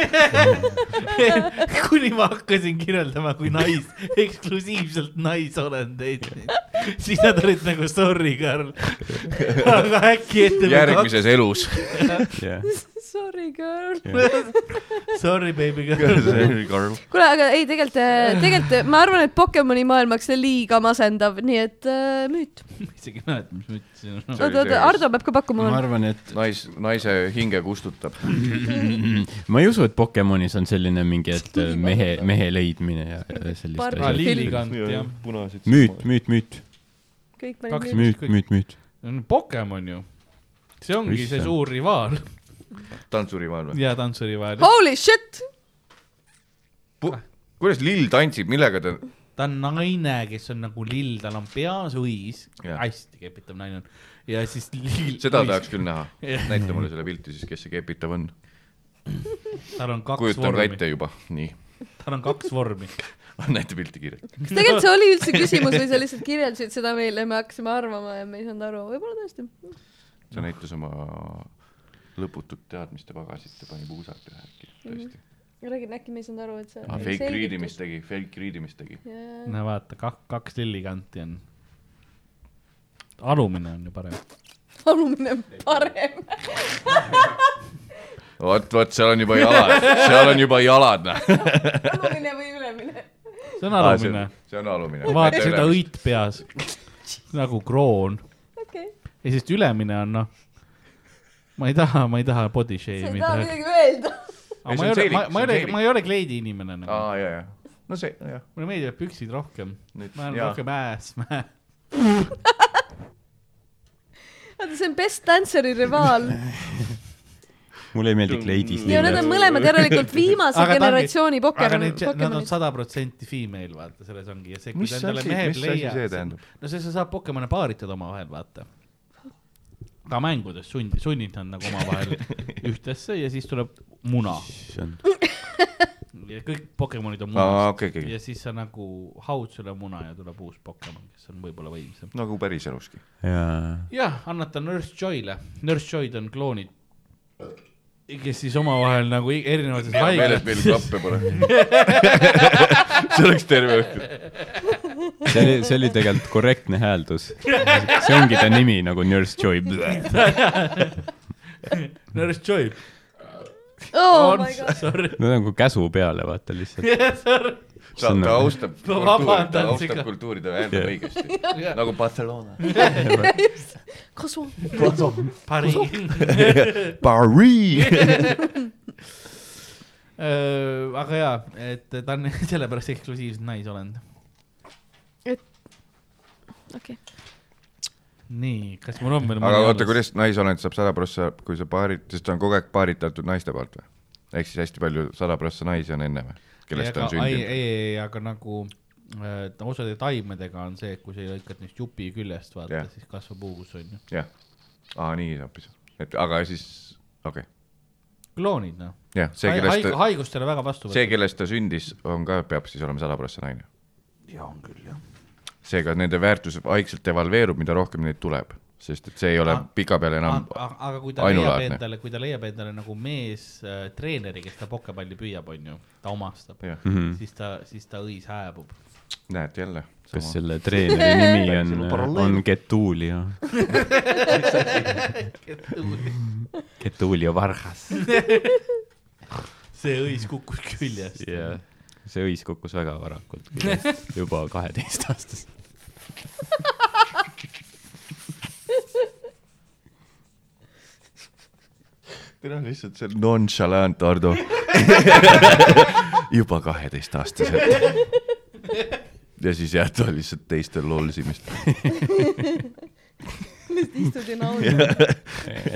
Speaker 1: kuni ma hakkasin kirjeldama , kui nais , eksklusiivselt naisolendeid , siis nad olid nagu sorry , Karl . aga äkki E ette .
Speaker 2: järgmises elus .
Speaker 3: Sorry girl .
Speaker 1: Sorry , baby girl .
Speaker 3: kuule , aga ei , tegelikult , tegelikult ma arvan , et Pokemoni maailmaks see liiga masendav , nii et äh, müüt .
Speaker 1: isegi ei mäleta , mis ma ütlesin .
Speaker 2: See oli
Speaker 3: oota , oota ,
Speaker 2: see,
Speaker 3: Ardo peab ka pakkuma
Speaker 4: ma . arvan , et
Speaker 2: nais , naise hinge kustutab .
Speaker 4: ma ei usu , et Pokemonis on selline mingi , et äh, mehe , mehe leidmine ja ja sellised
Speaker 3: Barbi.
Speaker 1: aa ,
Speaker 4: asjad .
Speaker 1: Ah, lillikant , jah .
Speaker 2: punased
Speaker 4: müüt , müüt , müüt ,
Speaker 3: kõik
Speaker 1: kaks-
Speaker 3: panid müüt .
Speaker 4: müüt , müüt , müüt .
Speaker 1: Pokemon ju . see ongi see
Speaker 4: Issand.
Speaker 1: suur rivaal
Speaker 2: tantsurimaailm .
Speaker 1: ja tantsurivahel .
Speaker 3: Holy shit .
Speaker 2: kuidas lill tantsib , millega ta ,
Speaker 1: ta on naine , kes on nagu lill , tal on peas õis ,
Speaker 2: Jah.
Speaker 1: hästi kepitav naine on ja siis lill .
Speaker 2: seda tahaks . küll näha .
Speaker 1: Jah.
Speaker 2: näita mulle selle pilti siis , kes see kepitav on .
Speaker 1: tal on kaks
Speaker 2: kujutan ka
Speaker 1: vormi ,
Speaker 2: ette juba , nii .
Speaker 1: tal on kaks vormi .
Speaker 2: näita pilti kiirelt .
Speaker 3: kas tegelikult see oli üldse küsimus või sa lihtsalt kirjeldasid seda meile , me hakkasime arvama ja me ei saanud aru , võib-olla tõesti .
Speaker 2: ta näitas oma lõputut teadmiste pagasit ja pani puusad ühe äkki , tõesti .
Speaker 3: räägin , äkki me ei saanud aru , et see .
Speaker 2: Ah, fake readimist . tegi , fake readimist tegi .
Speaker 3: jaa ,
Speaker 1: no vaata , kak- , kaks lillikanti on . alumine on ju parem .
Speaker 3: alumine on parem .
Speaker 2: vot , vot seal on juba jalad , seal on juba jalad , näe .
Speaker 3: alumine või ülemine .
Speaker 1: see on alumine .
Speaker 2: Ah, see on alumine .
Speaker 1: vaata seda . õit peas nagu kroon
Speaker 3: okei .
Speaker 1: ja siis ülemine on noh , ma ei taha , ma ei taha body
Speaker 3: sa
Speaker 1: shame'i
Speaker 3: ei taha
Speaker 1: teha .
Speaker 3: midagi öelda .
Speaker 1: ma
Speaker 2: Ei, see
Speaker 1: ei
Speaker 2: on
Speaker 1: ole ,
Speaker 2: seelik,
Speaker 1: ma
Speaker 2: see , on
Speaker 1: ma ei ole ,
Speaker 2: seelik.
Speaker 1: ma ei ole kleidi inimene nagu .
Speaker 2: aa , ja , ja . Ah, no see , jah .
Speaker 1: mulle meeldivad püksid rohkem .
Speaker 2: Nüüd-
Speaker 1: ma olen
Speaker 2: jaa.
Speaker 1: rohkem ääsmäe .
Speaker 3: vaata , see on Best Danceri rivaal .
Speaker 4: mulle ei meeldi kleidis
Speaker 3: ja nad on mõlemad järelikult viimase
Speaker 1: Aga ta ongi-
Speaker 3: generatsiooni
Speaker 1: aga
Speaker 3: Pokemon ,
Speaker 1: need , nad on
Speaker 3: Pokemonid .
Speaker 1: sada protsenti female , vaata , selles ongi ja see , kui
Speaker 2: mis
Speaker 1: sa
Speaker 2: asi ,
Speaker 1: endale
Speaker 2: mis
Speaker 1: mehed
Speaker 2: asi see
Speaker 1: leiad .
Speaker 2: tähendab ?
Speaker 1: no see , sa saad Pokemone paaritada omavahel , vaata . ka mängudes sundi , sunnid nad nagu omavahel ühtesse ja siis tuleb muna . ja kõik Pokemonid on
Speaker 2: aa ,
Speaker 1: munas
Speaker 2: okei , okei ,
Speaker 1: ja siis sa nagu haud selle muna ja tuleb uus Pokemon , kes on võib-olla võimsam .
Speaker 2: nagu päriseluski .
Speaker 4: jaa .
Speaker 1: jah , annata Nurse Joy'le , Nurse Joy'd on kloonid , kes siis omavahel nagu i- erinevates
Speaker 2: veel , et
Speaker 1: haiglates
Speaker 2: meil klappe pole . see oleks terve õhtu .
Speaker 4: see oli , see oli tegelikult korrektne hääldus . see ongi ta nimi nagu Nurse Joy .
Speaker 1: Nurse Joy
Speaker 3: oh
Speaker 1: on
Speaker 3: my god ,
Speaker 1: sorry ,
Speaker 4: no nagu käsu peale , vaata lihtsalt .
Speaker 1: sorry ,
Speaker 2: ta
Speaker 4: See on
Speaker 2: ta
Speaker 4: nagu-
Speaker 2: austab kultuuri ,
Speaker 1: vabandan,
Speaker 2: ta austab
Speaker 1: siga.
Speaker 2: kultuuri , ta hääldab
Speaker 4: Jah.
Speaker 2: õigesti . nagu Barcelona .
Speaker 3: kasu .
Speaker 1: pari .
Speaker 2: Paris .
Speaker 1: Äh, aga jaa , et ta on sellepärast eksklusiivselt naisolend .
Speaker 3: okei ,
Speaker 1: nii , kas mul on veel
Speaker 2: aga oota ,? kuidas naisolend saab sada prossa , kui sa paarid , sest ta on kogu aeg paaritatud naiste poolt või ? ehk siis hästi palju sada prossa naisi on enne või ? kellest ta on
Speaker 1: ei ,
Speaker 2: sündinud ?
Speaker 1: ei , ei , aga nagu äh, osade taimedega on see , et kui sa lõikad neist jupi küljest , vaata
Speaker 2: Jah.
Speaker 1: yeah. , siis kasvab uus , onju .
Speaker 2: jah . aa , nii hoopis . et aga siis , okei okay. .
Speaker 1: kloonid , noh .
Speaker 2: jah , see , kellest
Speaker 1: haig- ,
Speaker 2: ta ,
Speaker 1: haigustele väga vastu
Speaker 2: see , kellest ta sündis , on ka , peab siis olema sada prossa naine .
Speaker 1: jaa , on küll , jah .
Speaker 2: seega nende väärtus vaikselt devalveerub , mida rohkem neid tuleb , sest et see ei ole
Speaker 1: Ah.
Speaker 2: pikapeale enam
Speaker 1: aga aga kui ta leiab
Speaker 2: ainulaadne.
Speaker 1: endale , kui ta leiab endale nagu mees äh, treeneri , kes ta pokepalli püüab , onju , ta omastab
Speaker 2: Jah. , Mhm.
Speaker 1: siis ta , siis ta õis hääbub .
Speaker 2: näed jälle .
Speaker 4: kas selle treeneri nimi on , on Getulio ? Getulio Vargas .
Speaker 1: see õis kukkus küljest .
Speaker 4: jah , see õis kukkus väga varakult , juba kaheteistaastasest .
Speaker 2: tere , lihtsalt see nonchalant Ardo . juba kaheteistaastaselt . ja siis jätta lihtsalt teistel lolsimist .
Speaker 3: lihtsalt istud ja naudid .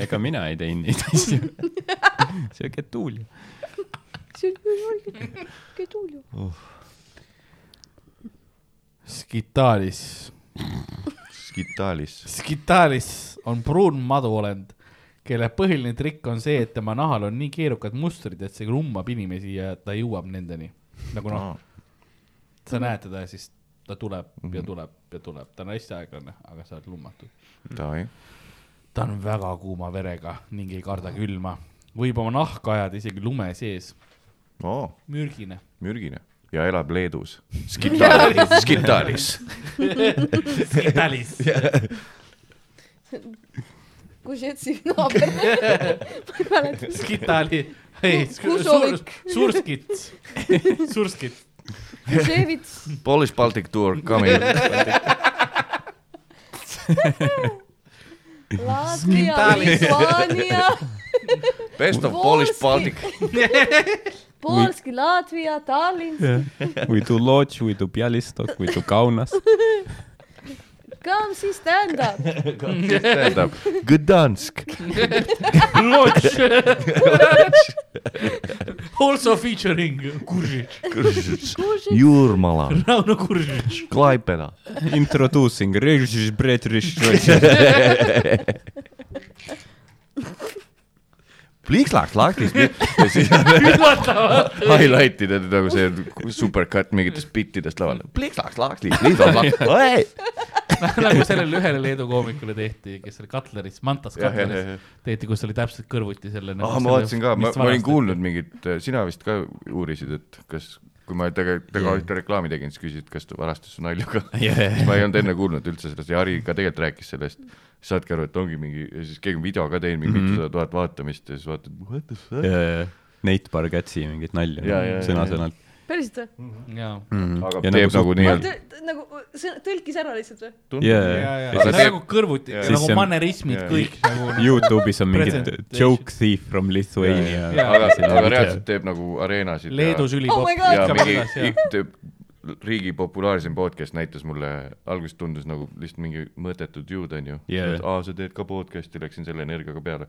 Speaker 4: ega mina ei teinud neid asju . see on Getulio .
Speaker 3: see on nii valge , kõige tuul ju .
Speaker 1: Skitaris ,
Speaker 2: Skitalis .
Speaker 1: Skitaris on pruun maduolend , kelle põhiline trikk on see , et tema nahal on nii keerukad mustrid , et see rummab inimesi ja ta jõuab nendeni . nagu noh , sa näed teda ja siis ta tuleb ja tuleb ja tuleb , ta on hästi aeglane , aga sa oled lummatud .
Speaker 2: Tai .
Speaker 1: ta on väga kuuma verega ning ei karda külma , võib oma nahka ajada isegi lume sees ,
Speaker 2: oo ,
Speaker 1: mürgine .
Speaker 2: mürgine ja elab Leedus . Skitalis , Skitalis .
Speaker 1: Skitaris .
Speaker 3: kus Jetsi naaber , ma ei mäleta .
Speaker 1: Skitali , ei , suur
Speaker 3: Kusovik. ,
Speaker 1: suurskits , suurskits .
Speaker 3: Ževits ,
Speaker 2: Polish Baltic Tour coming .
Speaker 3: Latvia , Lituania ,
Speaker 2: Best of Polish Baltic .
Speaker 3: Polski , Latvia , Tallinn ,
Speaker 4: We do Lodž , we do Bialystok , we do Kaunas .
Speaker 3: come see stand-up .
Speaker 2: tähendab , Gdansk .
Speaker 1: Lodž Also featuring Kuržič ,
Speaker 2: Jurmala ,
Speaker 1: Rauno Kuržič .
Speaker 2: Klaipeda .
Speaker 4: Introducing .
Speaker 2: Pliks-laks lahti . ja siis highlight'ide nagu see supercut mingitest bittidest laval . Pliks-laks lahti , pliks-laks
Speaker 1: nagu sellele ühele Leedu koomikule tehti , kes oli Katleris , Mantas Katleris ,
Speaker 2: lahti .
Speaker 1: tehti , kus oli täpselt kõrvuti selle .
Speaker 2: ah , ma vaatasin ka , ma , ma olin . kuulnud mingit , sina vist ka uurisid , et kas , kui ma tegelikult tega ühte reklaami tegin , siis küsisid , kas ta varastas su nalju ka
Speaker 4: Yeah.
Speaker 2: Siis ma ei olnud enne kuulnud üldse sellest ja Harri ka tegelikult rääkis sellest . saadki aru , et ongi mingi , ja siis keegi on video ka teinud , mingi
Speaker 4: Mhm.
Speaker 2: mitusada mm -hmm. tuhat vaatamist ja siis vaatad , what the fuck .
Speaker 4: Nate Bargatsi mingit nalja
Speaker 2: Jaa, jaa,
Speaker 4: sõna-sõnalt .
Speaker 3: päriselt või ?
Speaker 1: jaa ,
Speaker 2: aga
Speaker 4: Ja
Speaker 2: teeb nagu,
Speaker 4: nagu suht-
Speaker 2: nagu nii-öelda .
Speaker 3: nagu see tõlkis ära lihtsalt või ?
Speaker 1: ja , ja ,
Speaker 2: Ja
Speaker 1: see
Speaker 2: ta
Speaker 1: on
Speaker 2: teeb-
Speaker 1: nagu kõrvuti ,
Speaker 2: ja.
Speaker 4: Siis
Speaker 1: nagu
Speaker 4: see on-
Speaker 1: manerismid
Speaker 2: ja.
Speaker 1: kõik nagu .
Speaker 4: Youtube'is on mingid
Speaker 1: Presentation.
Speaker 4: joke thief from Lithuania .
Speaker 2: aga , aga reaalselt teeb nagu areenasid .
Speaker 1: Leedus
Speaker 3: Oh my
Speaker 1: ülikool .
Speaker 2: ja, ja
Speaker 3: god ,
Speaker 1: ikka
Speaker 2: mingi
Speaker 1: väljas, jah. ,
Speaker 2: teeb riigi populaarsem podcast näitas mulle , alguses tundus nagu lihtsalt mingi mõttetud juud , onju
Speaker 4: Jaa.
Speaker 2: aa , sa teed ka podcast'i , läksin selle energiaga peale .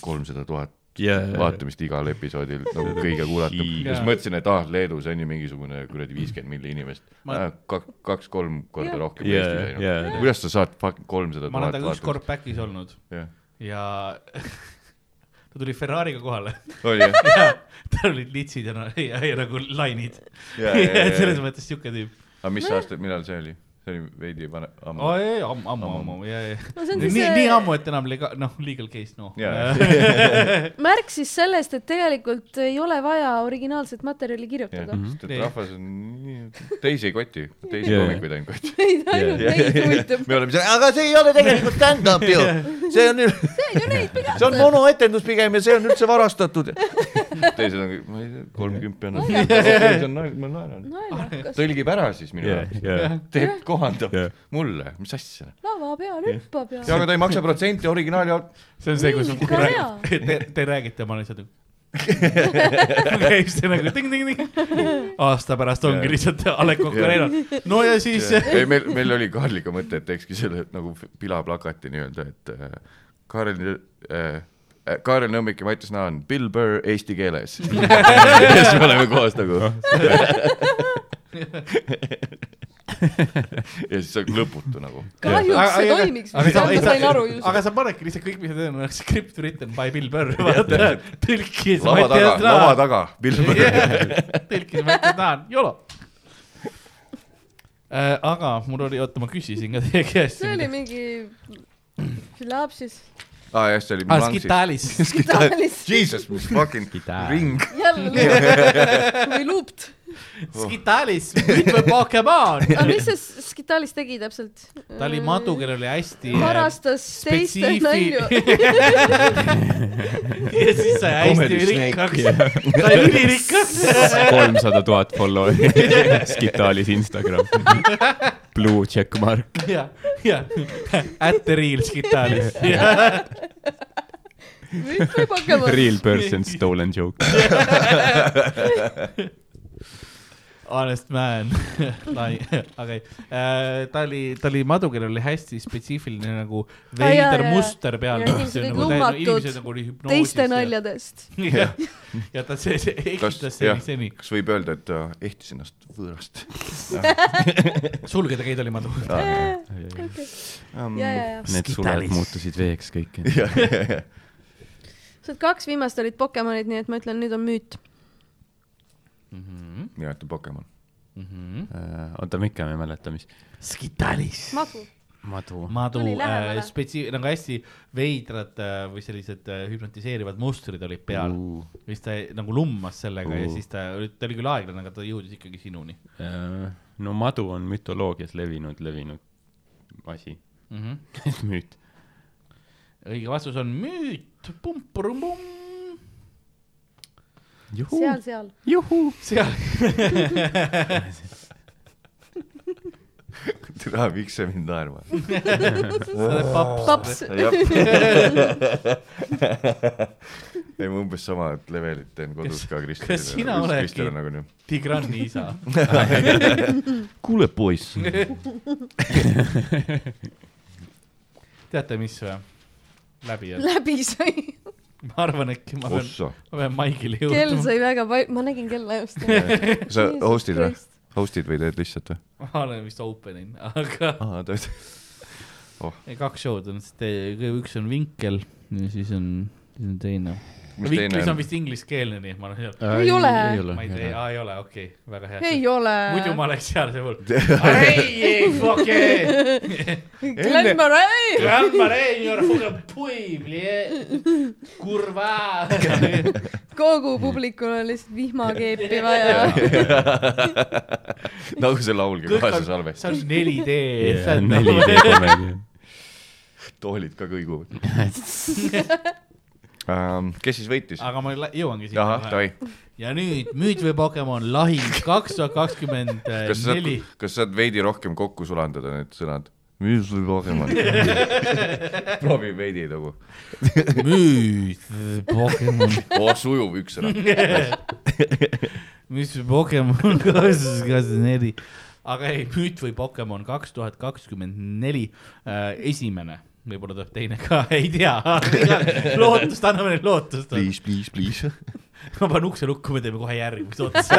Speaker 2: kolmsada tuhat
Speaker 4: Jaa.
Speaker 2: vaatamist igal episoodil , nagu kõige kuulatum . ja siis mõtlesin , et aa , Leedus on ju mingisugune kuradi viiskümmend milli inimest
Speaker 1: Ma-
Speaker 2: ma... . kaks-kolm korda
Speaker 3: Jaa.
Speaker 2: rohkem
Speaker 4: Jaa,
Speaker 2: Eestis
Speaker 4: jaa.
Speaker 2: onju . kuidas sa saad fuck kolmsada
Speaker 1: ma olen
Speaker 2: tuhat
Speaker 1: temaga ükskord back'is olnud
Speaker 2: vaatamist ?
Speaker 1: ja ta tuli Ferrari'ga kohale
Speaker 2: oli jah ?
Speaker 1: ja tal olid litsid ja, na- ja , ja nagu lainid .
Speaker 2: Jaa, jaa, jaa,
Speaker 1: selles
Speaker 2: jaa.
Speaker 1: mõttes siuke tüüp .
Speaker 2: aga mis aasta , millal see oli ? see oli veidi vanem , Mm. ammu
Speaker 1: aa , ei , ammu , ammu , ammu , ja , ja .
Speaker 3: no see on
Speaker 1: nii ,
Speaker 3: siis
Speaker 1: nii
Speaker 3: see
Speaker 1: ammu , et enam lega- , noh , legal case , noh .
Speaker 2: Jaa.
Speaker 3: märk siis sellest , et tegelikult ei ole vaja originaalset materjali
Speaker 2: jah ,
Speaker 3: kirjutada .
Speaker 2: sest et rahvas on nii , teisi ei koti , teisi
Speaker 4: Jaa.
Speaker 2: koomikuid ainult kotti .
Speaker 3: Neid ainult neid huvitab .
Speaker 2: me oleme seal , aga see ei ole tegelikult stand-up ju , see on ,
Speaker 3: see on ju neid
Speaker 2: see on monoetendus pigem ja see on üldse varastatud . teised on , ma ei tea , kolmkümmend pean andma , ma naeran .
Speaker 3: naljakas .
Speaker 2: tõlgib ära siis minu jaoks , teeb , kohandab mulle , mis asja .
Speaker 3: lava peal hüppab ja .
Speaker 2: ja aga ta ei maksa protsenti originaali alt .
Speaker 1: see on see , kus
Speaker 3: Nii,
Speaker 1: kui
Speaker 3: väga
Speaker 1: räägid- te , te räägite , ma olen lihtsalt nagu . käib see nagu ting-ting-ting . aasta pärast ongi
Speaker 2: Jaa.
Speaker 1: lihtsalt A Le Coq Arena . no ja siis .
Speaker 2: ei , meil , meil oli Karliga mõte , et teekski selle nagu f- pilaplakati nii-öelda , et äh, Karel äh, , Kaarel Nõmmik ja Mattias Naan , Bill Burr eesti keeles . siis me oleme koos nagu .
Speaker 1: Noh.
Speaker 2: ja siis see on lõputu nagu .
Speaker 3: kahjuks see toimiks , ma sain aru just .
Speaker 1: aga sa panedki lihtsalt kõik , mis sa teed , on script written by Bill Burr , vaata . tõlkis .
Speaker 2: lava taga , lava taga , Bill Burr .
Speaker 1: taga . tõlkis , ma ütlen , tahan , jolo . aga mul oli , oota , ma küsisin ka teie käest .
Speaker 3: see oli mingi lapsis .
Speaker 2: aa jah , see oli
Speaker 1: ah, .
Speaker 2: Milansis .
Speaker 1: Skitalis .
Speaker 3: Skitalis.
Speaker 2: Jesus , mis fucking
Speaker 4: Skitaal.
Speaker 2: ring .
Speaker 3: jälle või luupt .
Speaker 2: Oh.
Speaker 1: Skitalis , nüüd või Pokemon .
Speaker 3: aga mis see Skitalis tegi täpselt ?
Speaker 1: ta oli madu , kellel oli hästi . eh,
Speaker 3: varastas teiste nalju .
Speaker 1: ja siis sai hästi
Speaker 2: Comedy Snake.
Speaker 1: rikkaks . ta oli ülirikas .
Speaker 4: kolmsada tuhat follower'i , Skitalis Instagram , blue check mark ,
Speaker 1: ja , ja , at the real Skitalis .
Speaker 3: nüüd või Pokemon .
Speaker 4: real person stolen joke .
Speaker 1: Honest man . aga ei , ta oli , ta oli madu , kellel oli hästi spetsiifiline nagu
Speaker 3: Aa, jaa,
Speaker 1: veider
Speaker 3: jaa, jaa.
Speaker 1: muster peal . nagu
Speaker 3: Ja inimesed olid lummatud teiste . naljadest .
Speaker 1: ja ta see , see
Speaker 2: kas ,
Speaker 1: eksitas
Speaker 2: jah
Speaker 1: seni , seni .
Speaker 2: kas võib öelda , et ta ehtis ennast võõrast ?
Speaker 1: sulgeda keid oli madu .
Speaker 3: ja , ja , ja .
Speaker 4: Need suled muutusid veeks kõik .
Speaker 3: sealt kaks viimast olid Pokemonid , nii et ma ütlen , nüüd on müüt .
Speaker 2: nimeta Pokemon .
Speaker 4: äh, oota , ma ikka ei mäleta , mis .
Speaker 1: Skitalis .
Speaker 3: madu .
Speaker 4: madu .
Speaker 1: madu
Speaker 3: Tuli lähemale.
Speaker 1: äh, spetsi- , nagu hästi veidrad äh, või sellised äh, hüpnotiseerivad mustrid olid peal uh. . siis ta nagu lummas sellega uh. ja
Speaker 4: Uu.
Speaker 1: siis ta , ta oli küll aeglane , aga ta jõudis ikkagi sinuni
Speaker 4: äh, no madu on mütoloogias levinud , levinud asi ,
Speaker 1: mm . -hmm.
Speaker 4: müüt .
Speaker 1: õige vastus on müüt , pumpurumbum .
Speaker 3: seal , seal .
Speaker 4: juhuu .
Speaker 1: seal ,
Speaker 2: tere , miks see mind naerma ?
Speaker 1: sa oled paps .
Speaker 3: paps .
Speaker 2: ei , ma umbes samad levelid teen kodus
Speaker 1: Kas-
Speaker 2: ka Kristjanile .
Speaker 1: kas sina oledki-
Speaker 2: Kristjan on nagu nii .
Speaker 1: Tigrani isa .
Speaker 2: kuule , poiss .
Speaker 1: teate , mis või ? läbi on .
Speaker 3: läbi sai .
Speaker 1: ma arvan , äkki ma pean ,
Speaker 2: ossa .
Speaker 1: ma pean Maigile
Speaker 3: kell
Speaker 1: jõudma .
Speaker 3: sai väga palju , ma nägin kella just .
Speaker 2: sa host'id või ?? host'id või teed lihtsalt või ?
Speaker 1: ma olen vist opening , aga
Speaker 2: aa , teed .
Speaker 1: ei, kaks show'd on , üks on vinkel ja siis on , siis on teine
Speaker 2: mis teine
Speaker 1: Viklis on
Speaker 2: on ?
Speaker 1: vist ingliskeelne , nii et ma olen seal .
Speaker 4: Äh,
Speaker 3: Ei ole. ei
Speaker 1: ma ei tea ,. aa ei ole , okei okay, , väga hea .
Speaker 3: ei äh. ole .
Speaker 1: muidu ma oleks seal see hull . ei , ei , fuck ei .
Speaker 3: Glen Murray .
Speaker 1: Grandma Rein , you are fucking pui , kurva .
Speaker 3: kogu publikul on lihtsalt vihmakeepi vaja .
Speaker 2: nagu see laulgi kaasa salvest ,
Speaker 1: see on 4D see on
Speaker 4: neli
Speaker 1: nagu-
Speaker 4: teekomedi .
Speaker 2: toolid ka kõiguvad um, . kes siis võitis ?
Speaker 1: aga ma lä- jõuangi
Speaker 2: ahah ,
Speaker 1: sinna .
Speaker 2: davai .
Speaker 1: ja nüüd müüt või Pokemon lahing kaks tuhat kakskümmend
Speaker 2: kas sa
Speaker 1: Äh, neli
Speaker 2: saad , kas sa saad veidi rohkem kokku sulandada need sõnad ? müü sul Pokemon . proovi veidi nagu .
Speaker 1: müüd Pokemon ,
Speaker 2: oo , sujuv Oh, üks ära .
Speaker 1: mis Pokemon kaasas , kaasas neli . aga ei , müüt või Pokemon kaks tuhat kakskümmend neli , esimene , võib-olla tuleb teine ka , ei tea . lootust , anname neile lootust .
Speaker 2: Please , please , please .
Speaker 1: ma panen ukse lukku , me teeme kohe järgmise otsa .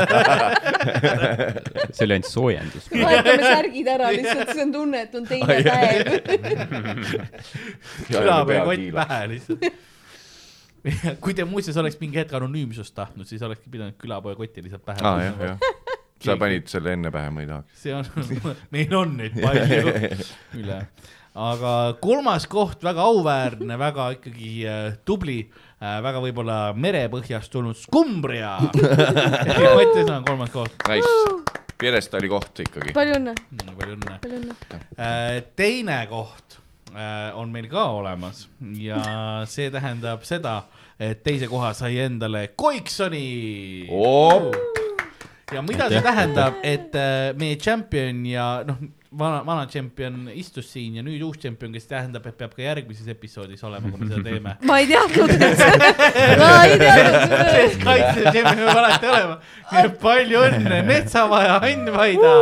Speaker 4: see oli ainult soojendus .
Speaker 3: vahetame särgid ära lihtsalt , siis on tunne , et on teine päev .
Speaker 1: külapäevakott nagu pähe lihtsalt . kui te muuseas oleks mingi hetk anonüümsust tahtnud , siis olekski pidanud külapojakotti lihtsalt pähe
Speaker 2: aa , Ah, jah , jah . sa panid selle enne pähe , ma ei tahaks .
Speaker 1: see on , meil on neid palju üle . aga kolmas koht , väga auväärne , väga ikkagi äh, tubli , väga võib-olla merepõhjast tulnud skumbria . Mati on kolmas koht ,
Speaker 2: Nice . pjedestaali koht ikkagi .
Speaker 3: palju õnne ,
Speaker 1: palju õnne .
Speaker 3: palju õnne .
Speaker 1: Äh, teine koht äh, on meil ka olemas ja see tähendab seda , et teise koha sai endale Koiksoni . ja mida see tähendab , et äh, meie tšempion ja noh , vana , vana tšempion istus siin ja nüüd uus tšempion , kes tähendab , et peab ka järgmises episoodis olema , kui me seda teeme .
Speaker 3: ma ei teadnud , et see , ma ei teadnud .
Speaker 1: kaitsetšempion peab alati olema , palju õnne , Metsamaja Ann Vaida .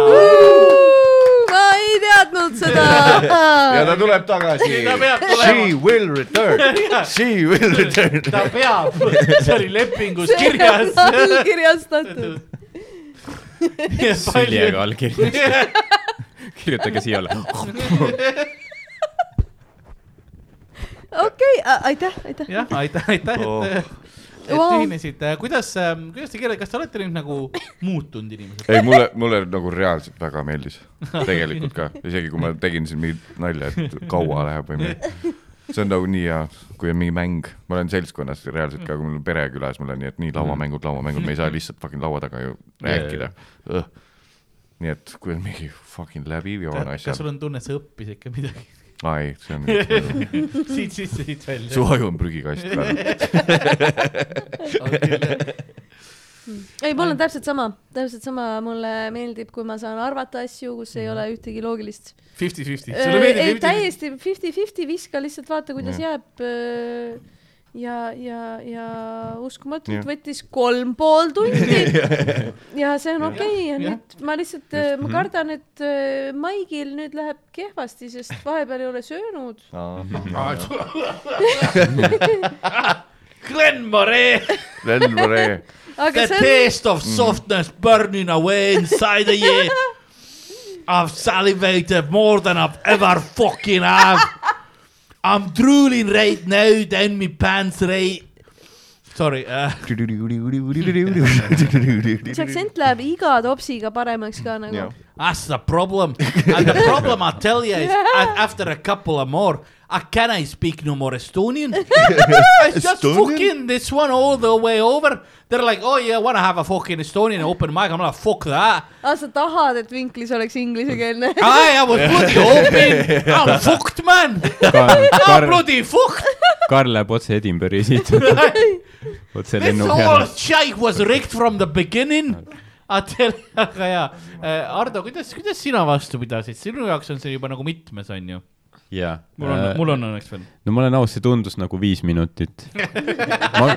Speaker 3: ma ei teadnud seda .
Speaker 1: nagu
Speaker 2: ja ta tuleb tagasi
Speaker 1: Ta peab .
Speaker 2: She
Speaker 1: tulema.
Speaker 2: will return . She will return .
Speaker 1: ta peab , see oli lepingus kirjas .
Speaker 3: nagu allkirjastatud .
Speaker 4: süljega allkiri , kirjutage siia alla .
Speaker 3: okei , aitäh , aitäh .
Speaker 1: jah , aitäh , aitäh ,
Speaker 2: Oh.
Speaker 1: et , et
Speaker 3: Vau.
Speaker 1: ühinesite , kuidas , kuidas te kirjeldate , kas te olete nüüd nagu muutunud inimesed ?
Speaker 2: ei , mulle , mulle nagu reaalselt väga meeldis . tegelikult ka , isegi kui ma tegin siin mingit nalja , et kaua läheb või midagi . see on nagu nii hea , kui on mingi mäng , ma olen seltskonnas reaalselt ka , kui mul on pere külas , mul on nii , et nii lauamängud , lauamängud , me ei saa lihtsalt fucking laua taga ju rääkida . nii et kui on mingi fucking läbijoon
Speaker 1: kas
Speaker 2: asja
Speaker 1: kas , sul on tunne , et sa õppisid ikka midagi
Speaker 2: ai , see on ,
Speaker 1: siit sisse , siit välja
Speaker 2: su ? aju on prügikast peal .
Speaker 3: ei , mul on täpselt sama , täpselt sama , mulle meeldib , kui ma saan arvata asju , kus ei ole ühtegi loogilist .
Speaker 1: Fifty-fifty ,
Speaker 3: Eh,
Speaker 1: sulle
Speaker 3: ei ,
Speaker 1: meeldib fifty ?
Speaker 3: täiesti fifty-fifty , viska lihtsalt , vaata , kuidas jääb . ja , ja , ja
Speaker 2: Jah.
Speaker 3: uskumatult võttis kolm pool tundi ja see on okei ja nüüd ma lihtsalt , ma kardan , et äh, Maigil nüüd läheb kehvasti , sest vahepeal ei ole söönud .
Speaker 1: Glen Mare ,
Speaker 2: Len Mare ,
Speaker 1: the
Speaker 3: aga see on ,
Speaker 1: taste of softness burning away inside the year . I have salivated more than I have ever fucking have . I am drooling right now down my pants right . Sorry uh, .
Speaker 3: see aktsent läheb iga topsiga paremaks ka nagu .
Speaker 1: That's the problem. and the problem I tell you is a- after a couple of more, I cannot speak no more Estonian. it's just
Speaker 2: Estonian?
Speaker 1: fucking this one all the way over. They're like, oh yeah, I want to have a fucking Estonian open mic. I'm like, fuck that.
Speaker 3: aa , Ah, sa tahad , et vinklis oleks inglisekeelne ?
Speaker 1: Aye, I was bloody open. I'm fucked, man. I'm
Speaker 4: Karl ,
Speaker 1: bloody fucked.
Speaker 4: Karl läheb otse Edinburgh'i siit , otse
Speaker 1: This
Speaker 4: lennu
Speaker 1: whole
Speaker 4: peale .
Speaker 1: shite was rigged from the beginning . I tell you , aga jaa . Ardo , kuidas , kuidas sina vastu pidasid ? sinu jaoks on see juba nagu mitmes , on ju ?
Speaker 4: jaa .
Speaker 1: mul on ,
Speaker 4: Uh,
Speaker 1: mul on õnneks veel .
Speaker 4: no ma olen aus , see tundus nagu viis minutit Ma, .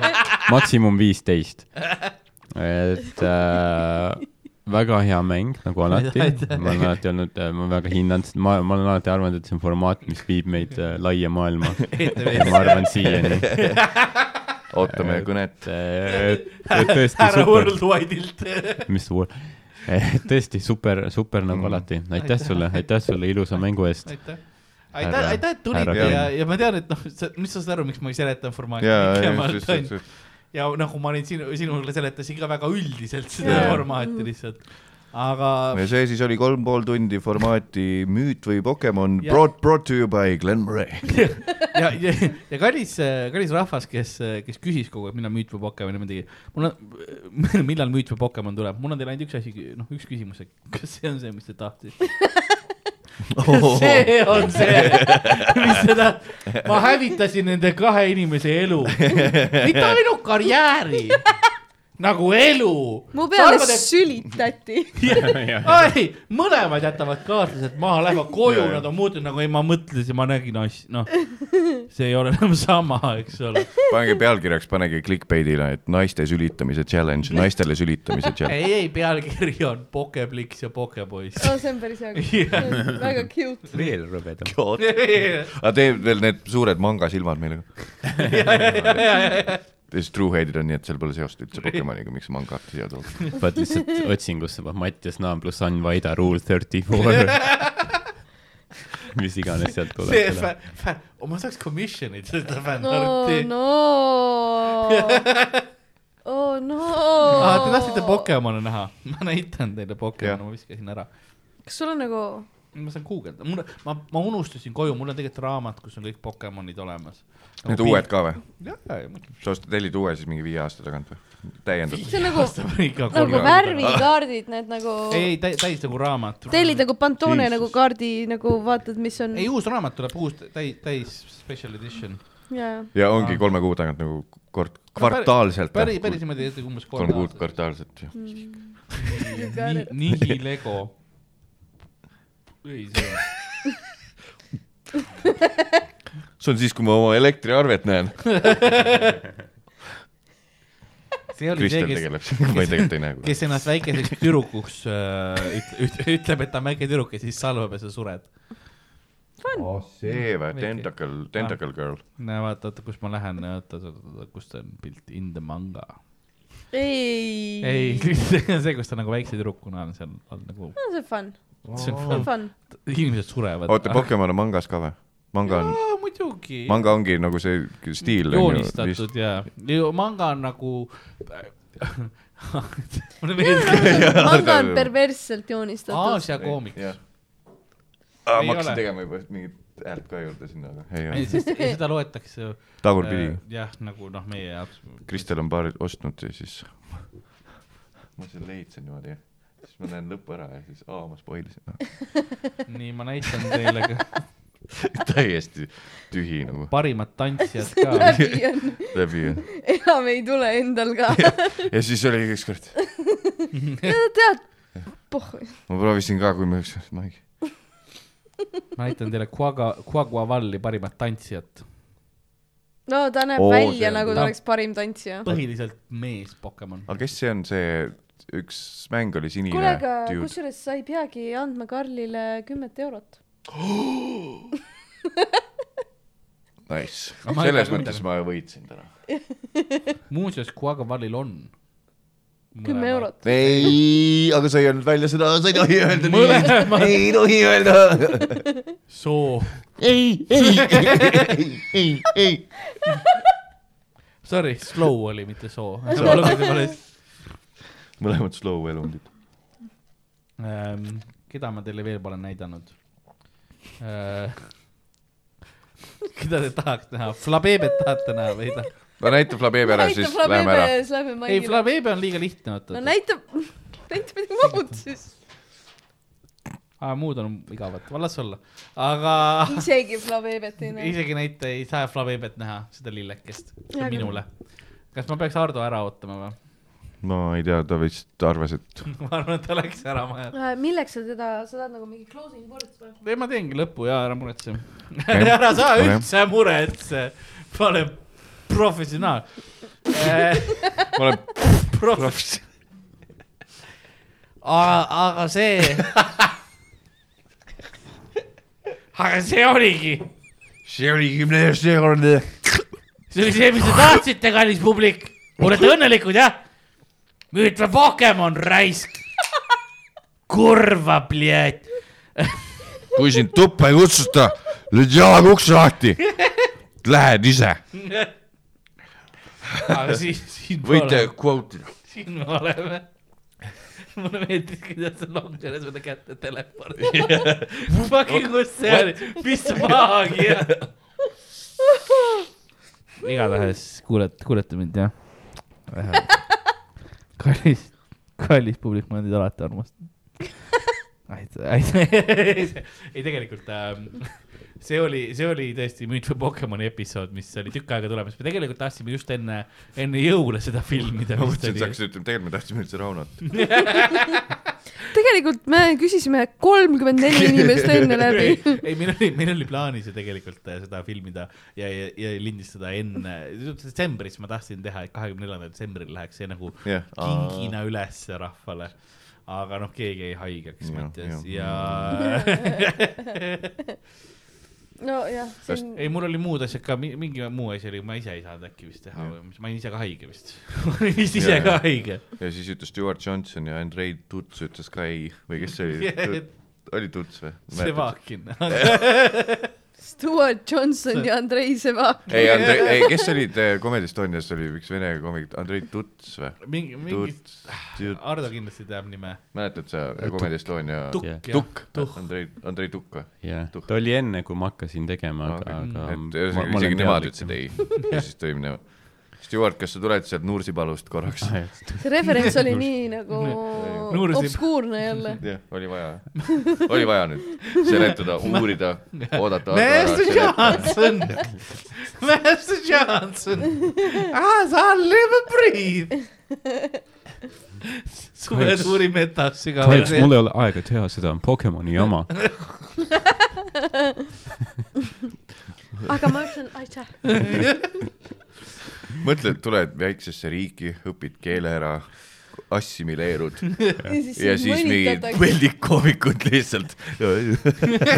Speaker 4: maksimum viisteist . et äh, väga hea mäng , nagu alati . ma olen alati olnud , ma väga hindan seda , ma , ma olen alati arvanud , et see on formaat , mis viib meid äh, laia maailma . ma arvan siiani ,
Speaker 2: ootame kõnet .
Speaker 4: et , et Äh, tõesti
Speaker 1: härra
Speaker 4: super ,
Speaker 1: Worldwide'ilt .
Speaker 4: mis see word , tõesti super , super nagu
Speaker 8: Mm.
Speaker 4: alati . aitäh sulle , aitäh sulle ilusa mängu eest .
Speaker 1: aitäh ,
Speaker 4: Härra-
Speaker 1: aitäh , aitäh , et tulid
Speaker 4: härra
Speaker 1: ja ,
Speaker 4: Ken.
Speaker 1: ja ma tean , et noh , sa , nüüd sa saad aru , miks ma ei seleta formaati pikemalt , on ju .
Speaker 2: jaa ,
Speaker 1: ja nagu ma olin sinu , sinule seletasin ka väga üldiselt seda
Speaker 3: Jaa.
Speaker 1: formaati lihtsalt . aga
Speaker 2: ja see siis oli kolm pool tundi formaati Müüt või Pokemon
Speaker 1: Jah.
Speaker 2: brought , brought to you by Glen Murray .
Speaker 1: ja , ja , ja kallis , kallis rahvas , kes , kes küsis kogu aeg , millal müüt või Pokemon ja midagi . mul on , millal müüt või Pokemon tuleb , mul on teile ainult üks asi , noh , üks küsimus , et kas see on see , mis te tahtsite ? see on see , mis seda , ma hävitasin nende kahe inimese elu , mitte ainult karjääri , nagu elu .
Speaker 3: mu peale sülitati .
Speaker 1: ei , mõlemad jätavad kaaslased maha , lähevad koju
Speaker 2: Jaa, , jaa.
Speaker 1: nad on muutunud nagu ei , ma mõtlesin , ma nägin asja , noh . see ei ole enam sama , eks ole .
Speaker 2: pange pealkirjaks , panege Clickbaitile , et naiste sülitamise challenge , naistele sülitamise challenge .
Speaker 1: ei , ei pealkiri on Pokepliks ja Pokepoiss .
Speaker 3: oo , Ah, see on päris hea
Speaker 1: Jah. .
Speaker 3: väga cute .
Speaker 8: veel rõvedam .
Speaker 2: aga tee veel need suured mangasilmad meile . siis True Hated on nii , et seal pole seost üldse Pokemoniga , miks mangad siia toovad .
Speaker 4: vaat lihtsalt otsingusse paneb Mattias Naam pluss Ann Vaida rule thirty four . mis iganes sealt
Speaker 1: see
Speaker 4: tuleb .
Speaker 1: fä- , fä- , ma saaks commission'it seda
Speaker 3: no
Speaker 1: fännarti , no, .
Speaker 3: no . oo no .
Speaker 1: aa , Ah, te tahtsite Pokemone näha ? ma näitan teile Pokemone ,
Speaker 2: Jah.
Speaker 1: ma viskasin ära .
Speaker 3: kas sul on nagu ,
Speaker 1: ma saan guugeldada , mul , ma , ma unustasin koju , mul on tegelikult raamat , kus on kõik Pokemonid olemas .
Speaker 2: Need uued . ka või ?
Speaker 1: jah , ja , ja muidugi .
Speaker 2: sa ostad , tellid uue siis mingi viie aasta tagant või ? täiendatud .
Speaker 3: see on nagu ,
Speaker 1: iga
Speaker 3: nagu
Speaker 1: kolme .
Speaker 3: värvikaardid , need nagu .
Speaker 1: ei , ei täis , täis nagu raamat .
Speaker 3: tellid nagu Pantone nagu kaardi nagu vaatad , mis on .
Speaker 1: ei , uus raamat tuleb , uus täis , täis special edition .
Speaker 3: jaa ,
Speaker 2: ja ongi kolme kuu tagant nagu kord , kvartaalselt .
Speaker 1: päris , päris Mm. niimoodi , et umbes
Speaker 2: kolm
Speaker 1: kolm
Speaker 2: kuud . kvartaalselt .
Speaker 1: nii , nii Lego . ei , see on ,
Speaker 2: see on siis , kui ma oma elektriarvet näen .
Speaker 1: see oli see ,
Speaker 2: Kristel
Speaker 1: kes
Speaker 2: tegeleb sellega , ma ei- tegelikult ei näe .
Speaker 1: kes ennast väikeseks tüdrukuks äh, üt- üt- ütleb , et ta on väike tüdruk ja siis salvab ja sa sured .
Speaker 2: oh, . see või , Tentacle , Tentacle Girl .
Speaker 1: näe , vaata , oota , kus ma lähen , oota , oota , oota , kus ta on pilt , in the manga .
Speaker 3: ei,
Speaker 1: ei , see on see , kus ta nagu väikse tüdrukuna on seal , on nagu ,
Speaker 3: no, . see on fun ,
Speaker 1: see
Speaker 3: see on
Speaker 1: on ,
Speaker 3: fun .
Speaker 1: inimesed surevad .
Speaker 2: oota ,. Pokemon on mangas ka või ? manga on ,
Speaker 1: muidugi .
Speaker 2: manga ongi nagu see stiil .
Speaker 1: joonistatud ja , manga on nagu mulle meeldib
Speaker 3: manga on perversselt joonistatud .
Speaker 1: Aasia koomiks .
Speaker 2: ah, .
Speaker 1: Ei
Speaker 2: ma hakkasin
Speaker 1: ole.
Speaker 2: tegema juba mingit häält ka juurde sinna , aga ei
Speaker 1: ei ,
Speaker 2: ole .
Speaker 1: sest ei, seda loetakse .
Speaker 2: tagurpidi ,
Speaker 1: jah , nagu noh , meie jaoks .
Speaker 2: Kristel on paar ostnud ja siis ma selle leidsin niimoodi , siis ma näen lõpu ära ja siis aa , ma spoilisin no. .
Speaker 1: nii , ma näitan teile ka
Speaker 2: täiesti tühi nagu ,
Speaker 1: parimad tantsijad ka .
Speaker 3: läbi on ,
Speaker 2: läbi ja ,
Speaker 3: enam ei tule endal ka .
Speaker 2: ja siis oli ükskord ,
Speaker 3: tead , pohh ,
Speaker 2: ma proovisin ka , kui ma ükskord , ma ei ,
Speaker 1: ma näitan teile Quagga , Quaggavalli parimat tantsijat .
Speaker 3: no ta näeb
Speaker 2: Oo,
Speaker 3: Oo,
Speaker 2: see
Speaker 3: välja
Speaker 2: on-
Speaker 3: nagu ta oleks parim tantsija .
Speaker 1: põhiliselt mees Pokemon .
Speaker 2: aga kes see on , see üks mäng oli sinine
Speaker 3: kuule , aga
Speaker 2: dude ,
Speaker 3: kusjuures sa ei peagi andma Karlile kümmet eurot .
Speaker 2: nice ,
Speaker 1: ma ei
Speaker 2: selles
Speaker 1: tea,
Speaker 2: mõttes ma võitsin täna .
Speaker 1: muuseas , Quaggavallil on .
Speaker 3: kümme . eurot .
Speaker 2: ei , aga sa ei öelnud välja seda , sa ei tohi öelda
Speaker 1: mõlemad
Speaker 2: ei tohi öelda .
Speaker 1: soo .
Speaker 2: ei , ei , ei , ei , ei .
Speaker 1: Sorry , slow oli , mitte soo .
Speaker 2: mõlemad slow elundid .
Speaker 1: Ähm, keda ma teile veel pole näidanud ? keda te tahaks näha ? Flabebet tahate näha või ei taha ?
Speaker 2: no näita Flabebe ära , siis läheme ära .
Speaker 3: ja siis lähme
Speaker 1: ei ,
Speaker 3: Maigile .
Speaker 1: Flabebe on liiga lihtne , oota
Speaker 3: no . näita , näita midagi muud siis .
Speaker 1: aa , Ah, muud on igavad , las olla . aga
Speaker 3: isegi Flavebet ei näe .
Speaker 1: isegi näite ei saa Flavebet näha , seda lillekest ,
Speaker 3: Jaa, küll.
Speaker 1: minule . kas ma peaks Ardo ära ootama või ?
Speaker 2: ma ei tea , ta vist arvas , et
Speaker 1: ma arvan , et ta läks ära majalt .
Speaker 3: Äh, milleks sa teda , sa tahad nagu mingi closing words või ?
Speaker 1: ei , ma teengi lõpu ja ära muretse .
Speaker 2: Okei.
Speaker 1: ära saa
Speaker 2: Okei.
Speaker 1: üldse muretse , ma olen professionaal . Eh,
Speaker 2: ma olen
Speaker 1: professionaal . aga , aga see . aga see oligi ,
Speaker 2: seitsmekümne seekordne .
Speaker 1: see oli see , mis te tahtsite , kallis publik . olete õnnelikud , jah ? nüüd tuleb Pokemon raisk . kurva , bljet .
Speaker 2: kui sind tuppa ei kutsuta , lööd jalaga ukse lahti . Lähed ise .
Speaker 1: aga siis , Ah, siin
Speaker 2: võite quote ida .
Speaker 1: siin me oleme . mulle meeldis , kuidas sa lonkeres seda kätte telefoni . Fucking kus see oli , mis maagia . igatahes kuulete , kuulete mind jah ? kallis , kallis publik , ma olen teid alati armastanud . ei , tegelikult ähm, see oli , see oli tõesti Müüt või Pokemoni episood , mis oli tükk aega tulemas , me tegelikult tahtsime just enne , enne jõule seda filmida .
Speaker 2: ma mõtlesin , et sa hakkasid ütlema , tegelikult me tahtsime üldse Raunot .
Speaker 3: tegelikult me küsisime kolmkümmend neli inimest enne läbi .
Speaker 1: ei , meil oli , meil oli plaanis ju tegelikult äh, seda filmida ja , ja , ja lindistada enne , detsembris ma tahtsin teha , et kahekümne neljandal detsembril läheks see nagu
Speaker 2: Jah.
Speaker 1: kingina üles rahvale . aga noh , keegi jäi haigeks ,
Speaker 2: Jah,
Speaker 1: Mattias , ja
Speaker 2: jah.
Speaker 3: nojah , siin
Speaker 1: ei , mul oli muud asjad ka , mingi muu asi oli , ma ise ei saanud äkki vist teha või mis , ma olin ise ka haige vist . ma olin vist ise
Speaker 2: Jah.
Speaker 1: ka haige .
Speaker 2: ja siis ütles Stewart Johnson ja Andrei Tuts ütles ka ei või kes see oli ? oli Tuts või ?
Speaker 1: Sevakin .
Speaker 3: Stewart Johnson ja Andrei Sevak .
Speaker 2: ei , Andrei , ei , kes olid eh, Comedy Estonias oli üks vene komik , Andrei Tuts või ?
Speaker 1: mingi , mingi ,
Speaker 2: Tuts , Tuts ,
Speaker 1: Ardo kindlasti teab nime .
Speaker 2: mäletad sa äh, Comedy Estonia ?
Speaker 1: Tukk
Speaker 4: Jah.
Speaker 1: jah . Tukk .
Speaker 2: Andrei , Andrei Tukk või ?
Speaker 4: jah ,
Speaker 2: Tuh.
Speaker 4: ta oli enne , kui ma hakkasin tegema , aga , aga .
Speaker 2: et ühesõnaga isegi nemad ütlesid . ei ja siis tuli minema . Stewart , kas sa tuled sealt Nursipalust korraks ?
Speaker 3: see referents oli nii nagu
Speaker 1: Nursip.
Speaker 3: obskuurne jälle .
Speaker 2: jah , oli vaja , oli vaja nüüd seletada , uurida , oodata .
Speaker 1: Master Johnson , Master Johnson , as I live and breathe . suve
Speaker 4: Kahjuks-
Speaker 1: suurim etapp sügaval
Speaker 4: kahjuks . mul ei ole aega teha seda Pokemoni jama .
Speaker 3: aga ma ütlen aitäh .
Speaker 2: mõtled , tuled väiksesse riiki , õpid keele ära , assimileerud ja
Speaker 3: ja
Speaker 2: siis mingid peldikoomikud lihtsalt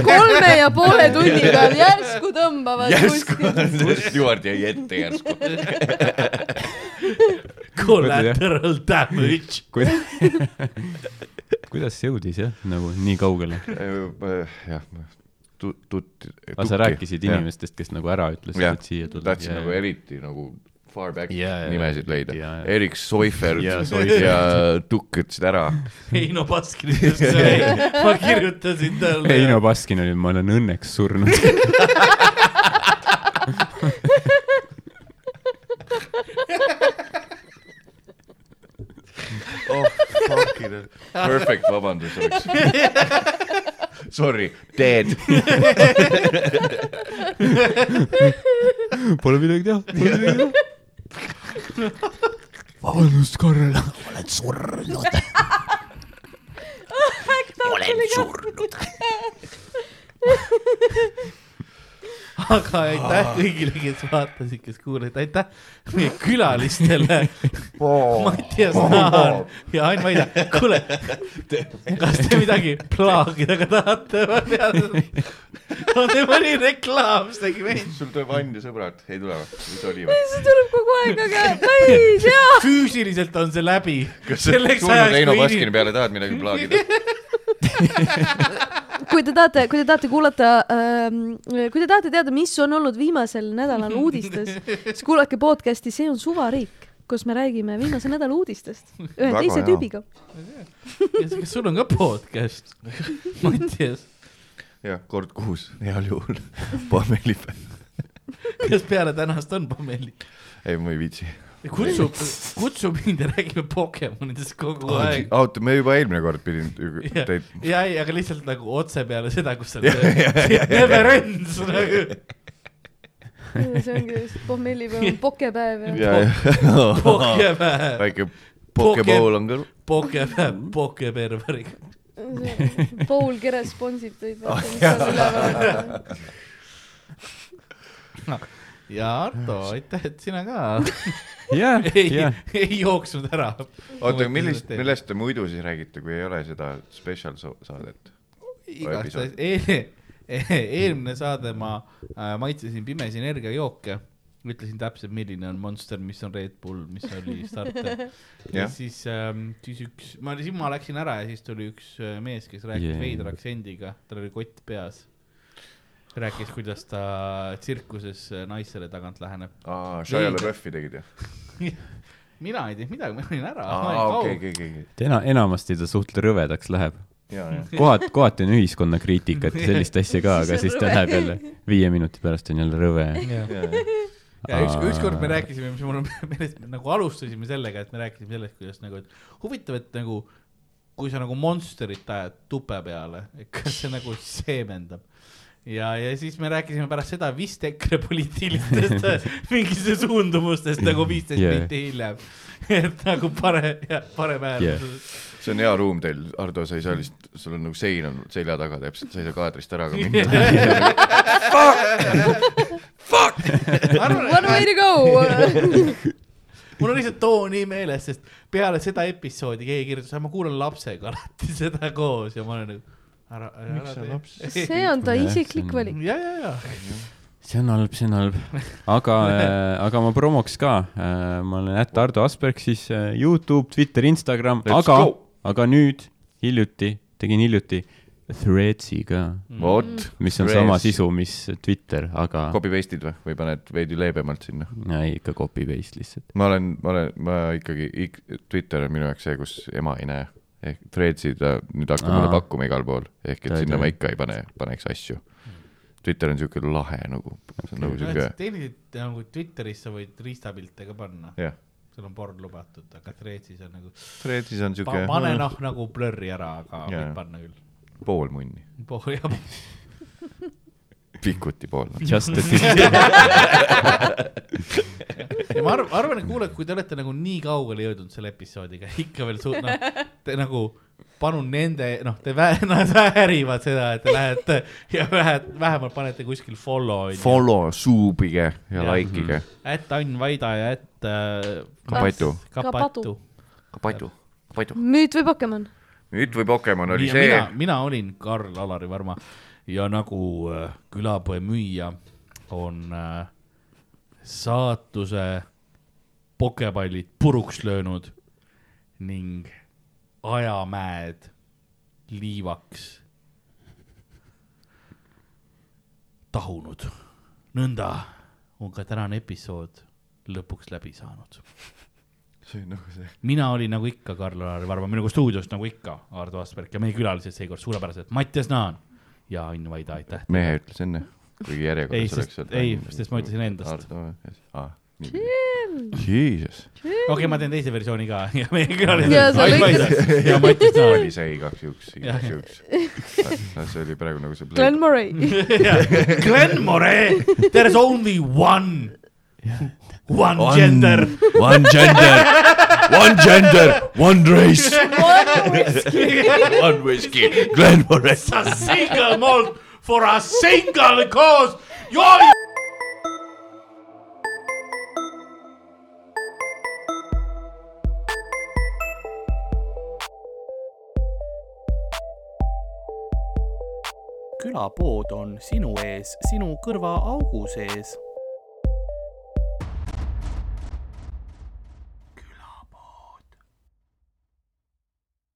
Speaker 3: kolme ja poole tunniga järsku tõmbavad
Speaker 2: järsku
Speaker 3: kuskil .
Speaker 2: Stewart jäi ette järsku . Äh,
Speaker 1: Collateral damage .
Speaker 4: kuidas jõudis jah , nagu nii kaugele ?
Speaker 2: äh, jah , tut- , tut- .
Speaker 4: aga sa rääkisid . inimestest , kes nagu ära ütlesid ,
Speaker 2: jah
Speaker 4: et siia , tulid .
Speaker 2: tahtsin nagu eriti nagu far back
Speaker 4: Jaa, jaa,
Speaker 2: nimesid leida
Speaker 4: jaa, jaa. .
Speaker 2: Erik Soifert
Speaker 4: Jaa, Soifert.
Speaker 2: ja Tukk ütlesid ära .
Speaker 1: Heino Pask kirjutas selle , ma kirjutasin talle .
Speaker 4: Heino Baskin oli , ma olen õnneks surnud .
Speaker 2: oh , fucking hell . Perfect vabandus oleks . Sorry , dead .
Speaker 4: Pole midagi teha , pole midagi teha . vabandust , Karel .
Speaker 3: olen surnud .
Speaker 1: aga aitäh kõigile , kes vaatasid , kes kuulasid , aitäh meie külalistele . Mattias Naan ja Ain Maida , kuule , kas te midagi plaagida ka tahate ? ma tean , on teil mõni reklaam , see tegi meid .
Speaker 2: sul tuleb Ann ja sõbrad , ei tule või ? mis oli või ?
Speaker 3: see tuleb kogu aeg , aga ma ei tea .
Speaker 1: füüsiliselt on see läbi .
Speaker 2: kas sa tulnud Heino Baskini peale tahad midagi plaagida ?
Speaker 3: kui te tahate , kui te tahate kuulata ähm, , kui te tahate teada , mis on olnud viimasel nädalal uudistes , siis kuulake podcast'i See on suvariik , kus me räägime viimase nädala uudistest ühe
Speaker 2: Väga
Speaker 3: teise
Speaker 2: hea.
Speaker 3: tüübiga .
Speaker 1: kas sul on ka podcast , Mattias ?
Speaker 2: jah , kord kuus , heal juhul . Pameli peal .
Speaker 1: kas peale tänast on Pameli ?
Speaker 2: ei , ma ei viitsi .
Speaker 1: kutsub , kutsub mind ja räägime Pokemonidest kogu aeg .
Speaker 2: oota , me juba eelmine kord pidin
Speaker 1: ja
Speaker 2: teid ,,
Speaker 1: ja ei , aga lihtsalt nagu otse peale seda , kus sa
Speaker 2: Jah, jah, jah,
Speaker 1: never ends nagu .
Speaker 3: see ongi just pommellipäev , pokepäev ja
Speaker 2: ja , ja
Speaker 1: Pokepäev ,
Speaker 2: väike pokeball on ka .
Speaker 1: Pokepäev , Pokeperveri .
Speaker 3: Paul Kere sponsib teid , vaata mis seal üleval on .
Speaker 1: ja Arto , aitäh , et sina ka
Speaker 4: jah ,
Speaker 1: ei
Speaker 4: jah ,,
Speaker 1: ei jooksnud ära .
Speaker 2: oota , millist , millest te muidu siis räägite , kui ei ole seda special so- saadet ?
Speaker 1: igastahes , eelmine saade ma äh, maitsesin pimesi energiajooke , ütlesin täpselt , milline on Monster , mis on Red Bull , mis oli Starter . ja
Speaker 2: Jah.
Speaker 1: siis ähm, , siis üks , ma , siis ma läksin ära ja siis tuli üks äh, mees , kes rääkis
Speaker 4: Jee.
Speaker 1: yeah. veidra aktsendiga , tal oli kott peas . rääkis , kuidas ta tsirkuses äh, naisele tagant läheneb .
Speaker 2: aa , Shia LaBeoufi tegid jah ?
Speaker 1: mina ei teinud midagi , ma olin ära , ma
Speaker 2: aa ,
Speaker 1: olin
Speaker 2: okei ,
Speaker 1: kaugel .
Speaker 2: okei , okei ,
Speaker 4: ena- , enamasti ta suht rõvedaks läheb .
Speaker 2: ja , ja .
Speaker 4: kohati , kohati on ühiskonnakriitikat ja sellist asja ka , aga siis ta läheb jälle viie minuti pärast on jälle rõve .
Speaker 1: ja üks , ükskord me rääkisime , mis mul on meeles , nagu alustasime sellega , et me rääkisime sellest , kuidas nagu , et huvitav , et nagu kui sa nagu monsterit ajad tupe peale , kas see nagu seemendab ? ja , ja siis me rääkisime pärast seda vist EKRE poliitilistest mingitest suundumustest nagu viisteist
Speaker 4: Yeah.
Speaker 1: yeah. minutit hiljem . et nagu pare- , parem äärmus
Speaker 4: Yeah.
Speaker 1: yeah. .
Speaker 2: see on hea ruum teil , Ardo , sa ei saa lihtsalt , sul on nagu sein on selja taga täpselt , sa ei saa kaadrist ära ka minna .
Speaker 3: One way to go .
Speaker 1: mul on lihtsalt too nii meeles , sest peale seda episoodi keegi kirjutas , ma kuulan lapsega alati seda koos ja ma olen nagu ära , ära .
Speaker 2: Miks sa laps-
Speaker 3: see on ta
Speaker 4: Jah,
Speaker 3: isiklik
Speaker 4: see on-
Speaker 3: valik .
Speaker 1: ja , ja , ja
Speaker 4: see on halb , see on halb . aga äh, , aga ma promoks ka äh, . ma olen ätt Ardo Asperg , siis äh, Youtube , Twitter , Instagram ,
Speaker 2: Let's
Speaker 4: aga
Speaker 2: go. ,
Speaker 4: aga nüüd hiljuti , tegin hiljuti Threads'i ka ,
Speaker 2: vot ,
Speaker 4: mis on
Speaker 2: Threads.
Speaker 4: sama sisu , mis Twitter , aga
Speaker 2: copy paste'id või , või paned veidi leebemalt sinna ?
Speaker 4: ja, ei, ikka copy paste lihtsalt .
Speaker 2: ma olen , ma olen , ma ikkagi , Twitter on minu jaoks see , kus ema ei näe . ehk threads'i ta nüüd hakkab
Speaker 4: Aa.
Speaker 2: mulle pakkuma igal pool , ehk
Speaker 4: Ta
Speaker 2: et
Speaker 4: ei
Speaker 2: sinna ma
Speaker 4: tule.
Speaker 2: ikka ei pane , paneks asju . Twitter on siuke lahe nagu , see on nagu siuke ,
Speaker 1: tehniliselt nagu Twitteris sa võid riistapilte ka panna ,
Speaker 2: jah .
Speaker 1: sul on porn lubatud , aga Threadsis on nagu ,
Speaker 2: Threads'is on siuke
Speaker 1: pane noh nagu blurri ära , aga
Speaker 2: Jaa.
Speaker 1: võid panna küll .
Speaker 2: pool munni ,
Speaker 1: pool ja
Speaker 2: pikuti pool .
Speaker 4: Just a tip .
Speaker 1: ja ma arvan , arvan , et kuulajad , kui te olete nagu nii kaugele jõudnud selle episoodiga , ikka veel suur , noh , te nagu palun nende , noh , te vä- , nad väärivad seda , et te lähete ja vähe , vähemalt panete kuskil follow , onju .
Speaker 2: Follow , suubige ja likeige ,
Speaker 1: ätt Ann Vaida ja ätt äh,
Speaker 2: ka Patu .
Speaker 1: Kapatu .
Speaker 2: ka Patu , Patu .
Speaker 3: müüt või Pokemon ?
Speaker 2: nüüd või Pokemon oli
Speaker 1: Ja
Speaker 2: see
Speaker 1: mina , mina olin Karl-Alari Varma ja nagu äh, külapoe müüja on äh, saatuse pokepallid puruks löönud ning ajamäed liivaks tahunud . nõnda on ka tänane episood lõpuks läbi saanud .
Speaker 2: see on nagu see .
Speaker 1: mina olin nagu ikka Karl-Lari Varma , minuga stuudios nagu ikka Ardo Asperg ja meie külalised seekord suurepärased Mattias Naan ja Ain Vaida , aitäh .
Speaker 2: mehe ütles enne , kuigi
Speaker 1: Ei,
Speaker 2: järjekorras
Speaker 1: sest-
Speaker 2: oleks olnud .
Speaker 1: ei, sest ma ütlesin endast.
Speaker 2: Ah, Jeesus .
Speaker 1: okei okay, , ma teen teise versiooni ka ja meie
Speaker 3: ja
Speaker 1: külalised
Speaker 3: sa . lõikad
Speaker 1: ja Mattias
Speaker 2: see
Speaker 1: Naan
Speaker 2: oli . see igaks juhuks ,
Speaker 1: Jah,
Speaker 2: igaks juhuks . see oli praegu nagu see
Speaker 3: Glen
Speaker 2: Blade ,
Speaker 3: Murray .
Speaker 1: Glen More , there is only one , one gender .
Speaker 4: One gender ,
Speaker 2: one gender , one race , one whiskey , Glen Morris .
Speaker 1: It's a single malt for a single cause . You are
Speaker 9: külapood on sinu ees , sinu kõrva augu sees